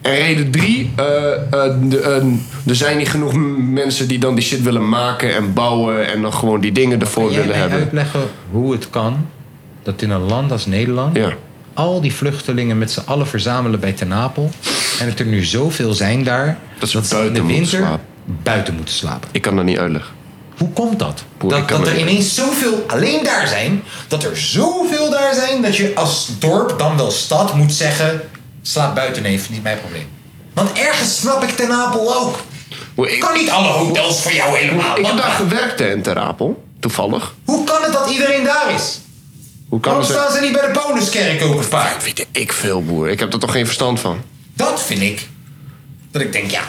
[SPEAKER 4] En reden drie, eh, eh, de- eh, er zijn niet genoeg m- mensen die dan die shit willen maken en bouwen en dan gewoon die dingen ervoor
[SPEAKER 16] Kun jij
[SPEAKER 4] willen
[SPEAKER 16] mij
[SPEAKER 4] hebben.
[SPEAKER 16] uitleggen hoe het kan dat in een land als Nederland al die vluchtelingen met z'n allen verzamelen bij Ten Apel en het er nu zoveel zijn daar dat ze, in de winter buiten moeten slapen?
[SPEAKER 4] Ik kan dat niet uitleggen.
[SPEAKER 16] Hoe komt dat?
[SPEAKER 1] Dat, dat er ineens zoveel alleen daar zijn, dat er zoveel daar zijn, dat je als dorp, dan wel stad, moet zeggen: slaap buiten even, niet mijn probleem. Want ergens snap ik Ten Apel ook. kan niet alle hotels voor jou Oh, helemaal.
[SPEAKER 4] Ik heb
[SPEAKER 1] Wat-
[SPEAKER 4] daar gewerkt hè, in Ter Apel, toevallig.
[SPEAKER 1] Hoe kan het dat iedereen daar is?
[SPEAKER 4] Hoe kan
[SPEAKER 1] Waarom
[SPEAKER 4] het-
[SPEAKER 1] staan ze niet bij de bonuskerk ook een paar?
[SPEAKER 4] Weet ik veel, boer. Ik heb er toch geen verstand van.
[SPEAKER 1] Dat vind ik. Dat ik denk, ja.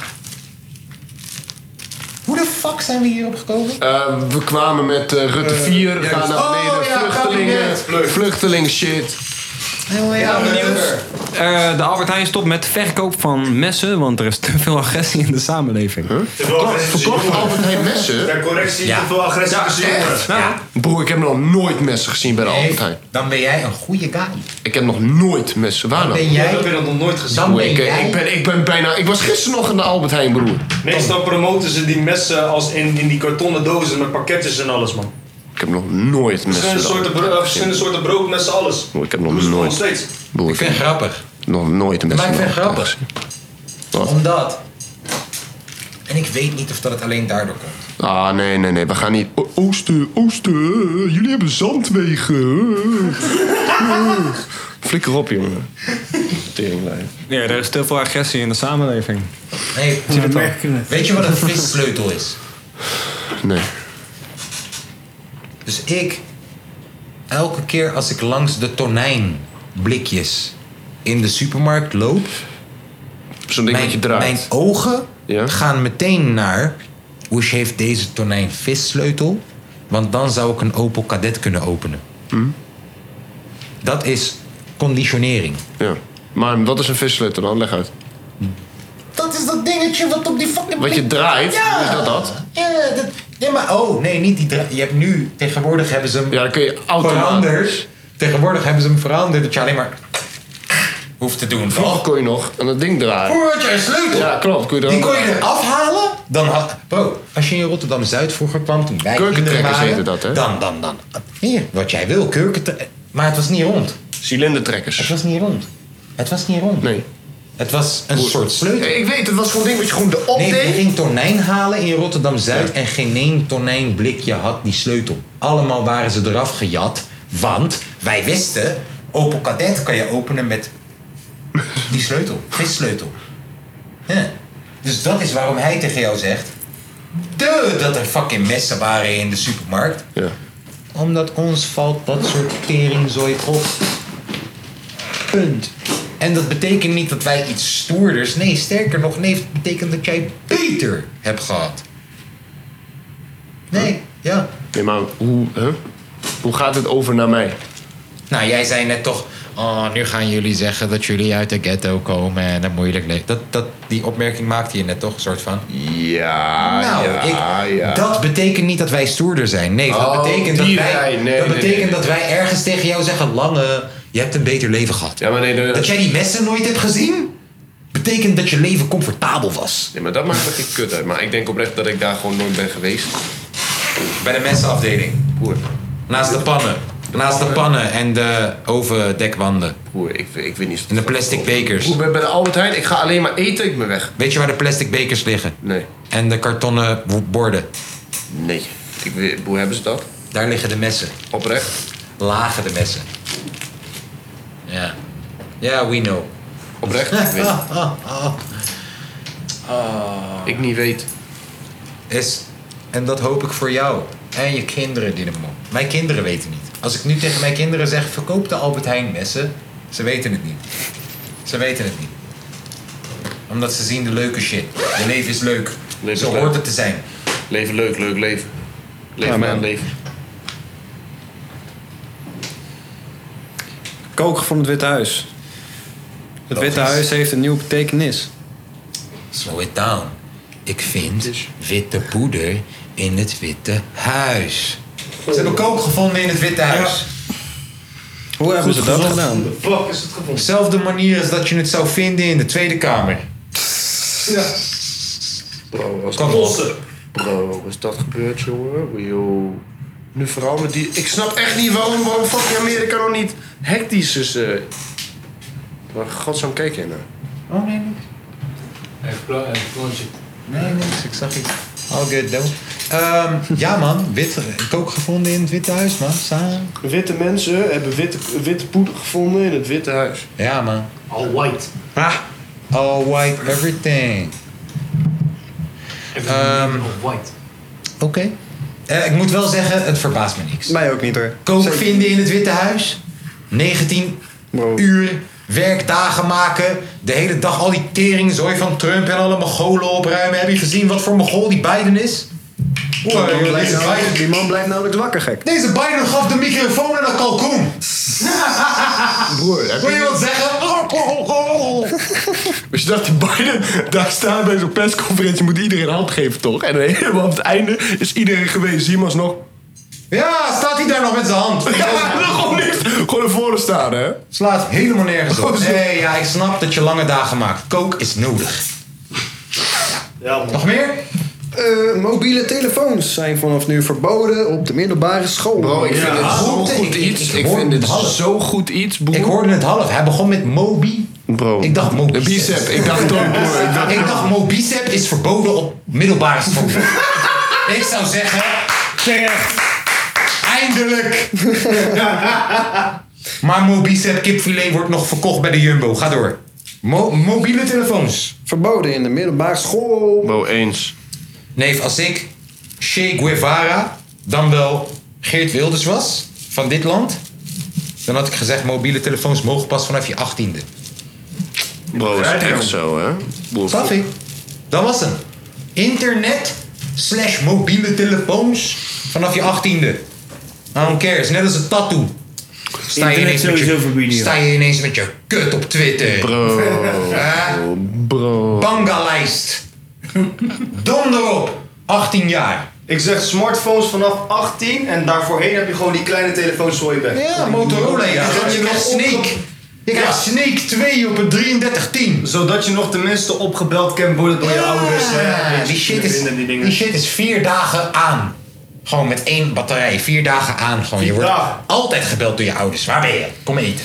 [SPEAKER 1] Hoe de fuck zijn we hierop gekomen?
[SPEAKER 4] Eh, we kwamen met eh, Rutte 4,
[SPEAKER 1] juist.
[SPEAKER 4] gaan naar
[SPEAKER 1] Oh,
[SPEAKER 4] beneden,
[SPEAKER 1] ja,
[SPEAKER 4] vluchtelingen,
[SPEAKER 1] kabinet.
[SPEAKER 4] vluchteling shit.
[SPEAKER 1] Heel ja, benieuwd.
[SPEAKER 2] Eh, de Albert Heijn stopt met verkoop van messen, want er is te veel agressie in de samenleving.
[SPEAKER 4] Verkocht Albert Heijn messen?
[SPEAKER 7] Ter correctie, te veel agressie
[SPEAKER 4] Ja,
[SPEAKER 7] tussen
[SPEAKER 4] echt?
[SPEAKER 7] jongeren.
[SPEAKER 4] Ja. Broer, ik heb nog nooit messen gezien bij de Albert Heijn.
[SPEAKER 1] Nou. Dan ben jij een goede
[SPEAKER 4] Ah,
[SPEAKER 1] guy.
[SPEAKER 4] Ik heb nog nooit messen. Waar dan?
[SPEAKER 7] ben jij- Ik heb dat nog nooit gezien. Dan
[SPEAKER 4] Broer,
[SPEAKER 7] ben
[SPEAKER 4] ik,
[SPEAKER 7] jij-
[SPEAKER 4] ik, ben, ik ben bijna... Ik was gisteren nog in de Albert Heijn, broer.
[SPEAKER 7] Meestal promoten ze die messen als in, in die kartonnen dozen met pakketjes en alles, man.
[SPEAKER 4] Ik heb nog nooit messen.
[SPEAKER 7] Verschillende
[SPEAKER 4] bij de
[SPEAKER 7] soorten,
[SPEAKER 4] Albert
[SPEAKER 7] bro-
[SPEAKER 4] Heijn
[SPEAKER 7] eh,
[SPEAKER 4] gezien.
[SPEAKER 7] verschillende soorten brood, messen, alles.
[SPEAKER 4] Broer, ik heb nog
[SPEAKER 7] Nog
[SPEAKER 4] nooit...
[SPEAKER 7] steeds.
[SPEAKER 4] Broer, ik vind het
[SPEAKER 1] grappig.
[SPEAKER 4] Nog nooit een
[SPEAKER 1] Maar
[SPEAKER 4] messen.
[SPEAKER 1] ik vind het
[SPEAKER 4] bij de Albert
[SPEAKER 1] grappig.
[SPEAKER 4] Heijn Wat?
[SPEAKER 1] Omdat. En ik weet niet of dat het alleen daardoor komt.
[SPEAKER 4] gezien. Ah, nee, nee, nee. We gaan niet... Oh, O- Oosten, oosten. Jullie hebben zandwegen. Flikker op, jongen. Teringlijn.
[SPEAKER 2] Ja, er is te veel agressie in de samenleving.
[SPEAKER 1] Nee,
[SPEAKER 2] Zie je dat dan?
[SPEAKER 1] Weet je wat een vissleutel is?
[SPEAKER 4] Nee.
[SPEAKER 1] Dus ik, elke keer als ik langs de tonijnblikjes in de supermarkt loop.
[SPEAKER 4] Zo'n ding dat je draait.
[SPEAKER 1] Mijn ogen gaan meteen naar. Hoe heeft deze tonijn vissleutel? Want dan zou ik een Opel Cadet kunnen openen.
[SPEAKER 4] Hm.
[SPEAKER 1] Dat is conditionering.
[SPEAKER 4] Ja. Maar wat is een vissleutel dan? Leg uit.
[SPEAKER 1] Dat is dat dingetje wat op die fucking...
[SPEAKER 4] Wat je draait?
[SPEAKER 1] Ja.
[SPEAKER 4] Is dat dat?
[SPEAKER 1] Ja, dat... Ja, maar oh, nee, niet die dra- Je hebt nu, tegenwoordig hebben ze hem...
[SPEAKER 4] Ja, dan kun je automatisch.
[SPEAKER 1] Veranderd. Tegenwoordig hebben ze hem veranderd dat je alleen maar... Hoeft te doen.
[SPEAKER 4] Vroeger kon je nog aan dat ding draaien.
[SPEAKER 1] Vroeger had je een sleutel.
[SPEAKER 4] Ja, klopt. Kon je
[SPEAKER 1] Die kon je
[SPEAKER 4] draaien.
[SPEAKER 1] eraf halen? Dan had... Bro, als je in Rotterdam-Zuid vroeger kwam, toen wij kinderen
[SPEAKER 4] Kurkentrekkers
[SPEAKER 1] waren...
[SPEAKER 4] heette dat, hè?
[SPEAKER 1] Dan, dan, dan. Hier, wat jij wil, kurkentrekkers. Maar het was niet rond.
[SPEAKER 4] Cilindertrekkers.
[SPEAKER 1] Het was niet rond. Het was niet rond.
[SPEAKER 4] Nee.
[SPEAKER 1] Het was een
[SPEAKER 4] Hoe-
[SPEAKER 1] soort sleutel.
[SPEAKER 4] Ik weet, het was gewoon een ding wat je gewoon erop
[SPEAKER 1] nee,
[SPEAKER 4] deed.
[SPEAKER 1] je ging tonijn halen in Rotterdam-Zuid en geen één tonijnblikje had die sleutel. Allemaal waren ze eraf gejat, want wij wisten... Opel Cadet kan je openen met die sleutel, vissleutel. Ja. Dus dat is waarom hij tegen jou zegt... Duh, dat er fucking messen waren in de supermarkt.
[SPEAKER 4] Ja.
[SPEAKER 1] Omdat ons valt dat soort teringzooi op. Punt. En dat betekent niet dat wij iets stoerders... Nee, sterker nog, nee, het betekent dat jij beter hebt gehad. Nee, ja.
[SPEAKER 4] Nee, maar hoe, hè? hoe gaat het over naar mij?
[SPEAKER 1] Nou, jij zei net toch... Oh, nu gaan jullie zeggen dat jullie uit de ghetto komen en een moeilijk leven... Dat, dat, die opmerking maakte je net toch, een soort van?
[SPEAKER 4] Ja,
[SPEAKER 1] nou,
[SPEAKER 4] ja,
[SPEAKER 1] ik,
[SPEAKER 4] ja.
[SPEAKER 1] dat betekent niet dat wij stoerder zijn. Nee, dat
[SPEAKER 4] Oh,
[SPEAKER 1] betekent, dat
[SPEAKER 4] die
[SPEAKER 1] wij,
[SPEAKER 4] lijn. Nee,
[SPEAKER 1] dat,
[SPEAKER 4] nee,
[SPEAKER 1] betekent
[SPEAKER 4] nee.
[SPEAKER 1] dat wij ergens tegen jou zeggen... Lange, je hebt een beter leven gehad.
[SPEAKER 4] Ja, maar nee, de-
[SPEAKER 1] Dat jij die messen nooit hebt gezien... betekent dat je leven comfortabel was.
[SPEAKER 4] Nee, maar dat maakt het niet kut uit. Maar ik denk oprecht dat ik daar gewoon nooit ben geweest.
[SPEAKER 1] Bij de messenafdeling?
[SPEAKER 4] Broer.
[SPEAKER 1] Naast de pannen. Naast de pannen en de overdekwanden.
[SPEAKER 4] Broer, ik, ik weet niet...
[SPEAKER 1] En de plastic bekers.
[SPEAKER 4] Broer, bij bij de Albert Heijn, ik ga alleen maar eten, ik ben weg.
[SPEAKER 1] Weet je waar de plastic bekers liggen?
[SPEAKER 4] Nee.
[SPEAKER 1] En de kartonnen wo- borden?
[SPEAKER 4] Nee. Ik, weet- hoe hebben ze dat?
[SPEAKER 1] Daar liggen de messen.
[SPEAKER 4] Oprecht?
[SPEAKER 1] Lagen de messen. Ja. Ja, we know.
[SPEAKER 4] Oprecht? Ik weet het. Ik niet weet.
[SPEAKER 1] Ah. Is, en dat hoop ik voor jou. En je kinderen, Dynamo. Mijn kinderen weten niet. Als ik nu tegen mijn kinderen zeg, verkoop de Albert Heijn messen. Ze weten het niet. Ze weten het niet. Omdat ze zien de leuke shit. Je leven is leuk. Zo
[SPEAKER 4] is leuk.
[SPEAKER 1] hoort het te zijn.
[SPEAKER 4] Leven leuk, leuk leven.
[SPEAKER 1] Ja,
[SPEAKER 4] Leven
[SPEAKER 1] man.
[SPEAKER 4] man, leven.
[SPEAKER 2] Koken van het Witte Huis. Het Witte Huis heeft een nieuwe betekenis.
[SPEAKER 1] Slow it down. Ik vind witte poeder in Oh. het Witte Huis. Ze hebben kook gevonden in het Witte Huis.
[SPEAKER 2] Hoe hebben ze dat gedaan?
[SPEAKER 1] Fuck is het gevonden? Zelfde manier als dat je het zou vinden in de Tweede Kamer.
[SPEAKER 17] Ja.
[SPEAKER 5] Bro, was
[SPEAKER 1] Kom
[SPEAKER 5] dat, bro, was dat gebeurd, jongen? Yo. Nu vooral met die... Ik snap echt niet waarom, waarom fucking Amerika nog niet hectisch is. eh. Maar godsam kijk je naar.
[SPEAKER 18] Oh nee, niks.
[SPEAKER 1] Nee, niks. Ik zag iets. All good, though. Ehm, ja, man. Wit, kook gevonden in het Witte Huis, man. Samen.
[SPEAKER 5] Witte mensen hebben witte, witte poeder gevonden in het Witte Huis.
[SPEAKER 1] Ja, man.
[SPEAKER 5] All white.
[SPEAKER 1] Ah, all white everything. Ehm, Oké. Eh, ik moet wel zeggen, het verbaast me niks.
[SPEAKER 2] Mij ook niet hoor.
[SPEAKER 1] Kook vinden in het Witte Huis. 19 uur werkdagen maken. De hele dag al die teringzooi van Trump en alle Mongolen opruimen. Heb je gezien wat voor Mogol die Biden is?
[SPEAKER 2] Die
[SPEAKER 1] Oeh,
[SPEAKER 2] nou- man blijft
[SPEAKER 1] deze
[SPEAKER 2] namelijk-
[SPEAKER 1] Biden-
[SPEAKER 2] Die man blijft namelijk wakker gek.
[SPEAKER 1] Deze Biden gaf de microfoon aan een kalkoen.
[SPEAKER 2] Broer,
[SPEAKER 1] Wil je wat zeggen?
[SPEAKER 17] Dus je dacht, die Biden, daar staan bij zo'n persconferentie, moet iedereen een hand geven, toch? En helemaal op het einde is iedereen geweest. Zie je hem alsnog.
[SPEAKER 1] Ja, staat hij daar nog met zijn hand?
[SPEAKER 17] Ja, gewoon niks. Gewoon naar voren staan, hè?
[SPEAKER 1] Slaat helemaal nergens op.
[SPEAKER 17] Oh, zo.
[SPEAKER 1] Nee, ja, ik snap dat je lange dagen maakt. Kook is nodig. Nog meer?
[SPEAKER 2] Eh, mobiele telefoons zijn vanaf nu verboden op de middelbare school.
[SPEAKER 1] Bro, ik vind het zo goed iets. Ik vind dit zo
[SPEAKER 2] goed iets, broer.
[SPEAKER 1] Ik hoorde het half. Hij begon met Mobi. Bro. Ik dacht Mobi.
[SPEAKER 4] bicep. Ik dacht ook, broer. Ik dacht-
[SPEAKER 1] ik dacht Mobicep is verboden op middelbare school. ik zou zeggen. Terecht. Eindelijk. maar Mobicep kipfilet wordt nog verkocht bij de Jumbo. Ga door. Mo- mobiele telefoons.
[SPEAKER 2] Verboden in de middelbare school.
[SPEAKER 1] Bro, eens. Neef, als ik Che Guevara, dan wel Geert Wilders was, van dit land... dan had ik gezegd, mobiele telefoons mogen pas vanaf je achttiende.
[SPEAKER 4] Bro, is echt zo, hè? Boer,
[SPEAKER 1] Snap je? Dat was hem. Internet slash mobiele telefoons vanaf je achttiende. I don't care, is net als een tattoo. Sta je,
[SPEAKER 3] Internet
[SPEAKER 1] ineens met
[SPEAKER 3] sowieso
[SPEAKER 1] je, sta je ineens met je kut op Twitter. Eh,
[SPEAKER 4] Bro.
[SPEAKER 1] Hè?
[SPEAKER 4] Bro.
[SPEAKER 1] Bangalijst. Donder op. 18 jaar.
[SPEAKER 7] Ik zeg smartphones vanaf 18 en daarvoorheen heb je gewoon die kleine telefoon zooiebag.
[SPEAKER 1] Ja, Motorola, ja. Je krijgt Sneak. Je krijgt Sneak 2 op een 3310.
[SPEAKER 7] Zodat je nog tenminste opgebeld kan worden door je ouders. hè.
[SPEAKER 1] Ja,
[SPEAKER 7] Weet je,
[SPEAKER 1] die shit, is,
[SPEAKER 7] vinden die dingen.
[SPEAKER 1] die shit is vier dagen aan. Gewoon met één batterij. Vier dagen aan. Gewoon. Je wordt altijd gebeld door je ouders. Waar ben je? Kom eten.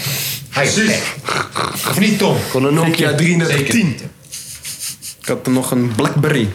[SPEAKER 1] Ga je plek. Of niet, Tom?
[SPEAKER 2] Gewoon een Nokia 3310. Ik had er nog een Blackberry.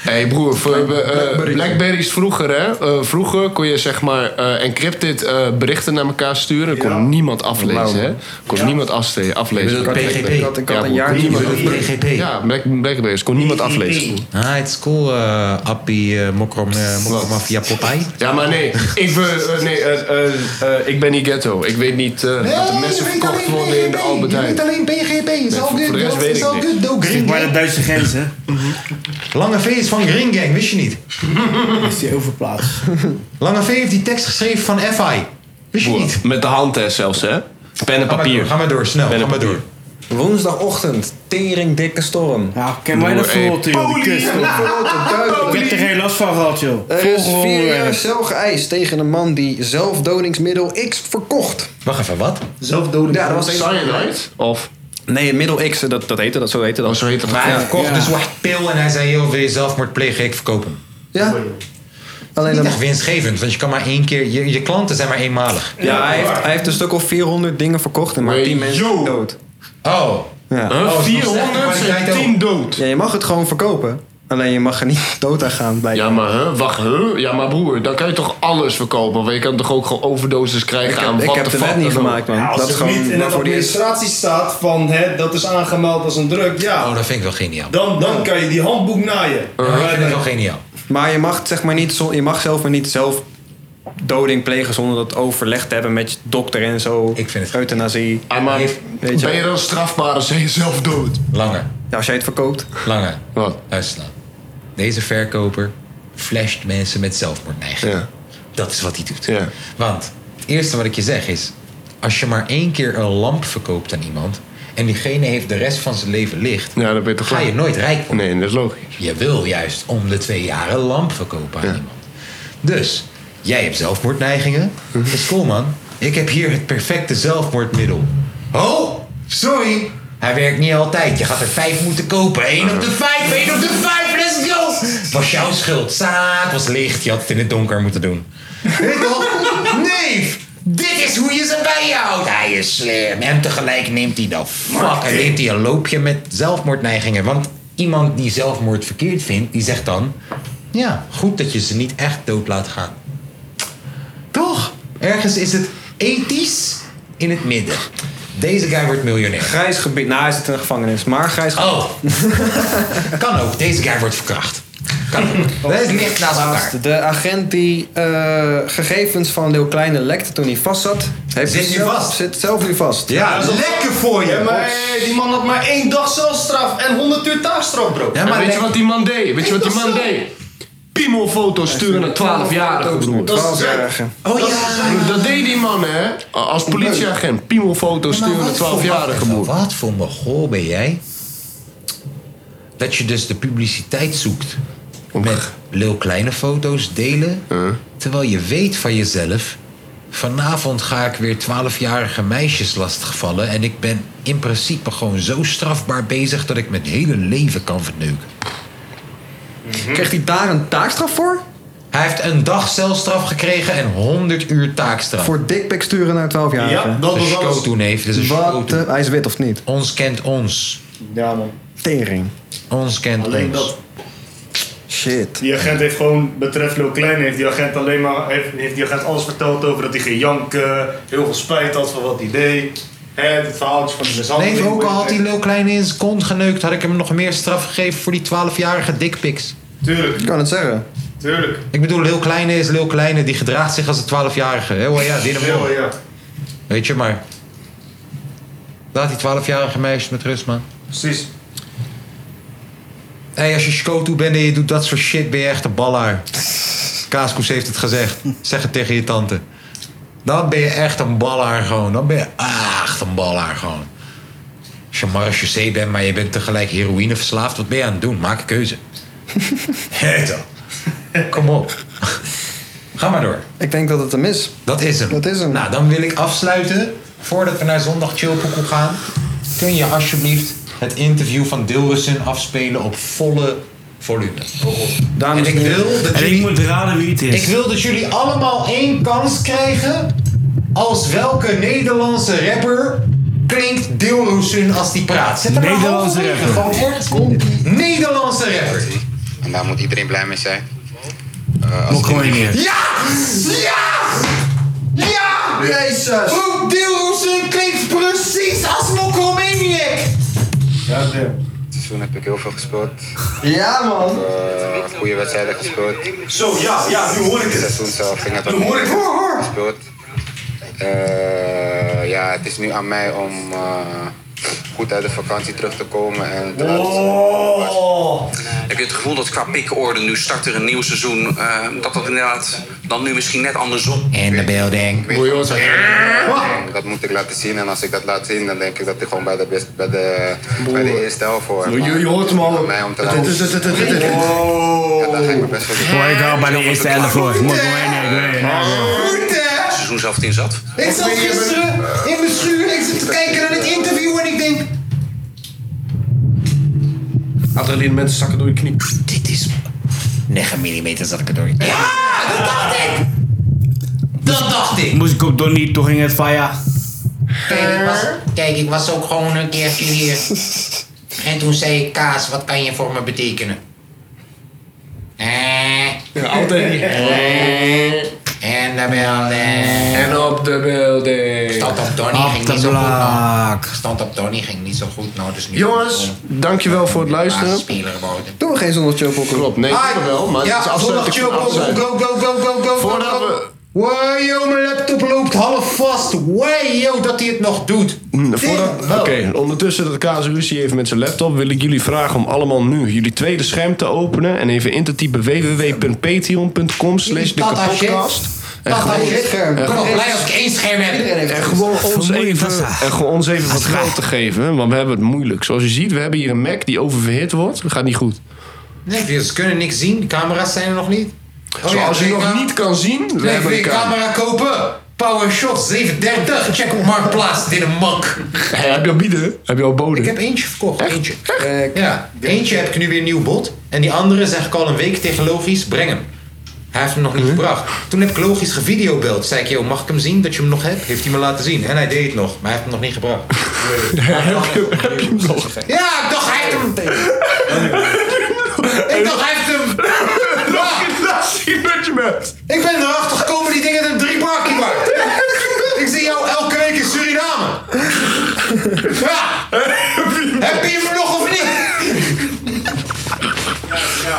[SPEAKER 4] Hé hey broer, voor- eh, Blackberry. is vroeger hè. Eh, vroeger kon je zeg maar eh, encrypted eh, berichten naar elkaar sturen. Dan kon niemand
[SPEAKER 2] Blauw.
[SPEAKER 4] aflezen hè. Kon niemand afste- aflezen.
[SPEAKER 2] Ik bedoel, PGP. Ik had- ik had een
[SPEAKER 4] broer,
[SPEAKER 2] jaartje
[SPEAKER 4] niemand-
[SPEAKER 2] met
[SPEAKER 18] PGP.
[SPEAKER 4] Ja,
[SPEAKER 1] Eh,
[SPEAKER 4] Black- Blackberry. Dus kon niemand aflezen.
[SPEAKER 18] Ah, het is cool, eh Appie, eh, Mokrom, eh, Mokrom, Mafia, Popeye.
[SPEAKER 4] Ja, maar nee. Ik ben, eh, nee, eh, eh, eh, ik ben niet ghetto. Ik weet niet eh dat de mensen verkocht worden in de Albert Heijn.
[SPEAKER 1] alleen BGP. Is
[SPEAKER 4] Nee, all voor- good, voor de rest bro. weet Is ik all niks. good, though,
[SPEAKER 3] Zeg maar de Duitse grens, hè?
[SPEAKER 1] Mhm. Lange V is van Green Gang, wist je niet?
[SPEAKER 3] Is die overplaats?
[SPEAKER 1] Lange V heeft die tekst geschreven van FI. Wist je niet?
[SPEAKER 4] Met de hand hè, zelfs hè. Pen en
[SPEAKER 1] Ga maar
[SPEAKER 4] papier.
[SPEAKER 1] door, ga maar door, snel.
[SPEAKER 4] Pen en
[SPEAKER 1] Ga maar door.
[SPEAKER 2] Woensdagochtend, tering dikke storm.
[SPEAKER 3] Ja, ken mij dat verrotten, joh. Die kust. Ik heb er geen last van gehad, joh.
[SPEAKER 2] Er is
[SPEAKER 3] Volgehouden
[SPEAKER 2] vier jaar
[SPEAKER 3] ergens.
[SPEAKER 2] cel geëist tegen een man die zelfdodingsmiddel X verkocht.
[SPEAKER 1] Wacht even, wat?
[SPEAKER 2] Zelfdoding? Ja, dat was een-
[SPEAKER 4] Cyanide? Of?
[SPEAKER 2] Nee, middel X, dat, dat heette dat, zo heette dat.
[SPEAKER 4] zo heette
[SPEAKER 1] Maar hij verkocht dus wat pil en hij zei, joh, wil je zelfmoord plegen? Ik verkoop hem.
[SPEAKER 2] Ja?
[SPEAKER 1] Alleen niet echt winstgevend, want je kan maar één keer... Je, je klanten zijn maar eenmalig.
[SPEAKER 2] Ja, hij heeft, hij heeft een stuk of 400 dingen verkocht en maar 10 mensen zijn dood.
[SPEAKER 1] Oh.
[SPEAKER 2] Ja.
[SPEAKER 1] Huh? Oh, 400 zijn 10
[SPEAKER 2] dood. Ja, je mag het gewoon verkopen. Alleen je mag er niet dood aan gaan bij.
[SPEAKER 4] Ja, maar hè? Wacht, hè? Ja, maar broer, dan kan je toch alles verkopen? Want je kan toch ook gewoon overdoses krijgen
[SPEAKER 2] Ik heb-
[SPEAKER 4] aan
[SPEAKER 2] ik
[SPEAKER 4] wat
[SPEAKER 2] heb
[SPEAKER 4] de
[SPEAKER 2] de
[SPEAKER 4] fuck
[SPEAKER 2] wet niet
[SPEAKER 4] dan ook?
[SPEAKER 2] gemaakt, man.
[SPEAKER 7] Ja, als het niet in de administratie staat van hè, dat is aangemeld als een druk, ja.
[SPEAKER 1] Oh, dat vind ik wel geniaal.
[SPEAKER 7] Dan, dan kan je die handboek naaien.
[SPEAKER 2] Ja, ik vind het wel
[SPEAKER 1] geniaal.
[SPEAKER 2] Maar je mag, zeg maar niet, zo- je mag zelf maar niet zelf doding plegen zonder dat overleg te hebben met je dokter en zo. Ik vind het. Euthanasie. Weet
[SPEAKER 4] Ben je dan strafbaar als je zelf dood?
[SPEAKER 1] Langer.
[SPEAKER 2] Ja, als jij het verkoopt.
[SPEAKER 1] Lange.
[SPEAKER 4] Wat?
[SPEAKER 1] Luister nou. Deze verkoper flasht mensen met zelfmoordneigingen. Dat is wat hij doet. Want het eerste wat ik je zeg is... als je maar één keer een lamp verkoopt aan iemand... en diegene heeft de rest van zijn leven licht...
[SPEAKER 4] Ja, dat ben je toch
[SPEAKER 1] ga je nooit rijk worden.
[SPEAKER 4] Nee, dat is logisch.
[SPEAKER 1] Je wil juist om de twee jaar
[SPEAKER 4] Hm.
[SPEAKER 1] een lamp verkopen aan iemand. Dus, jij hebt zelfmoordneigingen. Dat is cool, man. Ik heb hier het perfecte zelfmoordmiddel. Oh, sorry. Hij werkt niet altijd. Je gaat er vijf moeten kopen. Eén op de vijf, één op de vijf. Let's go. Was jouw schuld. Zaak was licht. Je had het in het donker moeten doen. Weet je wel? Neef, dit is hoe je ze bijhoudt. Hij is slim. En tegelijk neemt hij dan fuck. En neemt hij een loopje met zelfmoordneigingen. Want iemand die zelfmoord verkeerd vindt, die zegt dan... Ja, goed dat je ze niet echt dood laat gaan. Toch? Ergens is het ethisch in het midden. Deze guy wordt miljonair.
[SPEAKER 9] Grijs gebied. Nou, hij zit in de gevangenis, maar grijs gebied.
[SPEAKER 1] Oh. kan ook. Deze guy wordt verkracht. Kan ook. Dat is licht naast elkaar.
[SPEAKER 9] De agent die eh, gegevens van Leeuw Kleine lekte toen hij vast zat... Heeft
[SPEAKER 1] Zit nu
[SPEAKER 9] zelf-
[SPEAKER 1] vast.
[SPEAKER 9] Zit zelf nu vast.
[SPEAKER 19] voor je. maar eh, die man had maar één dag celstraf en 100 uur taakstraf, bro.
[SPEAKER 4] En weet je wat die man deed? Weet je wat die man deed? Piemelfoto's sturen naar 12-jarigen, broer.
[SPEAKER 19] Dat is
[SPEAKER 4] Oh ja. Dat deed die man, hè? Als politieagent. Piemelfoto's
[SPEAKER 1] Maar
[SPEAKER 4] sturen naar
[SPEAKER 1] wat voor-
[SPEAKER 4] 12-jarigen, broer.
[SPEAKER 1] Wat voor mogol ben jij? Dat je dus de publiciteit zoekt. Met leeuw kleine foto's delen. Terwijl je weet van jezelf... Vanavond ga ik weer 12-jarige meisjes lastigvallen. En ik ben in principe gewoon zo strafbaar bezig... dat ik mijn hele leven kan verneuken.
[SPEAKER 9] Kreeg Mhm. hij daar een taakstraf voor?
[SPEAKER 1] Hij heeft een dag celstraf gekregen en 100 uur taakstraf.
[SPEAKER 9] Voor dikpik sturen naar 12 jaar.
[SPEAKER 1] een show neef. Dit is een
[SPEAKER 9] Wat, eh, hij is wit of niet?
[SPEAKER 1] Ons kent ons.
[SPEAKER 9] Ja, man. Tering.
[SPEAKER 1] Ons kent
[SPEAKER 7] Alleen
[SPEAKER 1] ons.
[SPEAKER 7] dat.
[SPEAKER 9] Shit.
[SPEAKER 7] Die agent heeft gewoon, betreft Lil Klein, heeft die agent alleen maar, heeft, heeft die agent alles verteld over dat hij ging janken, heel veel spijt had van wat hij deed. Hè, het verhaaltje van de mishandeling.
[SPEAKER 1] Nee, ook al had hij Lil Kleine in zijn kont geneukt, had ik hem nog meer straf gegeven voor die 12-jarige dikpiks.
[SPEAKER 7] Tuurlijk.
[SPEAKER 9] Ik kan het zeggen.
[SPEAKER 7] Tuurlijk.
[SPEAKER 1] Ik bedoel, Lil Kleine is Lil Kleine, die gedraagt zich als een 12-jarige. Heel Oh ja, dynamo.
[SPEAKER 7] Heel, ja.
[SPEAKER 1] Weet je, maar. Laat die 12-jarige meisjes met rust, man.
[SPEAKER 7] Precies.
[SPEAKER 1] Hé, hey, als je schotu bent en je doet dat soort shit, ben je echt een ballaar. Kaaskoes heeft het gezegd. Zeg het tegen je tante. Dan ben je echt een ballaar gewoon. Dan ben je echt een ballaar gewoon. Als je marechaussee bent, maar je bent tegelijk heroïne verslaafd, wat ben je aan het doen? Maak een keuze. Hé dan. Kom op. Ga maar door.
[SPEAKER 9] Ik denk dat het hem is.
[SPEAKER 1] Dat is hem. Dat is hem. Nou, dan wil ik afsluiten. Voordat we naar zondag chillpokoe gaan, kun je alsjeblieft het interview van Dilrussen afspelen op volle volume.
[SPEAKER 9] Dames
[SPEAKER 1] en ik wil dat jullie,
[SPEAKER 3] moet raden wie het is.
[SPEAKER 1] ik wil dat jullie allemaal één kans krijgen als welke Nederlandse rapper klinkt Dilrussen als die praat. Zet hem maar
[SPEAKER 3] Nederlandse
[SPEAKER 1] halverwege,
[SPEAKER 3] rapper.
[SPEAKER 1] Gewoon ergens komt. Nederlandse rapper.
[SPEAKER 20] En daar moet iedereen blij mee zijn. Eh,
[SPEAKER 3] Nog gewoon niet.
[SPEAKER 1] Ja! Ja! Ja! Jezus! Bro, Dilrozen klinkt precies als Mokko Maniac!
[SPEAKER 20] Ja, Dit seizoen heb ik heel veel gespeeld.
[SPEAKER 9] Ja, man!
[SPEAKER 20] goede Eh, wedstrijden gespeeld.
[SPEAKER 19] Zo, ja, ja, nu hoor ik het.
[SPEAKER 20] Dit seizoen zelf ging het
[SPEAKER 19] Nu hoor ik het. Hoor, hoor.
[SPEAKER 20] gespeeld. Eh, ja, het is nu aan mij om eh, goed uit de vakantie terug te komen en te laten zien waar ik
[SPEAKER 19] Oh.
[SPEAKER 20] was.
[SPEAKER 21] Heb je het gevoel dat qua pikorde nu start er een nieuw seizoen, eh, dat dat inderdaad dan nu misschien net andersom?
[SPEAKER 1] In de building.
[SPEAKER 20] En Dat moet ik laten zien en als ik dat laat zien, dan denk ik dat ik gewoon bij de, best- bij de, bij de eerste helft hoor.
[SPEAKER 19] Je, je hoort hem al.
[SPEAKER 20] Aan mij om te laten zien. Ja, daar ga ik me best wel doen.
[SPEAKER 3] Hoor ik al bij de eerste helft voor. Moet gewoon
[SPEAKER 21] Het seizoen zelf in zat.
[SPEAKER 1] Ik zat gisteren in mijn schuur, ik zat te kijken naar het interview en ik denk...
[SPEAKER 19] Adrenaline, mensen zakken door je knie.
[SPEAKER 1] Dit is... 9 mm zat ik er door. dat dacht ik! Dat dacht ik!
[SPEAKER 3] Moest ik op Donnie, toen ging het van ja.
[SPEAKER 1] Kijk ik, was, kijk, ik was ook gewoon een keertje hier. En toen zei ik, Kaas, wat kan je voor me betekenen? Eh.
[SPEAKER 19] altijd.
[SPEAKER 1] Eh. En de building. En op de building. Stand op Donnie
[SPEAKER 4] Op
[SPEAKER 1] ging
[SPEAKER 4] de
[SPEAKER 1] niet zo goed. Nou.
[SPEAKER 4] blak.
[SPEAKER 1] Stand op Donnie ging niet zo goed. Nou, dus nu
[SPEAKER 4] Jongens, dankjewel voor het luisteren.
[SPEAKER 9] Doen we geen zondag chillpokoe?
[SPEAKER 4] Klopt, nee,
[SPEAKER 1] Ah,
[SPEAKER 4] doen we wel. Maar dit is afsluiting van afsluiting.
[SPEAKER 1] go, go, go, go. Voordat we... Wow, yo, mijn laptop loopt half vast. Wow, yo, dat hij het nog doet.
[SPEAKER 4] Mm, voordat- Oké, ondertussen dat Kaas ruzie heeft met zijn laptop, wil ik jullie vragen om allemaal nu jullie tweede scherm te openen en even in te typen www.patreon.com slash de
[SPEAKER 1] Tata shit.
[SPEAKER 4] kapotkast. En
[SPEAKER 1] Tata
[SPEAKER 4] gewoon-
[SPEAKER 1] shit.
[SPEAKER 4] en
[SPEAKER 1] Ik ben
[SPEAKER 4] gewoon-
[SPEAKER 1] al blij als ik één scherm heb.
[SPEAKER 4] En gewoon ons even, en gewoon ons even wat geld te geven, want we hebben het moeilijk. Zoals je ziet, we hebben hier een Mac die oververhit wordt. Dat gaat niet goed.
[SPEAKER 1] Nee, ze kunnen niks zien. De camera's zijn er nog niet. Oh,
[SPEAKER 4] Zoals je nog niet kan zien, we
[SPEAKER 1] Nee,
[SPEAKER 4] hebben
[SPEAKER 1] wil je
[SPEAKER 4] een
[SPEAKER 1] camera kopen? Power Shot 37. Check op Marktplaats. Dit een mak.
[SPEAKER 4] heb je al bieden? Heb je al boden?
[SPEAKER 1] Ik heb eentje verkocht. Eentje. Eh, ja. Eentje heb ik nu weer een nieuw bot. En die andere zeg ik al een week tegen Logisch. Breng hem. Hij heeft hem nog niet gebracht. Toen heb ik Logisch gevideobeld. Zei ik, joh, mag ik hem zien dat je hem nog hebt? Heeft hij me laten zien. En hij deed het nog. Maar hij heeft hem nog niet gebracht.
[SPEAKER 4] heb je hem nog?
[SPEAKER 1] Ja, ik dacht hij heeft hem. Ik dacht hij heeft hem. Laat zien dat je bent. Ik ben erachter gekomen die dingen een drie bakje maakt. Ik zie jou elke week in Suriname. Ja. Heb je hem nog of niet?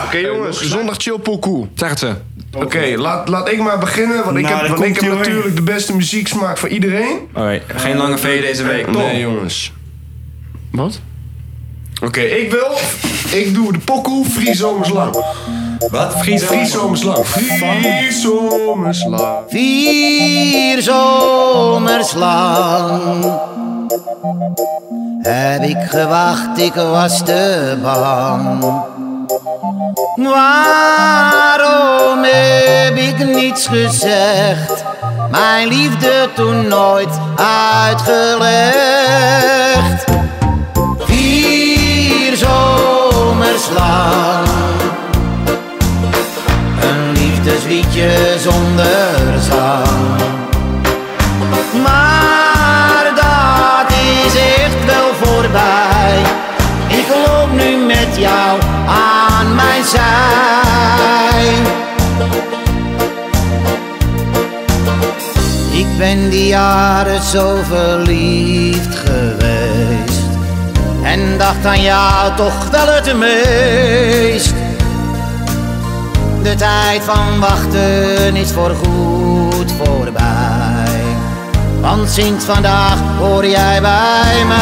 [SPEAKER 4] Oké jongens, zondag chill pokoe.
[SPEAKER 2] Zegt ze.
[SPEAKER 4] Oké, laat, laat ik maar beginnen, want ik
[SPEAKER 2] Nou,
[SPEAKER 4] heb,
[SPEAKER 2] daar
[SPEAKER 4] want ik
[SPEAKER 2] komt-ie,
[SPEAKER 4] heb
[SPEAKER 2] hoor.
[SPEAKER 4] natuurlijk de beste muzieksmaak van iedereen.
[SPEAKER 2] Alright, geen lange V deze week.
[SPEAKER 4] Tom. Nee, jongens. Wat? Oké, ik wil. Ik doe de pokoe Vrie Zomers Lang.
[SPEAKER 1] Wat?
[SPEAKER 4] Vrie Zomers Lang. Vrie Zomers Lang.
[SPEAKER 15] Vier zomers lang heb ik gewacht, ik was te bang. Waarom heb ik niets gezegd? Mijn liefde toen nooit uitgelegd. Vier zomers lang, een liefdesliedje zonder zang. Maar dat is echt wel voorbij. Ik loop nu met jou aan mijn zij. Ik ben die jaren zo verliefd geweest. En dacht aan jou toch wel het meest. De tijd van wachten is voorgoed voorbij. Want sinds vandaag hoor jij bij mij.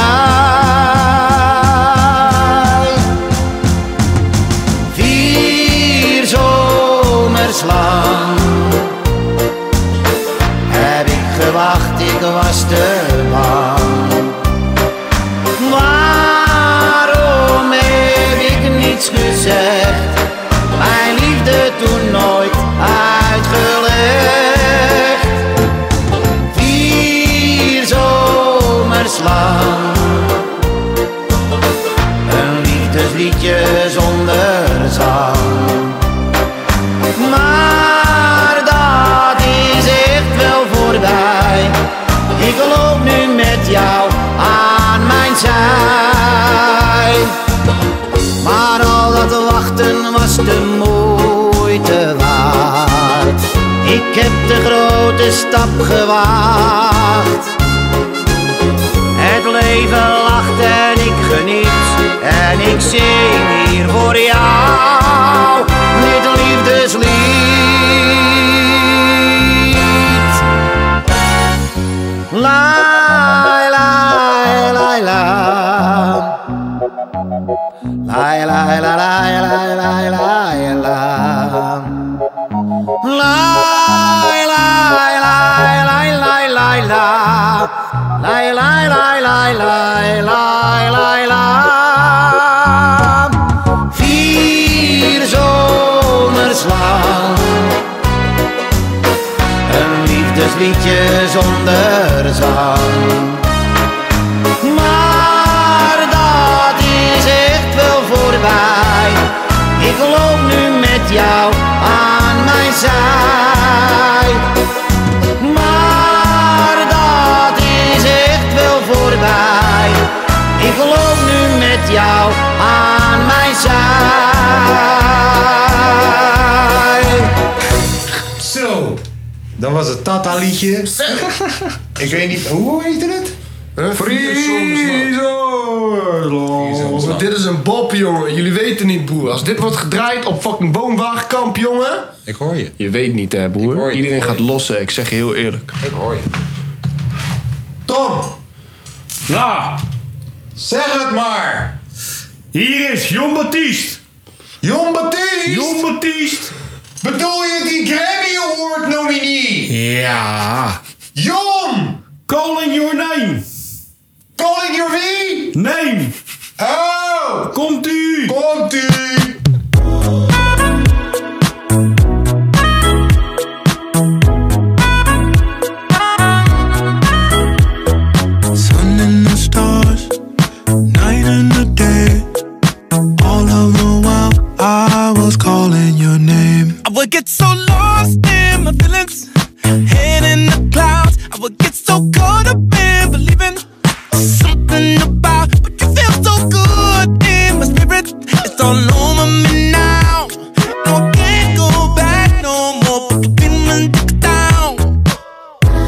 [SPEAKER 15] Vier zomers lang heb ik gewacht, ik was te bang. Waarom heb ik niets gezegd? Mijn liefde toen nooit uitgelegd. Vier zomers lang. Een liefdesliedje zonder zang. Maar dat is echt wel voorbij. Ik loop nu met jou aan mijn zij. Maar al dat wachten was de moeite waard. Ik heb de grote stap gewaagd. Het leven lacht en ik geniet. En ik zing hier voor jou. Dit liefdeslied. Lai, lai, lai, lai. Lai, lai, lai, lai, lai, lai, lai, lai. Lai, lai, lai, lai, lai, lai, lai. Lai, lai, lai, lai, lai, lai, lai, lai. Vier zomers lang. Een liefdesliedje zonder zang. Maar dat is echt wel voorbij. Ik loop nu met jou aan mijn zij. Maar dat is echt wel voorbij. Ik loop nu met jou aan mijn zij.
[SPEAKER 1] Zo. Dan was het Tata liedje. Ik weet niet, hoe heette het?
[SPEAKER 10] Friezo. Dit is een bop, jongen. Jullie weten niet, broer. Als dit wordt gedraaid op fucking woonwagenkamp, jongen.
[SPEAKER 1] Ik hoor je.
[SPEAKER 4] Je weet niet, hè, broer. Iedereen gaat lossen, ik zeg je heel eerlijk.
[SPEAKER 1] Ik hoor je. Tom!
[SPEAKER 4] Ja!
[SPEAKER 1] Zeg het maar!
[SPEAKER 7] Hier is Jon Baptiste!
[SPEAKER 1] Jon Baptiste!
[SPEAKER 7] Jon Baptiste!
[SPEAKER 1] Bedoel je die Grammy Award nominee?
[SPEAKER 7] Ja.
[SPEAKER 1] Jon!
[SPEAKER 7] Calling your name!
[SPEAKER 1] Calling your wie?
[SPEAKER 7] Name!
[SPEAKER 1] Oh!
[SPEAKER 7] Komt u!
[SPEAKER 1] Komt u!
[SPEAKER 5] Thank you.
[SPEAKER 12] I was calling your name.
[SPEAKER 5] I would get so lost in my feelings, head in the clouds. I would get so caught up in believing something about, but you feel so good in my spirit. It's all over me now. No, I can't go back no more. Put the feeling down.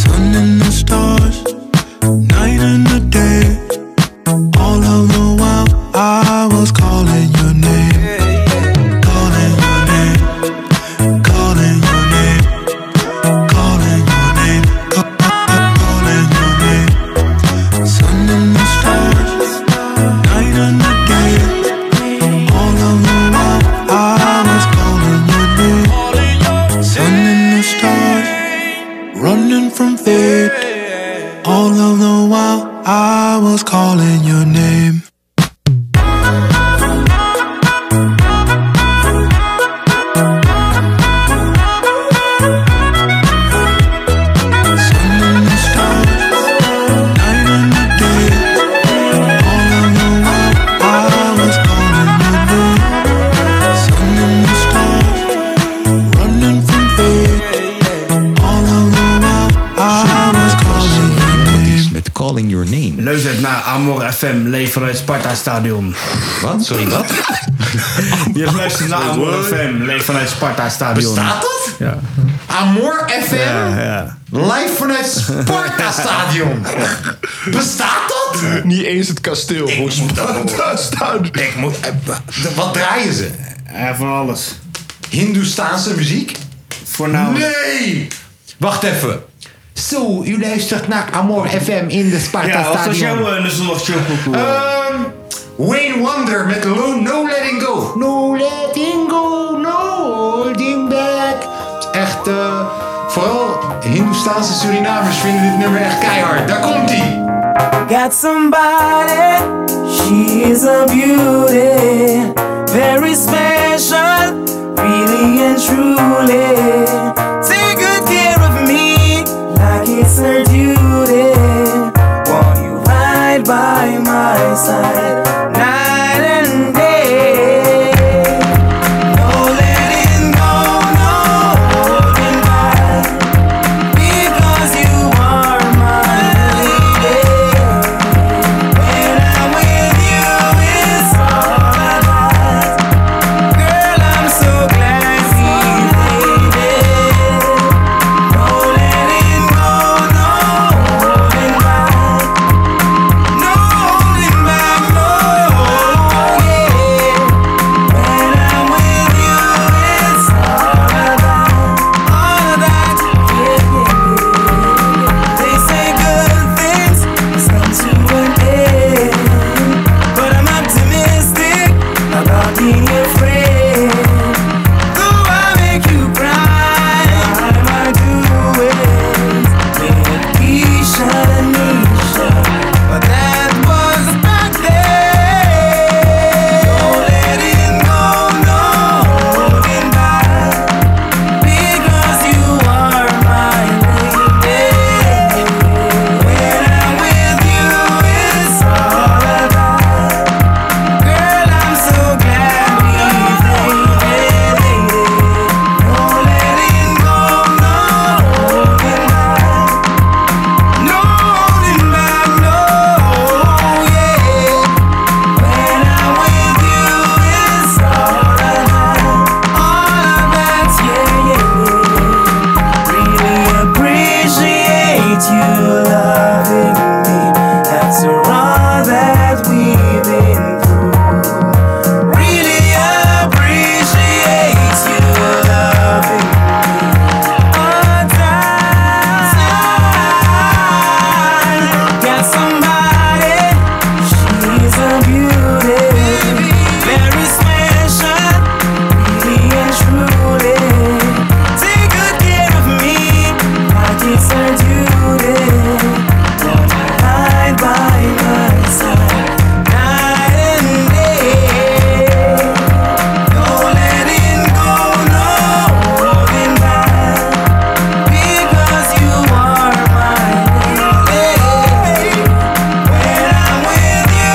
[SPEAKER 12] Sun and the stars, night and the day. All of the while I was calling your name. Calling your name. Calling your name. Calling your name. Ca- ca- ca- Calling your name. Sun and the stars, night and the day. All of the while I was calling your name. Sun and the stars running from fate. All of the while I was calling your name. Sun and the stars, night and the day. All of the while I was calling your name. Sun and the stars, running from fate. All of the while I was calling your name.
[SPEAKER 16] Met Calling Your Name.
[SPEAKER 3] Luister naar Amor FM, leef vanuit Sparta Stadion.
[SPEAKER 16] Wat? Sorry, wat?
[SPEAKER 3] Je luistert naar Amor FM, leef vanuit Sparta Stadion.
[SPEAKER 1] Bestaat dat?
[SPEAKER 3] Ja.
[SPEAKER 1] Amor FM,
[SPEAKER 3] Ja, ja.
[SPEAKER 1] live vanuit Sparta Stadion. Bestaat dat?
[SPEAKER 10] Niet eens het kasteel. Ik
[SPEAKER 1] moet dat staan. Ik moet, eh, de- wat draaien ze?
[SPEAKER 3] van alles.
[SPEAKER 1] Hindoestaanse muziek?
[SPEAKER 3] Voornamelijk.
[SPEAKER 1] Nee! Wacht even. Zo, u luistert naar Amor FM in de Sparta
[SPEAKER 3] Ja, wat was jouw uh,
[SPEAKER 1] Ehm, Wayne Wonder met Lo- No Letting Go. No Letting Go, No Holding Back. Het is Echt, eh, vooral Hindoestaanse Surinamers vinden dit nummer echt keihard. Daar komt ie.
[SPEAKER 5] Got somebody, she is a beauty, very special, really and truly. Take good care of me, like it's her duty. Want you right by my side, night and day. No letting go, no holding back, because you are my lady. When I'm with you, it's all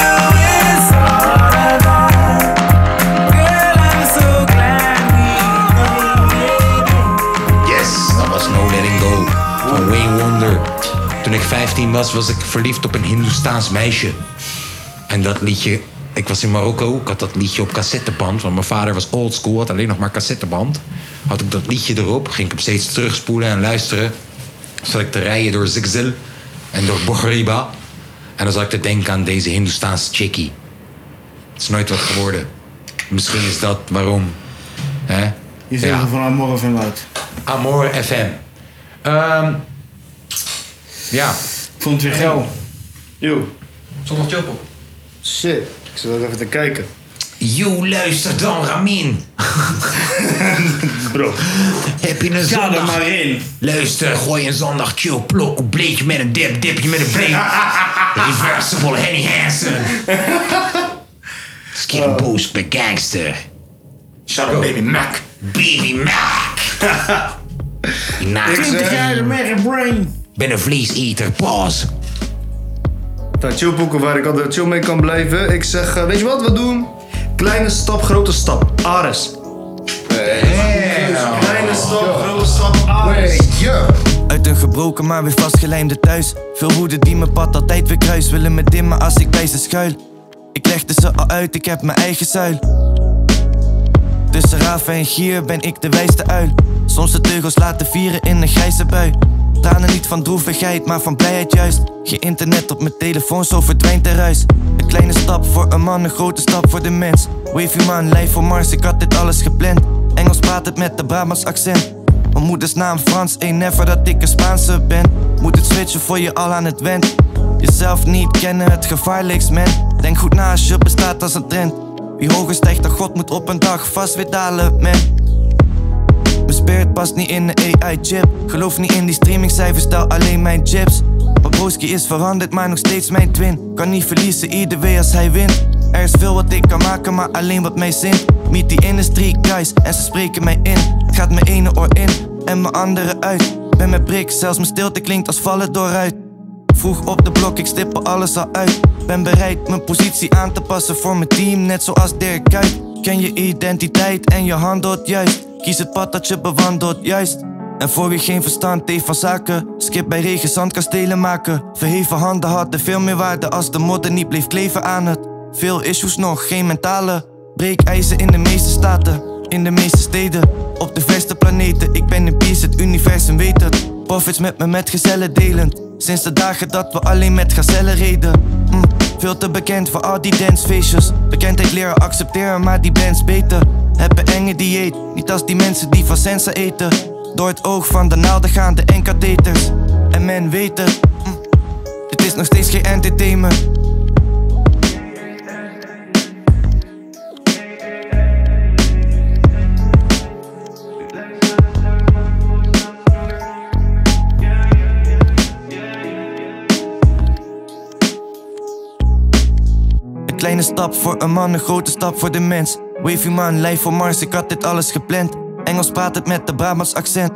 [SPEAKER 1] was, was ik verliefd op een Hindoestaans meisje. En dat liedje, ik was in Marokko, ik had dat liedje op cassetteband, want mijn vader was oldschool, had alleen nog maar cassetteband. Had ik dat liedje erop, ging ik hem steeds terugspoelen en luisteren. Zat ik te rijden door Zigzil en door Bohriba. En dan zat ik te denken aan deze Hindoestaanse chickie. Het is nooit wat geworden. Misschien is dat waarom. hè?
[SPEAKER 3] Je zegt
[SPEAKER 1] Ja.
[SPEAKER 3] van Amor FM uit.
[SPEAKER 1] Amor FM. Ehm ja.
[SPEAKER 3] Ik vond het weer geil.
[SPEAKER 19] Yo.
[SPEAKER 1] Zondag Chopel.
[SPEAKER 19] Shit. Ik zat even te kijken.
[SPEAKER 1] You luister dan, Ramin.
[SPEAKER 19] Bro.
[SPEAKER 1] Heb je een zondag? Luister, gooi een zondag chill plok, een bleekje met een dip, dipje met een break. Reversible Henny Hansen. Skip
[SPEAKER 19] Oh.
[SPEAKER 1] boost per gangster. Shut up, baby Mac. Baby Mac. Die naakt.
[SPEAKER 3] 20 jaar de Mega Brain.
[SPEAKER 1] ben een vleeseter, paas.
[SPEAKER 19] Nou, chillboeken waar ik altijd chill mee kan blijven. Ik zeg, eh, weet je wat we doen? Kleine stap, grote stap. Ares. Kleine stap, grote stap. Ares.
[SPEAKER 22] Uit een gebroken maar weer vastgelijmde thuis. Veel hoeden die mijn pad altijd weer kruis. Willen me dimmen als ik bij ze schuil. Ik legde ze al uit, ik heb mijn eigen zuil. Tussen raven en gier ben ik de wijste uil. Soms de teugels laten vieren in een grijze bui. Tranen niet van droevigheid, maar van blijheid juist. Geen internet op mijn telefoon, zo verdwijnt de ruis. Een kleine stap voor een man, een grote stap voor de mens. Wavy man, lijf voor Mars, ik had dit alles gepland. Engels praat het met de Brabants accent. Mijn moeders naam Frans, een never dat ik een Spaanse ben. Moet het switchen voor je al aan het went. Jezelf niet kennen, het gevaarlijkst man. Denk goed na als je bestaat als een trend. Wie hoger stijgt dan God moet op een dag vast weer dalen man. Mijn spirit past niet in de AI-chip. Geloof niet in die streamingcijfers, tel alleen mijn chips. Mijn broski is veranderd, maar nog steeds mijn twin. Kan niet verliezen, ieder way als hij wint. Er is veel wat ik kan maken, maar alleen wat mij zint. Meet die industry guys en ze spreken mij in. Het gaat mijn ene oor in en mijn andere uit. Ben met prik, zelfs mijn stilte klinkt als vallen dooruit. Vroeg op de blok, ik stippel alles al uit. Ben bereid mijn positie aan te passen voor mijn team, net zoals Dirk Kuyt. Ken je identiteit en je handelt juist. Kies het pad dat je bewandelt, juist. En voor wie geen verstand heeft van zaken, skip bij regen zandkastelen maken. Verheven handen hadden veel meer waarde als de modder niet bleef kleven aan het. Veel issues nog, geen mentale. Breekijzer in de meeste staten, in de meeste steden. Op de verste planeten, ik ben een beest, het universum weet het. Profits met me metgezellen delend. Sinds de dagen dat we alleen met gazellen reden. Mm, veel te bekend voor al die dancefeestjes. Bekendheid leren accepteren, maar die bands beter. Heb een enge dieet, niet als die mensen die van Sensa eten. Door het oog van de naalden gaan de enkatheters. En men weet het, mm, het is nog steeds geen entertainment. Een kleine stap voor een man, een grote stap voor de mens. Wavy man, lijf voor Mars, ik had dit alles gepland. Engels praat het met de Brabants accent.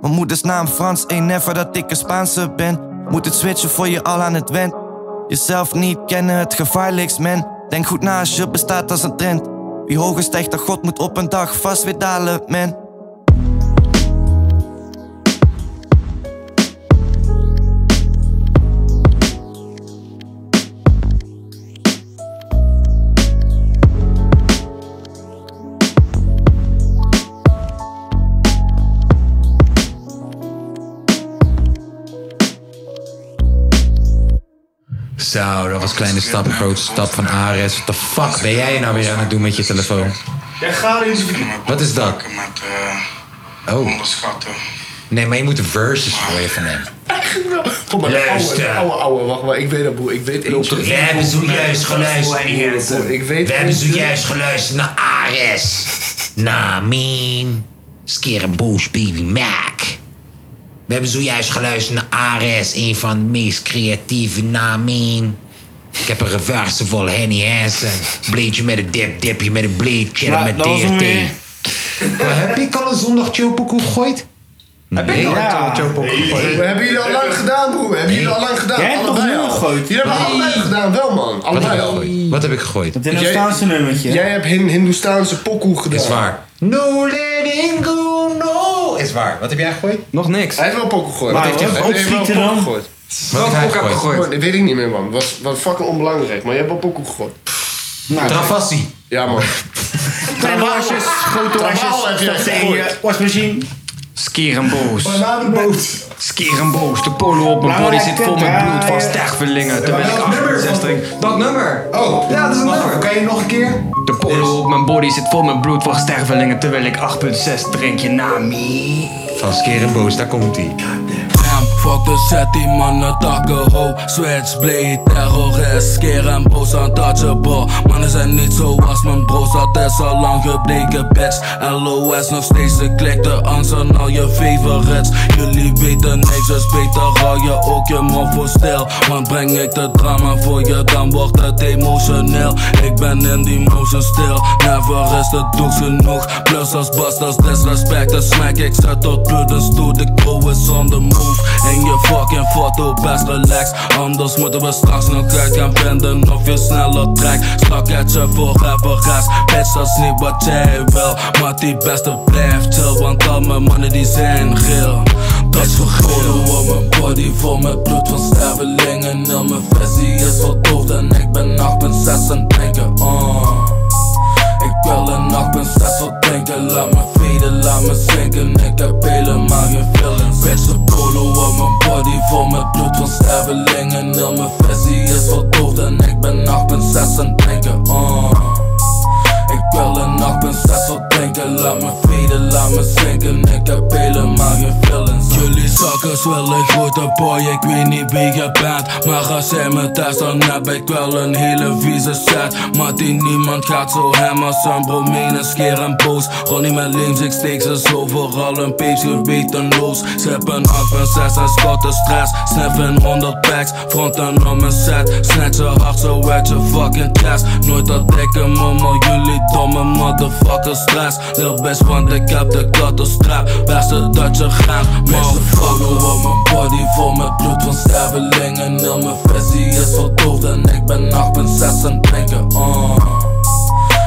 [SPEAKER 22] Mijn moeders naam Frans, een never dat ik een Spaanse ben. Moet het switchen voor je al aan het went. Jezelf niet kennen, het gevaarlijkst man. Denk goed na als je bestaat als een trend. Wie hoger stijgt dan God moet op een dag vast weer dalen, man.
[SPEAKER 1] Zo, dat was kleine stap, grote stap van Ares. What the fuck ben jij nou weer aan het doen met je telefoon?
[SPEAKER 19] Jij gaat eens.
[SPEAKER 1] Wat is dat? Oh. Nee, maar je moet de verses gooien van hem.
[SPEAKER 23] Kom maar, de oude, de oude, oude, wacht maar, ik weet dat boer, ik weet eentje.
[SPEAKER 1] We hebben zojuist geluisterd.
[SPEAKER 23] Ik weet
[SPEAKER 1] We hebben zojuist geluisterd naar
[SPEAKER 5] ah,
[SPEAKER 1] Ares. Naar Mien. Skerenboos Baby Mac. We hebben zojuist geluisterd naar Ares. Een van de meest creatieve namen. Ik heb een reversible Henny Hansen. Bleedje met een dip, dipje met een bleedje
[SPEAKER 3] Ja,
[SPEAKER 1] met
[SPEAKER 3] dat was hem
[SPEAKER 1] DRT.
[SPEAKER 3] weer.
[SPEAKER 1] Heb ik al een zondag Chopokoe gegooid? Heb
[SPEAKER 23] ik al een zondag
[SPEAKER 1] Chopokoe
[SPEAKER 23] Hey, we hebben jullie al lang gedaan, broer. Hebben jullie al lang gedaan?
[SPEAKER 1] Jij hebt toch
[SPEAKER 23] Allebei
[SPEAKER 1] nul
[SPEAKER 23] al.
[SPEAKER 1] gegooid?
[SPEAKER 23] Jullie hebben
[SPEAKER 1] Nee.
[SPEAKER 23] allebei gedaan, wel man.
[SPEAKER 1] Wat heb ik
[SPEAKER 23] Allebei al.
[SPEAKER 1] gegooid? Wat heb ik gegooid?
[SPEAKER 23] Jij- Jij hebt Hin- Hindoestaanse pokoe gedaan.
[SPEAKER 1] Is waar.
[SPEAKER 23] No letting go, no.
[SPEAKER 1] Is waar. Wat heb jij gegooid?
[SPEAKER 2] Nog niks.
[SPEAKER 23] Hij heeft wel pokoe gegooid.
[SPEAKER 1] Wat heeft hij gegooid?
[SPEAKER 23] Hij heeft wel pokoe gegooid. Wat
[SPEAKER 1] heb jij gegooid?
[SPEAKER 23] Dat weet ik niet meer, man. Was, was fucking onbelangrijk. Maar je hebt wel pokoe gegooid.
[SPEAKER 1] Nou, Travassi.
[SPEAKER 23] Ja, man.
[SPEAKER 3] Kleine wasjes, grote
[SPEAKER 23] Trabaal heb
[SPEAKER 3] wasjes.
[SPEAKER 23] jij
[SPEAKER 3] Dat tegen
[SPEAKER 23] gegooid.
[SPEAKER 3] je wasmachine.
[SPEAKER 2] Skerenboos.
[SPEAKER 23] Bananenboot.
[SPEAKER 2] Skerenboos. De polo op mijn body zit vol met bloed van stervelingen. Toen ben ik 68. Dat nummer.
[SPEAKER 1] Oh, ja, dat is een nummer. Kan je nog een keer?
[SPEAKER 2] De polo op mijn body zit vol met bloed van stervelingen. Terwijl ik 8.6 drink je na me.
[SPEAKER 1] Van Skerenboos, daar komt ie.
[SPEAKER 24] Damn, fuck de set, die mannen takken ho Switchblade, terrorist, skeer en boos untouchable Mannen zijn niet zoals mijn bro's, dat is al lang gebleken bitch LOS nog steeds de klik, de angst en al je favorites Jullie weten niks, dus beter hou je ook je mond voor stil Want breng ik de drama voor je, dan wordt het emotioneel Ik ben in die motion stil, never is het doek genoeg Plus als bas, dat is disrespect, dat smack ik zet tot bloed en stoet De crew is on the move, in je fucking foto best relax Anders moeten we straks nog uit gaan vinden of je sneller trekt Stak het je forever rest, bitch dat is niet wat jij wil Maar die beste blijft chill, want al mijn mannen die zijn geel dat is vergoten op mijn body vol met bloed van stervelingen Heel mijn visie is verdoofd en ik ben 8.6 en denken oh. Ik wil een nachtprinses wat denken Laat me veden, laat me zinken Ik heb helemaal geen feelings Bitch, de polo op mijn body Vol met bloed van stervelingen Heel mijn visie is verdoofd En ik ben nachtprinses en denken oh. Ik wil een nachtprinses wat denken Laat me veden, laat me zinken Ik heb helemaal geen feelings Jullie zakkers willen grote boy Ik weet niet wie je bent Maar als jij me test dan heb ik wel een hele vieze set Maar die niemand gaat zo hem als een bromine Skeer en boos Ronnie met links, ik steek ze zo vooral een beetje wetenloos Sip een 8 van 6 en scotten stress Sniffen 100 packs, fronten om een set Snatchen hard zo uit je fucking test Nooit dat ik hem om al jullie domme motherfuckers stress Lil bitch, want ik heb de kattenstrap Beste dat je gaat, motherfucker op mijn body Vol met bloed van stervelingen Heel mijn visie is verdoofd en ik ben 8.6 en denken oh.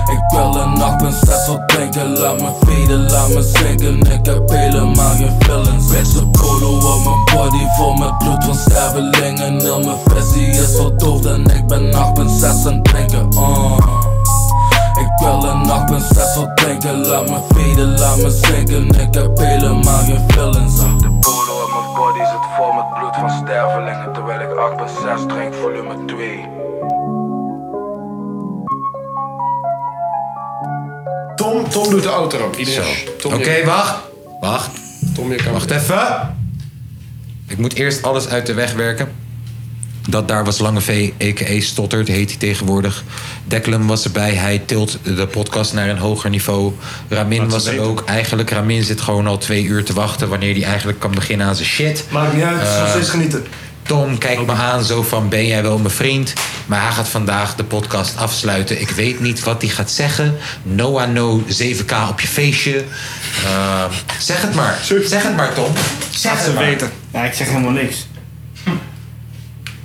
[SPEAKER 24] Ik wil een nachtprinses wat denken Laat me veden, laat me zinken Ik heb helemaal geen feelings Bitch, de polo op mijn body Vol met bloed van stervelingen Heel mijn visie is verdoofd En ik ben nachtprinses en denken oh. Ik wil een nachtprinses wat denken Laat me veden, laat me zinken Ik heb helemaal geen feelings De polo op mijn body zit vol met bloed van stervelingen Terwijl ik 8.6 drink volume 2
[SPEAKER 23] Tom, Tom doet de outro. Iedereen. Tom,
[SPEAKER 1] Oké,
[SPEAKER 23] je-
[SPEAKER 1] wacht. Wacht.
[SPEAKER 23] Tom, je kan
[SPEAKER 1] Wacht even. Ik moet eerst alles uit de weg werken. Dat daar was Lange V, a.k.a. Stottert, heet hij tegenwoordig. Declan was erbij, hij tilt de podcast naar een hoger niveau. Ramin was er ook. Eigenlijk, Ramin zit gewoon al twee uur te wachten... wanneer hij eigenlijk kan beginnen aan zijn shit.
[SPEAKER 7] Maakt niet uit, het is nog
[SPEAKER 1] Eh,
[SPEAKER 7] steeds genieten.
[SPEAKER 1] Tom kijkt me aan zo van ben jij wel mijn vriend? Maar hij gaat vandaag de podcast afsluiten. Ik weet niet wat hij gaat zeggen. Noah no 7k op je feestje. Eh, zeg het maar. Zeg het maar Tom. Zeg
[SPEAKER 3] Laat
[SPEAKER 1] het
[SPEAKER 3] ze
[SPEAKER 1] maar.
[SPEAKER 3] weten. Ja, ik zeg helemaal niks.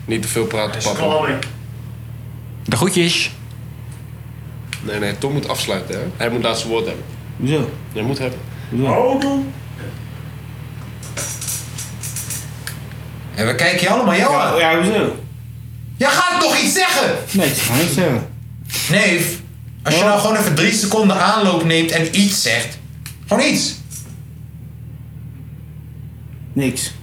[SPEAKER 23] Niet te veel praten, papa.
[SPEAKER 2] De groetjes.
[SPEAKER 23] Nee, nee, Tom moet afsluiten, hè? Hij moet laatste woord hebben.
[SPEAKER 3] Hoezo?
[SPEAKER 23] Jij moet hebben.
[SPEAKER 1] En we kijken je allemaal jou aan.
[SPEAKER 3] Ja, hoezo?
[SPEAKER 1] Jij gaat toch iets zeggen?
[SPEAKER 3] Nee, ik ga niks zeggen.
[SPEAKER 1] Neef, als je nou gewoon even drie seconden aanloop neemt en iets zegt. Gewoon iets.
[SPEAKER 3] Niks.